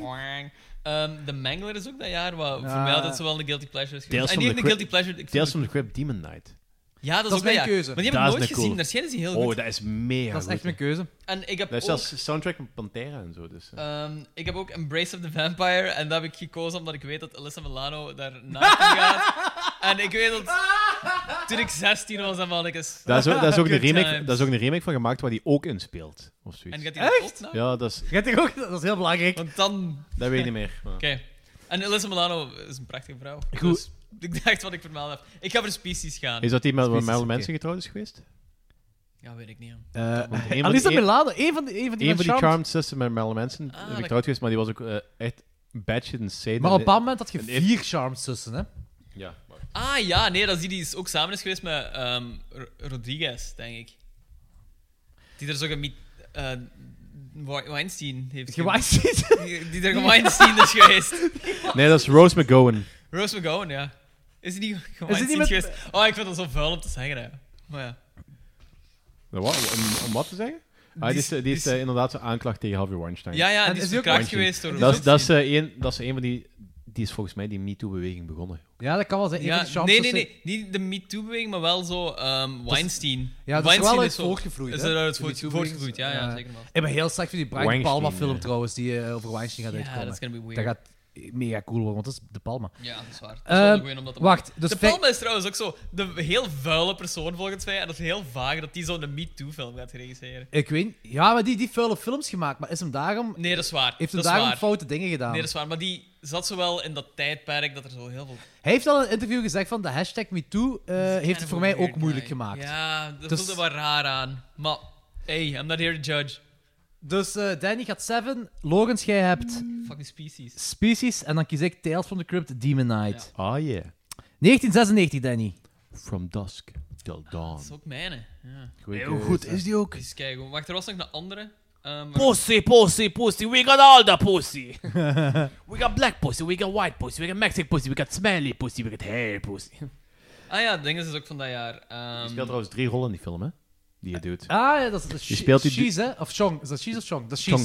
Speaker 12: wang. Ehm, de Mangler is ook dat jaar wat voor
Speaker 5: Ja.
Speaker 4: Eh,
Speaker 12: mij altijd zo wel een guilty pleasure is geweest.
Speaker 5: Tales
Speaker 12: En
Speaker 5: from
Speaker 12: die
Speaker 5: the
Speaker 12: heeft een guilty
Speaker 5: Crypt-
Speaker 12: pleasure. Ik
Speaker 5: Tales
Speaker 12: vind
Speaker 5: from the Crypt Demon Knight.
Speaker 12: Ja, dat is Dat is ook mijn dat jaar. keuze. Maar die heb ik
Speaker 5: Dat is
Speaker 12: nooit
Speaker 5: een
Speaker 12: gezien. Daar schijnen ze heel
Speaker 5: Oh,
Speaker 12: goed.
Speaker 5: dat is mega
Speaker 12: Dat is echt
Speaker 5: goed.
Speaker 12: mijn
Speaker 4: keuze.
Speaker 12: En ik heb
Speaker 5: Dat is
Speaker 12: ook-
Speaker 5: zelfs soundtrack van Pantera en zo. Dus, eh.
Speaker 12: Ehm, ik heb ook Embrace of the Vampire en dat heb ik gekozen omdat ik weet dat Alyssa Milano daar naartoe gaat. En ik weet dat toen ik 16 was, dan had ik eens...
Speaker 5: Daar is, ook,
Speaker 12: (laughs)
Speaker 5: daar, is ook een
Speaker 12: Good
Speaker 5: remake,
Speaker 12: times.
Speaker 5: daar is ook een remake van gemaakt waar die ook in speelt. Of zoiets.
Speaker 12: En gaat die dat ook nou?
Speaker 5: Ja, dat is...
Speaker 4: Gaat die ook? Dat is heel belangrijk.
Speaker 12: Want dan...
Speaker 5: Dat weet ik niet meer. maar-
Speaker 12: (laughs) Oké. En Alyssa Milano is een prachtige vrouw.
Speaker 5: Goed.
Speaker 12: Dus ik dacht wat ik vermeld heb. Ik ga voor Species gaan.
Speaker 5: Is dat die met waar
Speaker 4: Species,
Speaker 5: Marilyn
Speaker 4: oké.
Speaker 5: Manson getrouwd is geweest?
Speaker 12: Ja, weet ik niet. hoor.
Speaker 5: Want een van
Speaker 4: Alisa
Speaker 5: die- e-
Speaker 4: Milano, één van die, één van die van
Speaker 5: Een van die
Speaker 4: Charmed.
Speaker 5: Charmed Sisters met Marilyn Manson is
Speaker 4: dat-
Speaker 5: getrouwd geweest, maar die was ook eh, echt batshit insane.
Speaker 4: Maar op
Speaker 5: En-
Speaker 4: dat moment had je
Speaker 5: en-
Speaker 4: vier Charmed zussen, hè?
Speaker 5: Ja.
Speaker 12: Ah ja, nee, dat is die die is ook samen is geweest met ehm, Ro- Rodriguez, denk ik. Die er zo gemiet... eh, Wa- Weinstein heeft... ge-
Speaker 4: Geweinstein?
Speaker 12: Die- (laughs) Die er geweinstein is geweest.
Speaker 5: Nee, dat is Rose McGowan.
Speaker 12: Rose McGowan, ja. Is die niet
Speaker 4: Is die
Speaker 12: geweinstein
Speaker 4: niet met-
Speaker 12: geweest? Oh, ik vind dat zo vuil om te zeggen, hè. Maar ja.
Speaker 5: Nou, wa- Om, om wat te zeggen? Ah, die is, die is eh, inderdaad zo'n aanklacht tegen Harvey Weinstein.
Speaker 12: Ja, ja, En die is is die ook- verkracht
Speaker 5: Weinstein.
Speaker 12: geweest door
Speaker 5: Dat is, dat, is, eh, een, dat is een van die
Speaker 1: Die is volgens mij die MeToo-beweging begonnen.
Speaker 4: Ja, dat kan wel zijn. Een van
Speaker 12: Ja,
Speaker 4: de champs
Speaker 12: nee,
Speaker 4: is-
Speaker 12: nee, nee. Niet de MeToo-beweging, maar wel zo ehm, Weinstein.
Speaker 4: Ja, dat is
Speaker 12: Weinstein
Speaker 4: wel uit
Speaker 12: zo-
Speaker 4: voortgevloeid.
Speaker 12: Is
Speaker 4: hè?
Speaker 12: er uit
Speaker 4: De
Speaker 12: voort-
Speaker 4: MeToo
Speaker 12: voortgevloeid, ja, ja,
Speaker 4: beweging.
Speaker 12: zeker. man.
Speaker 4: Ik ben heel straks voor die Brian
Speaker 12: Weinstein,
Speaker 4: Palma film
Speaker 12: ja.
Speaker 4: trouwens, die eh, over Weinstein gaat
Speaker 12: Ja,
Speaker 4: uitkomen.
Speaker 12: dat is gonna be weird.
Speaker 4: Dat gaat mega cool worden, want dat is de Palma.
Speaker 12: Ja, dat is waar. Dat is wel
Speaker 4: Ehm,
Speaker 12: een goeie om dat te
Speaker 4: wacht,
Speaker 12: maken.
Speaker 4: dus
Speaker 12: de
Speaker 4: fe-
Speaker 12: Palma is trouwens ook zo de heel vuile persoon volgens mij. En dat is heel vaag dat die zo'n MeToo-film gaat regisseren.
Speaker 4: Ik weet niet- Ja, maar die, die vuile films gemaakt, maar is hem daarom...
Speaker 12: Nee, dat is waar.
Speaker 4: Heeft hem
Speaker 12: dat is
Speaker 4: daarom
Speaker 12: waar.
Speaker 4: foute dingen gedaan?
Speaker 12: Nee, dat is waar. Maar die zat zowel in dat tijdperk dat er zo heel veel...
Speaker 4: Hij heeft al in een interview gezegd van de hashtag MeToo eh, heeft het voor mij ook moeilijk gemaakt.
Speaker 12: Ja, dat
Speaker 4: Dus-
Speaker 12: voelde wel raar aan. Maar, hey, I'm not here to judge.
Speaker 4: Dus eh, Danny gaat Seven, Logans jij hebt
Speaker 12: Fucking species.
Speaker 4: Species en dan kies ik Tales from the Crypt, Demon Knight.
Speaker 1: Ah, yeah.
Speaker 4: 1996, Danny.
Speaker 1: From Dusk Till Dawn.
Speaker 12: Dat is ook mijne. Ja.
Speaker 1: Goeie Hey, hoe keuze, goed hè. is die ook?
Speaker 12: Die is keigoed. Wacht, er was nog een andere. ehm, maar-
Speaker 18: Pussy, pussy, pussy. We got all the pussy. (laughs) we got black pussy, we got white pussy, we got Mexican pussy, we got smelly pussy, we got hair pussy.
Speaker 12: Ah ja, ding is ook van dat jaar. Ehm,
Speaker 1: Die speelt trouwens drie rollen in die film, hè? Die je doet.
Speaker 4: Ah, ja, dat is
Speaker 1: Je
Speaker 4: de
Speaker 1: speelt die du-
Speaker 4: Cheese, hè? Of Chong. Is dat Cheese of Chong? Dat is Cheese.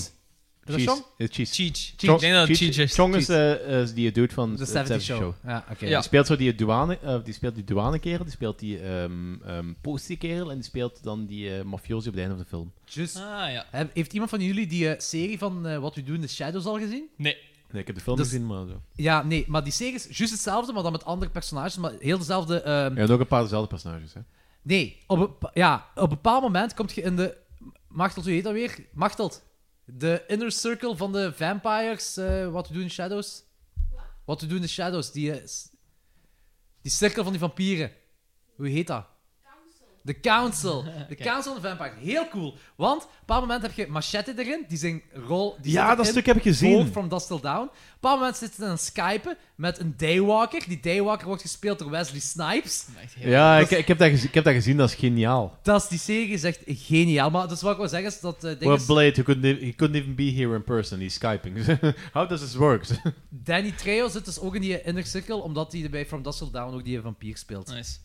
Speaker 4: Is
Speaker 12: eh,
Speaker 4: dat Chong?
Speaker 1: Cheech.
Speaker 4: Cheech. Ik denk dat het Cheech is.
Speaker 1: Chong is, eh, is die je doet van
Speaker 4: De
Speaker 1: de
Speaker 4: 70
Speaker 1: 70
Speaker 4: Show.
Speaker 1: Show.
Speaker 4: Ja, oké. dus
Speaker 1: Die
Speaker 4: Ja.
Speaker 1: speelt zo die douane, eh, die speelt die douanekerel, die speelt die ehm ehm postiekerel en die speelt dan die eh mafiosi op het einde van de film.
Speaker 4: Just.
Speaker 12: ja.
Speaker 4: Heb- Heeft iemand van jullie die eh, serie van eh, What We Do in the Shadows al gezien?
Speaker 12: Nee.
Speaker 1: Nee, ik heb de film
Speaker 4: Dat is-
Speaker 1: gezien, maar zo.
Speaker 4: Ja, nee, maar die serie is juist hetzelfde, maar dan met andere personages, maar heel dezelfde... ehm,
Speaker 1: Je hebt ook een paar dezelfde personages, hè?
Speaker 4: Nee, op een, pa- ja, op een bepaald moment kom je in de... Machteld, hoe heet dat weer? Machteld. De inner circle van de vampires, eh What We Do in the Shadows. What We Do in the Shadows, die... eh, s- die cirkel van die vampieren. Hoe heet dat? De Council. De
Speaker 1: Oké.
Speaker 4: Council van de Vampire. Heel cool. Want op een bepaald moment heb je Machete erin. Die zijn rol. Die
Speaker 1: Ja,
Speaker 4: zit
Speaker 1: dat
Speaker 4: erin.
Speaker 1: stuk heb ik gezien.
Speaker 4: Ook From Dust Till Down. Op een bepaald moment zitten ze aan het skypen met een Daywalker. Die Daywalker wordt gespeeld door Wesley Snipes.
Speaker 1: Ja,
Speaker 4: dat,
Speaker 1: ik,
Speaker 4: is,
Speaker 1: ik, heb dat gezien, ik heb dat gezien, dat is geniaal.
Speaker 4: dat is die serie is echt geniaal. Maar dus wat ik wil zeggen is dat... eh, ding
Speaker 1: Well,
Speaker 4: is-
Speaker 1: Blade, he couldn't, e- he couldn't even be here in person, he's skyping. (laughs) How does this work?
Speaker 4: Danny Trejo zit dus ook in die inner circle, omdat hij bij From Dust Till Down ook die vampier speelt.
Speaker 12: Nice.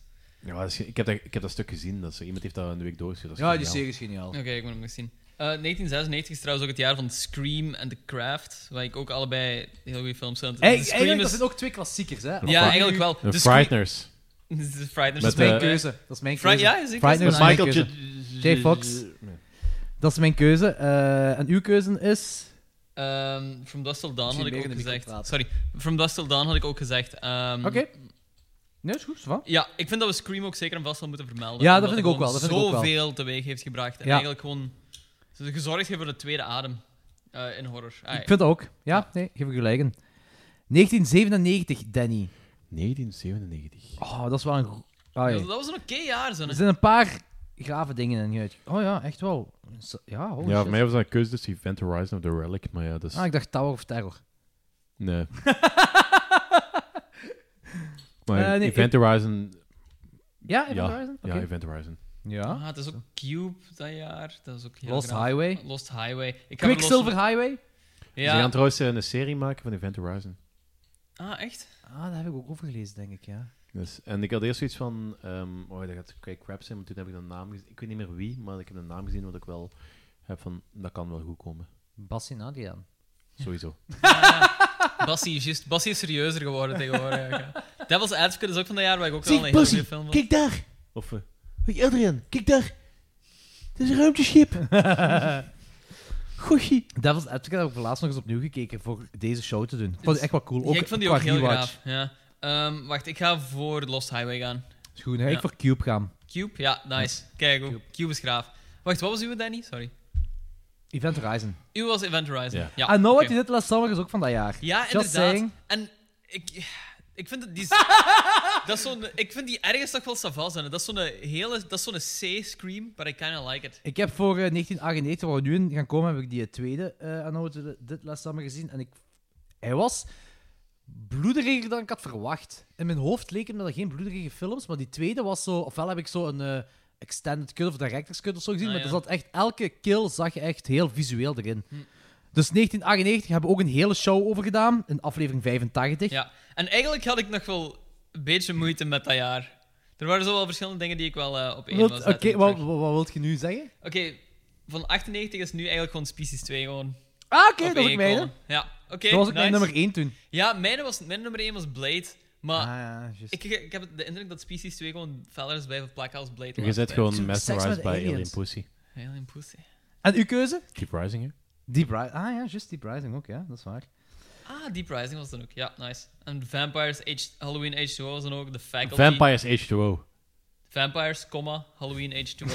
Speaker 1: ja, dat is ge- ik, heb dat, ik heb dat stuk gezien, dat is, iemand heeft dat een week doorgezien. dat is
Speaker 4: Ja, die
Speaker 1: geniaal.
Speaker 4: serie is geniaal.
Speaker 12: Oké, ik moet hem nog zien. Eh, 1996 is trouwens ook het jaar van Scream en The Craft, waar ik ook allebei heel goede films vind.
Speaker 4: Hey,
Speaker 12: The Scream
Speaker 4: eigenlijk, dat
Speaker 12: is-
Speaker 4: zijn ook twee klassiekers, hè?
Speaker 12: Ja, eigenlijk wel.
Speaker 1: De
Speaker 12: The Scream-
Speaker 1: Frighteners.
Speaker 12: De Frighteners
Speaker 1: Met,
Speaker 12: is mijn
Speaker 1: eh,
Speaker 12: keuze.
Speaker 4: Dat is mijn
Speaker 12: Fri-
Speaker 4: keuze.
Speaker 12: ja, is die
Speaker 4: Frighteners
Speaker 1: keuze?
Speaker 4: is
Speaker 1: Met
Speaker 4: mijn
Speaker 1: Michael
Speaker 4: keuze.
Speaker 1: J-
Speaker 4: J. Fox. Dat is mijn keuze. Eh, en uw keuze is...
Speaker 12: Ehm, From Dust Till Dawn
Speaker 4: Misschien
Speaker 12: had ik
Speaker 4: meer in
Speaker 12: ook
Speaker 4: de micro
Speaker 12: gezegd. Sorry, From Dust Till Dawn had ik ook gezegd. ehm,
Speaker 4: Oké. Nee, is goed, is waar.
Speaker 12: Ja, ik vind dat we Scream ook zeker en vast wel moeten vermelden.
Speaker 4: Ja, dat
Speaker 12: omdat
Speaker 4: vind ik
Speaker 12: het
Speaker 4: ook wel, dat
Speaker 12: gewoon
Speaker 4: vind ik ook wel.
Speaker 12: Zoveel teweeg heeft gebracht. En
Speaker 4: Ja.
Speaker 12: eigenlijk gewoon ze hebben gezorgd hebben voor de tweede adem eh, in horror. Ah, ja.
Speaker 4: Ik vind dat ook. Ja, nee, geef ik gelijk in. 1997, Danny.
Speaker 1: 1997.
Speaker 4: Oh, dat is wel een... go- Ah,
Speaker 12: Ja,
Speaker 4: ja.
Speaker 12: dat was een oké jaar, zo.
Speaker 4: Er
Speaker 12: hè.
Speaker 4: zijn een paar grave dingen in uit. Oh ja, echt wel. Ja, holy
Speaker 1: Ja,
Speaker 4: Oh, shit.
Speaker 1: voor mij was dat een keuze tussen Event Horizon of The Relic, maar ja, dat is...
Speaker 4: Ah, ik dacht Tower of Terror. (laughs)
Speaker 1: Nee. maar
Speaker 4: Eh, nee,
Speaker 1: Event
Speaker 4: ik-
Speaker 1: Horizon...
Speaker 4: Ja, Event Horizon?
Speaker 1: Ja,
Speaker 4: Oké.
Speaker 1: Event Horizon.
Speaker 4: Ja.
Speaker 12: Ah, het is ook Cube dat jaar. Dat is ook heel
Speaker 4: Lost
Speaker 12: graaf.
Speaker 4: Highway.
Speaker 12: Lost Highway. Ik ga
Speaker 4: Quicksilver
Speaker 12: voor Lost-
Speaker 4: Highway?
Speaker 1: Ze
Speaker 12: Ja.
Speaker 1: gaan trouwens eh, een serie maken van Event Horizon.
Speaker 12: Ah, echt?
Speaker 4: Ah, daar heb ik ook over gelezen, denk ik, ja.
Speaker 1: Dus, en ik had eerst zoiets van, ehm, oh, dat gaat Craig Crab zijn, maar toen heb ik een naam gezien. Ik weet niet meer wie, maar ik heb een naam gezien wat ik wel heb van, dat kan wel goed komen.
Speaker 4: Bassi Nadian.
Speaker 1: Sowieso. (laughs)
Speaker 12: Bassie is, juist, Bassie is serieuzer geworden tegenwoordig. ja. (laughs) Devil's Advocate is ook van dat jaar waar ik ook
Speaker 18: Zie,
Speaker 12: wel een hele
Speaker 18: Bassie,
Speaker 12: goede film vond.
Speaker 18: kijk daar.
Speaker 1: Of... eh,
Speaker 18: Hoi, Adrian, kijk daar. Het is een ruimteschip.
Speaker 4: (laughs) Goeie. Devil's Advocate heb ik laatst nog eens opnieuw gekeken voor deze show te doen. Ik vond het echt wel cool. Ook
Speaker 12: Ja, ik vond die ook
Speaker 4: qua
Speaker 12: heel
Speaker 4: rewatch.
Speaker 12: graaf. Ja. Ehm, wacht, ik ga voor Lost Highway gaan.
Speaker 4: Is goed, hè?
Speaker 12: Ja.
Speaker 4: Ik voor Cube gaan.
Speaker 12: Cube? Ja, nice. Kijk, Cube. Cube is graaf. Wacht, wat was uw, Danny? Sorry.
Speaker 4: Event Horizon. Ah, nou
Speaker 12: Uw was Event Horizon. Ja,
Speaker 4: I Know What
Speaker 12: oké.
Speaker 4: You Did Last Summer is ook van dat jaar.
Speaker 12: Ja,
Speaker 4: Just
Speaker 12: inderdaad.
Speaker 4: saying.
Speaker 12: En ik, ik vind
Speaker 4: (laughs)
Speaker 12: dat die. dat is zo'n, ik vind die ergens toch wel savas zijn. Dat is zo'n hele. Dat is zo'n C-scream, but I kinda like it.
Speaker 4: Ik heb voor eh, 1998, waar we nu in gaan komen, heb ik die tweede eh I Know What You Did- Did Last Summer gezien. En ik, hij was bloederiger dan ik had verwacht. In mijn hoofd leken me dat geen bloederige films, maar die tweede was zo... Ofwel heb ik zo een eh, extended cut of director's cut of zo gezien,
Speaker 12: Ah,
Speaker 4: maar
Speaker 12: ja. Hm.
Speaker 4: er zat echt... Elke kill zag je echt heel visueel erin. Dus 1998 hebben we ook een hele show over gedaan, in aflevering 85.
Speaker 12: Ja. En eigenlijk had ik nog wel een beetje moeite met dat jaar. Er waren zo wel verschillende dingen die ik wel eh, op één
Speaker 4: Wilt-
Speaker 12: was.
Speaker 4: Oké, wat, wat, wat wilt je nu zeggen?
Speaker 12: Oké, van 98 is nu eigenlijk gewoon Species 2 gewoon.
Speaker 4: Ah, oké,
Speaker 12: op
Speaker 4: dat is ook mijne.
Speaker 12: komen. Ja, oké.
Speaker 4: Dat was ook mijn
Speaker 12: nice.
Speaker 4: nummer één toen.
Speaker 12: Ja, mijn, was, mijn nummer 1 was Blade. Maar
Speaker 4: Ah, ja,
Speaker 12: ik, ik heb de indruk dat Species 2 gewoon feller is bij van Blackhouse Blade.
Speaker 5: Je
Speaker 12: was
Speaker 5: bent
Speaker 12: bij.
Speaker 5: gewoon mesmerized by Alien
Speaker 4: aliens.
Speaker 5: Pussy.
Speaker 12: Alien Pussy.
Speaker 4: En uw keuze?
Speaker 5: Keep rising, hè?
Speaker 4: Deep Rising. Ah ja, juist Deep Rising ook, ja, dat is waar.
Speaker 12: Ah, Deep Rising was dan ook. Ja, nice. En Vampires, Age, Halloween H2O was dan ook. The Faculty.
Speaker 5: Vampires H2O.
Speaker 12: Vampires, comma, Halloween H2O.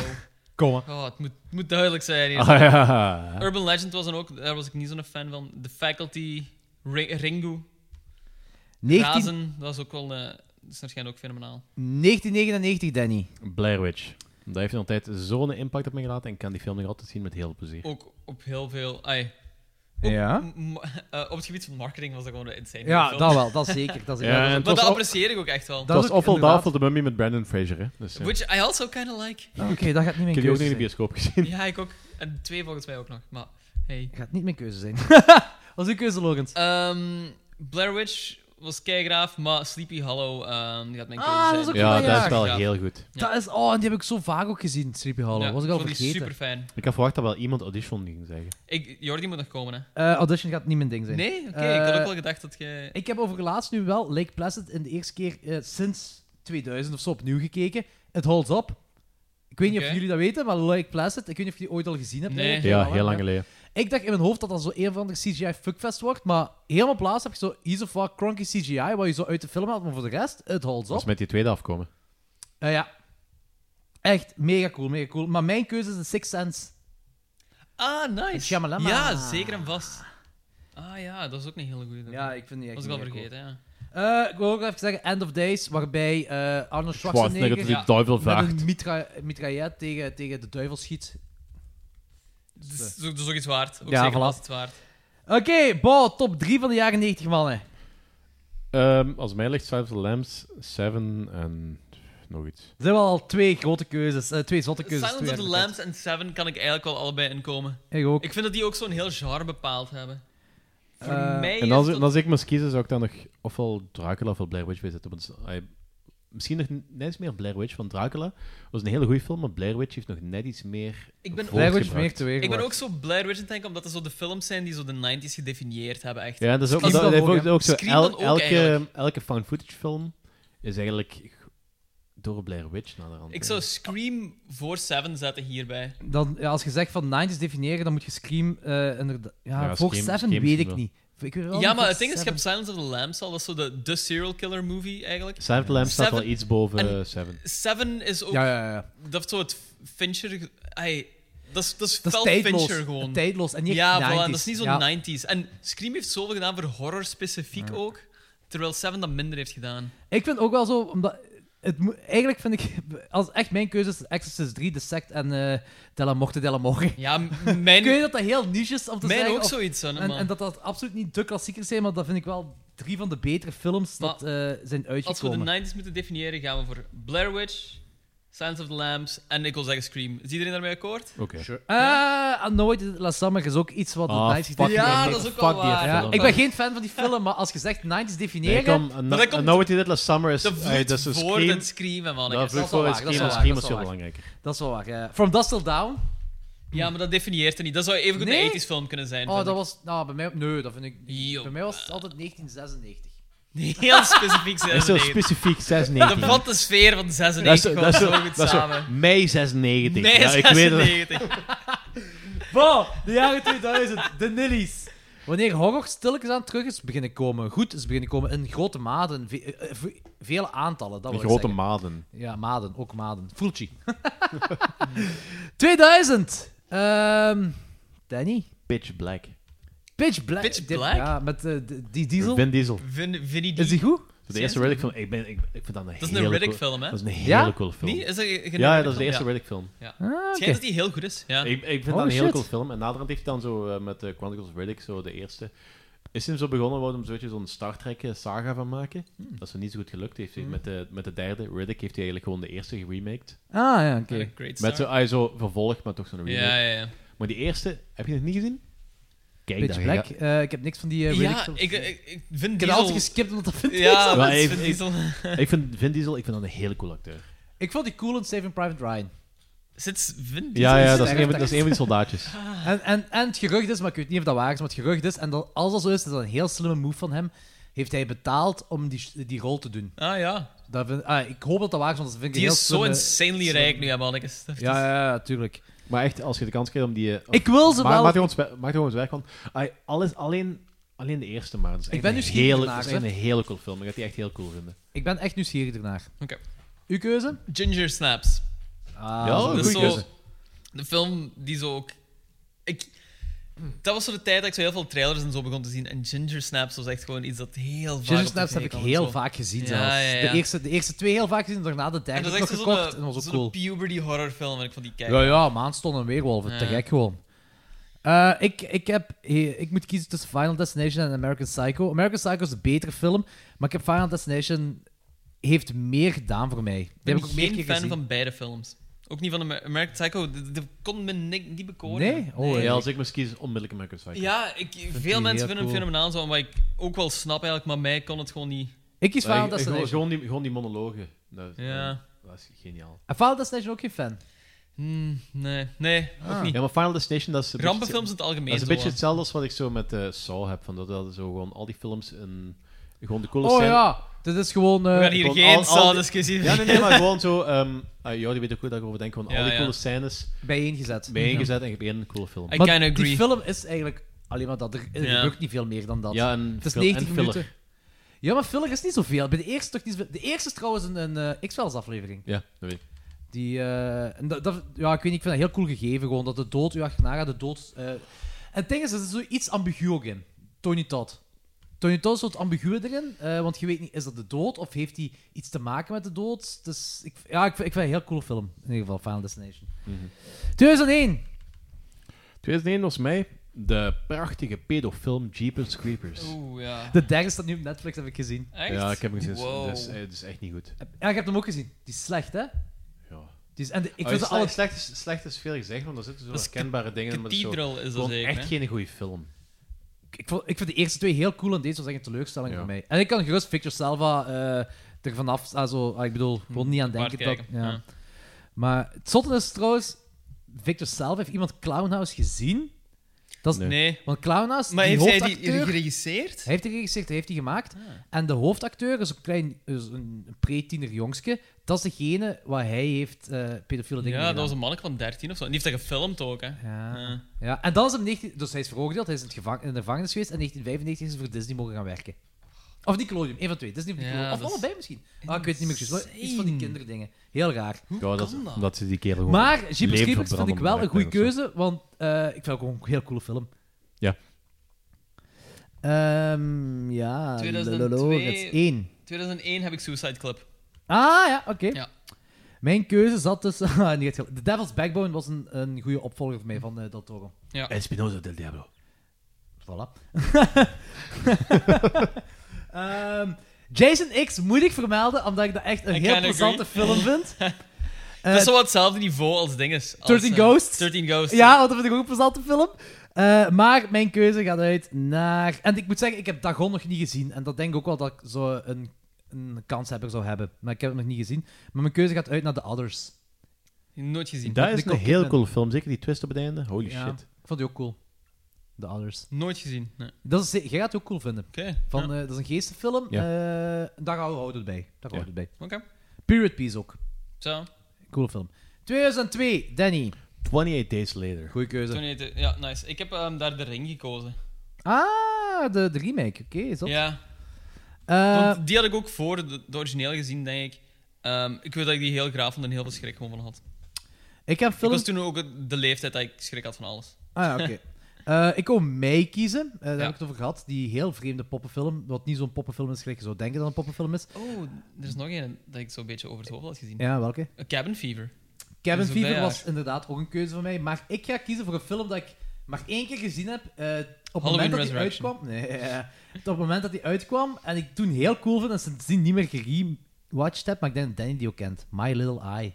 Speaker 5: Comma.
Speaker 12: Oh, het moet, het moet duidelijk zijn. hier.
Speaker 5: Ah, ja.
Speaker 12: Urban Legend was dan ook, daar was ik niet zo'n fan van. The Faculty, Ri- Ringu.
Speaker 4: 19
Speaker 12: Razen, dat was ook wel, eh, dat is waarschijnlijk ook fenomenaal.
Speaker 4: 1999, Danny.
Speaker 5: Blair Witch. Dat heeft nog altijd zo'n impact op me gelaten en ik kan die film nog altijd zien met heel veel plezier.
Speaker 12: Ook op heel veel, ai. Ook
Speaker 5: Ja?
Speaker 12: m- m- eh, op het gebied van marketing was dat gewoon een insane
Speaker 4: Ja,
Speaker 12: film.
Speaker 4: Ah, dat wel, dat zeker, dat zeker. Ja, en het
Speaker 12: maar
Speaker 4: was
Speaker 12: dat
Speaker 4: ook-
Speaker 12: apprecieer ik ook echt wel.
Speaker 5: Dat was Awful Doubtful de Mummy met Brandon Fraser, hè? Dus, ja.
Speaker 12: Which I also kind of like.
Speaker 4: Oké, dat gaat niet mijn
Speaker 5: Ik heb die ook
Speaker 4: keuze
Speaker 5: nog in de
Speaker 4: zijn.
Speaker 5: bioscoop gezien.
Speaker 12: Ja, ik ook. En twee volgens mij ook nog. Maar hey.
Speaker 4: Gaat niet mijn keuze (laughs) zijn. Wat is uw keuze, Logans?
Speaker 12: Ehm, Blair Witch was keigraaf, maar Sleepy Hollow ehm, die gaat mijn keuze
Speaker 4: Ah,
Speaker 12: zijn.
Speaker 4: dat is ook
Speaker 5: Ja,
Speaker 4: van dat
Speaker 5: dat is
Speaker 4: jaar.
Speaker 5: wel heel goed.
Speaker 4: Dat is, oh, en die heb ik zo vaak ook gezien, Sleepy Hollow.
Speaker 12: Ja,
Speaker 4: was ik
Speaker 12: ik
Speaker 4: al
Speaker 12: vond die
Speaker 4: vergeten.
Speaker 12: superfijn.
Speaker 5: Ik had verwacht dat wel iemand audition ging zeggen.
Speaker 12: Ik, Jordi moet nog komen, hè.
Speaker 4: Eh, audition gaat niet mijn ding zijn.
Speaker 12: Nee? Oké, ik had ook
Speaker 4: Eh,
Speaker 12: wel gedacht dat jij...
Speaker 4: Ik heb over laatst nu wel Lake Placid in de eerste keer eh, sinds 2000 of zo opnieuw gekeken. Het holds op. Ik weet niet of
Speaker 5: Oké.
Speaker 4: jullie dat weten, maar Lake Placid, ik weet niet of jullie ooit al gezien hebben.
Speaker 5: Nee.
Speaker 4: eigenlijk.
Speaker 5: Ja,
Speaker 4: hè?
Speaker 5: heel lang geleden.
Speaker 4: Ik dacht in mijn hoofd dat dat zo een van de CGI fuckfest wordt, maar helemaal plaats heb je zo ease of fuck cronky CGI, wat je zo uit de film haalt, maar voor de rest, het holds
Speaker 5: Dat is
Speaker 4: op.
Speaker 5: met die tweede afkomen.
Speaker 4: Eh, ja. Echt mega cool, mega cool. Maar mijn keuze is The Sixth Sense.
Speaker 12: Ah, nice.
Speaker 4: Shyamalan.
Speaker 12: Ja, zeker en vast. Ah ja, dat is ook een hele goede. Ja,
Speaker 4: ik vind die
Speaker 12: Was
Speaker 4: echt
Speaker 12: ik al
Speaker 4: mega cool.
Speaker 12: vergeten, ja.
Speaker 4: Eh, ik wil ook even zeggen End of Days, waarbij eh Arnold
Speaker 5: Schwarzenegger
Speaker 4: Schwarzenegger
Speaker 5: die
Speaker 4: ja,
Speaker 5: duivel
Speaker 4: met
Speaker 5: vaagt.
Speaker 4: een mitra mitraillet tegen, tegen de duivel schiet.
Speaker 12: Dus,
Speaker 4: eh.
Speaker 12: dat is ook- dat is ook iets waard. Ook
Speaker 4: Ja,
Speaker 12: zeker
Speaker 4: voilà.
Speaker 12: was het waard.
Speaker 4: Oké, Bo, top 3 van de jaren 90, mannen.
Speaker 5: Ehm, als mij ligt Five of the Lambs, Seven en nog iets.
Speaker 4: Er zijn wel al twee grote keuzes, eh, twee zotte keuzes.
Speaker 12: Silence of
Speaker 4: twee
Speaker 12: the
Speaker 4: uit
Speaker 12: Lambs en Seven kan ik eigenlijk wel allebei inkomen.
Speaker 4: Ik ook.
Speaker 12: Ik vind dat die ook zo'n heel genre bepaald hebben. Voor
Speaker 5: Eh,
Speaker 12: mij
Speaker 5: en
Speaker 12: is
Speaker 5: als,
Speaker 12: dat-
Speaker 5: en als ik moest kiezen, zou ik dan nog ofwel Dracula ofwel Blair Witch bij zetten. Want, eh, misschien nog n- net iets meer Blair Witch, want Dracula was een hele goede film, maar Blair Witch heeft nog net iets meer meer
Speaker 12: Ik ben, ik ben ook zo Blair Witch aan het denken, omdat dat zo de films zijn die zo de 90s gedefinieerd hebben. Echt.
Speaker 5: Ja, dat is ook, dat,
Speaker 12: Scream dan
Speaker 5: dat heeft ook,
Speaker 12: hè.
Speaker 5: ook zo.
Speaker 12: Scream
Speaker 5: el-
Speaker 12: dan ook eigenlijk.
Speaker 5: elke, elke found footage film is eigenlijk door Blair Witch naar de hand.
Speaker 12: Ik zou Scream voor Seven zetten hierbij.
Speaker 4: elkaar. Dan, ja, als je zegt van 90s definiëren, dan moet je Scream... eh inderdaad- ja,
Speaker 5: Ja,
Speaker 4: voor
Speaker 5: Scream-
Speaker 4: 7
Speaker 5: Scream
Speaker 4: weet
Speaker 5: is
Speaker 4: ik
Speaker 5: wel-
Speaker 4: niet. Ik weet wel
Speaker 12: Ja,
Speaker 4: niet
Speaker 12: maar
Speaker 4: of
Speaker 12: het ding is, je
Speaker 4: Seven-
Speaker 12: hebt Silence of the Lambs al, dat is zo de, de serial killer movie eigenlijk.
Speaker 5: Silence of the Lambs staat wel
Speaker 12: Seven-
Speaker 5: iets boven,
Speaker 12: en
Speaker 5: eh, Seven.
Speaker 12: Seven is ook...
Speaker 5: Ja, ja, ja.
Speaker 12: Dat is zo het Fincher... ge- ai, dat is, dat is
Speaker 4: Dat is
Speaker 12: fel
Speaker 4: tijdloos.
Speaker 12: Fincher gewoon.
Speaker 4: Tijdloos en niet echt
Speaker 12: ja, voilà,
Speaker 4: 90s.
Speaker 12: dat is niet zo'n
Speaker 4: Ja.
Speaker 12: 90s. En Scream heeft zoveel gedaan voor horror specifiek ook, terwijl Seven dat minder heeft gedaan.
Speaker 4: Ik vind ook wel zo, omdat... Het moet- eigenlijk vind ik, (laughs) als echt mijn keuze is Exorcist 3, The Sect en eh De La Morte De La Morte.
Speaker 12: Ja,
Speaker 4: (laughs)
Speaker 12: mijn...
Speaker 4: Kun je dat dat heel niche is om te
Speaker 12: Mijn
Speaker 4: zeggen?
Speaker 12: ook
Speaker 4: of-
Speaker 12: zoiets, hè,
Speaker 4: en,
Speaker 12: man.
Speaker 4: en dat dat absoluut niet de klassiekers zijn, maar dat vind ik wel drie van de betere films dat eh, zijn
Speaker 12: Als we de
Speaker 4: uitgekomen.
Speaker 12: 90s moeten definiëren, gaan we voor Blair Witch, Silence of the Lambs en ik wil zeggen Scream. Is iedereen daarmee akkoord?
Speaker 5: Oké. Sure.
Speaker 4: Ah, Annoyed at Last Summer is ook iets wat
Speaker 5: Ah,
Speaker 4: de 90s
Speaker 5: fuck
Speaker 4: definiëren.
Speaker 12: Ja, die dat is ook wel
Speaker 5: fuck die waar. film,
Speaker 4: Ja, ik ben
Speaker 5: man.
Speaker 4: geen fan van
Speaker 12: (laughs)
Speaker 4: die film, maar als je zegt 90s
Speaker 5: Nee,
Speaker 4: definiëren...
Speaker 5: kom, en nou- en nou wat je dit last summer is. eh, Dat is een
Speaker 12: voor
Speaker 5: Scream.
Speaker 12: het screamen, mannetjes.
Speaker 5: Dat vloeit
Speaker 12: Dat is
Speaker 5: voor
Speaker 12: wel
Speaker 5: het
Speaker 12: waar, dat
Speaker 5: screamen. en
Speaker 12: is wel waar,
Speaker 5: Scream
Speaker 12: dat
Speaker 5: is
Speaker 12: is
Speaker 5: veel
Speaker 12: wel
Speaker 5: belangrijker.
Speaker 4: Dat is wel waar. eh. From Dust Till Down?
Speaker 12: Ja, maar dat definieert er niet. Dat zou even goed
Speaker 4: Nee?
Speaker 12: een 80s film kunnen zijn.
Speaker 4: Oh,
Speaker 12: vind
Speaker 4: dat
Speaker 12: ik.
Speaker 4: was... Nou, bij mij... Nee, dat vind ik... Bij mij was het altijd 1996.
Speaker 12: (laughs) Heel specifiek
Speaker 5: Dat is
Speaker 12: 96.
Speaker 5: zo specifiek 96.
Speaker 12: Dat vat de sfeer van
Speaker 5: Dat is zo-
Speaker 12: 96
Speaker 5: dat is zo-
Speaker 12: gewoon zo goed
Speaker 5: dat is zo
Speaker 12: samen.
Speaker 5: Mei 96.
Speaker 12: Nee,
Speaker 5: ja, ik weet het.
Speaker 12: 96.
Speaker 4: (laughs) Bo, de jaren 2000, de Nillies. Wanneer horror stilletjes aan terug is beginnen komen, goed is beginnen komen, in grote maten, ve- eh, eh, ve- vele aantallen. Dat
Speaker 5: In
Speaker 4: wil ik
Speaker 5: grote
Speaker 4: zeggen.
Speaker 5: maden.
Speaker 4: Ja, maden, ook maden. Fulci. 2000. Ehm, Danny.
Speaker 5: Pitch Black.
Speaker 4: Pitch Black.
Speaker 12: Pitch
Speaker 4: Dit-
Speaker 12: Black?
Speaker 4: Ja, met eh, de- die diesel.
Speaker 5: Vin Diesel.
Speaker 12: Vin, Vinny
Speaker 4: Is die goed?
Speaker 5: De eerste Riddick film, ik, ben, ik, ik vind dat een
Speaker 12: Dat is een
Speaker 5: hele
Speaker 12: Riddick
Speaker 5: coole-
Speaker 12: film, hè?
Speaker 5: Dat is een hele
Speaker 12: Ja?
Speaker 5: coole film.
Speaker 12: Nee, is dat geen-
Speaker 5: ja,
Speaker 12: geen
Speaker 5: ja, dat is
Speaker 12: Riddick
Speaker 5: de
Speaker 12: film?
Speaker 5: eerste
Speaker 12: Ja.
Speaker 5: Riddick film.
Speaker 12: Ja. Ah, Het schijnt oké. dat die heel goed is, ja.
Speaker 5: Ik, ik vind
Speaker 12: Oh,
Speaker 5: dat een hele
Speaker 12: shit.
Speaker 5: coole film. En naderhand heeft hij dan zo eh, met de Chronicles of Riddick, zo de eerste... Is hij zo begonnen, wou hem zo'n beetje zo'n Star Trek eh, saga van maken.
Speaker 12: Hmm.
Speaker 5: Dat is hem niet zo goed gelukt. Heeft hij
Speaker 4: Hmm.
Speaker 5: met, de, met de derde Riddick heeft hij eigenlijk gewoon de eerste geremaked.
Speaker 4: Ah, ja, oké.
Speaker 12: Met Great
Speaker 5: Met zo,
Speaker 12: Star.
Speaker 5: ah, zo vervolg, maar toch zo'n remake.
Speaker 12: Ja, ja, ja.
Speaker 5: Maar die eerste, heb je het niet gezien? Kijk,
Speaker 4: Pitch
Speaker 5: daar
Speaker 4: Black.
Speaker 5: ga-
Speaker 4: eh, ik heb niks van die eh, Riddick
Speaker 12: ja,
Speaker 4: films.
Speaker 12: ik, ik, ik
Speaker 4: Ik
Speaker 12: vind
Speaker 4: heb
Speaker 12: Diesel...
Speaker 4: altijd geskipt omdat dat Vin Diesel
Speaker 12: Ja,
Speaker 4: is.
Speaker 5: Maar
Speaker 12: dat is
Speaker 5: ik-
Speaker 12: Vin
Speaker 5: ik-
Speaker 12: Diesel. (laughs)
Speaker 5: Ik vind Vin Diesel ik vind dat een hele coole acteur.
Speaker 4: Ik vond die cool in Saving Private Ryan.
Speaker 12: Zit Vin Diesel?
Speaker 5: Ja, ja, dat is een van- dat is een van die soldaatjes.
Speaker 4: En, en, en het gerucht is, maar ik weet niet of dat waar is, maar het gerucht is, en dat, als dat zo is, is dat een heel slimme move van hem, heeft hij betaald om die, die rol te doen.
Speaker 12: Ah ja.
Speaker 4: Dat vind- ah, ik hoop dat dat waar is, want dat vind ik
Speaker 12: Die
Speaker 4: een heel
Speaker 12: is zo
Speaker 4: slimme-
Speaker 12: insanely
Speaker 4: slimme-
Speaker 12: rijk nu, hebben Annekes. Dat
Speaker 5: Ja,
Speaker 12: is-
Speaker 5: ja, ja, tuurlijk. Maar echt, als je de kans krijgt om die... eh,
Speaker 4: Ik wil ze
Speaker 5: maar,
Speaker 4: wel-
Speaker 5: Maak er ons, we- maak er ons werk van. Ai, alles, alleen, alleen de eerste maar. Dat is echt
Speaker 4: ben
Speaker 5: een
Speaker 4: nieuwsgierig
Speaker 5: hele,
Speaker 4: naar
Speaker 5: dat is
Speaker 4: ze.
Speaker 5: echt een hele cool film. Ik ga die echt heel cool vinden.
Speaker 4: Ik ben echt nieuwsgierig ernaar.
Speaker 12: Oké.
Speaker 4: Uw keuze?
Speaker 12: Ginger Snaps.
Speaker 4: Ah,
Speaker 5: Ja,
Speaker 12: dat
Speaker 5: goeie
Speaker 12: is zo
Speaker 5: keuze.
Speaker 12: de film die zo ook... Ik, dat was zo de tijd dat ik zo heel veel trailers en zo begon te zien. En Ginger Snaps was echt gewoon iets dat heel vaak
Speaker 4: Ginger
Speaker 12: op
Speaker 4: Snaps
Speaker 12: tv
Speaker 4: heb ik
Speaker 12: kwam en
Speaker 4: heel
Speaker 12: zo.
Speaker 4: vaak gezien
Speaker 12: Ja,
Speaker 4: zelfs.
Speaker 12: ja, ja.
Speaker 4: De, eerste, de eerste twee heel vaak gezien, daarna de
Speaker 12: En
Speaker 4: derde
Speaker 12: dat
Speaker 4: heb
Speaker 12: is
Speaker 4: ik nog
Speaker 12: echt zo'n eh,
Speaker 4: gekocht. En dat was ook
Speaker 12: zo'n
Speaker 4: cool.
Speaker 12: puberty horrorfilm en ik vond die kijken.
Speaker 4: Ja, ja, maanstonden en weerwolven. Te
Speaker 12: Ja.
Speaker 4: gek gewoon. Eh, ik, ik, heb, eh, ik moet kiezen tussen Final Destination en American Psycho. American Psycho is een betere film, maar ik heb Final Destination heeft meer gedaan voor mij. Die
Speaker 12: Ik ben
Speaker 4: heb ik ook meer
Speaker 12: geen
Speaker 4: keer
Speaker 12: fan
Speaker 4: gezien.
Speaker 12: van beide films. Ook niet van Amer- American Psycho. Dat dat kon me ni- niet bekoren.
Speaker 4: Oh,
Speaker 5: ja, als ik moest kiezen, onmiddellijk American Psycho.
Speaker 12: Ja, ik, veel mensen vinden hem fenomenaal zo, maar ik ook wel snap eigenlijk, maar mij kon het gewoon niet.
Speaker 5: Maar ik- ik- gewoon- Gewoon die, gewoon die monologen. Dat,
Speaker 12: Ja.
Speaker 5: dat is geniaal.
Speaker 4: En Final Destination ook geen fan.
Speaker 12: Hmm,
Speaker 4: Ah.
Speaker 12: nee, nee, ook niet.
Speaker 5: Ja, maar Final Destination, dat is... een beetje-
Speaker 12: Rampenfilms in het algemeen
Speaker 5: Dat is een
Speaker 12: zo,
Speaker 5: beetje
Speaker 12: hè.
Speaker 5: hetzelfde als wat ik zo met eh Saw heb. Van dat, dat zo gewoon al die films een... Gewoon de coole
Speaker 4: Oh
Speaker 5: scène-
Speaker 4: ja, dit is gewoon... eh,
Speaker 5: Gewoon al- al die- (laughs) Ja, nee, nee, maar gewoon zo... ehm ah, ja, die weet ook hoe dat ik over denk. Gewoon
Speaker 4: Ja,
Speaker 5: al die
Speaker 4: ja.
Speaker 5: coole scènes...
Speaker 4: Bijeengezet.
Speaker 5: Bijeengezet en je hebt één coole film.
Speaker 4: Maar Die film is eigenlijk alleen maar dat. Er, er
Speaker 5: Ja.
Speaker 4: gebeurt niet veel meer dan dat.
Speaker 5: Ja, en
Speaker 4: het is
Speaker 5: fil-
Speaker 4: 90
Speaker 5: en filler.
Speaker 4: minuten. Ja, maar filler is niet zoveel. Bij de eerste toch niet zoveel. De eerste is trouwens een, een eh, X-Files aflevering.
Speaker 5: Ja, dat weet ik.
Speaker 4: Die, eh, en dat, dat- ja, ik weet niet, ik vind dat heel cool gegeven. Gewoon dat de dood u achterna gaat, de dood... eh. En het ding is, er zit zoiets ambigu ook in. Tony Todd. Tony Todd is wat ambiguur erin, eh, want je weet niet, is dat de dood of heeft hij iets te maken met de dood? Dus ik, ja, ik, vind- ik vind het een heel coole film. In ieder geval, Final Destination. 2001!
Speaker 5: 2001 was mij de prachtige pedofilm Jeepers Creepers.
Speaker 12: Oeh, ja.
Speaker 4: De derde staat nu op Netflix, heb ik gezien.
Speaker 12: Echt?
Speaker 5: Ja, ik heb hem gezien. dus-
Speaker 12: Wow.
Speaker 5: Dus, eh, het is echt niet goed.
Speaker 4: Ja, ik heb hem ook gezien. Die is slecht, hè? Ja. Die is, en de- ik
Speaker 5: Oh,
Speaker 4: vind
Speaker 5: ja,
Speaker 4: ze alle...
Speaker 5: slecht, slecht, is, slecht is veel gezegd, want er zitten zo
Speaker 4: Dat is
Speaker 5: herkenbare dingen in. maar het
Speaker 4: Cathedral
Speaker 5: zo,
Speaker 4: is dat
Speaker 5: gewoon
Speaker 4: zeker,
Speaker 5: echt
Speaker 4: hè?
Speaker 5: geen goede film.
Speaker 4: ik, vond, ik vind de eerste twee heel cool en deze was echt een teleurstelling voor mij. En ik kan gerust Victor Salva eh er vanaf... Also, ah, ik bedoel, gewoon niet aan
Speaker 12: Waard
Speaker 4: denken. Dat,
Speaker 12: kijken,
Speaker 4: ja.
Speaker 12: ja.
Speaker 4: Maar het zotte is trouwens... Victor Salva, heeft iemand Clownhouse gezien? Dat is,
Speaker 12: Nee. Nee.
Speaker 4: Want Clownhouse,
Speaker 12: Maar
Speaker 4: die
Speaker 12: heeft hij die Ah.
Speaker 4: hoofdacteur...
Speaker 12: geregisseerd?
Speaker 4: Hij heeft die geregisseerd, hij heeft die gemaakt. En de hoofdacteur is een klein, is een pre-tiener jongske. Dat is degene waar hij heeft eh pedofiele dingen
Speaker 12: Ja,
Speaker 4: mee
Speaker 12: dat was
Speaker 4: gedaan.
Speaker 12: een mannetje van 13 of zo. En die heeft dat gefilmd ook, hè.
Speaker 4: Ja. Ja, en dan is hem 19... Dus hij is veroordeeld, hij is in, het gevang- in de gevangenis geweest. En in 1995 is hij voor Disney mogen gaan werken. Of Nickelodeon, één van twee. Disney of
Speaker 12: Ja,
Speaker 4: Nickelodeon. of
Speaker 12: dat is
Speaker 4: allebei misschien. Ah, ik weet het niet meer precies. maar Iets van die kinderdingen. Heel raar.
Speaker 5: ja, dat, is- Omdat ze die kerel gewoon
Speaker 4: Maar
Speaker 5: leven
Speaker 4: Jeepers Creepers vind
Speaker 5: verbranden
Speaker 4: ik wel
Speaker 5: met
Speaker 4: een goede
Speaker 5: werk en zo.
Speaker 4: keuze, want eh, ik vind het ook een heel coole film.
Speaker 5: Ja.
Speaker 4: Ehm, ja,
Speaker 12: 2002...
Speaker 4: het is één.
Speaker 12: 2001 heb ik Suicide Club.
Speaker 4: Ah ja, oké. Mijn keuze zat tussen. (laughs) Ah, niet het gel- The Devil's Backbone was een, een goede opvolger voor mij van eh Del Toro.
Speaker 12: Ja.
Speaker 5: Espinosa del Diablo.
Speaker 4: Voilà. (laughs) Ehm, Jason X moet ik vermelden, omdat ik dat echt een
Speaker 12: I
Speaker 4: heel
Speaker 12: can
Speaker 4: plezante
Speaker 12: agree.
Speaker 4: film
Speaker 12: (laughs)
Speaker 4: vind.
Speaker 12: dat is
Speaker 4: Eh,
Speaker 12: zo wat hetzelfde niveau als dinges. als,
Speaker 4: 13
Speaker 12: eh,
Speaker 4: Ghosts.
Speaker 12: 13 Ghosts.
Speaker 4: Ja, want dat vind ik ook een plezante film. Eh, maar mijn keuze gaat uit naar... En ik moet zeggen, ik heb Dagon nog niet gezien. En dat denk ik ook wel dat ik zo een, een kanshebber zou hebben. Maar ik heb hem nog niet gezien. Maar mijn keuze gaat uit naar The Others.
Speaker 12: Nooit gezien.
Speaker 5: Dat is een heel coole film. Zeker die twist op het einde. Holy
Speaker 4: Ja,
Speaker 5: shit.
Speaker 4: Ik vond die ook cool. The Others.
Speaker 12: Nooit gezien, nee.
Speaker 4: Dat is, jij gaat het ook cool vinden. Van, eh, dat is een geestenfilm.
Speaker 5: Ja.
Speaker 4: Eh, daar houden we het bij. Daar
Speaker 5: Ja.
Speaker 4: houden we het bij.
Speaker 12: Oké.
Speaker 4: Period Piece ook.
Speaker 12: Zo.
Speaker 4: Coole film. 2002, Danny.
Speaker 5: 28 Days Later.
Speaker 4: Goeie keuze.
Speaker 12: Toen heette- Ja, nice. Ik heb ehm, daar de ring gekozen.
Speaker 4: Ah, de, de remake. Oké, is dat?
Speaker 12: Ja.
Speaker 4: Eh,
Speaker 12: Want die had ik ook voor de, de origineel gezien, denk ik. Ehm, ik weet dat ik die heel graag vond en heel veel schrik gewoon van had.
Speaker 4: Ik heb
Speaker 12: Ik
Speaker 4: film...
Speaker 12: was toen ook de leeftijd dat ik schrik had van alles.
Speaker 4: Ah ja, oké. Eh, ik wou mij kiezen, Eh, daar heb ik het over gehad. Die heel vreemde poppenfilm, wat niet zo'n poppenfilm is, gelijk je zou denken dat een poppenfilm is.
Speaker 12: Oh, er is nog een dat ik zo'n beetje over het hoofd had gezien.
Speaker 4: Ja, welke?
Speaker 12: A Cabin Fever.
Speaker 4: Cabin
Speaker 12: Dat is ook
Speaker 4: Fever
Speaker 12: dat
Speaker 4: was
Speaker 12: jaar.
Speaker 4: inderdaad ook een keuze van mij, maar ik ga kiezen voor een film dat ik maar één keer gezien heb. eh, op het moment dat die
Speaker 12: Halloween Resurrection.
Speaker 4: uitkwam. Nee, eh, op het moment dat die uitkwam en ik toen heel cool vind en sindsdien niet meer gerewatcht heb, maar ik denk dat Danny die ook kent. My Little Eye.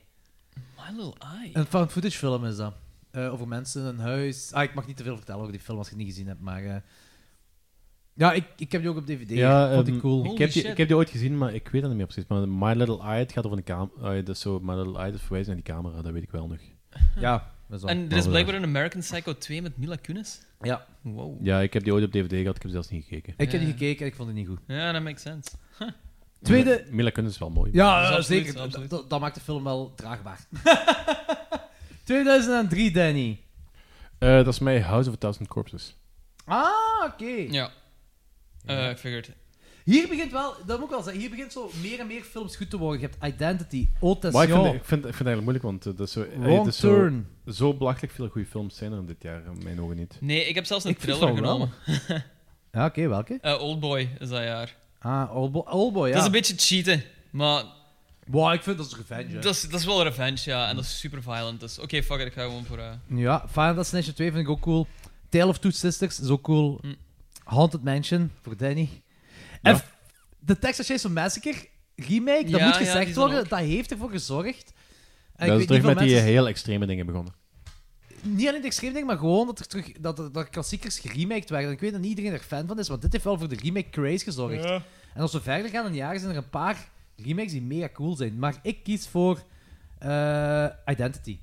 Speaker 12: My Little Eye.
Speaker 4: Een found footage film is dat. Eh, over mensen, een huis. Ah, ik mag niet te veel vertellen over die film als je het niet gezien hebt, maar. eh, Ja, ik, ik heb die ook op DVD.
Speaker 5: Ja,
Speaker 4: Vond
Speaker 5: ehm,
Speaker 4: ik cool.
Speaker 5: ik, heb die, ik heb die ooit gezien, maar ik weet ah, dat niet meer precies. Maar My Little Eye, het gaat over een camera. dat is zo, My Little Eye, dat verwijst naar die camera, dat weet ik wel nog. Ja, dat is al-
Speaker 12: En er is blijkbaar een American Psycho 2 met Mila Kunis.
Speaker 5: Ja.
Speaker 12: Wow.
Speaker 1: Ja, ik heb die ooit op DVD gehad, ik heb zelfs niet gekeken.
Speaker 12: Ik heb die
Speaker 4: gekeken en ik vond het niet goed.
Speaker 12: Ja, dat makes sense. Huh.
Speaker 4: Tweede-
Speaker 1: Mila Kunis is wel mooi.
Speaker 4: Ja,
Speaker 1: Dat is
Speaker 4: eh,
Speaker 1: absoluut,
Speaker 4: zeker.
Speaker 1: absoluut.
Speaker 4: Dat, dat maakt de film wel draagbaar. 2003, Danny.
Speaker 1: Eh, dat is mij House of a Thousand Corpses.
Speaker 4: Ah, oké.
Speaker 12: Ja. Eh, ik figured.
Speaker 4: Hier begint wel, dat moet ik wel zeggen, hier begint zo meer en meer films goed te worden. Je hebt Identity, Otes,
Speaker 1: Maar ik vind, ik, vind, ik vind het eigenlijk moeilijk, want eh, dat is zo, eh,
Speaker 4: Wrong
Speaker 1: het is zo-
Speaker 4: Turn.
Speaker 1: Zo, belachelijk veel goede films zijn er in dit jaar, in mijn ogen niet.
Speaker 12: Nee, ik heb zelfs een
Speaker 4: Ik vind
Speaker 12: thriller
Speaker 4: het wel
Speaker 12: genomen.
Speaker 4: Ja, oké, welke?
Speaker 12: Eh, Oldboy is dat jaar.
Speaker 4: Ah, Oldboy, Oldboy ja.
Speaker 12: Dat is een beetje cheaten, maar...
Speaker 4: Wow, ik vind dat is revenge, hè.
Speaker 12: Dat is, dat is wel revenge, ja. En dat is super violent. Dus oké, fuck it, ik ga gewoon voor... eh,
Speaker 4: Ja, Final Destination 2 vind ik ook cool. Tale of Two Sisters is ook cool.
Speaker 12: Hm.
Speaker 4: Haunted Mansion voor Danny. En f- de Texas Chainsaw Massacre remake, dat
Speaker 12: Ja,
Speaker 4: moet
Speaker 12: ja, die
Speaker 4: gezegd
Speaker 12: is dan
Speaker 4: worden, dat heeft ervoor gezorgd.
Speaker 1: dat is
Speaker 4: En ik weet niet
Speaker 1: terug
Speaker 4: veel
Speaker 1: met die
Speaker 4: mensen-
Speaker 1: eh, heel extreme dingen begonnen.
Speaker 4: Niet alleen de extreem ding, maar gewoon dat er terug dat, er- dat klassiekers geremaked werden. En Ik weet dat niet iedereen er fan van is, want dit heeft wel voor de remake craze gezorgd.
Speaker 12: Ja.
Speaker 4: En als we verder gaan in de jaren, zijn er een paar remakes die mega cool zijn. Maar ik kies voor eh, Identity.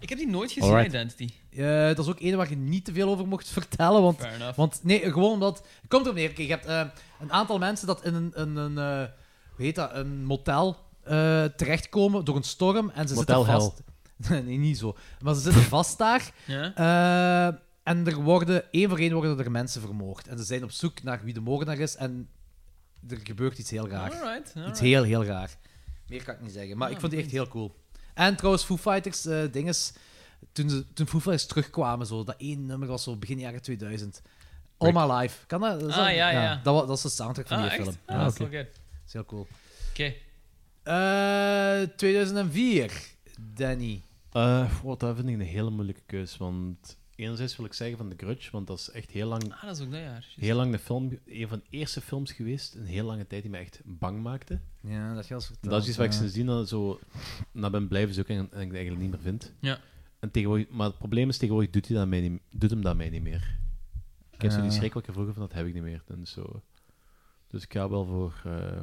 Speaker 12: Ik heb die nooit gezien,
Speaker 4: Alright.
Speaker 12: Identity.
Speaker 4: Eh, dat is ook één waar je niet te veel over mocht vertellen. Want,
Speaker 12: Fair enough.
Speaker 4: want nee, gewoon omdat. Het komt erop neer. Kijk, je hebt eh, een aantal mensen dat in een, een, een eh, hoe heet dat, een motel eh, terechtkomen door een storm. En ze
Speaker 1: Motel
Speaker 4: zitten
Speaker 1: hell.
Speaker 4: vast. (laughs) nee, niet zo. Maar ze (laughs) zitten vast daar. Eh, en er worden, één voor één worden er mensen vermoord. En ze zijn op zoek naar wie de moordenaar is. En er gebeurt iets heel raar.
Speaker 12: Alright, alright.
Speaker 4: Iets heel, heel raar. Meer kan ik niet zeggen. Maar
Speaker 12: Ja,
Speaker 4: ik vond die echt heel cool. En trouwens, Foo Fighters, eh dinges, toen, ze, toen Foo Fighters terugkwamen, zo, dat één nummer was zo begin jaren 2000. All My Life. Kan dat? dat is
Speaker 12: Ah,
Speaker 4: dat-
Speaker 12: ja, ja.
Speaker 4: Dat, wa- dat is de soundtrack van
Speaker 12: Ah,
Speaker 4: die
Speaker 12: echt?
Speaker 4: film.
Speaker 12: Ah, dat is wel oké.
Speaker 4: is heel cool.
Speaker 12: Oké.
Speaker 4: Eh, 2004, Danny.
Speaker 5: Eh, wow, dat vind ik een hele moeilijke keus. Want enerzijds wil ik zeggen van The Grudge, want dat is echt heel lang.
Speaker 12: Ah, dat is ook dat jaar, juist.
Speaker 5: Heel lang de film, een van de eerste films geweest, een heel lange tijd die mij echt bang maakte.
Speaker 4: Ja, dat je als verteld,
Speaker 5: Dat is iets wat ik
Speaker 4: ja.
Speaker 5: sindsdien al zo naar ben blijven zoeken en, en ik het eigenlijk niet meer vind.
Speaker 12: Ja.
Speaker 5: En tegenwoordig, maar het probleem is, tegenwoordig doet, hij dat mij niet, doet hem dat mij niet meer. Ik heb zo die
Speaker 1: Ja.
Speaker 5: schrik wat ik er vroeger van had, heb ik niet meer. En zo. Dus ik ga wel voor eh,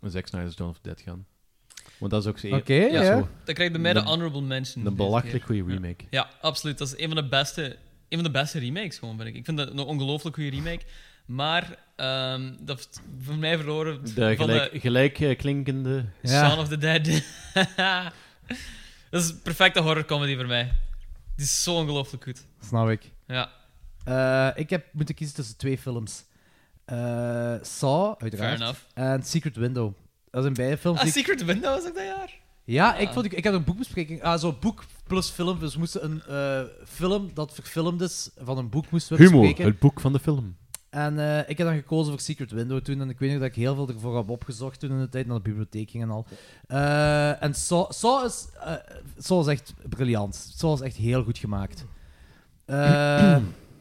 Speaker 5: een Zack Snyder's Dawn of the Dead gaan. Want dat is ook zo...
Speaker 12: Oké, ja. Dat krijgt bij mij de
Speaker 5: een-
Speaker 12: honorable mention
Speaker 5: Een
Speaker 12: deze
Speaker 5: belachelijk
Speaker 12: keer.
Speaker 5: goede remake.
Speaker 12: Ja, absoluut. Dat is een van de beste, een van de beste remakes, gewoon, vind ik. Ik vind dat een ongelooflijk goede remake. Maar ehm, dat heeft voor mij verloren
Speaker 5: De
Speaker 12: van
Speaker 5: gelijk,
Speaker 12: de
Speaker 5: gelijk eh, klinkende...
Speaker 12: Shaun of the Dead. (laughs) dat is een perfecte horrorcomedy voor mij. Die is zo ongelooflijk goed.
Speaker 4: Snap ik.
Speaker 12: Ja.
Speaker 4: Eh, ik heb moeten kiezen tussen twee films. Eh, Saw, uiteraard.
Speaker 12: Fair enough.
Speaker 4: En Secret Window. Dat zijn beide films
Speaker 12: (laughs) Ah,
Speaker 4: die ik-
Speaker 12: Secret Window was ook dat jaar?
Speaker 4: Ja, ik, vond, ik, ik heb een boekbespreking. Ah, zo'n boek plus film. Dus we moesten een eh, film dat verfilmd is van een boek moesten we
Speaker 1: Humo,
Speaker 4: bespreken.
Speaker 1: het boek van de film.
Speaker 4: En eh, ik heb dan gekozen voor Secret Window toen. En ik weet nog dat ik heel veel ervoor heb opgezocht toen in de tijd naar de bibliotheek ging en al. Eh, en Saw, Saw is, eh, Saw is echt briljant. Saw is echt heel goed gemaakt. Eh,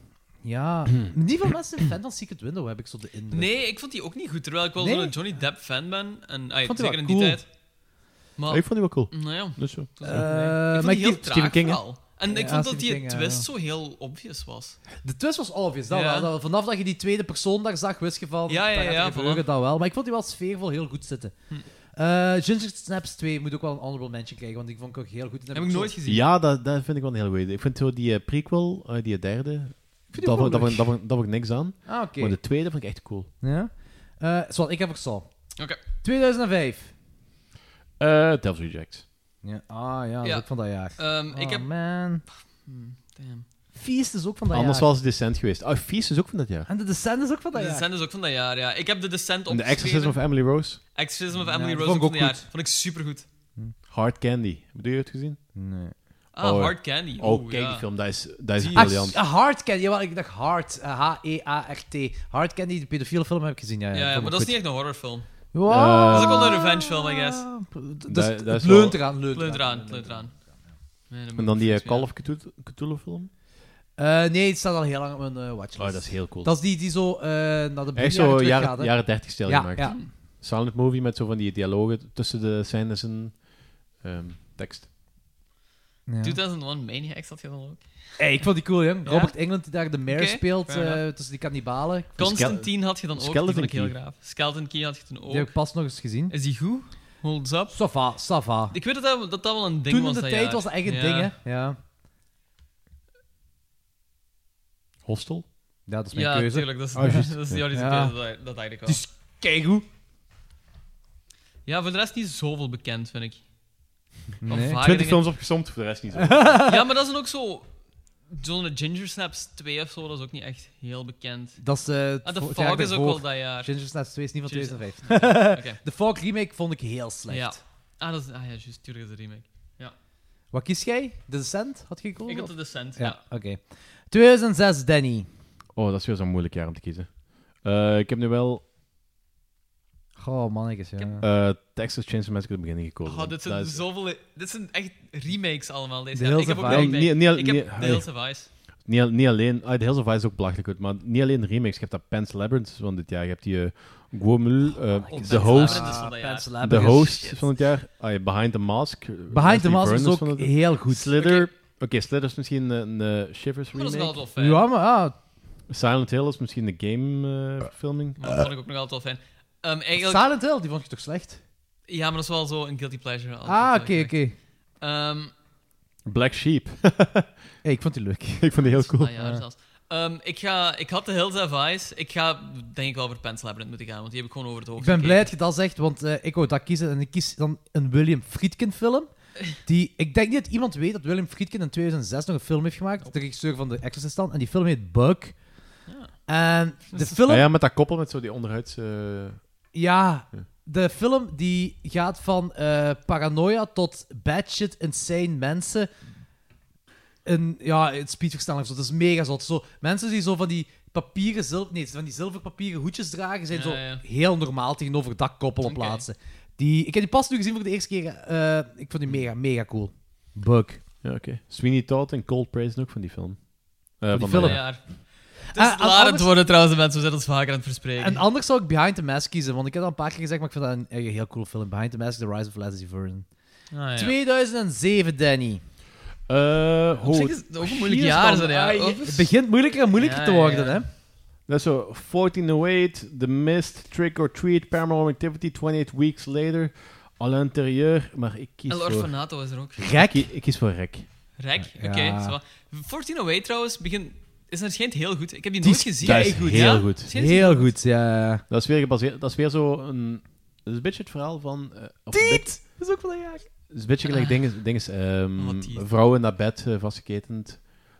Speaker 4: (clears throat) ja, niet veel mensen zijn fan van Secret Window, heb ik zo de indruk.
Speaker 12: Nee, ik vond die ook niet goed. Terwijl ik wel
Speaker 4: Nee?
Speaker 12: zo'n Johnny Depp fan ben. En, ah,
Speaker 4: vond die wel
Speaker 12: zeker in die
Speaker 4: cool.
Speaker 12: tijd.
Speaker 5: Ah,
Speaker 12: Maar,
Speaker 4: Ja, ik vond die wel cool.
Speaker 12: Nou ja.
Speaker 1: Dus zo.
Speaker 12: Het was
Speaker 4: Eh,
Speaker 12: ook nee.
Speaker 4: maar
Speaker 12: ik vond
Speaker 4: ik
Speaker 12: die heel
Speaker 4: kies-
Speaker 12: traag
Speaker 4: Stephen King, hè?
Speaker 12: vooral. En
Speaker 4: Ja,
Speaker 12: ik vond dat
Speaker 4: Stephen
Speaker 12: die
Speaker 4: King, ja,
Speaker 12: twist
Speaker 4: ja.
Speaker 12: zo heel obvious was.
Speaker 4: De twist was obvious. Dat
Speaker 12: Ja.
Speaker 4: wel, dat- vanaf dat je die tweede persoon daar zag, wist je van...
Speaker 12: Ja,
Speaker 4: dat
Speaker 12: ja,
Speaker 4: gaat er
Speaker 12: ja,
Speaker 4: gebeuren,
Speaker 12: voilà.
Speaker 4: dat wel. Maar ik vond die wel sfeervol heel goed zitten.
Speaker 12: Hm.
Speaker 4: Eh, Ginger Snaps 2 moet ook wel een honorable mention krijgen, want die vond ik ook heel goed. En dat zo-
Speaker 5: Ja, dat, dat vind ik wel een heel weird. Ik vind zo die eh, prequel, eh, die derde,
Speaker 4: die
Speaker 5: daar
Speaker 4: ook wel
Speaker 5: vond- daar
Speaker 4: leuk.
Speaker 5: vond- daar vond- daar vond ik niks aan.
Speaker 4: Ah, oké.
Speaker 5: Maar de tweede vond ik echt cool.
Speaker 4: Ja? Eh, Zwart, ik heb ook Saw.
Speaker 12: Oké.
Speaker 4: 2005.
Speaker 1: Eh Devil's Rejects.
Speaker 4: Ja. Ah ja, dat is
Speaker 12: Ja.
Speaker 4: ook van dat jaar.
Speaker 12: Ehm, ik
Speaker 4: Oh,
Speaker 12: heb-
Speaker 4: man. Feast is ook van dat
Speaker 5: Anders
Speaker 4: jaar.
Speaker 5: was Descent geweest. Ah, Feast is ook van dat jaar.
Speaker 4: En The Descent is ook van dat
Speaker 12: De
Speaker 4: jaar.
Speaker 12: Descent is ook van dat jaar, ja. Ik heb de Descent
Speaker 5: En The
Speaker 12: opgeschreven.
Speaker 5: Exorcism of Emily Rose.
Speaker 12: Exorcism of
Speaker 5: Ja,
Speaker 12: Emily
Speaker 5: die
Speaker 12: Rose
Speaker 5: vond
Speaker 12: ook
Speaker 5: ik ook
Speaker 12: van dat jaar.
Speaker 5: goed.
Speaker 12: Vond ik supergoed.
Speaker 5: Hard Candy. Heb je het gezien?
Speaker 4: Nee.
Speaker 12: Ah, Hard Candy.
Speaker 5: Oh,
Speaker 12: Oeh,
Speaker 5: kijk
Speaker 12: ja.
Speaker 5: die film. Dat is, dat is
Speaker 12: Die-
Speaker 5: briljant.
Speaker 4: Ah, Hard Candy. Jawel, ik dacht Hard. eh, H-E-A-R-T. Hard Candy, de pedofiele film heb ik gezien. Ja, ja,
Speaker 12: Ja,
Speaker 4: vond
Speaker 12: ja,
Speaker 4: ik
Speaker 12: maar dat is
Speaker 4: goed.
Speaker 12: niet echt een horrorfilm.
Speaker 4: Wow.
Speaker 12: Dat is ook wel een revenge film, I guess.
Speaker 4: dat is- dat is het wel- leunt eraan, leunt
Speaker 12: Leunt
Speaker 4: eraan.
Speaker 12: eraan, leunt eraan. Nee, dat
Speaker 5: En
Speaker 12: moet
Speaker 5: dan
Speaker 12: ik
Speaker 5: die eh,
Speaker 12: niet
Speaker 5: Call of Cthulhu- Cthulhu film.
Speaker 4: Eh, nee, het staat al heel lang op mijn eh, watchlist.
Speaker 5: Oh, dat is heel cool.
Speaker 4: Dat is die, die zo eh, naar de
Speaker 5: Echt
Speaker 4: beginjaren
Speaker 5: zo
Speaker 4: terug
Speaker 5: jaren,
Speaker 4: gaat, hè.
Speaker 5: jaren 30 stijl
Speaker 4: ja,
Speaker 5: gemaakt.
Speaker 4: Ja.
Speaker 5: Silent movie met zo van die dialogen tussen de scènes en ehm, tekst.
Speaker 12: zeggen. 2001 Maniacs had je dan ook.
Speaker 4: Hey, ik vond die cool, jong.
Speaker 12: Ja?
Speaker 4: Robert England die daar de mayor
Speaker 12: Oké,
Speaker 4: speelt
Speaker 12: fair
Speaker 4: eh,
Speaker 12: enough.
Speaker 4: tussen die kannibalen.
Speaker 12: Constantine had je dan ook, die vond ik heel graaf. Skeleton Key had je toen
Speaker 4: Die heb
Speaker 12: ook.
Speaker 4: ik pas nog eens gezien.
Speaker 12: Is die goed? Holds up.
Speaker 4: Safa, Safa.
Speaker 12: Ik weet dat dat, dat dat wel een ding
Speaker 4: Toen in
Speaker 12: was.
Speaker 4: de
Speaker 12: dat
Speaker 4: tijd
Speaker 12: jaar.
Speaker 4: was dat echt een
Speaker 12: Ja.
Speaker 4: ding, hè? Ja.
Speaker 5: Hostel?
Speaker 4: Ja, dat is mijn
Speaker 12: Ja,
Speaker 4: keuze.
Speaker 12: tuurlijk. Dat is,
Speaker 4: Oh, juist.
Speaker 12: (laughs) dat is de Jordi's
Speaker 4: Ja.
Speaker 12: keuze, dat- dat dacht ik wel.
Speaker 4: Dus keigoed.
Speaker 12: Ja, voor de rest niet zoveel bekend, vind ik. Van
Speaker 5: Nee.
Speaker 12: vage
Speaker 5: 20
Speaker 12: dingen.
Speaker 5: films opgesomd, voor de rest niet zo.
Speaker 12: ja, maar dat zijn ook zo... Zo'n Ginger Snaps 2 of zo, dat is ook niet echt heel bekend.
Speaker 4: Dat is eh,
Speaker 12: ah,
Speaker 4: het
Speaker 12: de
Speaker 4: vo- het
Speaker 12: Fog is ook
Speaker 4: daarvoor.
Speaker 12: wel dat jaar.
Speaker 4: Ginger Snaps 2 is niet van
Speaker 12: Ginger-
Speaker 4: 2005.
Speaker 12: (laughs) Oké.
Speaker 4: De Fog remake vond ik heel slecht.
Speaker 12: Ja. Ah, dat is, ah ja, juist. Tuurlijk is de remake. Ja.
Speaker 4: Wat kies jij? De Descent had je gekozen?
Speaker 12: Ik had
Speaker 4: of?
Speaker 12: The Descent, ja.
Speaker 4: Oké. 2006, Danny.
Speaker 5: Oh, dat is weer zo'n moeilijk jaar om te kiezen. Eh, ik heb nu wel
Speaker 4: Goh, Oh, mannetjes, ja.
Speaker 5: eh, Texas Chainsaw Massacre in het begin gekozen.
Speaker 12: Oh, dit zijn
Speaker 5: Dat is-
Speaker 12: zoveel... Dit zijn echt remakes allemaal deze
Speaker 4: De
Speaker 12: jaar.
Speaker 4: Hills
Speaker 12: Ik heb
Speaker 4: of
Speaker 12: ook
Speaker 5: Wel,
Speaker 12: een remake.
Speaker 5: niet- niet al-
Speaker 12: ik heb
Speaker 5: niet-
Speaker 12: The
Speaker 5: nee.
Speaker 12: Hills of Ice.
Speaker 5: Niet, al- niet alleen... Ah, The Hills of Ice is ook belachelijk goed, maar niet alleen de remakes. Je hebt dat Pan's Labyrinth van dit jaar. Je hebt die eh Guomul, eh, The
Speaker 4: Labyrinth
Speaker 5: Host.
Speaker 4: is van Ah, dat jaar. Pan's
Speaker 5: The
Speaker 4: Labyrinth is
Speaker 5: Host
Speaker 4: shit.
Speaker 5: van het jaar. Ah, ja, Behind the Mask. eh,
Speaker 4: the
Speaker 5: Leslie
Speaker 4: Mask is
Speaker 5: Vernon
Speaker 4: ook
Speaker 5: van het-
Speaker 4: heel goed.
Speaker 5: Slither. Oké, Slither is misschien een eh, Shivers
Speaker 12: dat is
Speaker 5: remake.
Speaker 12: wel wel fijn. Ja,
Speaker 4: maar... Ah.
Speaker 5: Silent Hill is misschien de eh, game-verfilming.
Speaker 12: Maar dat vond ik ook nog altijd wel fijn. Ehm, eigenlijk...
Speaker 4: Silent Hill, die vond je toch slecht?
Speaker 12: Ja, maar dat is wel zo een guilty pleasure.
Speaker 4: Ah,
Speaker 12: altijd,
Speaker 4: oké,
Speaker 12: vind
Speaker 4: oké.
Speaker 12: ik. Ehm,
Speaker 5: Black Sheep.
Speaker 4: hey, ik vond die leuk.
Speaker 5: (laughs) ik vond die heel cool.
Speaker 12: Ah, ja, zelfs. Ehm, ik, ga, ik had de Hills of Ice. Ik ga denk ik wel voor Pens Labyrinth moeten gaan, want die heb ik gewoon over het
Speaker 4: Ik
Speaker 12: hoofd.
Speaker 4: ben blij dat je dat zegt, want eh, ik wou dat kiezen. En ik kies dan een William Friedkin
Speaker 12: (laughs)
Speaker 4: film. Die, ik denk niet dat iemand weet dat William Friedkin in 2006 nog een film heeft gemaakt. De regisseur van de Exorcist dan. En die film heet Bug. En de film...
Speaker 5: Ah ja, met dat koppel met zo die onderhuids... eh,
Speaker 4: Ja, de film die gaat van eh, paranoia tot bad shit, insane mensen. Een, ja, het speedversnelling of zo. Dat is mega zot. Zo, mensen die zo van die papieren, zil nee, van die zilverpapieren hoedjes dragen, zijn
Speaker 12: Ja,
Speaker 4: zo
Speaker 12: ja.
Speaker 4: heel normaal tegenover dakkoppel op plaatsen. Die, ik heb die pas nu gezien voor de eerste keer. eh, ik vond die mega, mega cool. Bug.
Speaker 5: Ja, oké. Sweeney Todd en Cold Praise ook van die film.
Speaker 4: Van
Speaker 5: Eh,
Speaker 4: die
Speaker 5: dat
Speaker 4: film.
Speaker 5: jaar.
Speaker 12: jaar. Het is
Speaker 4: Ah, en
Speaker 12: klaar aan het
Speaker 4: anders-
Speaker 12: worden trouwens, de mensen. We zijn ons vaker aan het verspreken.
Speaker 4: En anders zou ik Behind the Mask kiezen, want ik heb dat een paar keer gezegd, maar ik vind dat een, een heel cool film. Behind the Mask, The Rise of Leslie Vernon.
Speaker 12: Ah, ja.
Speaker 4: 2007, Danny.
Speaker 5: Eh,
Speaker 12: Op zich
Speaker 5: oh,
Speaker 12: is het ook een moeilijk
Speaker 4: Hier is
Speaker 12: jaar.
Speaker 4: dan-
Speaker 12: Zo, ja.
Speaker 4: ah, je-
Speaker 12: Oh.
Speaker 4: Het begint moeilijker en moeilijker
Speaker 12: Ja,
Speaker 4: te
Speaker 12: ja,
Speaker 4: worden,
Speaker 12: ja.
Speaker 4: hè?
Speaker 5: Dat is zo 1408, The Mist, Trick or Treat, Paranormal Activity, 28 Weeks Later, à l'intérieur, maar ik kies
Speaker 12: El
Speaker 5: voor...
Speaker 12: Orfanato is er ook.
Speaker 5: Rek? Ik, ik kies voor Rek.
Speaker 12: Rek, oké.
Speaker 5: Ja.
Speaker 12: zo. 14 Away trouwens begin, is er schijnt heel goed. Ik heb
Speaker 4: Die
Speaker 12: die nooit
Speaker 4: is-
Speaker 12: gezien.
Speaker 5: dat is heel
Speaker 12: Ja?
Speaker 5: goed.
Speaker 12: Schijnt-
Speaker 4: Heel goed, ja.
Speaker 5: Dat is weer gebaseerd... Dat is weer zo een... Dat is een beetje het verhaal van... eh, of een beetje-
Speaker 4: Tiet! Dat is ook wel een jaar.
Speaker 5: Het is een beetje gelijk dingen, dingen
Speaker 12: Oh,
Speaker 5: ehm, vrouwen naar bed eh, vastgeketend. Dat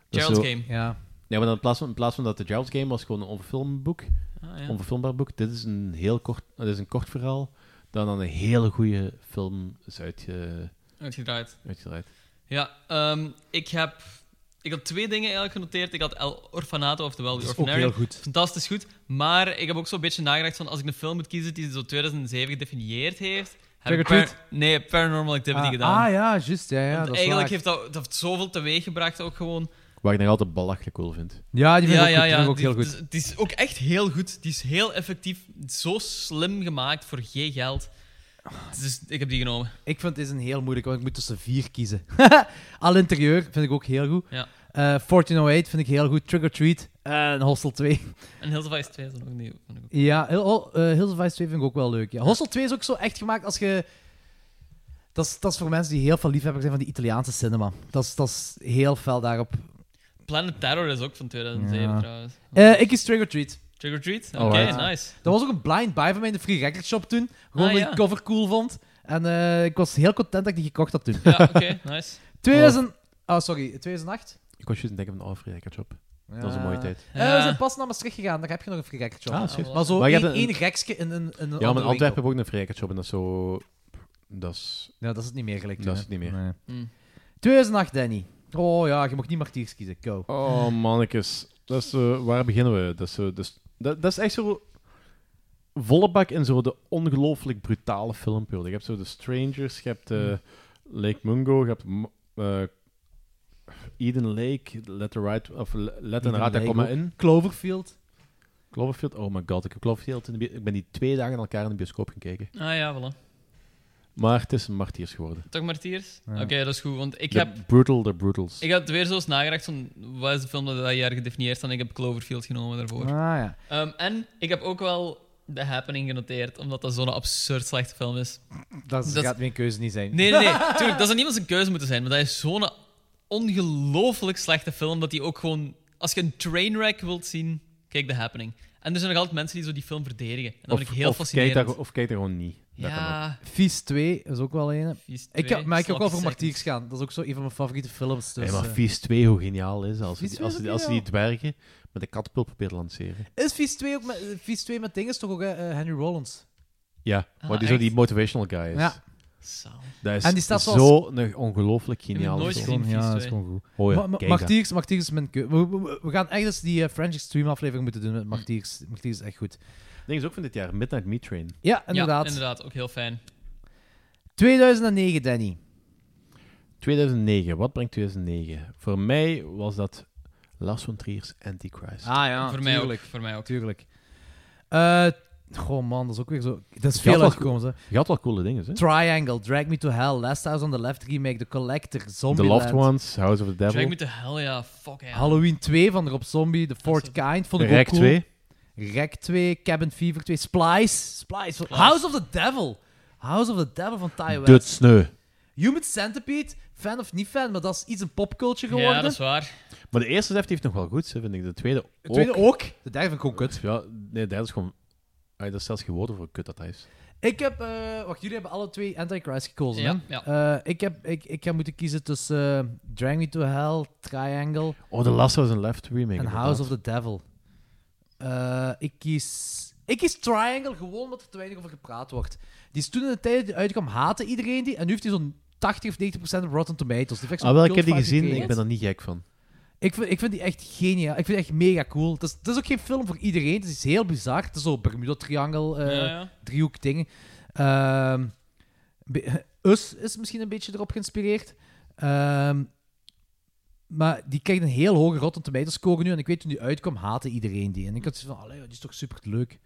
Speaker 5: is
Speaker 12: Gerald's
Speaker 5: zo-
Speaker 12: Game.
Speaker 4: Ja.
Speaker 5: Ja, maar dan in plaats van, in plaats van dat de Gerald's Game was gewoon een onverfilmboek,
Speaker 12: Ah, ja.
Speaker 5: onverfilmbaar boek. Dit is een heel kort, dit is een kort verhaal dat dan een hele goede film is uitge,
Speaker 12: Uitgedraaid.
Speaker 5: uitgedraaid.
Speaker 12: Ja, ehm, ik heb... Ik had twee dingen eigenlijk genoteerd. Ik had El Orfanato, oftewel The
Speaker 4: Dat is ook
Speaker 12: Orphanary.
Speaker 4: heel goed.
Speaker 12: Fantastisch goed. Maar ik heb ook zo'n beetje nagedacht van... Als ik een film moet kiezen die zo 2007 gedefinieerd heeft... Heb
Speaker 4: Trick
Speaker 12: ik
Speaker 4: or Treat?
Speaker 12: par- nee, Paranormal Activity
Speaker 4: ah,
Speaker 12: gedaan.
Speaker 4: ah, ja, juist. Ja, ja,
Speaker 12: Want
Speaker 4: dat is waar.
Speaker 12: eigenlijk heeft dat, dat heeft zoveel teweeg gebracht ook gewoon.
Speaker 5: Wat ik nog altijd belachelijk cool vind.
Speaker 4: Ja, die vind ik ook, goed, die vind ik ook
Speaker 12: die-
Speaker 4: heel
Speaker 12: dus
Speaker 4: goed.
Speaker 12: Het is ook echt heel goed. Die is heel effectief. Zo slim gemaakt voor geen geld. Dus ik heb die genomen.
Speaker 4: Ik vind deze een heel moeilijk, want ik moet tussen vier kiezen. (laughs) Al interieur vind ik ook heel goed.
Speaker 12: Ja.
Speaker 4: Eh, 1408 vind ik heel goed. Trick or Treat en Hostel 2.
Speaker 12: En Hills of Ice 2 is dan ook niet.
Speaker 4: (laughs) Ja, heel, oh, eh, Hills of Ice 2 vind ik ook wel leuk. Ja. Hostel 2 is ook zo echt gemaakt als je... Dat is, dat is voor mensen die heel veel liefhebber zijn van die Italiaanse cinema. Dat is, dat is heel fel daarop.
Speaker 12: Planet Terror is ook van 2007
Speaker 4: Ja.
Speaker 12: trouwens.
Speaker 4: Eh, ik kies Trick or Treat.
Speaker 12: Trick or Treat? Oké,
Speaker 4: Alright.
Speaker 12: nice.
Speaker 4: Dat was ook een blind buy van mij in de Free Record Shop toen. Gewoon
Speaker 12: Ah,
Speaker 4: omdat
Speaker 12: ja.
Speaker 4: ik cover cool vond. En eh, ik was heel content dat ik die gekocht had toen.
Speaker 12: Ja, oké, nice.
Speaker 4: 2000... Oh, sorry. 2008?
Speaker 5: Ik was juist aan het denken van de Alfred Shop. Dat was een mooie tijd.
Speaker 4: Eh, we zijn pas naar Maastricht gegaan. Daar heb je nog een Free Record Shop.
Speaker 5: Ah, serieus?
Speaker 4: maar zo
Speaker 5: Maar je
Speaker 4: één,
Speaker 5: hebt een-
Speaker 4: één rekske in een, in een
Speaker 5: ja, maar in
Speaker 4: andere
Speaker 5: Antwerpen
Speaker 4: winkel.
Speaker 5: hebben we ook een vrijheidsshop en dat is zo... Dat is...
Speaker 4: Ja, dat is het niet meer gelijk
Speaker 5: Dat
Speaker 4: toen,
Speaker 5: is
Speaker 4: hè.
Speaker 5: het niet meer.
Speaker 12: Hm.
Speaker 4: 2008, Danny. Oh ja, je mag niet martiers kiezen. Go.
Speaker 5: Oh, mannetjes. Dat is, eh, waar beginnen we? Dat is, eh, dat, is, dat, dat is echt zo... Volle bak in zo de ongelooflijk brutale filmperiode. Je hebt zo The Strangers, je hebt eh,
Speaker 4: Mm.
Speaker 5: Lake Mungo, je hebt mm, eh, Eden Lake, Let the Right... Of Let
Speaker 4: Eden
Speaker 5: the Right
Speaker 4: Lake
Speaker 5: Come
Speaker 4: ook.
Speaker 5: In.
Speaker 4: Cloverfield.
Speaker 5: Cloverfield, oh my god. Ik, heb Cloverfield in de bi- ik ben die twee dagen aan elkaar in de bioscoop gaan kijken.
Speaker 12: Ah ja, voilà.
Speaker 5: Maar het is een martiers geworden.
Speaker 12: Toch Martiers?
Speaker 5: Ja.
Speaker 12: Oké, dat is goed, want ik
Speaker 5: The
Speaker 12: heb...
Speaker 5: Brutal, de Brutals.
Speaker 12: Ik had weer zo eens nagedacht van wat is de film dat dat jaar gedefinieerd is en ik heb Cloverfield genomen daarvoor.
Speaker 4: Ah, ja.
Speaker 12: Ehm, en ik heb ook wel The Happening genoteerd, omdat dat zo'n absurd slechte film is.
Speaker 4: Dat is- gaat mijn keuze niet zijn.
Speaker 12: Nee, nee, nee. Tuurlijk, dat zou niet eens een keuze moeten zijn, maar dat is zo'n ongelooflijk slechte film dat die ook gewoon... Als je een trainwreck wilt zien, kijk The Happening. En er zijn nog altijd mensen die zo die film verdedigen. En dat
Speaker 5: Of-
Speaker 12: vind ik heel
Speaker 5: of
Speaker 12: fascinerend.
Speaker 5: kijk daar- of kijk daar gewoon niet. Dat
Speaker 12: Ja.
Speaker 4: Vies 2 is ook wel een. Ik heb,
Speaker 12: 2,
Speaker 4: maar ik heb ook wel voor
Speaker 12: Slapstick.
Speaker 4: Martiers gaan. Dat is ook zo een van mijn favoriete films. Dus,
Speaker 5: Hey, maar
Speaker 4: eh,
Speaker 5: Vies 2, hoe geniaal is dat? Als,
Speaker 4: Vies
Speaker 5: die,
Speaker 4: 2
Speaker 5: als,
Speaker 4: is
Speaker 5: die,
Speaker 4: ook
Speaker 5: als die dwergen met de katapult probeert te lanceren.
Speaker 4: Is Vies 2 ook met, eh, Vies 2 met dingen toch ook eh, eh, Henry Rollins?
Speaker 5: Ja,
Speaker 4: Ah,
Speaker 5: maar die zo
Speaker 4: echt?
Speaker 5: die motivational guy is.
Speaker 4: Ja.
Speaker 5: Dat is
Speaker 4: En die staat zoals-
Speaker 5: zo een ongelooflijk geniaal.
Speaker 4: Nooit
Speaker 5: film.
Speaker 4: gezien, ja, dat is gewoon goed.
Speaker 5: Oh ja,
Speaker 4: Ma- ma-
Speaker 5: kijk dat.
Speaker 4: Martiers, Martiers is mijn keu- we, we- we gaan echt eens die eh, French Extreme aflevering moeten doen met Martiers. Martiers is echt goed.
Speaker 5: Mm. Ding is ook van dit jaar, Midnight Meat Train.
Speaker 4: Ja, inderdaad.
Speaker 12: Ja, inderdaad. Ook heel fijn.
Speaker 4: 2009, Danny.
Speaker 5: 2009, wat brengt 2009? Voor mij was dat Lars von Trier's Antichrist.
Speaker 4: Ah ja,
Speaker 12: Voor mij ook,
Speaker 4: tuurlijk.
Speaker 12: voor mij ook.
Speaker 4: Tuurlijk. Eh, goh man, dat is ook weer zo... Dat is
Speaker 5: Je had
Speaker 4: veel
Speaker 5: wel-
Speaker 4: uitgekomen, hè.
Speaker 5: Je had wel coole dingen, hè?
Speaker 4: Triangle, Drag Me to Hell, Last House on the Left Remake, The Collector, Zombie
Speaker 5: The Loved Ones, House of the Devil.
Speaker 12: Drag me to hell, ja. Fuck, ja.
Speaker 4: Halloween 2 van Rob Zombie, The Fourth Kind vond ik
Speaker 5: Rec
Speaker 4: ook cool.
Speaker 5: 2.
Speaker 4: Rec 2, Cabin Fever 2, Splice, Splice, House of the Devil. House of the Devil van Ty West.
Speaker 5: Dut sneu.
Speaker 4: Human Centipede, fan of niet fan, maar dat is iets een popculture geworden.
Speaker 12: Ja, dat is waar.
Speaker 5: Maar de eerste zeft heeft nog wel goed, hè, vind ik. De tweede ook.
Speaker 4: De tweede ook. De derde vind ik ook kut.
Speaker 5: Ja, nee, de derde is gewoon... Ah, dat is zelfs geen woorden voor hoe kut dat hij is.
Speaker 4: Ik heb, eh, wacht, jullie hebben alle twee Antichrist gekozen.
Speaker 5: Ja,
Speaker 4: hè? Eh, ik, heb, ik, ik ga moeten kiezen tussen eh, Drag Me to Hell, Triangle.
Speaker 5: Oh, The Last House on the Left remake.
Speaker 4: En
Speaker 5: inderdaad.
Speaker 4: House of the Devil. Eh, ik, kies, ik kies Triangle gewoon omdat er te weinig over gepraat wordt. Die is toen in de tijd dat die uitkwam, haatte iedereen die. En nu heeft hij zo'n 80 of 90 procent op Rotten Tomatoes. Die heeft echt zo'n
Speaker 5: Ah, wel, ik heb die
Speaker 4: cultvaart
Speaker 5: gezien.
Speaker 4: gekregen.
Speaker 5: Ik ben er niet gek van.
Speaker 4: Ik vind, ik vind die echt geniaal. Ik vind die echt mega cool. Het is, het is ook geen film voor iedereen. Het is iets heel bizar. Het is zo Bermuda-triangel, eh,
Speaker 12: Ja, ja.
Speaker 4: driehoek dingen. Ehm, be- eh, Us is misschien een beetje erop geïnspireerd. Ehm, maar die krijgt een heel hoge Rotten Tomatoes score nu. En ik weet toen die uitkwam, haatte iedereen die. En ik had zoiets van, allee, die is toch super leuk.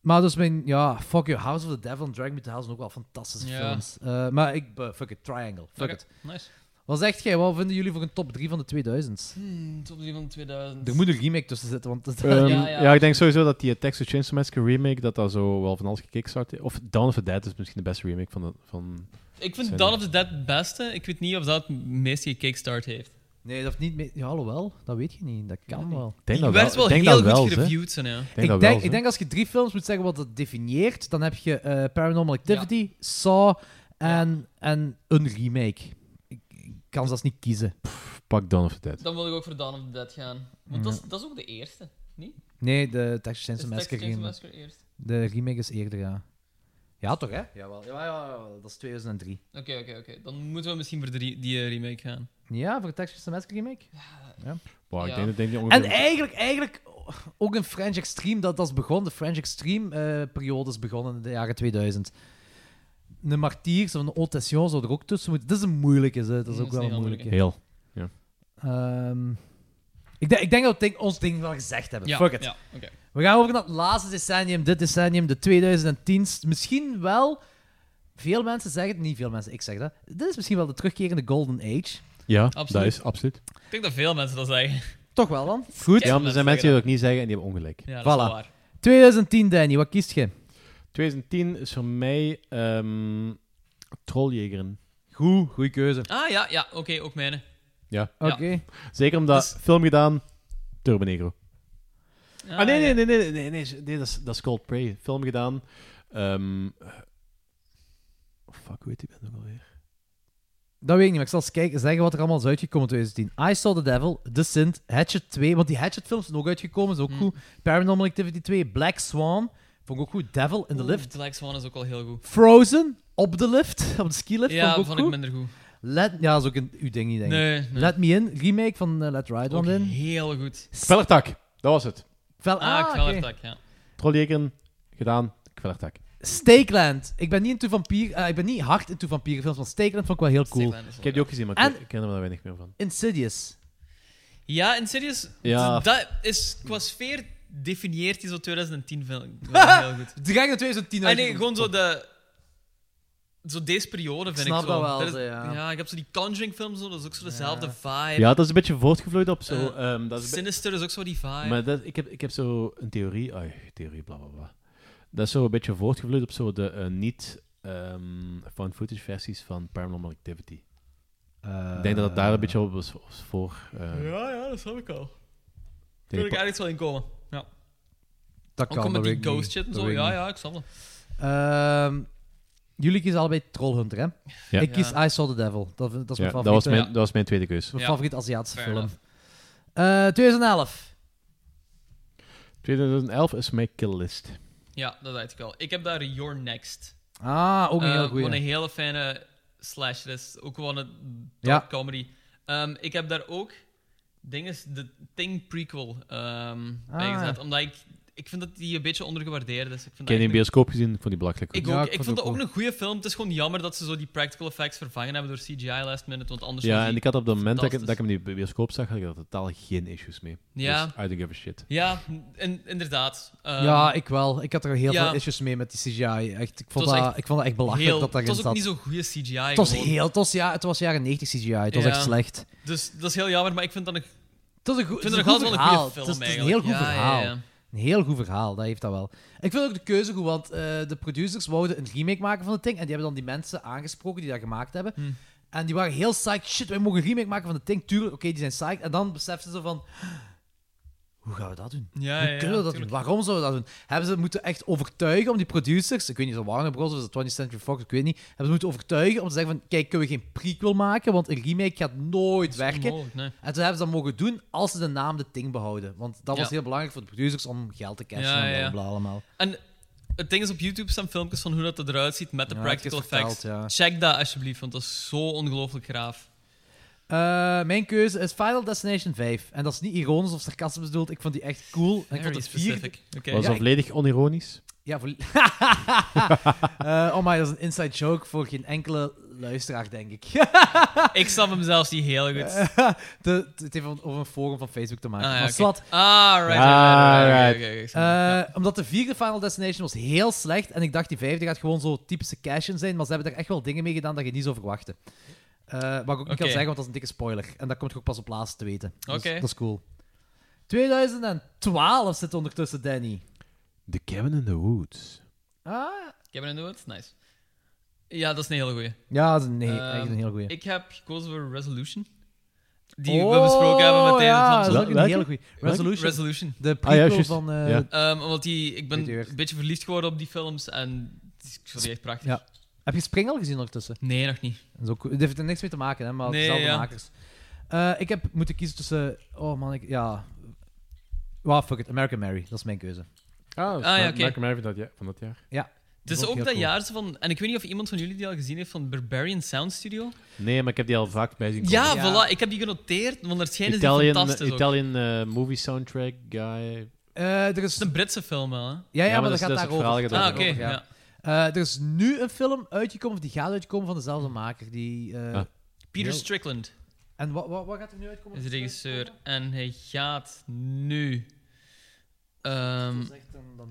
Speaker 4: maar dus mijn, ja, fuck you, House of the Devil en Drag Me to Hell zijn ook wel fantastische
Speaker 12: Ja.
Speaker 4: films. Eh, maar ik, eh, fuck it, Triangle, fuck
Speaker 12: Oké,
Speaker 4: it.
Speaker 12: nice.
Speaker 4: Wat zegt jij? Wat vinden jullie voor een top 3 van de 2000s?
Speaker 12: Hmm, top 3 van 2000.
Speaker 4: Er moet een remake tussen zitten, want dat
Speaker 5: Ehm, ja, ik denk sowieso dat die eh, Texas Chainsaw Massacre remake, dat dat zo wel van alles gekickstart is. Of Dawn of the Dead is misschien de beste remake van... De, van
Speaker 12: Ik vind
Speaker 5: zijn-
Speaker 12: Dawn of the Dead het beste. Ik weet niet of dat het meeste kickstart heeft.
Speaker 4: Nee, dat niet mee. Ja, alhoewel, dat weet je niet. Dat kan wel.
Speaker 5: Ik denk
Speaker 12: Die
Speaker 5: dat wel.
Speaker 12: werd wel
Speaker 5: ik denk
Speaker 12: heel
Speaker 5: dat
Speaker 12: goed
Speaker 5: wel, hè.
Speaker 12: gereviewd, zijn,
Speaker 5: Ik
Speaker 12: ja.
Speaker 5: denk
Speaker 4: Ik
Speaker 5: dat
Speaker 4: denk,
Speaker 5: wel,
Speaker 4: ik denk als je drie films moet zeggen wat dat definieert, dan heb je eh, Paranormal Activity, Saw en, en een remake. Ik, ik kan zelfs niet kiezen.
Speaker 5: pak Dawn of the Dead.
Speaker 12: Dan wil ik ook voor Dawn of the Dead gaan. Want dat, is, dat is ook de eerste, niet?
Speaker 4: Nee, de Texas Chainsaw
Speaker 12: Is Texas
Speaker 4: Massacre
Speaker 12: Chainsaw
Speaker 4: remake.
Speaker 12: Massacre eerst?
Speaker 4: De remake is eerder, ja. Ja, toch, hè? Jawel, ja, dat is 2003.
Speaker 12: Oké, oké, oké. Dan moeten we misschien voor de re- die eh, remake gaan.
Speaker 4: Ja, voor de Texas Chainsaw Massacre remake? Ja.
Speaker 5: Wow, ik
Speaker 12: Ja.
Speaker 5: denk dat denk die
Speaker 4: En
Speaker 5: ongeveer...
Speaker 4: eigenlijk, eigenlijk ook een French Extreme, dat, dat is begonnen. De French eh, Extreme-periode is begonnen in de jaren 2000. Een Martiers of een Otation zou er ook tussen moeten. Dat is een moeilijke, hè. dat is
Speaker 5: Dat
Speaker 4: ook
Speaker 5: is
Speaker 4: wel
Speaker 5: een
Speaker 4: een
Speaker 5: heel
Speaker 4: moeilijke.
Speaker 5: moeilijke. Heel,
Speaker 4: Ehm, ik, denk- ik denk dat we ding- ons ding wel gezegd hebben.
Speaker 12: Ja,
Speaker 4: Fuck it.
Speaker 12: ja, oké.
Speaker 4: We gaan over naar het laatste decennium, dit decennium, de 2010s. Misschien wel, veel mensen zeggen het, niet veel mensen, ik zeg dat. Dit is misschien wel de terugkerende Golden Age.
Speaker 5: Ja, dat
Speaker 12: Absoluut.
Speaker 5: is absoluut.
Speaker 12: Ik denk dat veel mensen dat zeggen.
Speaker 4: Toch wel dan?
Speaker 5: Goed. Ja, maar er zijn mensen die dat ook niet zeggen en die hebben ongelijk.
Speaker 12: Ja, dat is wel
Speaker 4: Voilà. 2010, Danny, wat kiest je?
Speaker 5: 2010 is voor mij ehm Trolljegeren.
Speaker 4: Goed, goede keuze.
Speaker 12: Ah ja, ja, oké, ook mijne.
Speaker 5: Ja.
Speaker 4: Oké.
Speaker 5: Zeker omdat film gedaan, Turbo Negro.
Speaker 12: Ah,
Speaker 5: nee, nee, nee, nee, nee, nee, nee, dat is, dat is Cold Prey. Film gedaan. Ehm oh, fuck, hoe heet die band ook alweer?
Speaker 4: Dat weet ik niet, maar ik zal eens kijken, zeggen wat er allemaal is uitgekomen in 2010. I Saw the Devil, The Sint, Hatchet 2, want die Hatchet-films zijn ook uitgekomen, is
Speaker 12: Hmm.
Speaker 4: ook goed. Paranormal Activity 2, Black Swan, vond ik ook goed. Devil in the
Speaker 12: Oeh,
Speaker 4: Lift.
Speaker 12: Black Swan is ook al heel goed.
Speaker 4: Frozen, op de lift, (laughs) op de skilift, vond
Speaker 12: Ja,
Speaker 4: ik ook
Speaker 12: vond ik
Speaker 4: goed.
Speaker 12: minder goed.
Speaker 4: Let, ja, dat is ook een, uw ding niet, denk ik.
Speaker 12: Nee, nee.
Speaker 4: Let Me In, remake van eh, Let Ride On In.
Speaker 12: Heel goed.
Speaker 5: Kwellertak, dat was het.
Speaker 4: Vel, ah,
Speaker 12: Ah,
Speaker 4: oké.
Speaker 12: Kwellertak, ja.
Speaker 5: Trolljegeren, gedaan, Kwellertak.
Speaker 4: Stakeland. Ik ben niet into vampier, eh, ik ben niet hard into vampierenfilms, maar Stakeland vond ik wel heel cool.
Speaker 5: Ik heb die ook gezien, maar
Speaker 4: En-
Speaker 5: ik- ik ken er maar weinig meer van.
Speaker 4: Insidious.
Speaker 12: Ja, in serieus,
Speaker 5: Ja.
Speaker 12: d- dat is qua sfeer
Speaker 4: (laughs)
Speaker 12: definieert die zo 2010 film wel heel goed.
Speaker 4: Die ga ik naar 2010
Speaker 12: Ah, nee,
Speaker 4: uitgevoerd.
Speaker 12: gewoon zo de, zo deze periode vind ik,
Speaker 4: snap
Speaker 12: zo.
Speaker 4: dat wel,
Speaker 12: is-
Speaker 4: zo, ja.
Speaker 12: ik heb zo die Conjuring films, zo, dat is ook zo dezelfde vibe.
Speaker 5: Ja, dat is een beetje voortgevloeid op zo.
Speaker 12: Eh,
Speaker 5: ehm, dat is een be-
Speaker 12: Sinister is ook zo die vibe.
Speaker 5: Maar dat, ik, heb, ik heb zo een theorie. Ai, theorie, bla bla bla. Dat is zo een beetje voortgevloeid op zo de eh, niet ehm found footage versies van Paranormal Activity. ik denk dat het daar een beetje op was, was voor. eh,
Speaker 12: Ja, ja, dat snap ik al. Daar
Speaker 5: Tegen
Speaker 12: wil ik eigenlijk wel in komen. Ja.
Speaker 4: Dat
Speaker 12: Ook
Speaker 4: kan,
Speaker 12: al met
Speaker 4: dat
Speaker 12: die
Speaker 4: weet ik
Speaker 12: ghost
Speaker 4: niet.
Speaker 12: shit en
Speaker 4: Dat
Speaker 12: zo.
Speaker 4: weet ik
Speaker 12: Ja,
Speaker 4: niet.
Speaker 12: ja, ik snap dat.
Speaker 4: Ehm, jullie kiezen allebei Trollhunter, hè?
Speaker 5: Ja.
Speaker 4: Ik kies
Speaker 5: Ja.
Speaker 4: I Saw the Devil. Dat, vind- dat is mijn
Speaker 5: Ja, dat
Speaker 4: favoriete.
Speaker 5: was mijn- dat was mijn tweede keus.
Speaker 4: Mijn
Speaker 5: Ja.
Speaker 4: favoriete Aziatische
Speaker 5: Fair
Speaker 4: film. Eh 2011.
Speaker 5: 2011 is mijn kill list.
Speaker 12: Ja, dat weet ik wel. Ik heb daar Your Next.
Speaker 4: Ah, ook een
Speaker 12: Eh,
Speaker 4: hele
Speaker 12: Gewoon
Speaker 4: goeie.
Speaker 12: een hele fijne slash list. Ook gewoon een
Speaker 4: Ja.
Speaker 12: dark comedy. Ehm, ik heb daar ook, ding is, de Thing prequel ehm
Speaker 4: Ah.
Speaker 12: bijgezet. Omdat ik, ik vind dat die een beetje ondergewaardeerd is. Ik vind
Speaker 5: Ik
Speaker 12: dat
Speaker 5: heb die in
Speaker 12: echt
Speaker 5: de bioscoop gezien, ik vond die belachelijk.
Speaker 12: Ik,
Speaker 5: goed.
Speaker 12: ook, ik, vond het ook, een goede film. Het is gewoon jammer dat ze zo die practical effects vervangen hebben door CGI last minute. Want anders was
Speaker 5: Ja,
Speaker 12: die
Speaker 5: en ik had op het moment dat ik, dat
Speaker 12: fantastisch.
Speaker 5: ik hem in de bioscoop zag, had ik daar totaal geen issues mee.
Speaker 12: Ja.
Speaker 5: Dus I don't give a shit.
Speaker 12: Ja, in- inderdaad. Ehm,
Speaker 4: ja, ik wel. Ik had er heel
Speaker 12: ja.
Speaker 4: veel issues mee met die CGI. Echt, ik,
Speaker 12: Het
Speaker 4: vond
Speaker 12: was
Speaker 4: dat,
Speaker 12: echt
Speaker 4: ik vond dat echt belachelijk
Speaker 12: heel-
Speaker 4: dat daarin
Speaker 12: Het was ook
Speaker 4: zat.
Speaker 12: niet zo'n goede CGI.
Speaker 4: het was
Speaker 12: gewoon.
Speaker 4: heel... Het was, ja, het was jaren 90 CGI. Het was
Speaker 12: Ja.
Speaker 4: echt slecht.
Speaker 12: Dus dat is heel jammer, maar ik vind dat een,
Speaker 4: dat
Speaker 12: ik
Speaker 4: Het
Speaker 12: vind
Speaker 4: is
Speaker 12: dat nog
Speaker 4: goed
Speaker 12: altijd wel
Speaker 4: verhaal.
Speaker 12: een goede film
Speaker 4: Het is, het is een heel
Speaker 12: eigenlijk.
Speaker 4: goed
Speaker 12: Ja,
Speaker 4: verhaal.
Speaker 12: ja, ja.
Speaker 4: Een heel goed verhaal, dat heeft dat wel. Ik vind ook de keuze goed, want eh, de producers wouden een remake maken van het ding. En die hebben dan die mensen aangesproken die dat gemaakt hebben.
Speaker 12: Hm.
Speaker 4: En die waren heel psyched. Shit, wij mogen een remake maken van het ding. Tuurlijk, oké, die zijn psyched. En dan beseften ze van... Hoe gaan we dat doen?
Speaker 12: Ja,
Speaker 4: Hoe
Speaker 12: ja,
Speaker 4: kunnen we dat doen? Waarom zouden we dat doen? Hebben ze moeten echt overtuigen om die producers... Ik weet niet, is dat Warner Bros. of is dat 20th Century Fox? Ik weet niet. Hebben ze moeten overtuigen om te zeggen van... Kijk, kunnen we geen prequel maken? Want een remake gaat nooit werken.
Speaker 12: onmogelijk, nee.
Speaker 4: En toen hebben ze dat mogen doen als ze de naam de Ting behouden. Want dat was
Speaker 12: Ja.
Speaker 4: heel belangrijk voor de producers om geld te cashen
Speaker 12: Ja,
Speaker 4: en
Speaker 12: ja, ja.
Speaker 4: blablabla allemaal.
Speaker 12: En het ding is, op YouTube staan filmpjes van hoe dat het eruit ziet met de
Speaker 4: Ja, het
Speaker 12: practical
Speaker 4: is vertaald,
Speaker 12: effects. Check dat alsjeblieft, want dat is zo ongelooflijk graaf.
Speaker 4: Eh, mijn keuze is Final Destination 5. En dat is niet ironisch of sarcastisch bedoeld. Ik vond die echt cool. En ik vond
Speaker 12: Very
Speaker 4: het vierde...
Speaker 12: specific. Oké.
Speaker 5: Was
Speaker 4: Ja,
Speaker 5: dat
Speaker 4: ik-
Speaker 5: volledig onironisch?
Speaker 4: Ja, voor... (laughs) Eh, oh my, dat is een inside joke voor geen enkele luisteraar, denk ik. (laughs) Eh,
Speaker 12: ik snap hem zelfs niet heel goed.
Speaker 4: De- het heeft over een forum van Facebook te maken.
Speaker 12: Ah, ja,
Speaker 4: maar
Speaker 12: oké.
Speaker 4: zwart.
Speaker 12: Ah, right, right, right, right, right. Oké, oké, oké, ik snap het,
Speaker 4: Eh, Omdat de vierde Final Destination was heel slecht. En ik dacht, die vijfde gaat gewoon zo typische cash-in zijn. Maar ze hebben er echt wel dingen mee gedaan dat je niet zou verwachten. Eh wat ik ook niet
Speaker 12: Oké.
Speaker 4: kan zeggen, want dat is een dikke spoiler. En dat komt je ook pas op laatst te weten. Dat is-
Speaker 12: Oké.
Speaker 4: Dat is cool. 2012 zit ondertussen Danny.
Speaker 5: The Cabin in the Woods.
Speaker 4: Ah.
Speaker 12: Cabin in the Woods, nice. Ja, dat is een hele goeie.
Speaker 4: Ja, dat is een- nee,
Speaker 12: Ehm,
Speaker 4: echt een hele goeie.
Speaker 12: Ik heb gekozen voor Resolution. Die we
Speaker 4: Oh,
Speaker 12: besproken hebben met Taylor
Speaker 4: ja,
Speaker 12: Thompson.
Speaker 4: dat is ook een Welke? hele goeie. Resolution.
Speaker 12: Resolution.
Speaker 4: De Ah, ja, prequel juist. van, eh, Ja.
Speaker 12: Ehm, omdat die, ik ben een beetje verliefd geworden op die films en die- ik vond die echt prachtig.
Speaker 4: Ja. Heb je Spring al gezien ondertussen?
Speaker 12: Nee, nog niet.
Speaker 4: Dat is ook, het heeft er niks mee te maken, hè, maar
Speaker 12: Nee,
Speaker 4: dezelfde
Speaker 12: ja.
Speaker 4: makers. Eh, ik heb moeten kiezen tussen... Oh man, ik, ja... Wow, fuck it. American Mary, dat is mijn keuze.
Speaker 5: Ah,
Speaker 12: Ah, ja, oké.
Speaker 5: Maak hem even dat, ja- van dat jaar.
Speaker 4: Ja.
Speaker 12: Het is
Speaker 4: Dat
Speaker 12: ook
Speaker 4: heel
Speaker 12: dat
Speaker 4: cool.
Speaker 12: jaar van, en ik weet niet of iemand van jullie die al gezien heeft, van Barbarian Sound Studio.
Speaker 5: Nee, maar ik heb die al vaak bij zien komen.
Speaker 12: Ja, voilà, ik heb die genoteerd, want er schijnen ze
Speaker 5: Italian,
Speaker 12: fantastisch ook.
Speaker 5: Italian eh, movie soundtrack guy.
Speaker 4: Eh, er is...
Speaker 12: Het is een Britse film wel, hè?
Speaker 4: Ja, ja, maar dat,
Speaker 5: is-
Speaker 4: gaat
Speaker 5: dat is het verhaal
Speaker 4: daarover.
Speaker 5: gaat
Speaker 12: Ah, oké,
Speaker 4: Daarover,
Speaker 12: ja.
Speaker 4: Eh, er is nu een film uitgekomen, of die gaat uitkomen, van
Speaker 12: Hm.
Speaker 4: dezelfde maker. Die, eh,
Speaker 5: Ah.
Speaker 12: Peter
Speaker 4: heel-
Speaker 12: Strickland
Speaker 4: En wat, wat, wat gaat er nu uitkomen?
Speaker 12: is de regisseur en hij gaat nu... ehm,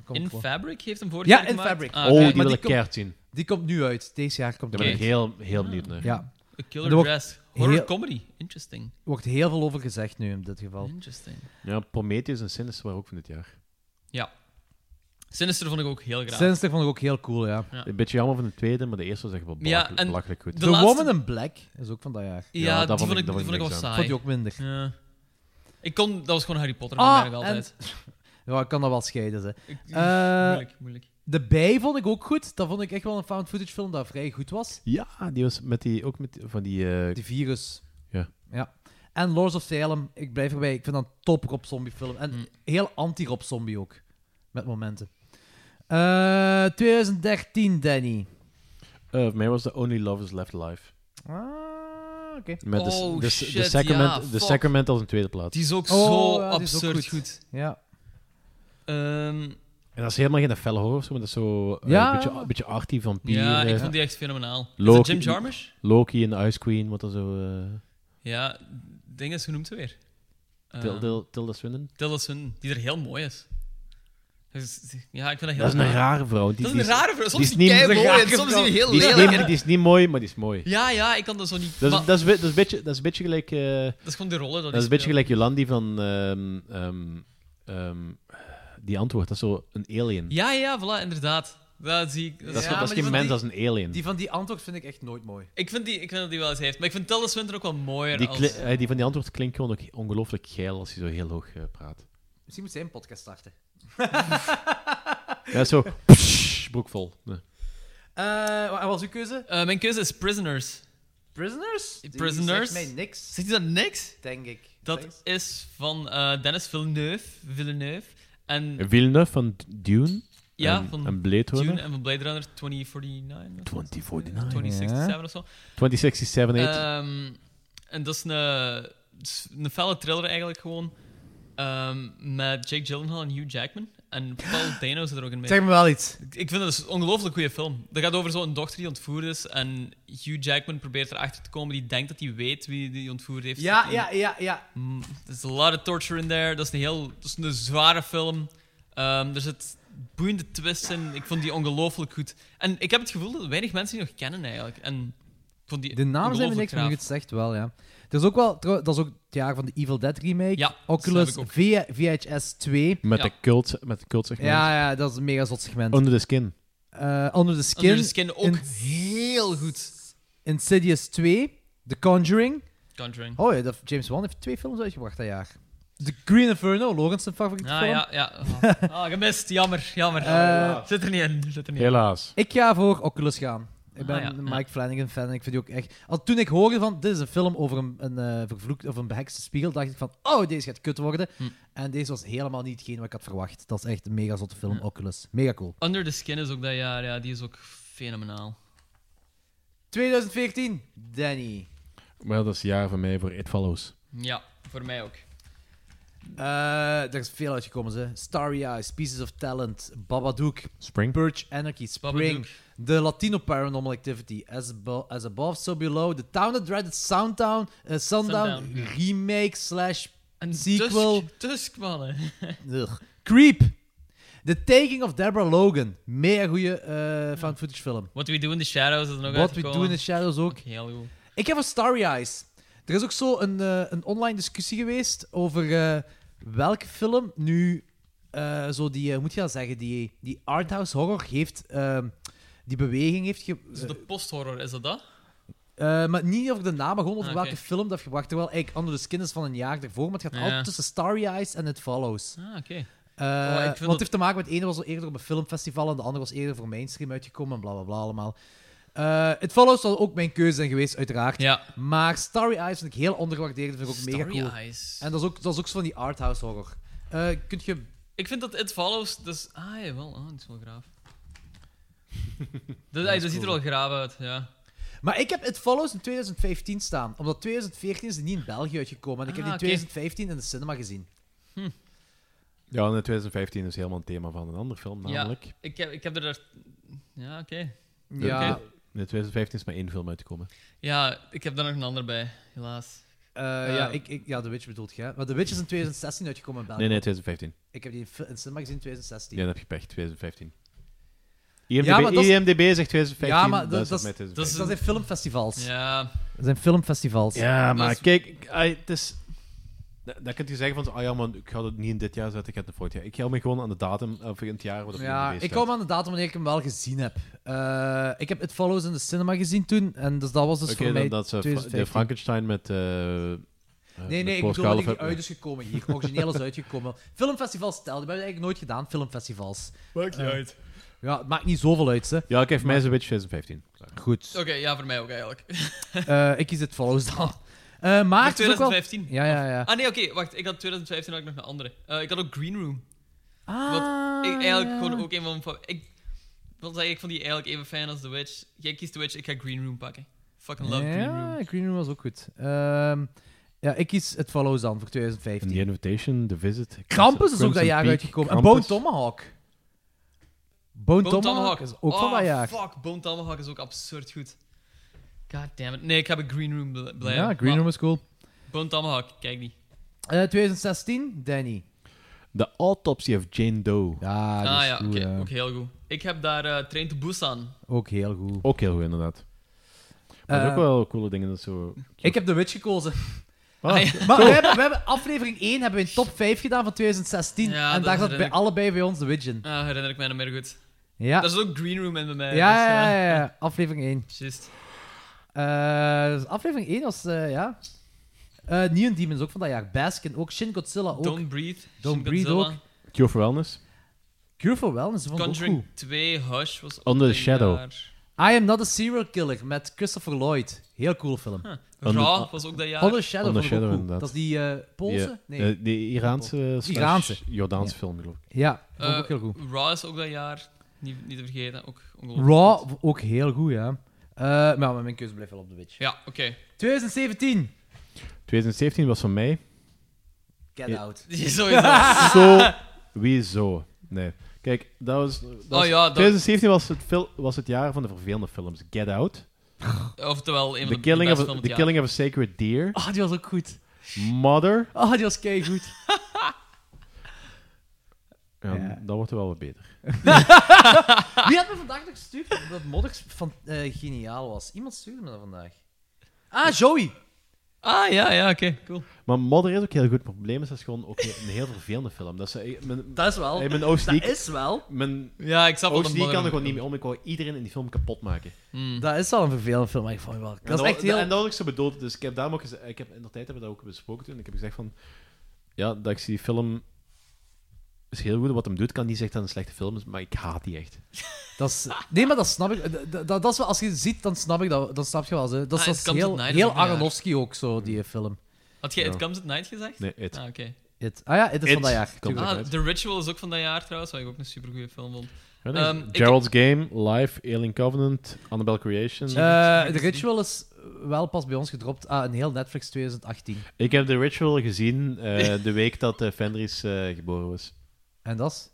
Speaker 4: komt
Speaker 12: in
Speaker 4: voor.
Speaker 12: Fabric heeft hem vorig
Speaker 4: ja,
Speaker 12: jaar
Speaker 4: in
Speaker 12: gemaakt.
Speaker 4: Fabric.
Speaker 12: Ah,
Speaker 5: Oh,
Speaker 12: oké.
Speaker 5: die wil ik
Speaker 4: komt-
Speaker 5: keihard zien.
Speaker 4: Die komt nu uit. Deze jaar komt
Speaker 5: Daar
Speaker 4: die
Speaker 5: ben ik
Speaker 4: uit.
Speaker 5: heel, heel benieuwd naar.
Speaker 4: Ja.
Speaker 12: A
Speaker 4: En
Speaker 12: Killer
Speaker 4: er wordt
Speaker 12: Dress. Horror
Speaker 4: heel-
Speaker 12: comedy. Interesting.
Speaker 4: Er wordt heel veel over gezegd nu in dit geval.
Speaker 12: Interesting.
Speaker 5: Ja, Prometheus en Sinister waren ook van dit jaar.
Speaker 12: Ja. Sinister vond ik ook heel graag.
Speaker 4: Sinister vond ik ook heel cool, ja.
Speaker 12: Ja.
Speaker 5: Een beetje jammer van de tweede, maar de eerste was echt wel
Speaker 12: Ja,
Speaker 5: belachelijk,
Speaker 12: en
Speaker 5: belachelijk goed.
Speaker 4: The Woman in Black is ook van dat jaar.
Speaker 12: Ja, die vond ik, die vond ik wel
Speaker 5: niks aan.
Speaker 12: saai.
Speaker 4: Vond je ook minder.
Speaker 12: Ja. Ik kon, dat was gewoon Harry Potter
Speaker 4: Ah,
Speaker 12: ah, eigenlijk altijd.
Speaker 4: en- (laughs) ja, ik kan dat wel scheiden, ze.
Speaker 12: Eh, moeilijk, moeilijk.
Speaker 4: De Bij vond ik ook goed. Dat vond ik echt wel een found footage film dat vrij goed was.
Speaker 5: Ja, die was met die, ook met die- van die... eh,
Speaker 4: Die virus.
Speaker 5: Ja.
Speaker 4: Ja. En Lords of Salem, ik blijf erbij. Ik vind dat een top Rob Zombie film.
Speaker 12: Mm,
Speaker 4: En heel anti-Rob Zombie ook. Met momenten. Eh, 2013, Danny.
Speaker 5: eh, voor mij was The Only Lovers Left Alive.
Speaker 4: Ah, oké.
Speaker 5: Met de,
Speaker 12: Oh,
Speaker 5: de, de,
Speaker 12: shit,
Speaker 5: Sacrament,
Speaker 12: ja,
Speaker 5: de
Speaker 12: fuck.
Speaker 5: Sacrament als een tweede plaats.
Speaker 12: Die is ook
Speaker 4: Oh,
Speaker 12: zo
Speaker 4: ja, die is ook
Speaker 12: absurd
Speaker 4: goed.
Speaker 12: goed.
Speaker 4: Ja.
Speaker 12: Ehm,
Speaker 5: En dat is helemaal geen felle horror, of zo, maar dat is zo eh,
Speaker 12: Ja.
Speaker 5: een beetje, een beetje arty, vampier.
Speaker 12: Ja, ik
Speaker 5: eh,
Speaker 12: vond die echt fenomenaal. Is dat
Speaker 5: Loki,
Speaker 12: Jim Jarmusch?
Speaker 5: Loki en de Ice Queen, wat dat zo... eh,
Speaker 12: ja, ding is, hoe noemt ze weer? Eh,
Speaker 5: Til- Til- Tilda Swinton?
Speaker 12: Tilda Swinton, die er heel mooi is. Dus, ja, ik vind dat heel
Speaker 5: Dat is een rare vrouw.
Speaker 12: Dat is een rare vrouw. Soms
Speaker 5: die is niet-
Speaker 12: kei mooi en
Speaker 5: Die
Speaker 12: soms is die heel
Speaker 5: is niet-
Speaker 12: lelijk.
Speaker 5: Die is niet mooi, maar die is mooi.
Speaker 12: Ja, ja, ik kan dat zo niet.
Speaker 5: Dat is,
Speaker 12: maar-
Speaker 5: dat is, we- dat is, een beetje, dat is een beetje gelijk... eh,
Speaker 12: is gewoon de rollen dat die
Speaker 5: Dat is een beetje
Speaker 12: speelt.
Speaker 5: gelijk Jolandi van... ehm, ehm, ehm, die antwoord, dat is zo een alien.
Speaker 12: Ja, ja, voilà, inderdaad. Dat zie ik.
Speaker 5: Dat is- Ja, dat is maar geen die van mens, die- dat is een alien.
Speaker 4: Die van die antwoord vind ik echt nooit mooi.
Speaker 12: Ik vind, die, ik vind dat die wel eens heeft. Maar ik vind Tilda Swinton ook wel mooier
Speaker 5: Die,
Speaker 12: als...
Speaker 5: kli- eh, die van die antwoord klinkt gewoon ook ongelooflijk geil als hij zo heel hoog eh, praat.
Speaker 4: Misschien moet zij een podcast starten.
Speaker 5: (laughs) Ja, zo... psh, broekvol. Nee.
Speaker 4: Eh, wat was uw keuze?
Speaker 12: Eh, mijn keuze is Prisoners.
Speaker 4: Prisoners? Die
Speaker 12: Prisoners.
Speaker 4: zegt mij niks.
Speaker 12: Zegt hij dat niks?
Speaker 4: Denk ik.
Speaker 12: Dat is van eh, Dennis Villeneuve. Villeneuve. En
Speaker 5: Villeneuve van Dune.
Speaker 12: Ja,
Speaker 5: en,
Speaker 12: van
Speaker 5: en Blade Runner.
Speaker 12: Dune en van Blade Runner 2049.
Speaker 5: 2049,
Speaker 12: 2067
Speaker 5: ja.
Speaker 12: of zo.
Speaker 5: 2067, eight.
Speaker 12: Ehm, en dat is een, dat is een felle thriller eigenlijk gewoon. ehm, met Jake Gyllenhaal en Hugh Jackman. En Paul Dano zit er ook in mee.
Speaker 4: Zeg me wel iets.
Speaker 12: Ik, ik vind dat een ongelooflijk goede film. Dat gaat over zo'n dochter die ontvoerd is. En Hugh Jackman probeert erachter te komen. Die denkt dat hij weet wie die ontvoerd heeft.
Speaker 4: Ja,
Speaker 12: En-
Speaker 4: ja, ja, ja.
Speaker 12: Mm, There's a lot of torture in there. Dat is een heel dat is een zware film. Ehm, er zit boeiende twists in. Ik vond die ongelooflijk goed. En ik heb het gevoel dat weinig mensen die nog kennen eigenlijk. En ik vond die
Speaker 4: De namen zijn me
Speaker 12: ongelooflijk
Speaker 4: niks, maar nu
Speaker 12: gaaf.
Speaker 4: je het zegt wel, ja. Er is ook wel, trouw- dat is ook het jaar van de Evil Dead remake.
Speaker 12: Ja,
Speaker 4: Oculus
Speaker 12: dat heb
Speaker 4: V- VHS 2.
Speaker 5: Met, de cult, met de cult, zeg maar.
Speaker 4: Ja, ja, dat is een mega zot segment.
Speaker 5: Under the Skin.
Speaker 4: Eh, Under the Skin.
Speaker 12: Under the Skin ook
Speaker 4: heel goed. Insidious 2. The Conjuring.
Speaker 12: Conjuring.
Speaker 4: Oh ja, dat, James Wan heeft twee films uitgebracht dat jaar. The Green Inferno, Lorenz zijn favoriete
Speaker 12: Ah,
Speaker 4: film.
Speaker 12: ja, ja.
Speaker 4: (laughs)
Speaker 12: Ah, Ah, gemist. Jammer, jammer.
Speaker 4: Eh,
Speaker 12: zit er niet in. Zit er niet
Speaker 4: Ik ga voor Oculus gaan. Ik ben
Speaker 12: Ah, ja,
Speaker 4: een Mike Flanagan fan en ik vind die ook echt... Al toen ik hoorde van, dit is een film over een, een eh, vervloekt of een behekste spiegel, dacht ik van, oh, deze gaat kut worden.
Speaker 12: Hm.
Speaker 4: En deze was helemaal niet hetgeen wat ik had verwacht. Dat is echt een mega zotte film, Oculus. Mega cool.
Speaker 12: Al. Under the Skin is ook dat jaar. Ja, die is ook fenomenaal.
Speaker 4: 2014, Danny.
Speaker 5: Maar dat is het jaar van mij voor It Follows.
Speaker 12: Ja, voor mij ook.
Speaker 4: Eh, er is veel uitgekomen, ze. Starry Eyes, Pieces of Talent, Babadook,
Speaker 5: Spring.
Speaker 4: Purge Anarchy, Spring, The Latino Paranormal Activity, As, Abo- As Above, So Below, The Town That Dreaded, Soundtown, eh, Sundown,
Speaker 12: Sundown.
Speaker 4: Remake slash sequel,
Speaker 12: Tusk, Tusk, mannen.
Speaker 4: Ugh. Creep, The Taking of Deborah Logan, mega goede found footage film.
Speaker 12: What We Do in the Shadows is er nog
Speaker 4: What We
Speaker 12: uitgekomen.
Speaker 4: Do in the Shadows ook.
Speaker 12: Heel goed.
Speaker 4: Ik heb een Starry Eyes. Er is ook zo een, eh, een online discussie geweest over eh, welke film nu eh, zo die, eh, hoe moet je dat zeggen, die, die arthouse horror heeft, eh, die beweging heeft. Ge-
Speaker 12: Is het de posthorror, is dat dat?
Speaker 4: eh, maar niet over de naam, maar gewoon over
Speaker 12: Ah,
Speaker 4: welke
Speaker 12: oké.
Speaker 4: film dat heeft gebracht. Terwijl eigenlijk Under the Skin is van een jaar daarvoor, maar het gaat
Speaker 12: Ja.
Speaker 4: altijd tussen Starry Eyes en It Follows.
Speaker 12: Ah, oké.
Speaker 4: Eh,
Speaker 12: Oh, ik vind
Speaker 4: want het
Speaker 12: dat-
Speaker 4: heeft te maken met, het ene was al eerder op een filmfestival en de andere was eerder voor mainstream uitgekomen en bla bla bla allemaal. Eh It Follows zal ook mijn keuze zijn geweest, uiteraard.
Speaker 12: Ja.
Speaker 4: Maar Starry Eyes vind ik heel ondergewaardeerd, vind ik ook mega
Speaker 12: Starry
Speaker 4: cool.
Speaker 12: Eyes.
Speaker 4: En dat is ook, dat is ook zo van die arthouse horror. Eh kunt je...
Speaker 12: Ik vind dat It Follows... Dus, ah, jawel. Ah, dat is wel (laughs) graaf. dat, dat ziet er wel graaf uit, ja.
Speaker 4: Maar ik heb It Follows in 2015 staan, omdat 2014 is die niet in België uitgekomen. En ik heb
Speaker 12: Ah,
Speaker 4: die in
Speaker 12: oké.
Speaker 4: 2015 in de cinema gezien.
Speaker 5: Ja, en in 2015 is helemaal een thema van een andere film, namelijk...
Speaker 12: Ja, ik heb, ik heb er... daar- Ja, oké.
Speaker 5: De- de- In 2015 is maar één film uitgekomen.
Speaker 12: Ja, ik heb daar nog een ander bij, helaas.
Speaker 4: Eh, ja, ik, ik, ja, The Witch bedoelt je. hè? Maar The Witch is in 2016 uitgekomen in België.
Speaker 5: Nee, nee, 2015.
Speaker 4: Ik heb die in, fil- in cinema gezien in 2016.
Speaker 5: Ja, dan heb je pech, 2015. IMDb,
Speaker 4: Ja, maar dat is-
Speaker 5: IMDb zegt 2015.
Speaker 4: Ja, maar
Speaker 5: dat
Speaker 4: dat,
Speaker 5: is
Speaker 4: dat,
Speaker 5: op mij
Speaker 4: is-
Speaker 5: 2015.
Speaker 4: dat, is- dat zijn filmfestivals.
Speaker 12: Ja.
Speaker 4: Dat zijn filmfestivals.
Speaker 5: Ja, maar kijk, ik- ai, het is... da- Dan kun je zeggen van, ah ja man, ik ga dat niet in dit jaar zetten, ik ga het in volgend jaar. Ik hou me gewoon aan de datum, of in het jaar waar dat
Speaker 4: Ja,
Speaker 5: IMDb
Speaker 4: ik
Speaker 5: staat.
Speaker 4: kom aan de datum wanneer ik hem wel gezien heb. Eh, ik heb It Follows in de cinema gezien toen. En dus dat was dus
Speaker 5: Oké,
Speaker 4: voor
Speaker 5: dan
Speaker 4: mij
Speaker 5: dat is eh, Fra- de
Speaker 4: 2015.
Speaker 5: Frankenstein met... eh,
Speaker 4: Nee,
Speaker 5: eh, met
Speaker 4: nee, ik
Speaker 5: Paul
Speaker 4: bedoel dat die
Speaker 5: Scalaf-
Speaker 4: uit is gekomen hier. (laughs) Origineel is uitgekomen. Filmfestivals stel, die hebben we eigenlijk nooit gedaan, filmfestivals.
Speaker 12: Maakt niet
Speaker 4: Eh,
Speaker 12: uit.
Speaker 4: Ja, het maakt niet zoveel uit, hè.
Speaker 5: Ja, ik heb mij zo'n beetje 2015.
Speaker 4: Goed.
Speaker 12: Oké, ja, voor mij ook eigenlijk.
Speaker 4: Eh, ik kies It Follows dan. Eh, maar...
Speaker 12: Voor
Speaker 4: het is ook wel-
Speaker 12: 2015?
Speaker 4: Ja, ja, ja.
Speaker 12: Ah nee, oké, wacht. Ik had 2015 had ik nog een andere. Eh, ik had ook Green Room.
Speaker 4: Ah,
Speaker 12: Wat ik eigenlijk
Speaker 4: ja.
Speaker 12: gewoon ook een van mijn favorieten... Ik wil zeggen, ik vond die eigenlijk even fijn als The Witch. Jij kiest The Witch, ik ga Green Room pakken. Fucking love Green Room.
Speaker 4: Ja, Green Room was ook goed. Ehm, ja, ik kies It Follows dan voor 2015.
Speaker 5: The Invitation, The Visit...
Speaker 4: Krampus is ook dat
Speaker 5: Crimson
Speaker 4: jaar
Speaker 5: Peak,
Speaker 4: uitgekomen.
Speaker 5: Krampus.
Speaker 4: En Bone Tomahawk. Bone,
Speaker 12: Bone
Speaker 4: Tomahawk is ook van
Speaker 12: Oh,
Speaker 4: dat jaar.
Speaker 12: fuck, Bone Tomahawk is ook absurd goed. God damn it. Nee, ik heb een Green Room bl- blijven.
Speaker 4: Ja, Green Room is cool.
Speaker 12: Bone Tomahawk, kijk die.
Speaker 4: Eh, 2016, Danny.
Speaker 5: The Autopsy of Jane Doe.
Speaker 4: Ja,
Speaker 12: Ah, ja, oké, ook heel goed. Ik heb daar eh, Train to Busan.
Speaker 4: Ook heel goed.
Speaker 5: Ook heel goed, inderdaad. Maar dat is
Speaker 4: Eh,
Speaker 5: ook wel coole dingen. Dat is zo...
Speaker 4: Ik heb The Witch gekozen.
Speaker 5: Ah, ja.
Speaker 4: Maar we
Speaker 5: Oh.
Speaker 4: hebben, we hebben aflevering 1 hebben we in top 5 gedaan van 2016.
Speaker 12: Ja,
Speaker 4: en
Speaker 12: dat
Speaker 4: daar zat
Speaker 12: herinner
Speaker 4: bij
Speaker 12: ik.
Speaker 4: allebei bij ons The Witch in.
Speaker 12: Ah, herinner ik mij nog meer goed.
Speaker 4: Ja.
Speaker 12: Daar zit ook Green Room in bij
Speaker 4: Ja,
Speaker 12: mij. dus,
Speaker 4: ja,
Speaker 12: eh, (laughs)
Speaker 4: ja, ja, ja. aflevering 1.
Speaker 12: Juist.
Speaker 4: dus aflevering 1 was, eh, ja... Eh Neon Demons ook van dat jaar. Baskin ook. Shin Godzilla ook.
Speaker 12: Don't Breathe,
Speaker 4: Don't
Speaker 12: Shin
Speaker 4: Breathe
Speaker 12: Godzilla.
Speaker 4: ook.
Speaker 5: Cure for Wellness.
Speaker 4: Cure for Wellness vond ik ook goed.
Speaker 12: Conjuring 2, Hush was ook
Speaker 5: Under the
Speaker 12: een
Speaker 5: Shadow.
Speaker 12: jaar.
Speaker 4: I Am Not a Serial Killer met Christopher Lloyd. Heel cool film.
Speaker 12: Huh. Under- Raw was ook dat jaar.
Speaker 4: Under Shadow
Speaker 5: Under
Speaker 4: vond ik ook
Speaker 5: Shadow,
Speaker 4: goed.
Speaker 5: inderdaad.
Speaker 4: Dat is die eh Poolse?
Speaker 5: Die,
Speaker 4: Nee.
Speaker 5: eh, die Iraanse slash
Speaker 4: Iraanse.
Speaker 5: Jordaanse
Speaker 4: Ja.
Speaker 5: film, geloof ik.
Speaker 4: Ja, vond ik ook heel
Speaker 12: Eh,
Speaker 4: goed.
Speaker 12: Raw is ook dat jaar. Niet, niet te vergeten, ook ongelooflijk.
Speaker 4: Raw v- ook heel goed, ja. Eh, maar mijn keuze blijft wel op de Witch.
Speaker 12: Ja, oké.
Speaker 4: 2017.
Speaker 5: 2017 was van mij.
Speaker 4: Get
Speaker 5: Eh,
Speaker 12: (laughs)
Speaker 4: Out.
Speaker 12: Ah.
Speaker 5: Zo. Wieso? Nee. Kijk, dat was. dat was-
Speaker 12: Oh, ja, dat-
Speaker 5: 2017 was het, fil- was het jaar van de vervelende films. Get Out.
Speaker 12: Oftewel, een
Speaker 5: The
Speaker 12: van de
Speaker 5: Killing,
Speaker 12: beste
Speaker 5: of,
Speaker 12: van
Speaker 5: a-
Speaker 12: het
Speaker 5: the
Speaker 12: jaar.
Speaker 5: killing of a Sacred Deer.
Speaker 4: Ah, die was ook goed.
Speaker 5: Mother.
Speaker 4: Ah, die was kei goed.
Speaker 5: Ja, Dan wordt het wel wat beter.
Speaker 4: Wie had me vandaag nog gestuurd dat Modders van, eh, geniaal was? Iemand stuurde me dat vandaag. Ah, Joey.
Speaker 12: Ah, ja, ja, oké. Cool.
Speaker 5: Maar Mother is ook heel goed. Het probleem is, dat is gewoon ook een een heel vervelende film. Dat is, eh, mijn,
Speaker 4: Dat is wel.
Speaker 12: (laughs)
Speaker 5: eh, mijn OCD,
Speaker 4: Dat is wel.
Speaker 5: Mijn
Speaker 12: Ja, ik snap wat
Speaker 5: OCD
Speaker 12: een Mother
Speaker 5: kan er gewoon
Speaker 12: bedoelt.
Speaker 5: niet meer om. Ik wou iedereen in die film kapot maken.
Speaker 4: Dat is wel een vervelend film, maar ik vond het wel...
Speaker 5: En
Speaker 4: Dat is echt heel...
Speaker 5: En dat had ik zo bedoeld. Dus ik heb daarom ook gezegd... Ik heb, in de tijd hebben we dat ook besproken toen. Ik heb gezegd van... Ja, dat ik zie die film... Is heel goed wat hem doet. Ik kan niet zeggen dat het een slechte film is, maar ik haat die echt.
Speaker 4: Dat is, nee, maar dat snap ik. Dat, dat, dat is wel, als je het ziet, dan snap, ik dat, dan snap je wel. Zo. Dat, is-
Speaker 12: Ah,
Speaker 4: dat
Speaker 12: It
Speaker 4: is
Speaker 12: Comes at
Speaker 4: heel,
Speaker 12: Night is
Speaker 4: heel
Speaker 12: ook een jaar.
Speaker 4: Aronofsky ook, zo, die film.
Speaker 12: Had jij It
Speaker 4: Ja.
Speaker 12: Comes at Night gezegd?
Speaker 4: Nee, It.
Speaker 12: Ah, oké.
Speaker 4: It. Ah ja, It is van dat jaar, Comes at
Speaker 12: Ah,
Speaker 4: Night.
Speaker 12: The Ritual is ook van dat jaar trouwens, wat ik ook een supergoeie film vond.
Speaker 5: Ja, nee,
Speaker 12: Ehm, ik-
Speaker 5: Gerald's Game, Life, Alien Covenant, Annabelle Creation.
Speaker 4: Eh The Ritual is wel pas bij ons gedropt. Ah, een heel Netflix 2018.
Speaker 5: Ik heb The Ritual gezien eh, de week dat eh, Fenris eh, geboren was.
Speaker 4: En dat is?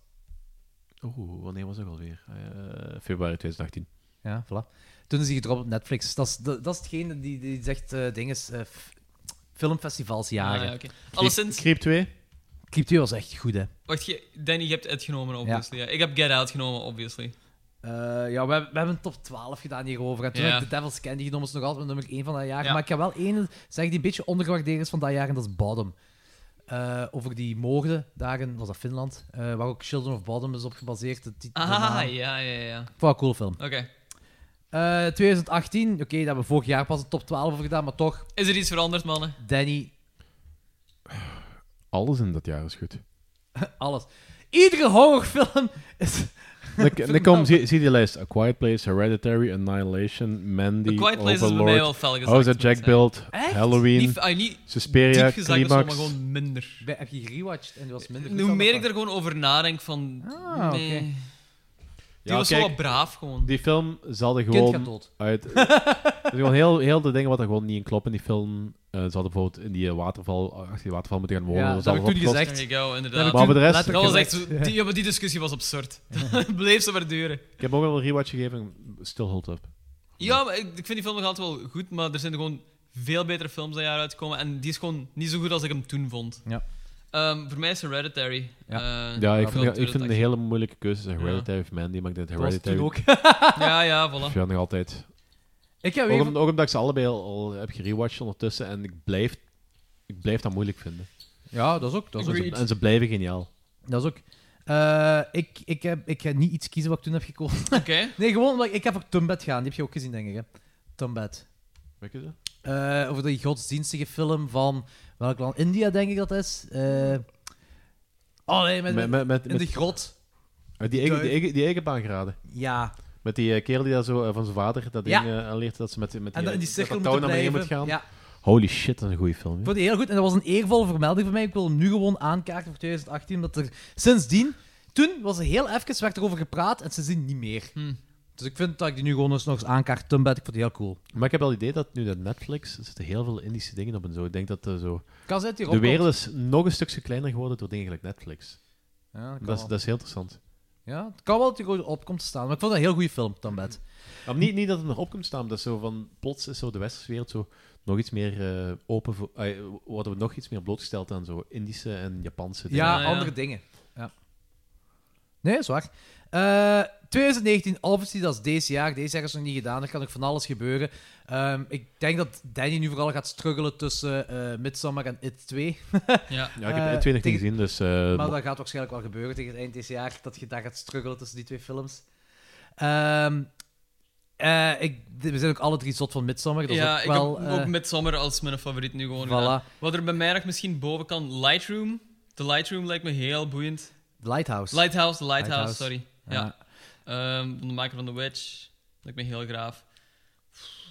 Speaker 5: Oeh, wanneer was dat alweer? Eh, februari 2018.
Speaker 4: Ja, voilà. Toen is die gedropt op Netflix. Dat is, dat, dat is hetgene die, die zegt eh dinges... eh, f- filmfestivalsjaren.
Speaker 12: Ah, ja, oké. Alleszins-
Speaker 5: Creep 2.
Speaker 4: Creep 2 was echt goed, hè.
Speaker 12: Wacht, je- Danny, je hebt het genomen, obviously. Ja. Ik heb Get Out genomen, obviously.
Speaker 4: Eh, ja, we, hebben- we hebben een top 12 gedaan hierover. En toen
Speaker 12: Ja.
Speaker 4: heb ik The Devil's Candy genomen, is nog altijd mijn nummer 1 van dat jaar.
Speaker 12: Ja.
Speaker 4: Maar ik heb wel één zeg die een beetje ondergewaardeerd is van dat jaar, en dat is Bottom. Eh, over die moorden, daar in, was dat Finland, eh, waar ook Children of Bottom is op gebaseerd. de tit- de
Speaker 12: Ah,
Speaker 4: naam.
Speaker 12: ja, ja, ja.
Speaker 4: Vond ik een coole film.
Speaker 12: Oké.
Speaker 4: Eh, 2018, oké, daar hebben we vorig jaar pas een top 12 over gedaan, maar toch,
Speaker 12: Is er iets veranderd, mannen?
Speaker 4: Danny,
Speaker 5: Alles in dat jaar is goed.
Speaker 4: (laughs) alles. Iedere horrorfilm is...
Speaker 5: Dan kom, zie, zie die lijst. A Quiet Place, Hereditary, Annihilation, Mandy,
Speaker 12: A Quiet Place is bij
Speaker 5: Overlord,
Speaker 12: mij wel fel gezakt,
Speaker 5: House that
Speaker 12: moet ik
Speaker 5: Jack Built,
Speaker 12: Echt?
Speaker 5: Halloween,
Speaker 12: Niet- ah, niet
Speaker 5: Suspiria,
Speaker 12: diep gezakt, dat is wel, maar
Speaker 5: Climax.
Speaker 12: gewoon minder.
Speaker 4: Ik heb je gerewatched en die was minder goed
Speaker 12: Hoe
Speaker 4: dan
Speaker 12: meer
Speaker 4: dat
Speaker 12: ik er gewoon over nadenk, van...
Speaker 4: Ah,
Speaker 12: nee.
Speaker 4: oké.
Speaker 12: Die
Speaker 5: Ja,
Speaker 12: was
Speaker 5: Ah, kijk,
Speaker 12: wel braaf, gewoon.
Speaker 5: Die film zal er
Speaker 12: Kind
Speaker 5: gewoon
Speaker 12: gaat dood.
Speaker 5: uit... Er zijn gewoon heel, heel de dingen wat er gewoon niet in kloppen in die film. Eh, ze hadden bijvoorbeeld in die waterval, achter die waterval moeten gaan wonen.
Speaker 4: Ja,
Speaker 5: was
Speaker 4: dat heb
Speaker 5: alles
Speaker 4: ik toen
Speaker 5: opgelost.
Speaker 4: gezegd.
Speaker 12: There you go, inderdaad.
Speaker 5: Maar voor de rest...
Speaker 12: Dat was echt... zo- Die, ja, maar die discussie was
Speaker 4: (laughs)
Speaker 12: absurd. Dat bleef ze maar duren.
Speaker 5: Ik heb ook wel een rewatch gegeven. Still hold up.
Speaker 12: Ja, maar ik, ik vind die film nog altijd wel goed, maar er zijn gewoon veel betere films dat jaar uitkomen. En die is gewoon niet zo goed als ik hem toen vond.
Speaker 4: Ja.
Speaker 12: Ehm, voor mij is Hereditary. eh,
Speaker 5: ja, ik
Speaker 12: van
Speaker 5: vind, ik vind
Speaker 12: 2018.
Speaker 5: de hele moeilijke keuzes. Hereditary of Mandy, maar ik denk
Speaker 4: Dat was
Speaker 5: Hereditary...
Speaker 4: toen ook.
Speaker 12: Ja, ja, voilà.
Speaker 5: Ja, nog altijd.
Speaker 4: Ik heb
Speaker 5: ook,
Speaker 4: weer
Speaker 5: om- ook omdat ik ze allebei al, al heb gerewatcht ondertussen en ik blijf, ik blijf dat moeilijk vinden.
Speaker 4: Ja, dat is ook- dat is ook-
Speaker 5: en, ze, en ze blijven geniaal.
Speaker 4: Dat is ook. Eh, ik, ik, heb, ik ga niet iets kiezen wat ik toen heb gekozen.
Speaker 12: (laughs)
Speaker 4: Oké. nee, gewoon omdat ik, ik heb ook Tombed gaan. Die heb je ook gezien, denk ik. Hè? Tombed.
Speaker 5: Welke is dat?
Speaker 4: Eh, over die godsdienstige film van welk land? India, denk ik dat is. Eh, oh nee, met, met, in de grot.
Speaker 5: Ah, die, eigen, die,
Speaker 4: Duif.
Speaker 5: eigen, die eigen baan geraden.
Speaker 4: Ja.
Speaker 5: Met die eh, kerel die daar zo eh, van zijn vader dat
Speaker 4: Ja.
Speaker 5: ding eh, aanleert dat ze met, met
Speaker 4: En dat in die
Speaker 5: eh,
Speaker 4: cirkel
Speaker 5: dat dat touw
Speaker 4: moeten
Speaker 5: naar beneden moet
Speaker 4: blijven.
Speaker 5: gaan.
Speaker 4: Ja.
Speaker 5: Holy shit, dat is een goede film. hè.
Speaker 4: Ik vond die heel goed en dat was een eervolle vermelding voor mij. Ik wil hem nu gewoon aankaarten voor 2018, omdat er sindsdien, toen was er heel even, werd erover gepraat en sindsdien niet meer. Dus ik vind dat ik die nu gewoon eens nog eens aankaart. Tombed, ik vond die heel cool.
Speaker 5: Maar ik heb wel het idee dat nu dat Netflix, er zitten heel veel Indische dingen op en zo. Ik denk dat eh, zo...
Speaker 4: Kan zijn dat die
Speaker 5: de
Speaker 4: erop
Speaker 5: wereld is nog een stukje kleiner geworden door dingen gelijk Netflix.
Speaker 4: Ja, dat kan
Speaker 5: dat, is,
Speaker 4: wel.
Speaker 5: dat is heel interessant.
Speaker 4: Ja, het kan wel dat hij gewoon op komt te staan. Maar ik vond dat een heel goede film, Tambet.
Speaker 1: Maar niet, niet dat het nog op komt staan. Dat is zo van, plots is zo de westerse wereld zo nog iets meer eh, open voor... eh, worden we nog iets meer blootgesteld aan zo Indische en Japanse dingen.
Speaker 4: Ja, andere dingen. Ja. Nee, is waar. Eh, 2019, obviously, dat is deze jaar. Deze jaar is nog niet gedaan. Er kan nog van alles gebeuren. Ehm, ik denk dat Danny nu vooral gaat struggelen tussen eh Midsommar en It (laughs) 2.
Speaker 12: ja.
Speaker 1: Ja, ik heb It 2 nog niet gezien, dus, eh,
Speaker 4: maar
Speaker 1: mo-
Speaker 4: dat gaat waarschijnlijk wel gebeuren tegen het eind deze jaar. Dat je daar gaat struggelen tussen die twee films. Ehm, eh, ik, we zijn ook alle drie zot van Midsommar. Dat
Speaker 12: ja,
Speaker 4: is
Speaker 12: ik
Speaker 4: ook wel...
Speaker 12: heb
Speaker 4: eh,
Speaker 12: ook Midsommar als mijn favoriet nu gewoon
Speaker 4: Voilà.
Speaker 12: gedaan. Wat er bij mij nog misschien boven kan, Lightroom. De Lightroom lijkt me heel boeiend.
Speaker 4: Lighthouse.
Speaker 12: Lighthouse, de Lighthouse,
Speaker 4: Lighthouse.
Speaker 12: sorry. Ja. Ehm, de maker van The Witch. Lijkt me heel graaf.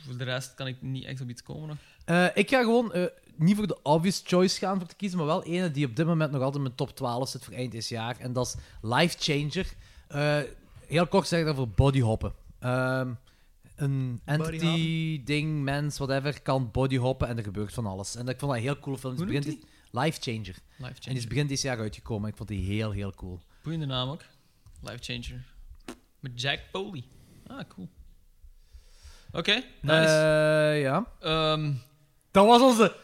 Speaker 12: Voor de rest kan ik niet echt op iets komen nog.
Speaker 4: Eh, ik ga gewoon eh, niet voor de obvious choice gaan voor te kiezen, maar wel ene die op dit moment nog altijd in mijn top 12 zit voor eind dit jaar. En dat is Life Changer. Eh, heel kort zeg ik daarvoor bodyhoppen. Ehm, een entity, ding, mens, whatever, kan bodyhoppen en er gebeurt van alles. En ik vond dat een heel coole film. Die
Speaker 12: Hoe
Speaker 4: is
Speaker 12: noemt
Speaker 4: begin dit- Life Changer. En die is
Speaker 12: Changer.
Speaker 4: begin dit jaar uitgekomen. Ik vond die heel, heel cool.
Speaker 12: Boeiende naam ook. Life Changer. Met Jack Foley. Ah, cool. Oké, nice. Ehm,
Speaker 4: Eh, ja. Dat was onze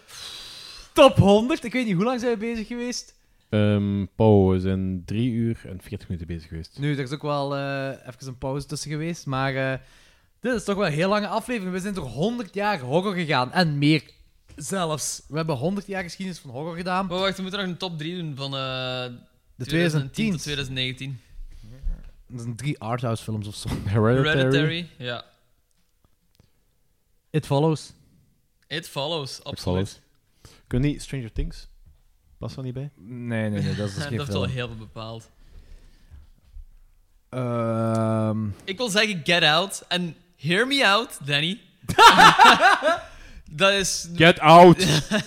Speaker 4: top 100. Ik weet niet, hoe lang zijn we bezig geweest?
Speaker 5: Ehm Pauw, we zijn 3 uur en 40 minuten bezig geweest.
Speaker 4: Nu, er is ook wel eh, even een pauze tussen geweest, maar eh, dit is toch wel een heel lange aflevering. We zijn door 100 jaar horror gegaan en meer zelfs. We hebben 100 jaar geschiedenis van horror gedaan.
Speaker 12: Maar Oh, wacht, we moeten nog een top 3 doen van eh,
Speaker 4: 2010
Speaker 12: tot 2019.
Speaker 4: Dat zijn drie arthouse films of zo.
Speaker 12: Hereditary. ja.
Speaker 4: It Follows.
Speaker 12: It follows,
Speaker 5: Ik
Speaker 12: absoluut.
Speaker 5: zal het. Kun je niet Stranger Things? Past dat niet bij?
Speaker 4: Nee, nee, nee, dat is
Speaker 12: (laughs)
Speaker 4: dus geen
Speaker 12: dat heeft al
Speaker 4: film.
Speaker 12: heel veel bepaald.
Speaker 4: Ehm,
Speaker 12: Ik wil zeggen Get Out en Hear Me Out,
Speaker 4: (laughs)
Speaker 12: Danny. dat is...
Speaker 5: Get out!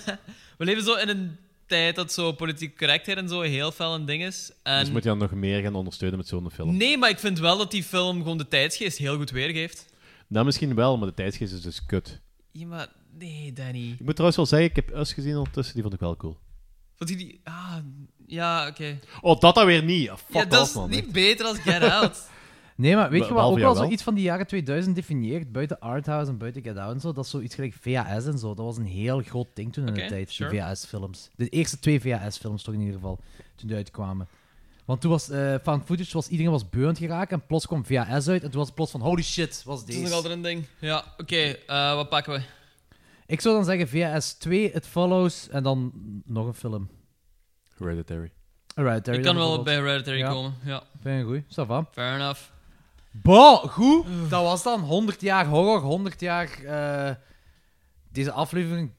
Speaker 12: (laughs) We leven zo in een tijd dat zo politiek correctheid en zo heel fel een ding is. En
Speaker 5: Dus moet je dan nog meer gaan ondersteunen met zo'n film?
Speaker 12: Nee, maar ik vind wel dat die film gewoon de tijdsgeest heel goed weergeeft.
Speaker 5: Nou, misschien wel, maar de tijdsgeest is dus kut.
Speaker 12: Ja, maar... Nee, Danny.
Speaker 5: Ik moet trouwens wel zeggen, ik heb Us gezien ondertussen, die vond ik wel cool.
Speaker 12: Vond je die... Ah, ja, oké.
Speaker 5: Oh, dat dan weer niet. Ah, Fuck
Speaker 12: Ja, dat
Speaker 5: off,
Speaker 12: is
Speaker 5: man.
Speaker 12: niet beter als Get Out.
Speaker 4: nee, maar weet
Speaker 5: Be-
Speaker 4: je wat
Speaker 5: behalve
Speaker 4: ook wel
Speaker 5: jou wel?
Speaker 4: zoiets van die jaren 2000 definieert, buiten arthouse en buiten Get Out en zo, dat is zoiets gelijk VHS en zo. Dat was een heel groot ding toen in
Speaker 12: Oké,
Speaker 4: de tijd,
Speaker 12: sure.
Speaker 4: die VHS-films. De eerste twee VHS-films toch in ieder geval, toen die uitkwamen. Want toen was eh found footage, was, iedereen was beurend geraakt en plots kwam VHS uit en toen was het plots van holy shit, was
Speaker 12: Dat is nog
Speaker 4: deze.
Speaker 12: altijd een ding. Ja, oké. eh, wat pakken we?
Speaker 4: Ik zou dan zeggen VHS 2, It Follows en dan nog een film.
Speaker 5: Hereditary.
Speaker 4: Hereditary
Speaker 12: ik kan
Speaker 4: dan
Speaker 12: wel bij
Speaker 4: bijvoorbeeld.
Speaker 12: Hereditary
Speaker 4: Ja.
Speaker 12: komen. Ja.
Speaker 4: Vind je goed? Ça va.
Speaker 12: Fair enough.
Speaker 4: Bo, goed. Dat was dan 100 jaar horror, 100 jaar. eh, deze aflevering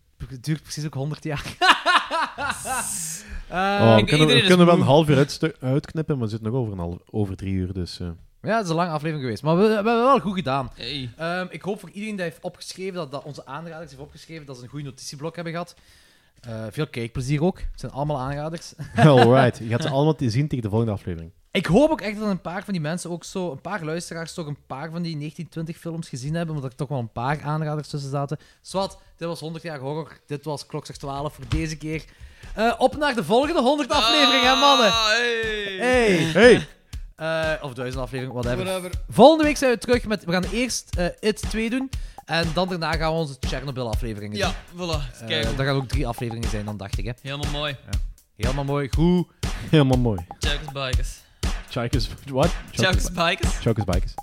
Speaker 4: duurt precies ook 100 jaar. Eh,
Speaker 5: Oh, we kunnen, we kunnen wel een half uur uitstu- uitknippen, maar we zitten nog over, een half, over drie uur, dus... eh. (laughs)
Speaker 4: Ja, het is een lange aflevering geweest, maar we, we hebben wel goed gedaan.
Speaker 12: Hey.
Speaker 4: Ehm, ik hoop voor iedereen die heeft opgeschreven, dat, dat onze aanraders heeft opgeschreven, dat ze een goede notitieblok hebben gehad. Eh, veel kijkplezier ook. Het zijn allemaal aanraders.
Speaker 5: Alright, je gaat ze allemaal te zien tegen de volgende aflevering.
Speaker 4: Ik hoop ook echt dat een paar van die mensen ook zo, een paar luisteraars toch een paar van die 1920 films gezien hebben, omdat er toch wel een paar aanraders tussen zaten. Swat, dit was 100 jaar horror, dit was klokslag 12 voor deze keer. Eh, op naar de volgende 100 aflevering, hè mannen! Hey!
Speaker 5: Hey.
Speaker 4: Eh, of duizend aflevering, whatever.
Speaker 12: Whatever.
Speaker 4: Volgende week zijn we terug met, we gaan eerst eh, It 2 doen, en dan daarna gaan we onze Chernobyl afleveringen
Speaker 12: Ja,
Speaker 4: doen.
Speaker 12: voilà,
Speaker 4: Eh,
Speaker 12: kijk.
Speaker 4: daar gaan ook drie afleveringen zijn dan, dacht ik hè.
Speaker 12: Helemaal mooi.
Speaker 4: Helemaal mooi, goed.
Speaker 5: Helemaal mooi.
Speaker 12: Checkers, bikers.
Speaker 5: Chikers, what?
Speaker 12: Chikers, bikers?
Speaker 5: Chikers, bikers.